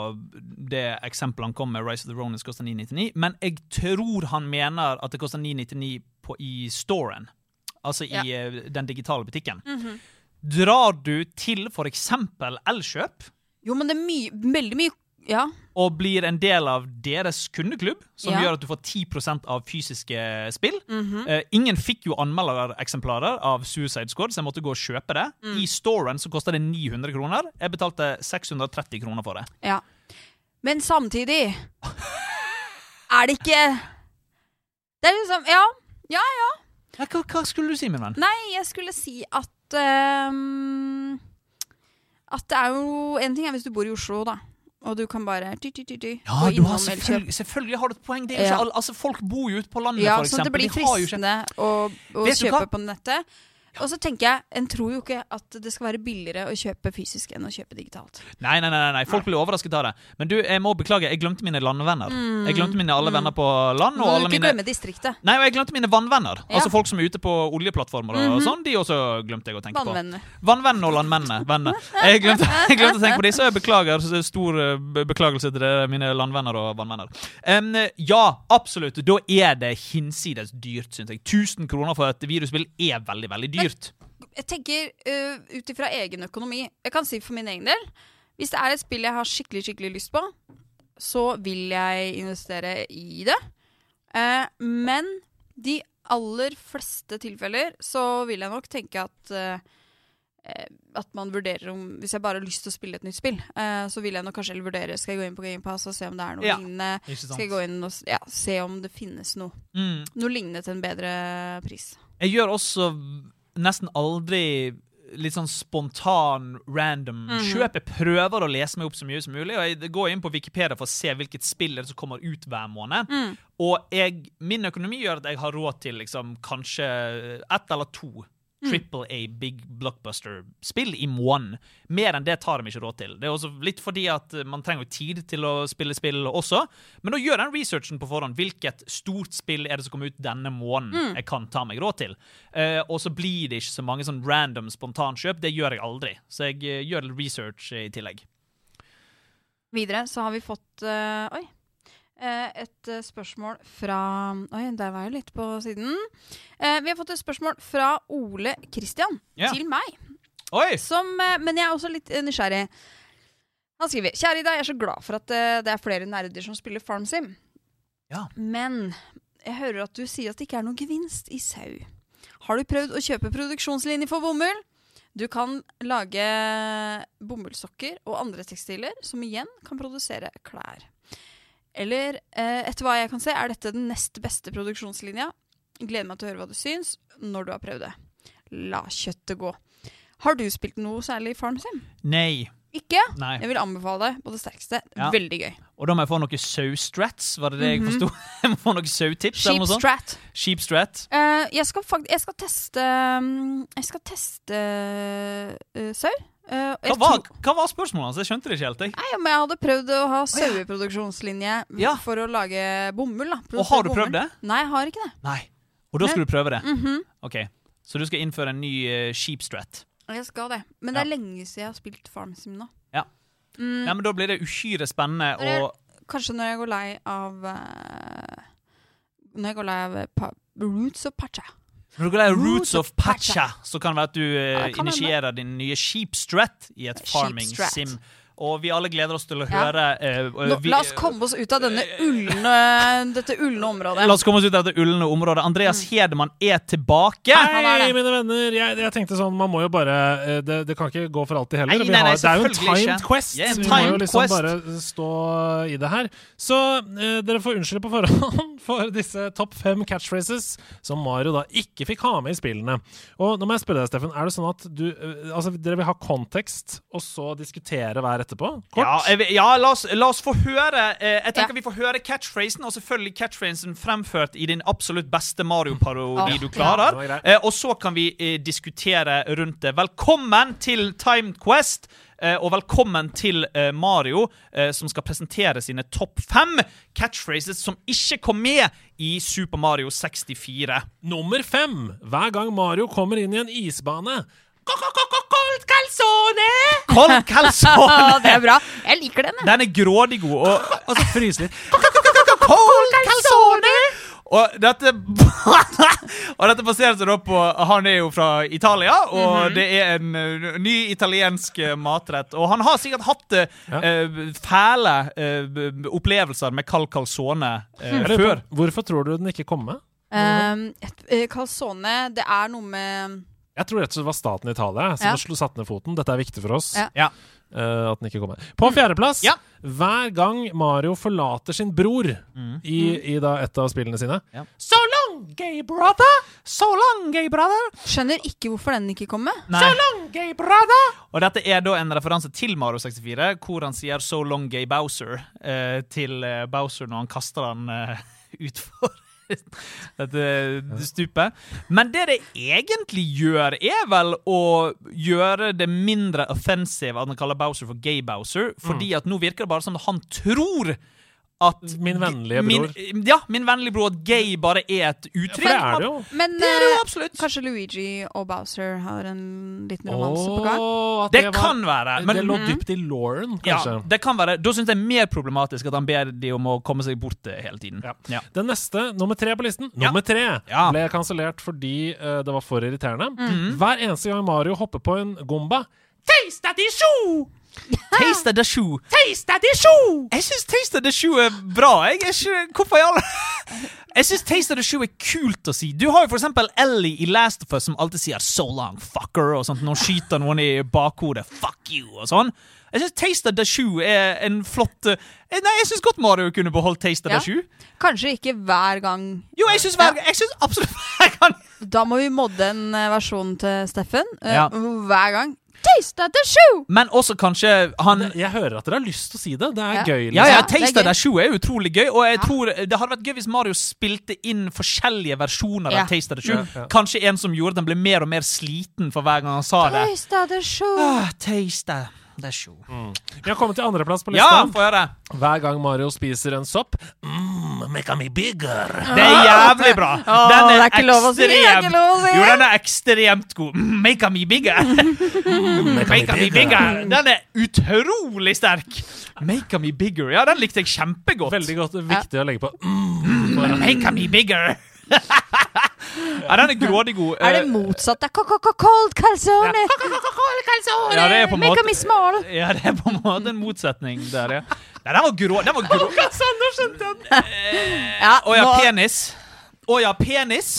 [SPEAKER 4] det eksempelet han kom med, Rise of the Ronins koster 999, men jeg tror han mener at det koster 999 på, i storen. Altså i
[SPEAKER 3] Ja. Mhm.
[SPEAKER 4] eh, den digitale butikken. Drar du til for eksempel Elkjøp
[SPEAKER 3] Jo, men det er mye, veldig mye Ja.
[SPEAKER 4] og blir en del av deres kundeklubb, som
[SPEAKER 3] Ja.
[SPEAKER 4] gjør at du får 10 av fysiske spill. eh, ingen fikk jo anmeldereksemplarer av Suicide Squad, så jeg måtte gå og kjøpe det. I storen så koster det 900 kroner. Jeg betalte 630 kroner for det.
[SPEAKER 3] ja. Men samtidig Er det ikke Det er liksom Ja. Ja, ja.
[SPEAKER 4] Ja, hva, hva skulle du si, min venn?
[SPEAKER 3] Nei, jeg skulle si at ehm, At det er jo En ting er hvis du bor i Oslo, da. Og du kan bare ty, ty, ty, ty,
[SPEAKER 4] Ja,
[SPEAKER 3] gå
[SPEAKER 4] du
[SPEAKER 3] innom
[SPEAKER 4] har
[SPEAKER 3] Elkjøp.
[SPEAKER 4] selvfølgelig, selvfølgelig har du et poeng. Det er jo ikke
[SPEAKER 3] Ja.
[SPEAKER 4] alle, altså, folk bor jo ute på landet,
[SPEAKER 3] Ja,
[SPEAKER 4] for
[SPEAKER 3] sånn at
[SPEAKER 4] eksempel.
[SPEAKER 3] det blir
[SPEAKER 4] De har jo ikke-
[SPEAKER 3] fristende å, å
[SPEAKER 4] Vet du
[SPEAKER 3] kjøpe
[SPEAKER 4] hva?
[SPEAKER 3] på nettet. Og så tenker jeg, En tror jo ikke at det skal være billigere å kjøpe fysisk enn å kjøpe digitalt.
[SPEAKER 4] Nei, nei, nei, nei, nei, folk blir overrasket av det. Men du, jeg må beklage, jeg glemte mine landvenner. Jeg glemte mine alle venner på land.
[SPEAKER 3] Nå
[SPEAKER 4] Og
[SPEAKER 3] må
[SPEAKER 4] alle
[SPEAKER 3] du ikke
[SPEAKER 4] mine
[SPEAKER 3] glemme distriktet.
[SPEAKER 4] Nei, og jeg glemte mine vannvenner.
[SPEAKER 3] Ja.
[SPEAKER 4] Altså folk som er ute på oljeplattformer og sånn. De også glemte jeg å tenke
[SPEAKER 3] Vannvennene.
[SPEAKER 4] på. Vannvennene og landmennene. Vennene. Jeg glemte, jeg glemte å tenke på de, så jeg beklager. Så Stor eh, be- beklagelse til dere, mine landvenner og vannvenner. Em, ja, absolutt. Da er det hinsides dyrt, syns jeg. 1000 kroner for et virusspill er veldig, veldig dyrt.
[SPEAKER 3] Jeg tenker uh, ut ifra egen økonomi. Jeg kan si for min egen del Hvis det er et spill jeg har skikkelig skikkelig lyst på, så vil jeg investere i det. Eh, men de aller fleste tilfeller så vil jeg nok tenke at eh, eh, at man vurderer om Hvis jeg bare har lyst til å spille et nytt spill, eh, så vil jeg nok kanskje vurdere Skal jeg gå inn på GamePass og se om det er noe
[SPEAKER 4] Ja,
[SPEAKER 3] lignende.
[SPEAKER 4] Ikke sant?
[SPEAKER 3] Skal jeg gå inn og s- ja, se om det finnes noe
[SPEAKER 4] Mm.
[SPEAKER 3] Noe lignende til en bedre pris.
[SPEAKER 4] Jeg gjør også nesten aldri litt sånn spontan, random kjøp. Jeg prøver å lese meg opp så mye som mulig, og jeg går inn på Wikipedia for å se hvilket spill det er som kommer ut hver måned. Og jeg, min økonomi gjør at jeg har råd til liksom, kanskje ett eller to
[SPEAKER 3] Mm.
[SPEAKER 4] Triple A Big Blockbuster-spill i måneden. Mer enn det tar de ikke råd til. Det er også litt fordi at eh, man trenger jo tid til å spille spill også. Men da gjør den researchen på forhånd. Hvilket stort spill er det som kommer ut denne
[SPEAKER 3] Mm.
[SPEAKER 4] måneden jeg kan ta meg råd til? Eh, og så blir det ikke så mange sånn random spontankjøp. Det gjør jeg aldri. Så jeg eh, gjør litt research i tillegg.
[SPEAKER 3] Videre så har vi fått eh, Oi. eh, et eh, spørsmål fra Oi, der var jeg litt på siden. Eh, vi har fått et spørsmål fra Ole Kristian
[SPEAKER 4] Ja.
[SPEAKER 3] til meg.
[SPEAKER 4] Oi!
[SPEAKER 3] Som, eh, men jeg er også litt eh, nysgjerrig. Han skriver Kjære Ida, jeg er så glad for at eh, det er flere nerder som spiller FarmSim.
[SPEAKER 4] Ja.
[SPEAKER 3] Men jeg hører at du sier at det ikke er noen gevinst i sau. Har du prøvd å kjøpe produksjonslinje for bomull? Du kan lage bomullssokker og andre tekstiler, som igjen kan produsere klær. Eller eh, etter hva jeg kan se, er dette den nest beste produksjonslinja. Gleder meg til å høre hva du syns når du har prøvd det. La kjøttet gå. Har du spilt noe særlig i Farm Sim?
[SPEAKER 4] Nei.
[SPEAKER 3] Ikke?
[SPEAKER 4] Nei.
[SPEAKER 3] Jeg vil anbefale det på det sterkeste.
[SPEAKER 4] Ja.
[SPEAKER 3] Veldig gøy.
[SPEAKER 4] Og da må jeg få noe saustrats, var det det
[SPEAKER 3] Mhm.
[SPEAKER 4] jeg forsto? [laughs] jeg må få noe sautips eller noe
[SPEAKER 3] Sheep
[SPEAKER 4] sånt?
[SPEAKER 3] Strat.
[SPEAKER 4] Sheepstrat.
[SPEAKER 3] Eh, jeg, skal fakt jeg skal teste um, Jeg skal teste eh, sau. Eh, og
[SPEAKER 4] Hva
[SPEAKER 3] jeg
[SPEAKER 4] var,
[SPEAKER 3] tror-
[SPEAKER 4] hva var spørsmålet hans? Jeg skjønte det ikke helt. jeg.
[SPEAKER 3] Nei, men jeg hadde prøvd å ha saueproduksjonslinje
[SPEAKER 4] Ja.
[SPEAKER 3] for å lage bomull. Da.
[SPEAKER 4] Og har du
[SPEAKER 3] Produsere bomull.
[SPEAKER 4] prøvd det?
[SPEAKER 3] Nei, jeg har ikke det.
[SPEAKER 4] Nei. Og da skal du prøve det?
[SPEAKER 3] Mhm.
[SPEAKER 4] Ok, Så du skal innføre en ny uh, sheepstrat?
[SPEAKER 3] Jeg skal det. Men det er lenge siden jeg har spilt Farm Sim nå. Mm.
[SPEAKER 4] Ja, men Da blir det uhyre spennende
[SPEAKER 3] Når
[SPEAKER 4] og
[SPEAKER 3] Kanskje når jeg går lei av eh, Når jeg går lei av eh, pa Roots of Pacha.
[SPEAKER 4] Når du går lei av Roots
[SPEAKER 3] Roots
[SPEAKER 4] of
[SPEAKER 3] of
[SPEAKER 4] Pacha, så kan det være at du eh,
[SPEAKER 3] Ja, det kan
[SPEAKER 4] initierer din nye sheepstrat i et farming
[SPEAKER 3] Sheepstrat.
[SPEAKER 4] sim. Og vi alle gleder oss til å
[SPEAKER 3] Ja.
[SPEAKER 4] høre eh, eh,
[SPEAKER 3] Nå,
[SPEAKER 4] vi- Eh,
[SPEAKER 3] la oss komme oss ut av denne
[SPEAKER 4] [laughs]
[SPEAKER 3] ulne, dette ulne området.
[SPEAKER 4] La oss komme oss ut av dette ulne området. Andreas Hedemann er
[SPEAKER 3] Mm.
[SPEAKER 4] tilbake.
[SPEAKER 3] Han er
[SPEAKER 2] Hei,
[SPEAKER 3] det.
[SPEAKER 2] mine venner! Jeg, jeg tenkte sånn, man må jo bare eh, Det, det kan ikke gå for alltid heller.
[SPEAKER 4] Nei,
[SPEAKER 2] Vi
[SPEAKER 4] nei, nei,
[SPEAKER 2] har, det er jo en
[SPEAKER 4] selvfølgelig
[SPEAKER 2] timed
[SPEAKER 4] ikke.
[SPEAKER 2] quest.
[SPEAKER 4] Ja, en
[SPEAKER 2] vi må jo
[SPEAKER 4] timed
[SPEAKER 2] liksom
[SPEAKER 4] quest.
[SPEAKER 2] bare stå i det her. Så eh, dere får unnskylde på forhånd [laughs] for disse topp fem catchphrases som Mario da ikke fikk ha med i spillene. Og nå må jeg spørre deg, Steffen, er det sånn at du eh, Altså, dere vil ha kontekst, og så diskutere hver etterpå? Kort?
[SPEAKER 4] Ja, jeg, vil- ja la, oss, la oss få høre eh, Jeg tenker
[SPEAKER 3] Ja.
[SPEAKER 4] vi får høre catchphrasen, og selvfølgelig catchphrasen fremført i din absolutt beste Mario-parodi
[SPEAKER 3] Åh,
[SPEAKER 4] du
[SPEAKER 3] ja.
[SPEAKER 4] klarer.
[SPEAKER 2] Det var greit.
[SPEAKER 4] Eh, og så kan vi eh, diskutere rundt det. Velkommen til Time Quest. eh, Og velkommen til eh, Mario, eh, som skal presentere sine topp fem catchphrases som ikke kom med i Super Mario 64.
[SPEAKER 2] Nummer fem. Hver gang Mario kommer inn i en isbane
[SPEAKER 3] Cold calzone!
[SPEAKER 4] Cold calzone!
[SPEAKER 3] det er bra. Jeg liker den, jeg.
[SPEAKER 4] Den er grådig god. Og, og så fryser litt. Cold calzone! Og dette, og dette [laughs] baserer seg da på Han er jo fra Italia, og det er en eh, ny italiensk eh, matrett. Og han har sikkert hatt eh, eh, fæle eh, b- b- opplevelser med kald calzone eh,
[SPEAKER 2] Jeg lurer
[SPEAKER 4] før.
[SPEAKER 2] på, Hvorfor tror du den ikke kom med?
[SPEAKER 3] Ehm, et- eh, calzone, det er noe med
[SPEAKER 2] Jeg tror rett og slett det var staten Italia som
[SPEAKER 3] Ja.
[SPEAKER 2] slo satt ned foten. Dette er viktig for oss.
[SPEAKER 3] Ja. Mm.
[SPEAKER 4] Ja.
[SPEAKER 2] eh, at den ikke kom med. På fjerdeplass,
[SPEAKER 4] Ja.
[SPEAKER 2] hver gang Mario forlater sin bror i,
[SPEAKER 3] Mm.
[SPEAKER 2] i da et av spillene sine
[SPEAKER 4] Mm. Ja.
[SPEAKER 2] So long, gay brother!
[SPEAKER 4] So long, gay brother!
[SPEAKER 3] Skjønner ikke hvorfor den ikke kommer.
[SPEAKER 4] Nei.
[SPEAKER 2] long, gay brother!
[SPEAKER 4] Og dette er da en referanse til Mario 64, hvor han sier 'So long, gay Bowser' eh, til eh, Bowser når han kaster han eh, utfor [laughs] dette stupet. Men det det egentlig gjør, er vel å gjøre det mindre offensive at han kaller Bowser for gay Bowser, fordi at nå virker det bare som at han tror at
[SPEAKER 2] Mm. Min vennlige bror.
[SPEAKER 4] Min, ja, min vennlige bror, at gay bare er et uttrykk.
[SPEAKER 2] For det er det jo.
[SPEAKER 3] Men
[SPEAKER 4] Det er det jo
[SPEAKER 3] eh,
[SPEAKER 4] absolutt.
[SPEAKER 3] kanskje Luigi og Bowser har en liten romanse på gang? Mm.
[SPEAKER 2] Åh, at
[SPEAKER 4] Det
[SPEAKER 2] var-
[SPEAKER 4] kan være, men Mm.
[SPEAKER 2] Det lå dypt i lauren, kanskje.
[SPEAKER 4] Ja, det kan være. Da syns jeg det er mer problematisk at han ber de om å komme seg bort eh, hele tiden.
[SPEAKER 2] Ja.
[SPEAKER 4] Ja.
[SPEAKER 2] Den neste, nummer tre på listen, nummer tre,
[SPEAKER 4] Ja.
[SPEAKER 2] ble kansellert fordi eh, det var for irriterende.
[SPEAKER 3] Mm.
[SPEAKER 2] Hver eneste gang Mario hopper på en gomba Taste of the shoe!
[SPEAKER 4] Taste of the shoe.
[SPEAKER 2] Taste of the shoe!
[SPEAKER 4] Jeg syns Taste of the shoe er bra. Jeg er ikke Hvorfor i alle Jeg syns Taste of the shoe er kult å si. Du har jo for eksempel Ellie i Last of Us som alltid sier 'so long, fucker' og sånt når hun skyter noen i bakhodet. 'Fuck you' og sånn. Jeg syns Taste of the shoe er en flott eh, Nei, jeg syns godt Mario kunne beholdt Taste of
[SPEAKER 3] Ja.
[SPEAKER 4] the shoe.
[SPEAKER 3] Kanskje ikke hver gang.
[SPEAKER 4] Jo, jeg syns hver- jeg syns absolutt [laughs] hver gang
[SPEAKER 3] Da må vi modde en eh, versjon til Steffen. eh,
[SPEAKER 4] Ja.
[SPEAKER 3] Hver gang. Taste of the shoe!
[SPEAKER 4] Men også kanskje han
[SPEAKER 2] Jeg hører at dere har lyst til å si det. Det er
[SPEAKER 3] Ja.
[SPEAKER 2] gøy. liksom.
[SPEAKER 4] Ja, ja,
[SPEAKER 3] det er
[SPEAKER 4] Taste of
[SPEAKER 3] gøy.
[SPEAKER 4] the Shoe er utrolig gøy, og jeg tror det hadde vært gøy hvis Mario spilte inn forskjellige versjoner
[SPEAKER 3] Ja.
[SPEAKER 4] av Taste of the Shoe.
[SPEAKER 2] Ja, ja.
[SPEAKER 4] Kanskje en som gjorde at han ble mer og mer sliten for hver gang han sa det.
[SPEAKER 3] Taste of the shoe.
[SPEAKER 4] Ah, taste of the Shoe.
[SPEAKER 2] Vi har kommet til andreplass på
[SPEAKER 4] Ja,
[SPEAKER 2] lista.
[SPEAKER 4] få høre!
[SPEAKER 2] Hver gang Mario spiser en sopp mm, Make me bigger!
[SPEAKER 4] Det er jævlig bra!
[SPEAKER 3] Ah. Åh,
[SPEAKER 4] Den
[SPEAKER 3] det er ikke lov å si, det er ikke lov å si.
[SPEAKER 4] Jo, den er ekstremt god. Mm, Make
[SPEAKER 3] [laughs]
[SPEAKER 4] me bigger! Mm, Make me bigger! Den er utrolig sterk! Make me bigger. Ja, den likte jeg kjempegodt.
[SPEAKER 2] Veldig godt. Viktig å legge på. Mm.
[SPEAKER 4] Make me bigger! ja, den er grådig god.
[SPEAKER 3] Er det motsatt? Det er cold calzone!
[SPEAKER 4] Eh, Ja, det er på en
[SPEAKER 3] Make
[SPEAKER 4] måte
[SPEAKER 3] me small!
[SPEAKER 4] Ja, det er på en måte en motsetning der, ja. Nei, den var grå. Den var grå.
[SPEAKER 3] Ja,
[SPEAKER 4] Å ja,
[SPEAKER 3] nå,
[SPEAKER 4] penis. Å ja, penis.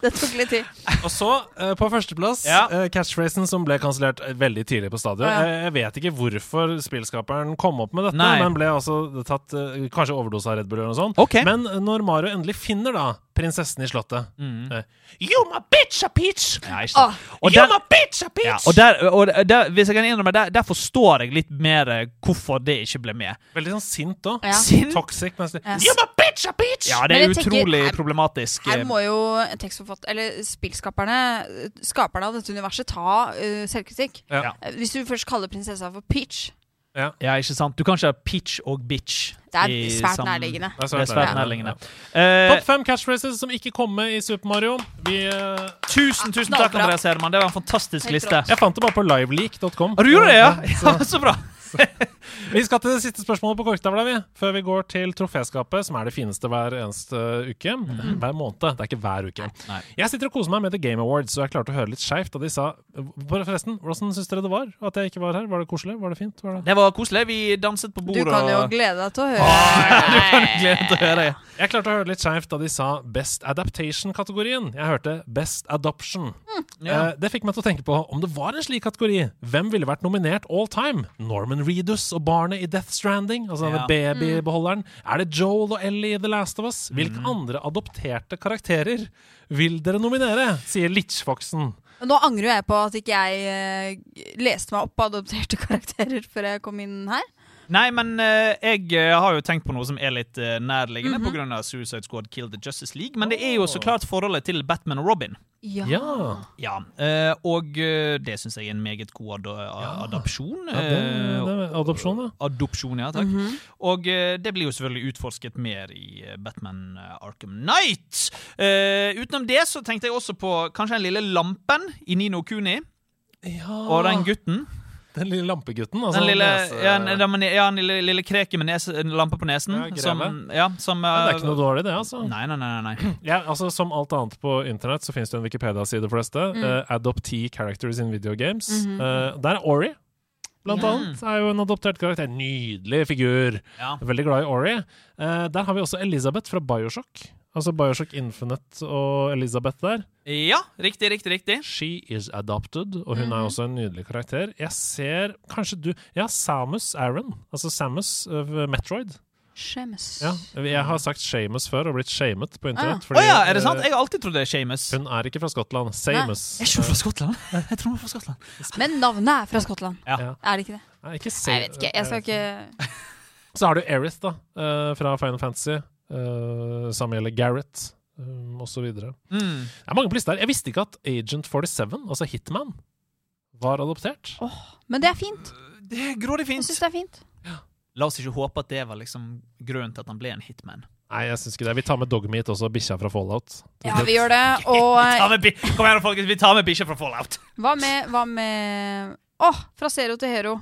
[SPEAKER 3] det tok litt tid.
[SPEAKER 2] Og så, eh, på førsteplass,
[SPEAKER 4] Ja.
[SPEAKER 2] eh, catchphrasen som ble kansellert eh, veldig tidlig på stadion.
[SPEAKER 3] Ja.
[SPEAKER 2] Eh, Jeg vet ikke hvorfor spillskaperen kom opp med dette,
[SPEAKER 4] Nei.
[SPEAKER 2] men ble altså tatt eh, kanskje overdose av Red Bull eller noe sånt.
[SPEAKER 4] Ok.
[SPEAKER 2] Men eh, når Mario endelig finner da prinsessen i slottet
[SPEAKER 4] Mm.
[SPEAKER 2] eh, You my bitch a peach!
[SPEAKER 4] Ja, ikke
[SPEAKER 3] Åh.
[SPEAKER 4] sant. Og
[SPEAKER 2] you
[SPEAKER 4] der,
[SPEAKER 2] my bitch a peach!
[SPEAKER 4] ja, og der, og der, hvis jeg kan innrømme, der, der forstår jeg litt mer eh, hvorfor det ikke ble med.
[SPEAKER 2] Veldig sånn sint òg.
[SPEAKER 3] Ja.
[SPEAKER 4] Sint?
[SPEAKER 2] Toxic. Men
[SPEAKER 3] Ja.
[SPEAKER 2] You my bitch a peach!
[SPEAKER 4] Ja, det
[SPEAKER 3] Men
[SPEAKER 4] er
[SPEAKER 3] jeg tenker-
[SPEAKER 4] utrolig
[SPEAKER 3] her-
[SPEAKER 4] problematisk. eh,
[SPEAKER 3] Her må jo tekstforfatt... Eller spillskaperne, eh, skaperne av dette universet, ta eh, selvkritikk.
[SPEAKER 2] Ja.
[SPEAKER 3] Eh, Hvis du først kaller prinsessa for Peach,
[SPEAKER 4] Ja, ikke sant? Du kan ikke ha pitch og bitch.
[SPEAKER 3] det er
[SPEAKER 4] i
[SPEAKER 3] svært
[SPEAKER 4] sam-
[SPEAKER 3] nærliggende.
[SPEAKER 2] Det er
[SPEAKER 4] Det er svært nærliggende.
[SPEAKER 2] Topp
[SPEAKER 4] Eh,
[SPEAKER 2] fem catchphrases som ikke kom med i Super Mario. Vi, eh,
[SPEAKER 4] tusen, tusen takk,
[SPEAKER 3] Knallbra.
[SPEAKER 4] Andreas Herman. Det var en fantastisk
[SPEAKER 3] Helt
[SPEAKER 4] liste.
[SPEAKER 3] rått.
[SPEAKER 2] jeg fant det bare på liveleak.com.
[SPEAKER 4] Har Ah, du gjort det, ja?
[SPEAKER 2] så-
[SPEAKER 4] ja så bra.
[SPEAKER 2] Vi skal til det siste spørsmålet på korktavla, vi. Før vi går til troféskapet, som er det fineste hver eneste uke. Hver måned. Det er ikke hver uke.
[SPEAKER 4] Mhm. Nei.
[SPEAKER 2] Jeg sitter og koser meg med The Game Awards, og jeg klarte å høre litt skeivt da de sa Forresten, hvordan syns dere det var at jeg ikke var her? Var det koselig? Var det fint? Var det?
[SPEAKER 4] Det var koselig. Vi danset på
[SPEAKER 3] Du
[SPEAKER 4] bordet.
[SPEAKER 3] kan jo
[SPEAKER 4] og- Ah.
[SPEAKER 3] glede deg til å høre.
[SPEAKER 4] [laughs] Du kan jo glede deg til å høre det.
[SPEAKER 2] Jeg klarte å høre litt skeivt da de sa Best Adaptation-kategorien. Jeg hørte Best Adoption.
[SPEAKER 4] Mm,
[SPEAKER 2] Eh, det fikk meg til å tenke på om det var en slik kategori. Hvem ville vært nominert all time? Norman Reedus og barnet i Death Stranding? Altså denne
[SPEAKER 4] Ja.
[SPEAKER 2] babybeholderen. Er det Joel og Ellie i The Last of Us?
[SPEAKER 4] Mm.
[SPEAKER 2] Hvilke andre adopterte karakterer vil dere nominere? Sier Litchfoxen.
[SPEAKER 3] Nå angrer jo jeg på at ikke jeg eh, leste meg opp på adopterte [laughs] karakterer før jeg kom inn her.
[SPEAKER 4] Nei, men eh, jeg eh, har jo tenkt på noe som er litt eh, nærliggende
[SPEAKER 2] Mhm.
[SPEAKER 4] på grunn av Suicide Squad Kill the Justice League. Men det er jo så klart forholdet til Batman og Robin.
[SPEAKER 2] Ja.
[SPEAKER 4] Ja, eh, Og eh, det syns jeg er en meget god ad adopsjon. eh,
[SPEAKER 2] ja det, Eh, det er adopsjon, ja.
[SPEAKER 4] Adopsjon, ja takk.
[SPEAKER 3] Mhm.
[SPEAKER 4] Og eh, det blir jo selvfølgelig utforsket mer i eh, Batman eh, Arkham Knight. Eh, utenom det så tenkte jeg også på kanskje den lille lampen i Nino Kuni og den gutten.
[SPEAKER 2] Den lille lampegutten. Altså,
[SPEAKER 4] Den lille,
[SPEAKER 2] nese-
[SPEAKER 4] ja, ne- den, ja, den lille, lille kreken med nese, en lampe på nesen.
[SPEAKER 2] Ja, greve.
[SPEAKER 4] som, ja, som, eh,
[SPEAKER 2] Ja, det er ikke noe dårlig, det, altså.
[SPEAKER 4] Nei, nei, nei. nei, nei.
[SPEAKER 2] Ja, altså Som alt annet på internett så finnes det en Wikipedia-side for dette.
[SPEAKER 4] Mm.
[SPEAKER 2] eh, adoptee characters in video games.
[SPEAKER 4] Mhm.
[SPEAKER 2] Eh, der er Ori, blant annet. Er jo en adoptert karakter. Nydelig figur.
[SPEAKER 4] Ja.
[SPEAKER 2] Veldig glad i Ori. Eh, der har vi også Elizabeth fra Bioshock. Altså Bioshock Infinite og Elizabeth der.
[SPEAKER 4] Ja, riktig, riktig, riktig.
[SPEAKER 2] She is adopted, og hun
[SPEAKER 4] Mhm.
[SPEAKER 2] er også en nydelig karakter. Jeg ser kanskje du Ja, Samus Aron. Altså Samus eh, Metroid.
[SPEAKER 3] Skjemmes.
[SPEAKER 2] Ja, jeg har sagt Shamus før og blitt shamet på internett.
[SPEAKER 4] Ah. Å ja, er det sant?
[SPEAKER 2] eh,
[SPEAKER 4] Jeg har alltid trodd det er Shamus.
[SPEAKER 2] Hun er ikke fra Skottland. Samus.
[SPEAKER 4] Er ikke hun fra Skottland? Jeg tror hun er fra Skottland.
[SPEAKER 3] Men navnet er fra Skottland.
[SPEAKER 4] Ja.
[SPEAKER 3] Er det ikke det?
[SPEAKER 2] Nei, ikke Sa-
[SPEAKER 3] Nei, jeg vet ikke. Jeg skal ikke
[SPEAKER 2] Så har du Erith, da, eh, fra Final Fantasy. eh, Samme gjelder Gareth, um, osv. Det
[SPEAKER 4] Mm.
[SPEAKER 2] er mange på lista her. Jeg visste ikke at Agent 47, altså Hitman, var adoptert.
[SPEAKER 3] Men det er fint.
[SPEAKER 4] Det er
[SPEAKER 3] Jeg
[SPEAKER 4] grådig fint.
[SPEAKER 3] syns det er fint.
[SPEAKER 4] La oss ikke håpe at det var liksom grunnen til at han ble en hitman.
[SPEAKER 2] Nei, jeg syns ikke det. Vi tar med Dogmeat også, bikkja fra Fallout.
[SPEAKER 3] Ja, vi gjør det.
[SPEAKER 4] [laughs]
[SPEAKER 3] Og
[SPEAKER 4] Vi tar
[SPEAKER 3] eh,
[SPEAKER 4] med bi Kom igjen, folkens, vi tar med bikkja fra Fallout.
[SPEAKER 3] hva med Hva med Å, fra zero til hero.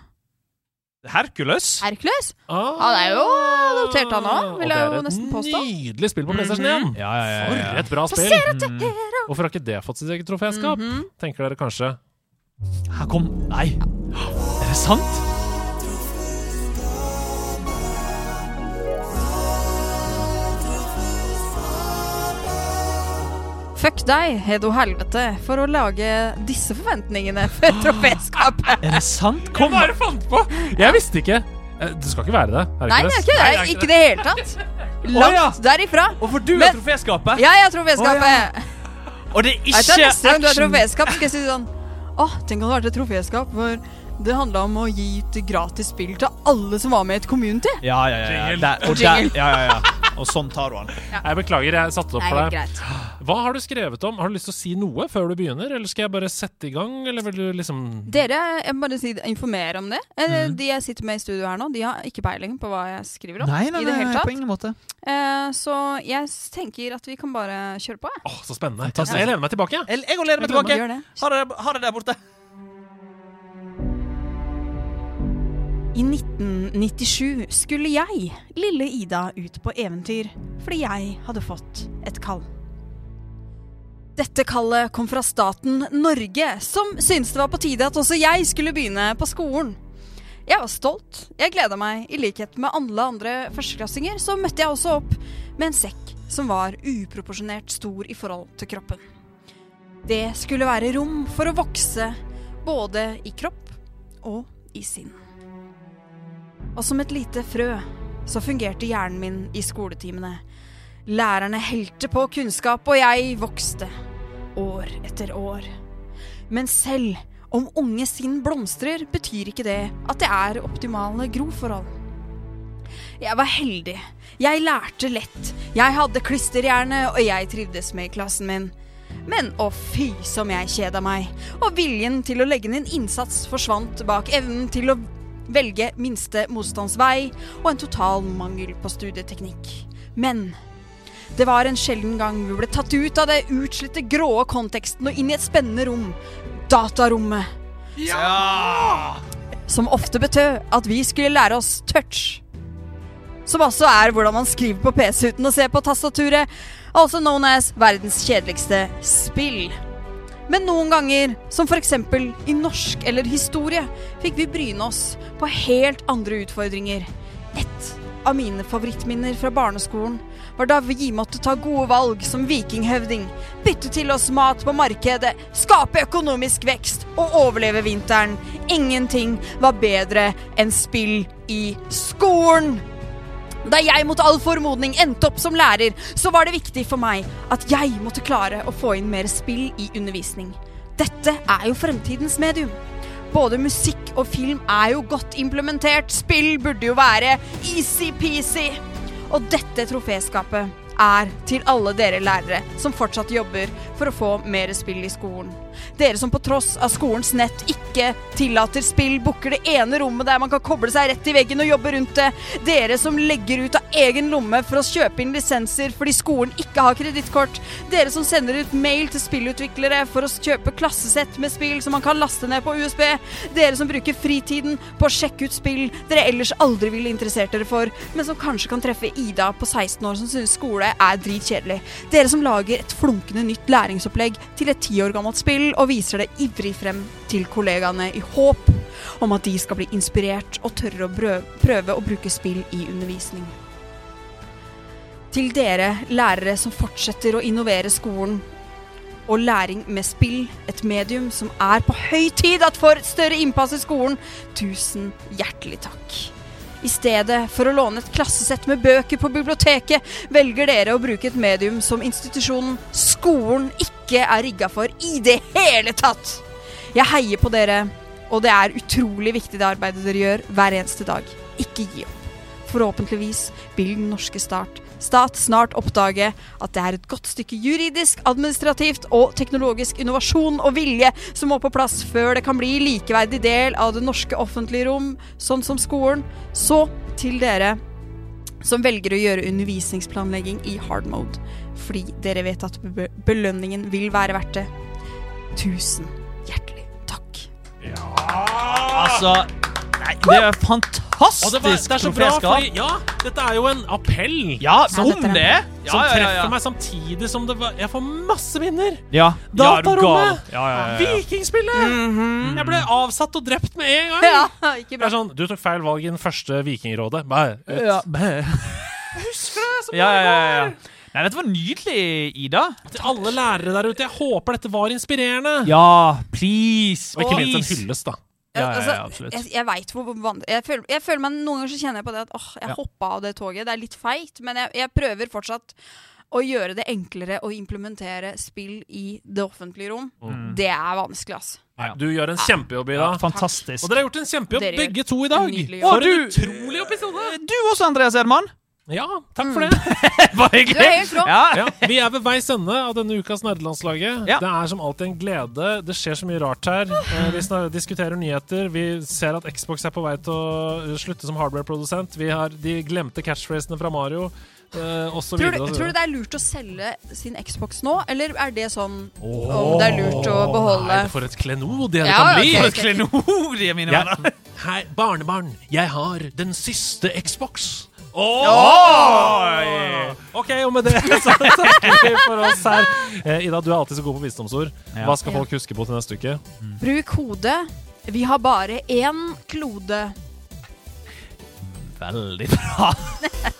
[SPEAKER 4] Hercules?
[SPEAKER 3] Hercules?
[SPEAKER 2] Ah,
[SPEAKER 3] Ja, det er jo adoptert han også, vil
[SPEAKER 2] Og det
[SPEAKER 3] jeg
[SPEAKER 2] er
[SPEAKER 3] jo
[SPEAKER 2] et
[SPEAKER 3] nesten påstå. Mhm.
[SPEAKER 2] Nydelig spill på PlayStation 1!
[SPEAKER 4] Ja, ja, ja, ja.
[SPEAKER 2] For et bra spill! Hvorfor har ikke det fått sitt eget troféskap?
[SPEAKER 3] Mhm.
[SPEAKER 2] Tenker dere kanskje.
[SPEAKER 4] Her kom Nei. Er det sant?
[SPEAKER 3] Fuck deg, Hedo Helvete, for å lage disse forventningene [laughs] for troféskapet.
[SPEAKER 4] Er det sant? Kom.
[SPEAKER 2] Bare fant på! Jeg visste ikke! Eh, Det skal ikke være det. Hercules.
[SPEAKER 3] Nei, det er ikke det. Ikke i det hele tatt.
[SPEAKER 4] ja.
[SPEAKER 3] Langt derifra.
[SPEAKER 4] Og for du
[SPEAKER 3] Men-
[SPEAKER 4] er troféskapet,
[SPEAKER 3] Jeg er troféskapet.
[SPEAKER 4] og det er ikke
[SPEAKER 3] Vet du, neste gang du har
[SPEAKER 4] action.
[SPEAKER 3] troféskap, skal jeg si sånn Åh, tenk om det hadde vært et troféskap hvor det handla om å gi ut gratis spill til alle som var med i et community.
[SPEAKER 4] Ja, ja, ja. ja. Der, og, der,
[SPEAKER 3] Jingle.
[SPEAKER 4] ja, ja, ja. og sånn tar du han.
[SPEAKER 2] Jeg beklager, jeg satte det opp
[SPEAKER 3] Nei,
[SPEAKER 2] for
[SPEAKER 3] helt
[SPEAKER 2] deg.
[SPEAKER 3] greit.
[SPEAKER 2] Hva har du skrevet om? Har du lyst til å si noe før du begynner, eller skal jeg bare sette i gang, eller vil du liksom
[SPEAKER 3] Dere, jeg må bare si, informere om det. Eh, De jeg sitter med i studio her nå, de har ikke peiling på hva jeg skriver om. i det hele tatt.
[SPEAKER 4] ingen måte.
[SPEAKER 3] Eh, så jeg s- tenker at vi kan bare kjøre på, jeg.
[SPEAKER 2] Åh, så spennende.
[SPEAKER 4] Fantastisk.
[SPEAKER 2] Jeg lener meg tilbake. jeg.
[SPEAKER 4] Jeg jeg går og lener meg
[SPEAKER 3] Jeg glemmer å
[SPEAKER 4] tilbake.
[SPEAKER 3] gjøre det.
[SPEAKER 4] Ha det, der- ha det der borte.
[SPEAKER 3] I 1997 skulle jeg, lille Ida, ut på eventyr fordi jeg hadde fått et kall. Dette kallet kom fra staten Norge, som syntes det var på tide at også jeg skulle begynne på skolen. Jeg var stolt, jeg gleda meg. I likhet med alle andre førsteklassinger så møtte jeg også opp med en sekk som var uproporsjonert stor i forhold til kroppen. Det skulle være rom for å vokse, både i kropp og i sinn. Og som et lite frø så fungerte hjernen min i skoletimene. Lærerne helte på kunnskap, og jeg vokste. År etter år. Men selv om unge sinn blomstrer, betyr ikke det at det er optimale groforhold. Jeg var heldig. Jeg lærte lett. Jeg hadde klisterhjerne, og jeg trivdes med klassen min. Men å fy som jeg kjeda meg. Og viljen til å legge inn innsats forsvant bak evnen til å velge minste motstandsvei og en total mangel på studieteknikk. Men det var en sjelden gang vi ble tatt ut av det utslitte gråe konteksten og inn i et spennende rom. Datarommet. Som ofte betød at vi skulle lære oss touch. Som også er hvordan man skriver på PC uten å se på tastaturet. Also known as verdens kjedeligste spill. Men noen ganger, som f.eks. i norsk eller historie, fikk vi bryne oss på helt andre utfordringer. Et av mine favorittminner fra barneskolen var da vi måtte ta gode valg som vikinghøvding, bytte til oss mat på markedet, skape økonomisk vekst og overleve vinteren. Ingenting var bedre enn spill i skolen! Da jeg mot all formodning endte opp som lærer, så var det viktig for meg at jeg måtte klare å få inn mer spill i undervisning. Dette er jo fremtidens medium. Både musikk og film er jo godt implementert. Spill burde jo være easy-peasy. Og dette troféskapet er til alle dere lærere som fortsatt jobber for å få mer spill i skolen. Dere som på tross av skolens nett ikke tillater spill, booker det ene rommet der man kan koble seg rett i veggen og jobbe rundt det. Dere som legger ut av egen lomme for å kjøpe inn lisenser fordi skolen ikke har kredittkort. Dere som sender ut mail til spillutviklere for å kjøpe klassesett med spill som man kan laste ned på USB. Dere som bruker fritiden på å sjekke ut spill dere ellers aldri ville interessert dere for, men som kanskje kan treffe Ida på 16 år som synes skole er dritkjedelig. Dere som lager et flunkende nytt læringsopplegg til et ti år gammelt spill og viser det ivrig frem til kollegaene i håp om at de skal bli inspirert og tørre å brø- prøve å bruke spill i undervisning. Til dere lærere som fortsetter å innovere skolen og læring med spill, et medium som er på høy tid at får et større innpass i skolen, tusen hjertelig takk. I stedet for å låne et klassesett med bøker på biblioteket, velger dere å bruke et medium som institusjonen skolen ikke er rigga for i det hele tatt. Jeg heier på dere, og det er utrolig viktig det arbeidet dere gjør hver eneste dag. Ikke gi opp. Forhåpentligvis vil den norske start, stat snart oppdage at det er et godt stykke juridisk, administrativt og teknologisk innovasjon og vilje som må på plass før det kan bli likeverdig del av det norske offentlige rom, sånn som skolen. Så til dere som velger å gjøre undervisningsplanlegging i hard mode, fordi dere vet at be- belønningen vil være verdt det. Tusen hjertelig takk.
[SPEAKER 4] Altså Nei, det er fantastisk
[SPEAKER 2] Og det, var, Altså, det er så bra,
[SPEAKER 4] troféskap.
[SPEAKER 2] fordi ja, dette er jo en appell
[SPEAKER 4] Ja,
[SPEAKER 2] som,
[SPEAKER 4] om det! Ja,
[SPEAKER 2] som
[SPEAKER 4] ja, ja,
[SPEAKER 2] treffer meg samtidig som det var Jeg får masse minner!
[SPEAKER 4] Ja. Ja, er du gal?
[SPEAKER 2] Datarommet!
[SPEAKER 4] Ja, ja, ja, Mhm. ja.
[SPEAKER 2] Vikingspillet! Jeg ble avsatt og drept med en gang!
[SPEAKER 3] Ja, [laughs] ikke
[SPEAKER 2] Det
[SPEAKER 3] bra.
[SPEAKER 2] er sånn, Du tok feil valg i den første Vikingrådet. Bare ut.
[SPEAKER 4] Ja.
[SPEAKER 2] Husker du det? Som
[SPEAKER 4] Ja, ja,
[SPEAKER 2] var
[SPEAKER 4] ja,
[SPEAKER 2] i går?
[SPEAKER 4] ja. Nei, dette var nydelig, Ida.
[SPEAKER 2] Til alle lærere der ute, jeg håper dette var inspirerende!
[SPEAKER 4] Ja, please.
[SPEAKER 2] Og ikke minst en
[SPEAKER 4] please.
[SPEAKER 2] hyllest, da.
[SPEAKER 4] Ja, ja, ja,
[SPEAKER 3] Altså,
[SPEAKER 4] absolutt.
[SPEAKER 3] jeg jeg vet hvor vanskelig jeg, føler- jeg føler meg Noen ganger så kjenner jeg på det at åh, jeg
[SPEAKER 4] Ja.
[SPEAKER 3] hoppa av det toget. Det er litt feigt, men jeg, jeg prøver fortsatt å gjøre det enklere å implementere spill i det offentlige rom.
[SPEAKER 4] Mm.
[SPEAKER 3] Det er vanskelig, altså.
[SPEAKER 4] Ja.
[SPEAKER 2] Du gjør en kjempejobb, Ida.
[SPEAKER 4] Fantastisk.
[SPEAKER 2] Og dere har gjort en kjempejobb,
[SPEAKER 3] Dere gjør
[SPEAKER 2] begge to, i dag.
[SPEAKER 3] nydelig jobb.
[SPEAKER 2] For en
[SPEAKER 4] Og du-
[SPEAKER 2] utrolig liksom? Mm. episode!
[SPEAKER 4] Du også, Andreas Edman.
[SPEAKER 2] Ja, takk for det. [laughs]
[SPEAKER 4] Bare hyggelig.
[SPEAKER 3] Du er helt rå.
[SPEAKER 4] Ja.
[SPEAKER 2] ja, vi er ved veis ende av denne ukas Nerdelandslaget.
[SPEAKER 4] Ja.
[SPEAKER 2] Det er som alltid en glede. Det skjer så mye rart her. Eh, Vi snar- diskuterer nyheter. Vi ser at Xbox er på vei til å eh, slutte som hardware-produsent. Vi har de glemte catchphrasene fra Mario. eh, Og så videre
[SPEAKER 3] Tror du,
[SPEAKER 2] og så
[SPEAKER 3] tror du
[SPEAKER 2] videre.
[SPEAKER 3] det er lurt å selge sin Xbox nå, eller er det sånn om det er lurt å beholde
[SPEAKER 2] Nei, for et klenodie det
[SPEAKER 3] Ja,
[SPEAKER 2] kan bli!
[SPEAKER 3] ok.
[SPEAKER 4] For et klenodie, mine
[SPEAKER 2] Ja.
[SPEAKER 4] venner.
[SPEAKER 2] Hei, barnebarn, jeg har den siste Xbox.
[SPEAKER 4] Oi!
[SPEAKER 2] OK, og med det [laughs] så takker vi for oss her. Eh, Ida, du er alltid så god på visdomsord.
[SPEAKER 4] Ja.
[SPEAKER 2] Hva skal folk huske på til neste uke?
[SPEAKER 3] Bruk hodet. Vi har bare én klode.
[SPEAKER 4] Veldig bra.